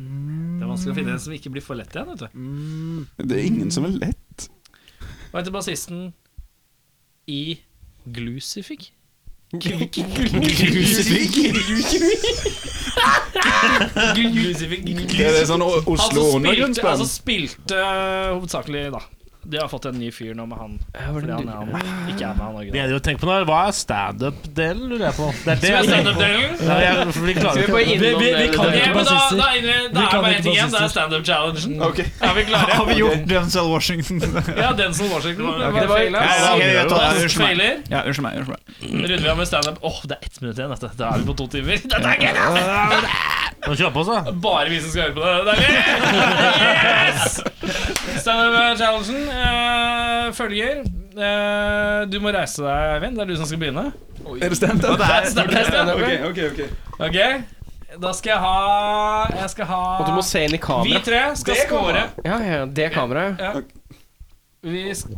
Speaker 7: Det er vanskelig å finne en som ikke blir for lett igjen. vet du
Speaker 6: Det er ingen som er lett.
Speaker 7: Hva heter bassisten i Glucifig? Glucifig
Speaker 6: Det er sånn O-
Speaker 7: Han
Speaker 6: Oslo
Speaker 7: som Altså, spilte, han
Speaker 6: undergrunnsband.
Speaker 7: som spilte øh, hovedsakelig, da. De har fått en ny fyr nå med han. Fordi han, er han ikke er med han
Speaker 8: Det
Speaker 7: originalt.
Speaker 8: jeg driver og tenker på nå, er hva er standup-delen, lurer jeg på. Det er det jeg tenker på.
Speaker 7: Standup-delen?
Speaker 8: Nei, jeg, for vi klarer ikke
Speaker 1: Vi,
Speaker 12: kan
Speaker 7: Ja, men
Speaker 12: ikke
Speaker 7: da,
Speaker 12: bassister.
Speaker 7: da, er det- da
Speaker 12: Vi
Speaker 7: er det
Speaker 12: kan
Speaker 7: bare
Speaker 12: ikke
Speaker 7: én ting igjen. Det er
Speaker 12: bassister.
Speaker 7: standup-challengen.
Speaker 6: Ok.
Speaker 7: Er vi klare?
Speaker 9: Har vi gjort Denzel [LAUGHS] Washington?
Speaker 7: Ja, Denzel Washington.
Speaker 1: det var-
Speaker 7: feiler.
Speaker 9: Ja, ok, jeg tar det. Unnskyld meg.
Speaker 7: Feiler.
Speaker 9: Ja, unnskyld meg. unnskyld meg
Speaker 7: Runder vi av med standup. Åh, det er ett minutt igjen. Dette. Da er vi på to timer. [LAUGHS] Dette er gøy! da.
Speaker 8: [LAUGHS] Nå kjører på oss, da.
Speaker 7: Bare vi som skal høre på det. det
Speaker 8: [LAUGHS]
Speaker 7: er gøy. Yes! Standup-challengen øh, følger. Eh, du må reise deg, Eivind. Det er du som skal begynne.
Speaker 6: Er det stemt? da?
Speaker 7: Det er standup.
Speaker 6: Ok, ok, ok.
Speaker 7: Ok, da skal jeg ha Jeg skal ha
Speaker 1: Og du må se inn i
Speaker 7: Vi
Speaker 1: kameraet.
Speaker 7: tre skal
Speaker 6: Det kommer.
Speaker 7: score.
Speaker 1: Ja, ja, det kameraet.
Speaker 7: Vi skal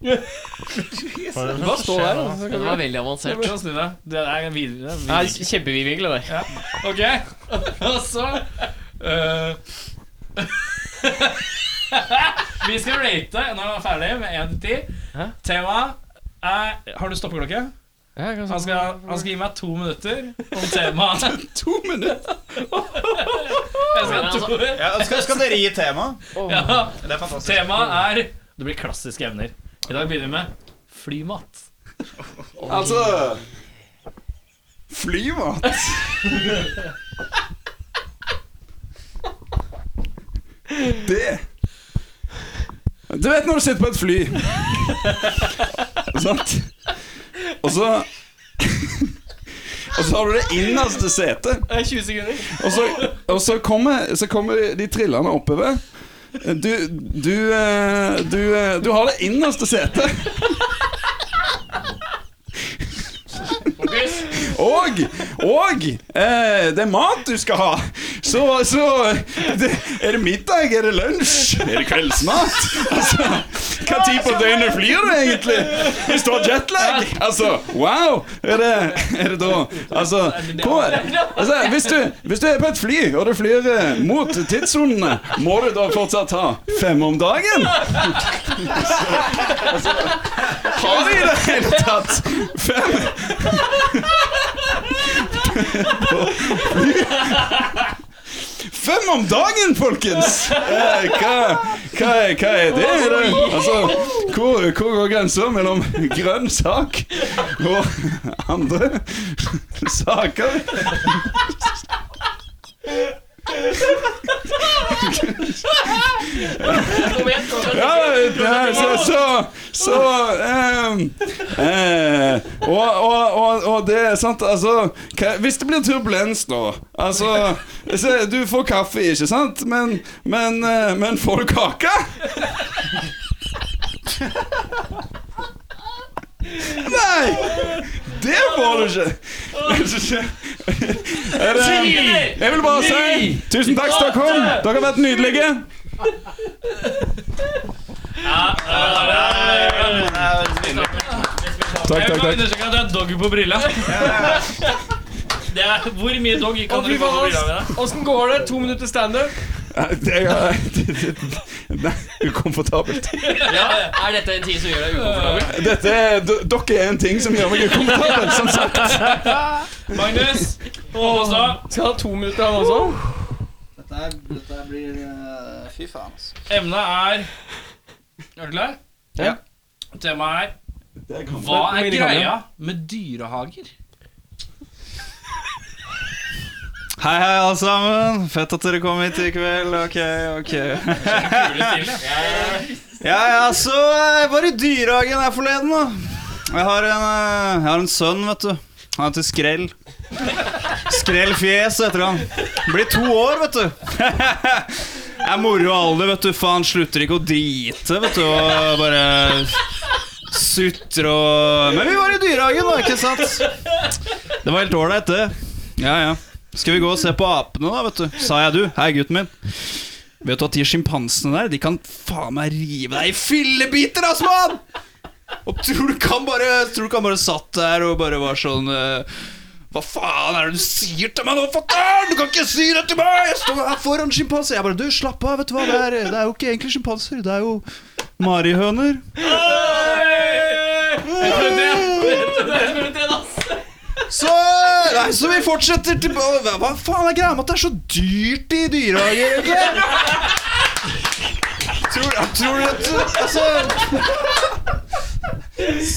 Speaker 1: Hva står der? da?
Speaker 3: Det var veldig avansert.
Speaker 7: prøve å snu deg. Det er en vid- det er en
Speaker 1: Ja,
Speaker 7: vid-
Speaker 1: Kjempevidvinkel, det der.
Speaker 7: Ok, [LAUGHS] og så eh, [LAUGHS] Vi skal rate når vi er ferdig med 1 til 10.
Speaker 1: Hæ?
Speaker 7: Tema er Har du stoppeklokke?
Speaker 1: Ja, jeg kan
Speaker 7: Han skal, han skal gi meg to minutter om temaet.
Speaker 1: [LAUGHS]
Speaker 9: To minutter!
Speaker 7: [LAUGHS] Jeg skal ha to
Speaker 9: skal, dere gi tema?
Speaker 7: ja.
Speaker 9: Det er fantastisk.
Speaker 7: Temaet er Det blir klassiske emner. I dag begynner vi med flymat.
Speaker 6: Altså Flymat! Det Du vet når du sitter på et fly Sant? Og så [LAUGHS] Og så har du det innerste setet.
Speaker 3: 20 sekunder.
Speaker 6: Og så, og så, kommer, så kommer de trillene oppover. Du du, eh, du eh, du har det innerste setet. Og, og eh, det er mat du skal ha. Så, så det, Er det middag? Er det lunsj? Er det kveldsmat? Altså, hva tid på døgnet flyr du egentlig? Hvis du har jetlag? Altså, wow! Er det, er det da Altså, hvor, altså hvis, du, hvis du er på et fly, og du flyr eh, mot tidssonene, må du da fortsatt ha fem om dagen? [LAUGHS] Altså, altså, har de i det hele tatt fem? Fem om dagen, folkens! Eh, hva, hva, er- hva er det? Er det altså, hvor, hvor går grensa mellom grønn sak og andre saker? Ja, det- så Så, så ehm, eh, og, og, og, og det er sant, altså hva, Hvis det blir turbulens, da Altså, så, du får kaffe, ikke sant? Men, men, eh, men får du kake? Nei! Det får du ikke! Er det, jeg vil bare si tusen takk, Stockholm. Dere har vært nydelige. Takk, takk, takk.
Speaker 7: understreke at det er doggy på brilla. Det er, hvor mye doggy kan dere få på brilla med deg?
Speaker 1: Åssen går det? To minutter standup?
Speaker 6: Nei, Det er [LAUGHS] det- det- Nei, ukomfortabelt.
Speaker 3: Er dette en tid som gjør deg ukomfortabel?
Speaker 6: Dette er, d- dere er en ting som gjør meg ukomfortabel, som sagt.
Speaker 7: Magnus og Åsa.
Speaker 1: Skal ha to minutter, han også?
Speaker 11: Dette, blir Fy faen, altså.
Speaker 7: Emnet er Er du klar?
Speaker 1: Ja.
Speaker 7: Temaet er Hva er
Speaker 1: Men- men-
Speaker 7: greia med dyrehager?
Speaker 9: Hei, hei, alle sammen. Fett at dere kom hit i kveld. Ok, ok. Ja, ja, så jeg var i dyrehagen her forleden, da. Jeg har en, eh, jeg har en sønn, vet du. Han heter Skrell. Skrellfjes heter han. Blir to år, vet du. [LAUGHS] Det er moro alder, vet du, for han slutter ikke å drite, vet du, og bare sutre og Men vi var i dyrehagen, da, ikke sant? Det var helt ålreit, det. Ja, ja. Skal vi gå og se på apene, da, vet du? Sa jeg du. Hei, gutten min. Vet du at de sjimpansene der, de kan faen meg rive deg i fillebiter, ass, mann! Og tror du kan bare Tror du kan bare satt der og bare var sånn eh, Hva faen er det du sier til meg nå, fatter'n? Du kan ikke si det til meg! Jeg står her foran sjimpanser. Jeg bare Du, slapp av, vet du hva. Det er, det er jo ikke egentlig sjimpanser. Det er jo marihøner. Så, nei, så vi fortsetter til Hva hva faen er greia med at det er så dyrt i dyrehager, egentlig? Tror, tror du at Altså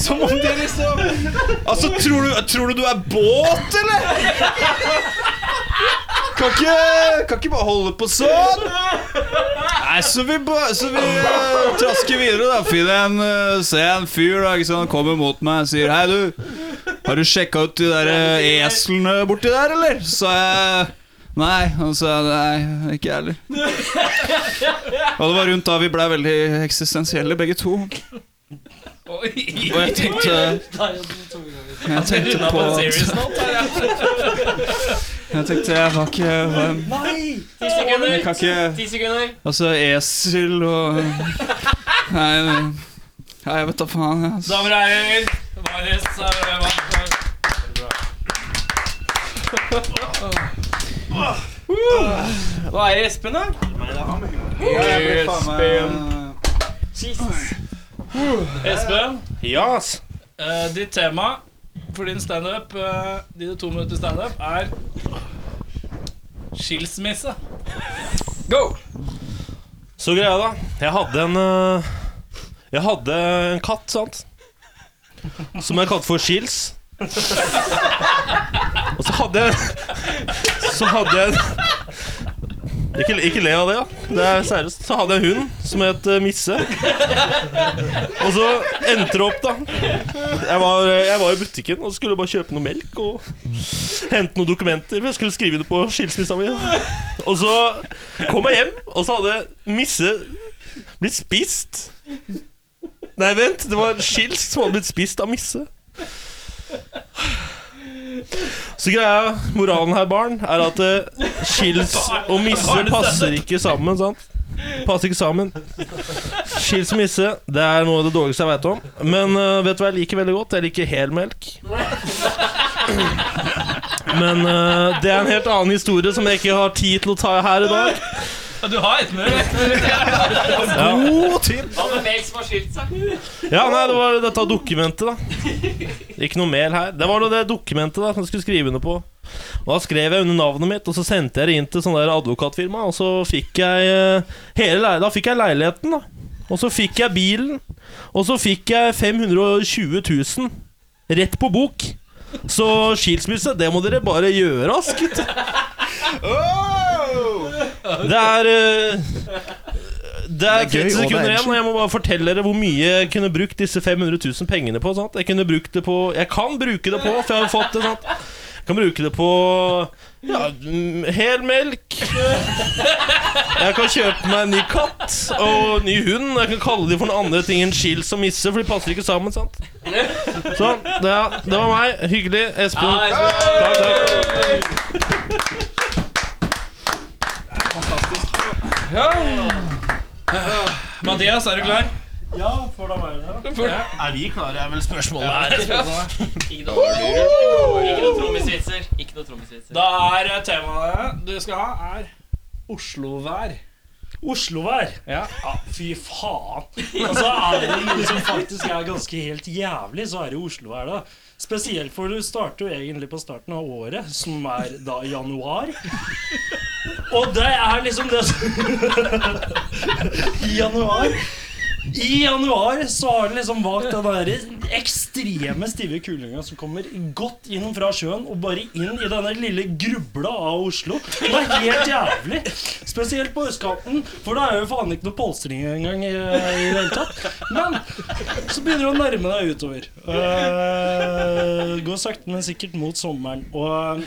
Speaker 9: Som om det liksom Altså, tror du, tror du du er båt, eller? Kan ikke, kan ikke bare holde på sånn. Nei, så vi, ba- så vi eh, trasker videre, da. Finner en, eh, ser en fyr da, ikke sant? Han kommer mot meg og sier 'Hei, du'. Har du sjekka ut de der eh, eslene borti der, eller? Så jeg Nei. Han sa nei, ikke jeg heller. Og det var rundt da vi blei veldig eksistensielle, begge to. Og jeg tenkte Jeg tenkte på [LAUGHS] Jeg tenkte jeg har ikke Nei! Jeg kan ikke
Speaker 3: Ti sekunder.
Speaker 9: Altså, esel og Nei, nei jeg vet da faen. jeg, Altså.
Speaker 7: Damer og herrer, Magnus eh, vant.
Speaker 3: Hva er det Espen, da?
Speaker 9: eh.
Speaker 7: Espen, eh, ditt tema for din standup, eh, dine to minutter standup, er skilsmisse.
Speaker 8: Så greia da Jeg hadde en øh, Jeg hadde en katt, sant? Som jeg kalte for Skils Og så hadde jeg Så hadde jeg ikke, ikke le av det, da. Det er seriøst. Så hadde jeg en hund som het eh, Misse. Og så endte det opp, da. Jeg var, jeg var i butikken og skulle bare kjøpe noe melk og hente noen dokumenter. For jeg skulle skrive det på skilsmissa mi. Og så kom jeg hjem, og så hadde Misse blitt spist. Nei, vent. Det var Skils som hadde blitt spist av Misse. Så greia, moralen her, barn, er at eh, skils og misse passer ikke sammen, sant? Passer ikke sammen. Skils og misse, det er noe av det dårligste jeg veit om. Men eh, vet du hva jeg liker veldig godt? Jeg liker helmelk. Men eh, det er en helt annen historie som jeg ikke har tid til å ta her i dag.
Speaker 7: Du har et med deg.
Speaker 8: God
Speaker 3: Hva med Melk som har skilt seg?
Speaker 8: Ja, nei, det var dette dokumentet, da. Ikke noe mel her. Det var nå det dokumentet da som jeg skulle skrive under på. Og Da skrev jeg under navnet mitt, og så sendte jeg det inn til sånn der advokatfirma. Og så fikk jeg eh, hele leil Da fikk jeg leiligheten, da. Og så fikk jeg bilen. Og så fikk jeg 520 000 rett på bok. Så skilsmisse, det må dere bare gjøre, ass, gutt.
Speaker 6: Oh!
Speaker 8: Det er eh, det er
Speaker 6: Det
Speaker 8: 30
Speaker 6: er gøy, og det er
Speaker 8: sekunder igjen,
Speaker 6: action.
Speaker 8: og jeg må bare fortelle dere hvor mye jeg kunne brukt disse 500 000 pengene på. Sant? Jeg kunne brukt det på Jeg kan bruke det på, for jeg har fått det, sant. Jeg kan bruke det på ja, mm, hel melk. Jeg kan kjøpe meg en ny katt og ny hund. Jeg kan kalle de for noen andre ting enn skils og misse, for de passer ikke sammen, sant. Sånn. Det, det var meg. Hyggelig. Espen. Takk, takk.
Speaker 7: Mathias, er du klar?
Speaker 8: Er vi klare, er vel spørsmålet her.
Speaker 3: Ikke noe Ikke noe trommisvitser. Ikke noe trommisvitser.
Speaker 7: Da er eh, temaet du skal ha, er Oslo-vær.
Speaker 12: Oslovær?
Speaker 7: Ja.
Speaker 12: fy faen. Altså, er det noe som faktisk er ganske helt jævlig, så er det Oslovær, da. Spesielt for du starter jo egentlig på starten av året, som er da januar. Og det er liksom det som [LAUGHS] I januar. I januar så har den liksom valgt den der ekstreme stive kulinga som kommer godt inn fra sjøen og bare inn i denne lille grubla av Oslo. Det er helt jævlig. Spesielt på østkanten, for det er jo faen ikke noe polstring engang i, i det hele tatt. Men så begynner du å nærme deg utover. Uh, går sakte, men sikkert mot sommeren. Og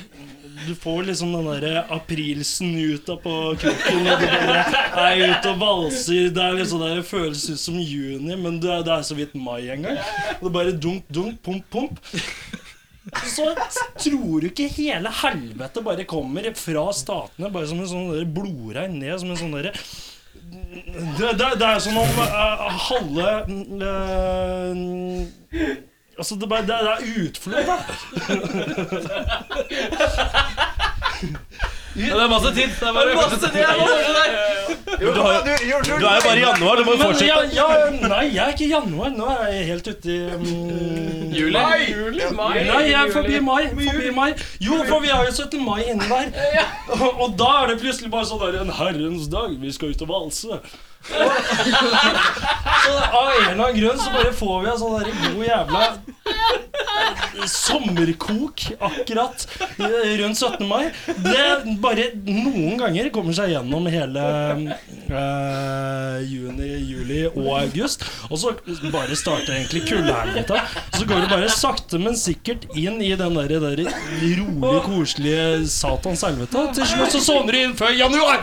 Speaker 12: du får liksom den derre aprilsnuta på kroken, og du bare er ute og valser. Det er liksom det føles ut som juni, men det er, det er så vidt mai engang. Og det bare dunk, dunk, pump, pump. Så tror du ikke hele helvete bare kommer fra statene, bare som en sånn der blodregn ned, som en sånn derre det, det, det er som om eh, halve eh, Altså, det, bare, det, det er utflod, da.
Speaker 7: det er masse tid. Det er bare
Speaker 8: Du, har, jo- du er jo bare i januar, du må jo
Speaker 12: Men
Speaker 8: fortsette.
Speaker 12: ja, ja, nei, jeg er ikke i januar. Nå er jeg helt ute i mm,
Speaker 3: Juli.
Speaker 12: Nei, jeg er forbi mai. Forbi mai. Jo, for vi har jo 17. mai inne
Speaker 3: [LAUGHS]
Speaker 12: der. Og, og da er det plutselig bare sånn der En herrens dag, vi skal ut og valse. Og- [LAUGHS] Så av en eller annen grunn så bare får vi en sånn der god jævla sommerkok akkurat eh, rundt 17. mai. Det bare noen ganger kommer seg gjennom hele eh, juni, juli og august. Og så bare starter egentlig kuldehelvete. Så går det bare sakte, men sikkert inn i den der, der rolig, koselige satans helvete. Til slutt så sovner du inn før januar!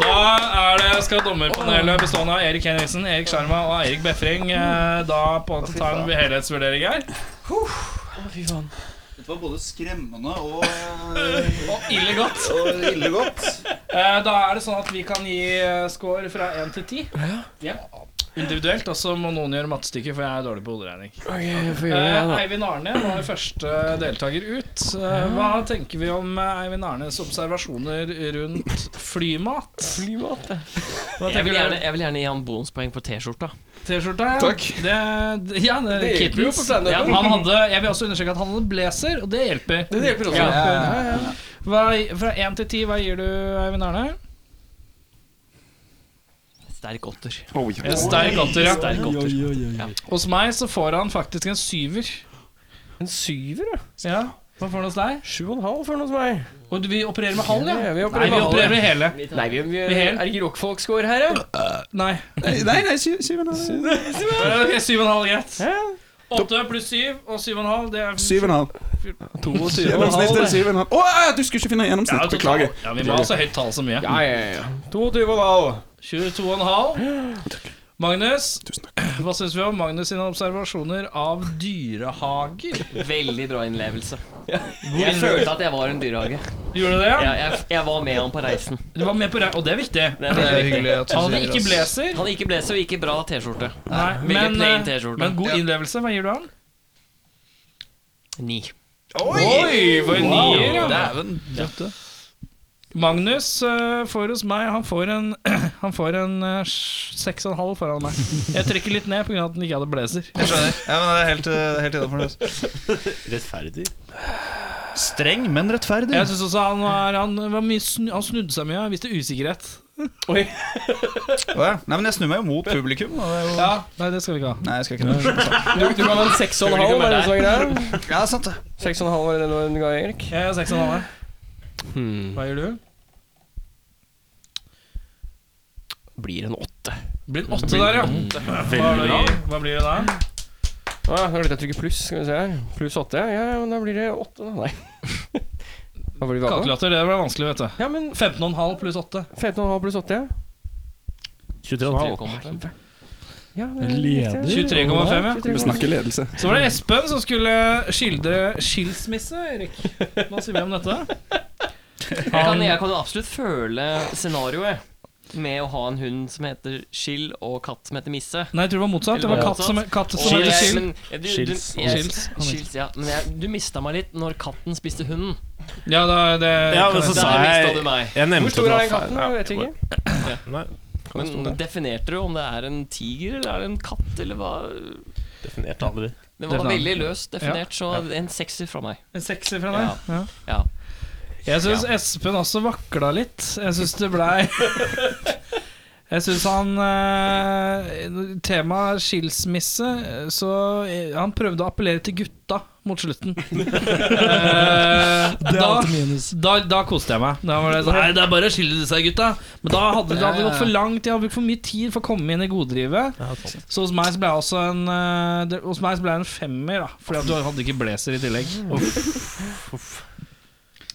Speaker 7: Da er det, skal dommerpanelet bestående av Erik Henriksen, Erik Sjarma og Eirik Befring eh, da på en måte ta en helhetsvurdering her.
Speaker 9: Dette var både skremmende [LAUGHS] og,
Speaker 7: Og ille godt.
Speaker 9: og ille godt.
Speaker 7: Eh, Da er det sånn at vi kan gi eh, score fra 1 til 10. Ja. Individuelt, og så må noen gjøre mattestykket, for jeg er dårlig på hoderegning. Eh, Eivind Arne var første deltaker ut. Eh, Hva tenker vi om eh, Eivind Arnes observasjoner rundt flymat? Flymat, Hva
Speaker 3: Jeg vil,
Speaker 7: tenker
Speaker 3: gjerne,
Speaker 7: du?
Speaker 3: jeg vil gjerne gi han bonuspoeng på T-skjorta.
Speaker 7: T-skjorta, ja.
Speaker 6: Takk.
Speaker 7: Det, det- ja, det, det
Speaker 2: jo på standupen.
Speaker 7: Ja, han hadde, jeg vil også understreke at han hadde blazer, og det hjelper. Det hjelper også Hva, Fra én til ti, hva gir du, Eivind Arne?
Speaker 3: sterk åtter.
Speaker 7: En sterk åtter, ja.
Speaker 3: Sterk åtter.
Speaker 7: Hos meg så får han faktisk en syver.
Speaker 1: En syver, ja.
Speaker 7: Ja, Hva får han hos deg?
Speaker 1: Sju og en halv for noe hos meg.
Speaker 7: Og du vil operere med halv, ja?
Speaker 1: Ja, vi
Speaker 7: Nei,
Speaker 1: opererer
Speaker 7: vi
Speaker 1: med
Speaker 7: opererer
Speaker 1: halv.
Speaker 7: med hele.
Speaker 1: Nei, vi, vi,
Speaker 7: Vi
Speaker 1: er
Speaker 7: hel.
Speaker 1: det ikke rockfolk-score her, ja?
Speaker 7: Nei.
Speaker 6: Nei, nei, syv, syv og en halv.
Speaker 7: Ok, syv og en halv, greit. Åtte pluss syv og syv og en halv, det er
Speaker 6: [LAUGHS] Syv og en halv. Gjennomsnitt er syv og en halv. Å, ja, du skulle ikke finne
Speaker 7: Ja,
Speaker 6: gjennomsnitt.
Speaker 7: totalt.
Speaker 6: Beklager.
Speaker 7: Ja, vi må ha så høyt tall som mye.
Speaker 1: Ja, ja, ja. 22 og en halv.
Speaker 7: 22,5. Magnus, hva syns vi om Magnus sine observasjoner av dyrehager?
Speaker 3: Veldig bra innlevelse. Jeg følte at jeg var en dyrehage.
Speaker 7: Gjorde du det?
Speaker 3: Jeg, jeg, jeg var med han på reisen.
Speaker 7: Du var med på det, og det er viktig.
Speaker 3: Det er veldig viktig.
Speaker 2: hyggelig at du
Speaker 7: Han hadde
Speaker 2: sier
Speaker 7: ikke
Speaker 2: oss.
Speaker 7: blazer,
Speaker 3: Han hadde ikke blazer og ikke bra T-skjorte.
Speaker 7: Nei,
Speaker 3: Veldig
Speaker 7: men,
Speaker 3: plain
Speaker 7: eh,
Speaker 3: T-skjorte.
Speaker 7: men god innlevelse. Hva gir du han?
Speaker 3: Ni.
Speaker 2: Oi,
Speaker 7: For en nier, ja.
Speaker 9: Dæven.
Speaker 7: Magnus eh, får hos meg Han får en [CLEARS THROAT] Han får en eh, seks og en halv foran meg. Jeg trekker litt ned pga. at han ikke hadde blazer.
Speaker 9: Jeg skjønner. Ja, men det er helt, eh, helt innafor.
Speaker 8: Rettferdig.
Speaker 9: Streng, men rettferdig.
Speaker 7: Jeg synes også han var, han, var mye, snu- han snudde seg mye, han viste usikkerhet.
Speaker 9: Å, ja. Nei, men jeg snur meg jo mot publikum. Og det er jo...
Speaker 7: Ja, Nei, det skal vi ikke ha.
Speaker 9: Nei, jeg skal ikke det.
Speaker 1: Du, du kan ha en seks og en halv, var det så greit?
Speaker 9: Ja, sant det.
Speaker 1: Seks og en halv var det du ga, Erik?
Speaker 7: Jeg er seks og en halv. Hva gjør du?
Speaker 1: Blir en åtte.
Speaker 7: Blir en åtte der, ja. Hva, er det da? Hva blir det da?
Speaker 1: Å ja, nå glemte jeg å trykke pluss. Skal vi se her. Pluss åtte, ja. ja. ja, Men da blir det åtte, da. Nei. [LAUGHS] Hva blir det da?
Speaker 7: Kalkulator, det ble vanskelig, vet du.
Speaker 1: Ja, men
Speaker 7: 15,5 pluss 8.
Speaker 1: 15,5 pluss 80, ja.
Speaker 8: 23,5.
Speaker 1: ja det er
Speaker 12: Leder.
Speaker 1: riktig.
Speaker 7: 23,5, ja.
Speaker 6: Vi snakker ledelse.
Speaker 7: Så var det Espen som skulle skildre skilsmisse, Erik. Hva sier vi om dette?
Speaker 3: Jeg kan, jeg kan jo absolutt føle scenarioet med å ha en hund som heter Skill, og katt som heter Misse.
Speaker 7: Nei, jeg tror det var motsatt. Det var katt som, katt som
Speaker 3: Og
Speaker 7: heter
Speaker 3: jeg-
Speaker 7: Skill.
Speaker 3: men- du- du-
Speaker 8: Skils.
Speaker 3: jeg-
Speaker 7: Skils.
Speaker 3: Skils, ja. Men jeg, du mista meg litt når katten spiste hunden.
Speaker 7: Ja, da, det
Speaker 8: Ja, men så
Speaker 3: Der
Speaker 8: sa
Speaker 3: mistet du
Speaker 8: jeg
Speaker 3: meg.
Speaker 8: Jeg nevnte
Speaker 1: Hvor stor
Speaker 8: det
Speaker 1: er
Speaker 8: var
Speaker 1: den katten?
Speaker 8: feil.
Speaker 1: Jeg vet ikke.
Speaker 8: Nei,
Speaker 3: Men definerte du om det er en tiger eller er det en katt, eller hva?
Speaker 8: definert aldri.
Speaker 3: Den var
Speaker 7: Definert.
Speaker 3: veldig løst definert, så en sekser fra meg.
Speaker 7: En sekser fra deg. Ja.
Speaker 3: Ja.
Speaker 7: Jeg syns Espen også vakla litt. Jeg syns det blei [LAUGHS] Jeg syns han eh, Temaet skilsmisse Så eh, han prøvde å appellere til gutta mot
Speaker 12: [LAUGHS]
Speaker 7: slutten. Eh,
Speaker 12: Det er
Speaker 7: da,
Speaker 12: alltid minus.
Speaker 7: da, da koste jeg meg. Da var det sånn, Nei, det er bare å skille seg, gutta. Men da hadde det hadde gått for langt. Jeg hadde brukt for mye tid for å komme inn i goderivet. Så hos meg så ble jeg også en eh, det, Hos meg så ble jeg en femmer, da. Fordi at du hadde ikke blazer i tillegg.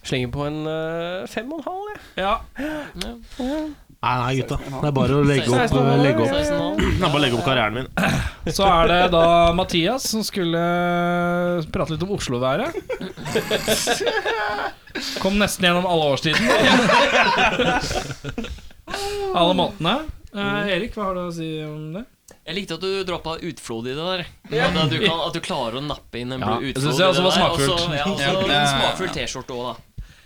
Speaker 1: Slenger på en øh, fem og en halv, jeg.
Speaker 7: Ja,
Speaker 8: Nei, nei, gutta. Det er bare å legge opp,
Speaker 1: 16,5,
Speaker 8: legge opp.
Speaker 1: ja, ja, ja.
Speaker 8: Det er bare å legge opp karrieren min.
Speaker 7: Så er det da Mathias som skulle eh, prate litt om [LAUGHS] Oslo-været. Kom nesten gjennom alle [LAUGHS] årstidene. Alle månedene. Eh, Erik, hva har du å si om det?
Speaker 3: Jeg likte at du droppa utflod i det der. At, du kan, at du klarer å nappe inn en
Speaker 7: Ja,
Speaker 3: blod
Speaker 7: jeg
Speaker 3: utflod.
Speaker 7: synes det
Speaker 3: i
Speaker 7: også
Speaker 3: der, og
Speaker 7: var
Speaker 3: så-
Speaker 7: smakfullt.
Speaker 3: Ja, og så
Speaker 9: Ja.
Speaker 3: en smakfull T-skjorte òg, da.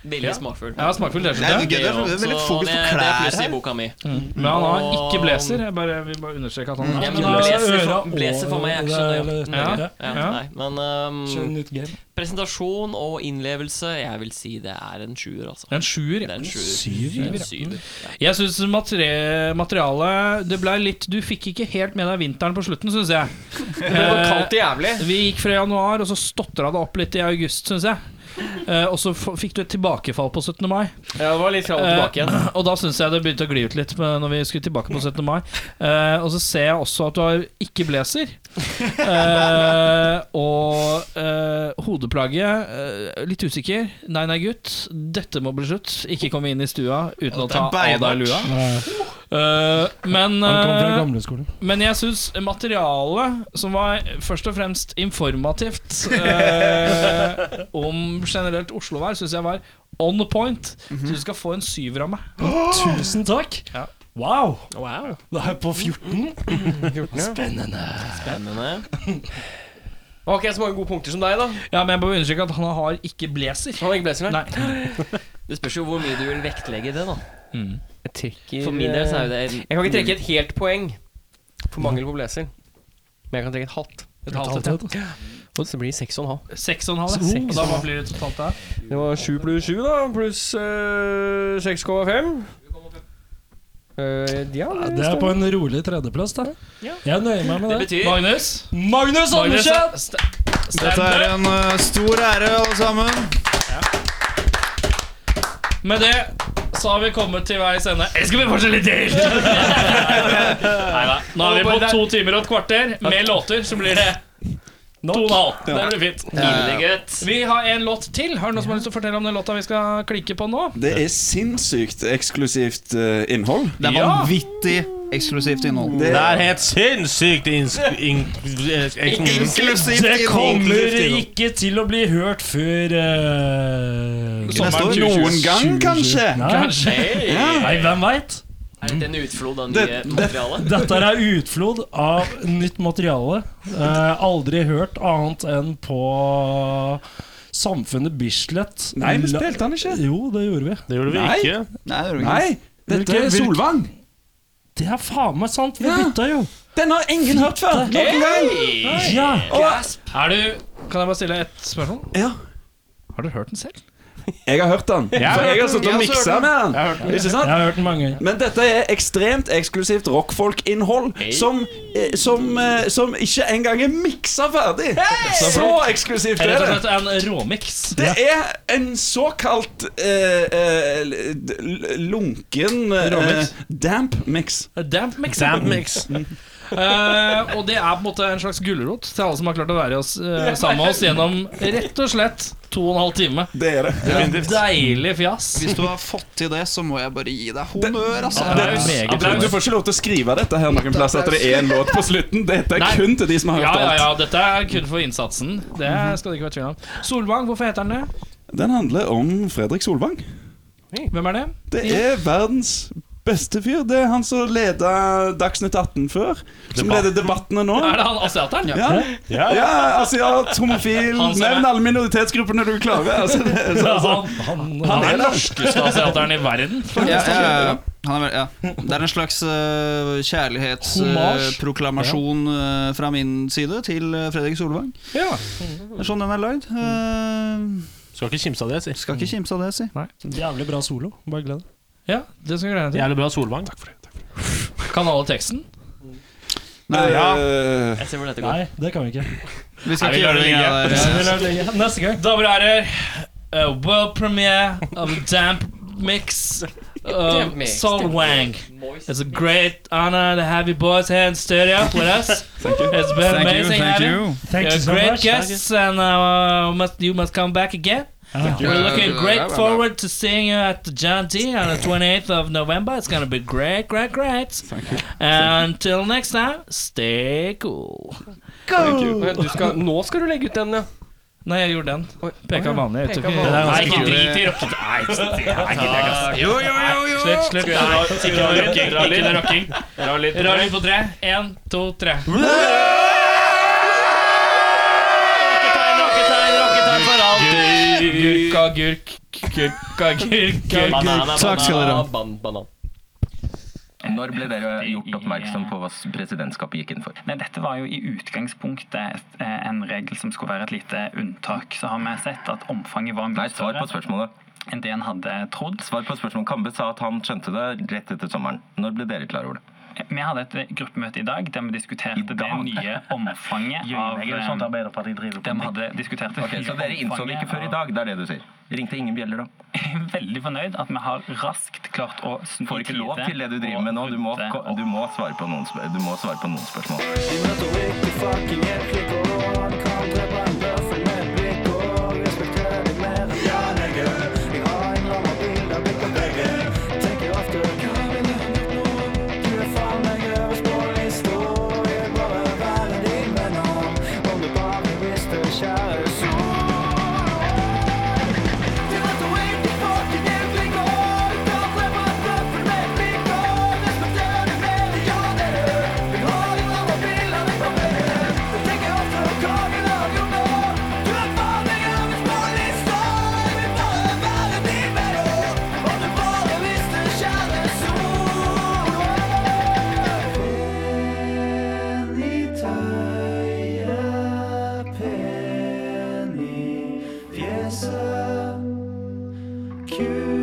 Speaker 3: Veldig smakfull.
Speaker 7: Jeg har smakfull T-skjorte,
Speaker 9: Det er gøy, det er veldig
Speaker 3: Så
Speaker 9: fokus på
Speaker 3: det- Det
Speaker 9: klær
Speaker 3: er pluss i
Speaker 9: her. Mm.
Speaker 3: boka mi.
Speaker 7: men han har ikke blazer. Jeg bare, vil bare understreke at han
Speaker 3: Ja,
Speaker 7: har
Speaker 3: men
Speaker 12: da
Speaker 3: blazer
Speaker 12: øra
Speaker 3: for, blazer for
Speaker 12: og-
Speaker 3: meg er ikke
Speaker 12: det
Speaker 3: så
Speaker 12: er-
Speaker 3: nøye.
Speaker 7: Ja,
Speaker 3: Nøye. Ja,
Speaker 7: ja.
Speaker 3: nei, Men um,
Speaker 12: Kjør nytt game.
Speaker 3: presentasjon og innlevelse, jeg vil si det er en sjuer, altså.
Speaker 7: en sjuer.
Speaker 3: Det er en sjuer.
Speaker 12: Syver,
Speaker 3: En
Speaker 12: ja.
Speaker 3: syver.
Speaker 7: Jeg syns materialet Det ble litt Du fikk ikke helt med deg vinteren på slutten, syns
Speaker 3: [LAUGHS]
Speaker 7: jeg. Eh,
Speaker 1: Det var kaldt jævlig.
Speaker 7: Vi gikk fra januar, og så stotra det opp litt i august, syns jeg. Eh, og så f fikk du et tilbakefall på 17. mai.
Speaker 1: Ja, det var litt fram og
Speaker 7: Eh,
Speaker 1: tilbake igjen.
Speaker 7: [CLEARS THROAT] og da syns jeg det begynte å gli ut litt med- når vi skulle tilbake på 17. mai. Eh, og så ser jeg også at du har ikke blazer. Eh, og eh, hodeplagget eh, Litt usikker. Nei, nei, gutt. Dette må bli slutt. Ikke komme inn i stua uten å ta av deg lua.
Speaker 12: Nei,
Speaker 7: Eh, men
Speaker 12: Han kom fra
Speaker 7: eh,
Speaker 12: gamleskolen.
Speaker 7: men jeg syns materialet, som var først og fremst informativt eh, om generelt Oslo-vær, syns jeg var on point. Så du skal få en syver av meg.
Speaker 12: Tusen takk!
Speaker 7: Ja.
Speaker 12: Wow! Det er på 14.
Speaker 3: Spennende.
Speaker 1: Har ikke jeg så mange gode punkter som deg, da?
Speaker 7: Ja, Men jeg bare understreke at han har ikke blazer.
Speaker 1: Han har ikke blazer,
Speaker 7: Nei.
Speaker 3: Det spørs jo hvor mye du vil vektlegge det, da.
Speaker 1: Jeg trekker
Speaker 3: For min del så er jo det
Speaker 1: Jeg kan ikke trekke et helt poeng for mangel på blazer. Men jeg kan trekke et halvt.
Speaker 7: Et halvt et. ja.
Speaker 1: Og så blir det seks og en halv.
Speaker 7: Seks og en halv. ja.
Speaker 1: Seks
Speaker 7: Og da hva blir det totalt der?
Speaker 1: eh, Det var sju pluss sju, da. Pluss øh, 6,5. Eh, ja, det,
Speaker 12: Det er
Speaker 1: står-
Speaker 12: på en rolig tredjeplass, da. Jeg nøyer meg med
Speaker 3: Det
Speaker 12: det.
Speaker 3: betyr
Speaker 7: Magnus?
Speaker 12: Magnus Andersen!
Speaker 9: Dette er en eh, stor ære, alle sammen.
Speaker 7: Med det så har vi kommet til veis ende. Eller skal vi fortsette litt [LAUGHS] til? Neida. Nå er vi på to timer og et kvarter med låter, så blir det to og en halv. Det blir fint.
Speaker 3: Nydelig, gutt.
Speaker 7: Vi har en låt til. Har du noen som har lyst til å fortelle om den låta vi skal klikke på nå?
Speaker 6: Det er sinnssykt eksklusivt eh, innhold.
Speaker 9: Det er
Speaker 7: Ja.
Speaker 9: vanvittig eksklusivt innhold.
Speaker 6: Det,
Speaker 8: Det er helt sinnssykt ins... In,
Speaker 9: Inklusivt
Speaker 12: Det kommer
Speaker 9: innhold.
Speaker 12: ikke til å bli hørt før eh,
Speaker 9: Neste år.
Speaker 6: noen gang,
Speaker 12: 2020.
Speaker 6: kanskje.
Speaker 12: Nei,
Speaker 3: Hey.
Speaker 12: nei, hvem veit?
Speaker 3: Er dette en utflod av nye materiale?
Speaker 12: Dette er utflod av nytt materiale. Eh, aldri hørt annet enn på Samfunnet Bislett.
Speaker 6: Nei, vi
Speaker 12: La-
Speaker 6: spilte han ikke.
Speaker 12: Jo, det gjorde vi.
Speaker 8: Det gjorde vi
Speaker 6: Nei.
Speaker 8: ikke.
Speaker 9: Nei, det gjør vi ikke.
Speaker 6: Nei, dette
Speaker 12: Hvilke-
Speaker 6: er Solvang.
Speaker 12: Det er faen meg sant, vi
Speaker 6: Ja.
Speaker 12: bytta jo.
Speaker 6: Den har ingen hørt før. Nok en gang.
Speaker 12: Ja.
Speaker 7: Er du Kan jeg bare stille et spørsmål?
Speaker 6: Ja.
Speaker 7: Har dere hørt den selv?
Speaker 6: Jeg har hørt den. For jeg har sittet og miksa med den. Ikke
Speaker 12: Jeg
Speaker 6: sant?
Speaker 12: har hørt den mange ganger.
Speaker 6: Men dette er ekstremt eksklusivt rockfolk-innhold som, eh, som, eh, som ikke engang er miksa ferdig. Så eksklusivt
Speaker 7: Rett
Speaker 6: er
Speaker 7: og
Speaker 6: det.
Speaker 7: slett en råmiks.
Speaker 6: Det er en såkalt eh, eh, l- l- lunken eh, damp mix.
Speaker 7: Damp mix. Mm.
Speaker 8: Damp mix.
Speaker 7: [LAUGHS] Eh, og det er på en måte en slags gulrot til alle som har klart å være oss, eh, sammen med oss gjennom rett og slett to og en halv time.
Speaker 6: Det er det.
Speaker 7: Deilig fjas.
Speaker 9: Hvis du har fått til det, så må jeg bare gi deg honnør, altså.
Speaker 7: Ja, det er meget
Speaker 6: Applaus. Du får ikke lov til å skrive dette her noen plass at det er en låt på slutten. Dette er
Speaker 7: Nei.
Speaker 6: kun til de som har
Speaker 7: Ja, ja,
Speaker 6: hørt
Speaker 7: ja,
Speaker 6: alt.
Speaker 7: dette er kun for innsatsen. Det skal det ikke være tvil om. Solvang, hvorfor heter den det?
Speaker 6: Den handler om Fredrik Solvang.
Speaker 7: Hvem er det?
Speaker 6: Det er verdens beste fyr. Det er han som leda Dagsnytt 18 før. Som leder debattene nå.
Speaker 7: Er det han asiateren?
Speaker 6: Ja. Ja, asiat, homofil
Speaker 7: Han som er-
Speaker 6: Nevn alle minoritetsgruppene du klarer. Altså, det,
Speaker 7: [LAUGHS]
Speaker 6: er så,
Speaker 7: Han, han, han er den norskeste asiateren i verden.
Speaker 9: Ja, ja, ja. Han er, vel- ja. Det er en slags eh,
Speaker 12: Hommage.
Speaker 9: kjærlighetsproklamasjon eh, fra min side til eh, Fredrik Solvang. Det er sånn den er lagd. Eh,
Speaker 8: Skal ikke kimse av det, si.
Speaker 9: skal ikke kimse av det, si.
Speaker 12: Jævlig bra solo. Bare gled deg.
Speaker 7: Ja, det skal jeg glede meg
Speaker 8: Jævlig bra Solvang. Takk for det.
Speaker 7: til. Kan alle teksten?
Speaker 9: Nei,
Speaker 6: eh,
Speaker 3: Jeg ser hvor dette går.
Speaker 12: Nei, det kan vi ikke.
Speaker 9: Vi skal ikke gjøre det lenge. der.
Speaker 12: Vi lar det ligge. Neste gang.
Speaker 7: Damer og herrer, uh, world premiere of Damp Mix of
Speaker 3: Damp mix.
Speaker 7: Solvang.
Speaker 3: Moist.
Speaker 7: It's a great honor to have you boys here in studio with us. It's been amazing having
Speaker 12: Thank you
Speaker 7: You're
Speaker 12: so
Speaker 7: great
Speaker 12: much.
Speaker 7: guests, and uh, must, you must come back again.
Speaker 12: Thank
Speaker 7: We're looking
Speaker 9: Yeah,
Speaker 7: great
Speaker 9: yeah, yeah.
Speaker 7: forward to seeing you at the John D on the 28th of November. It's gonna be great, great, great. Thank you. And until next time, stay cool.
Speaker 1: Men Du skal, nå skal du legge ut den, ja.
Speaker 7: Nei, jeg gjorde den.
Speaker 12: Oh,
Speaker 7: Peka vanlig. Jeg tok
Speaker 1: Peka vanlig.
Speaker 7: ikke-
Speaker 8: Nei,
Speaker 7: ikke drit i rocket. Slutt, slutt. Ikke noe rocking. Ikke noe rocking. Rar lyd på tre. Én, to, tre. Rocketegn, rocketegn, rocketegn for alt. Gurk, agurk, gurk, agurk, agurk.
Speaker 3: Banana,
Speaker 9: Takk skal dere ha.
Speaker 3: banana, ban- banan.
Speaker 15: Når ble dere gjort oppmerksom på hva presidentskapet gikk inn for?
Speaker 16: Nei, dette var jo i utgangspunktet et- eh, en regel som skulle være et lite unntak. Så har vi sett at omfanget var
Speaker 15: Nei,
Speaker 16: mye
Speaker 15: svar på
Speaker 16: større
Speaker 15: spørsmålet.
Speaker 16: enn det en hadde trodd.
Speaker 15: Svar på spørsmålet. Kambe sa at han skjønte det rett etter sommeren. Når ble dere klar over det?
Speaker 16: Eh, Vi hadde et gruppemøte i dag der vi diskuterte det
Speaker 15: dag?
Speaker 16: nye
Speaker 15: [LAUGHS]
Speaker 16: omfanget av eh,
Speaker 15: sånn Arbeiderpartiet driver
Speaker 16: De hadde diskutert det
Speaker 15: Ok, Så dere innså det ikke før i dag? Det er det du sier? Ringte ingen bjeller da?
Speaker 16: Jeg er veldig fornøyd at vi har raskt klart å snu
Speaker 15: Får ikke lov til det du driver med nå. Du må, ko- du må, svare, på noen, spør- du må svare på noen spørsmål.
Speaker 16: Penny, fjeset, kul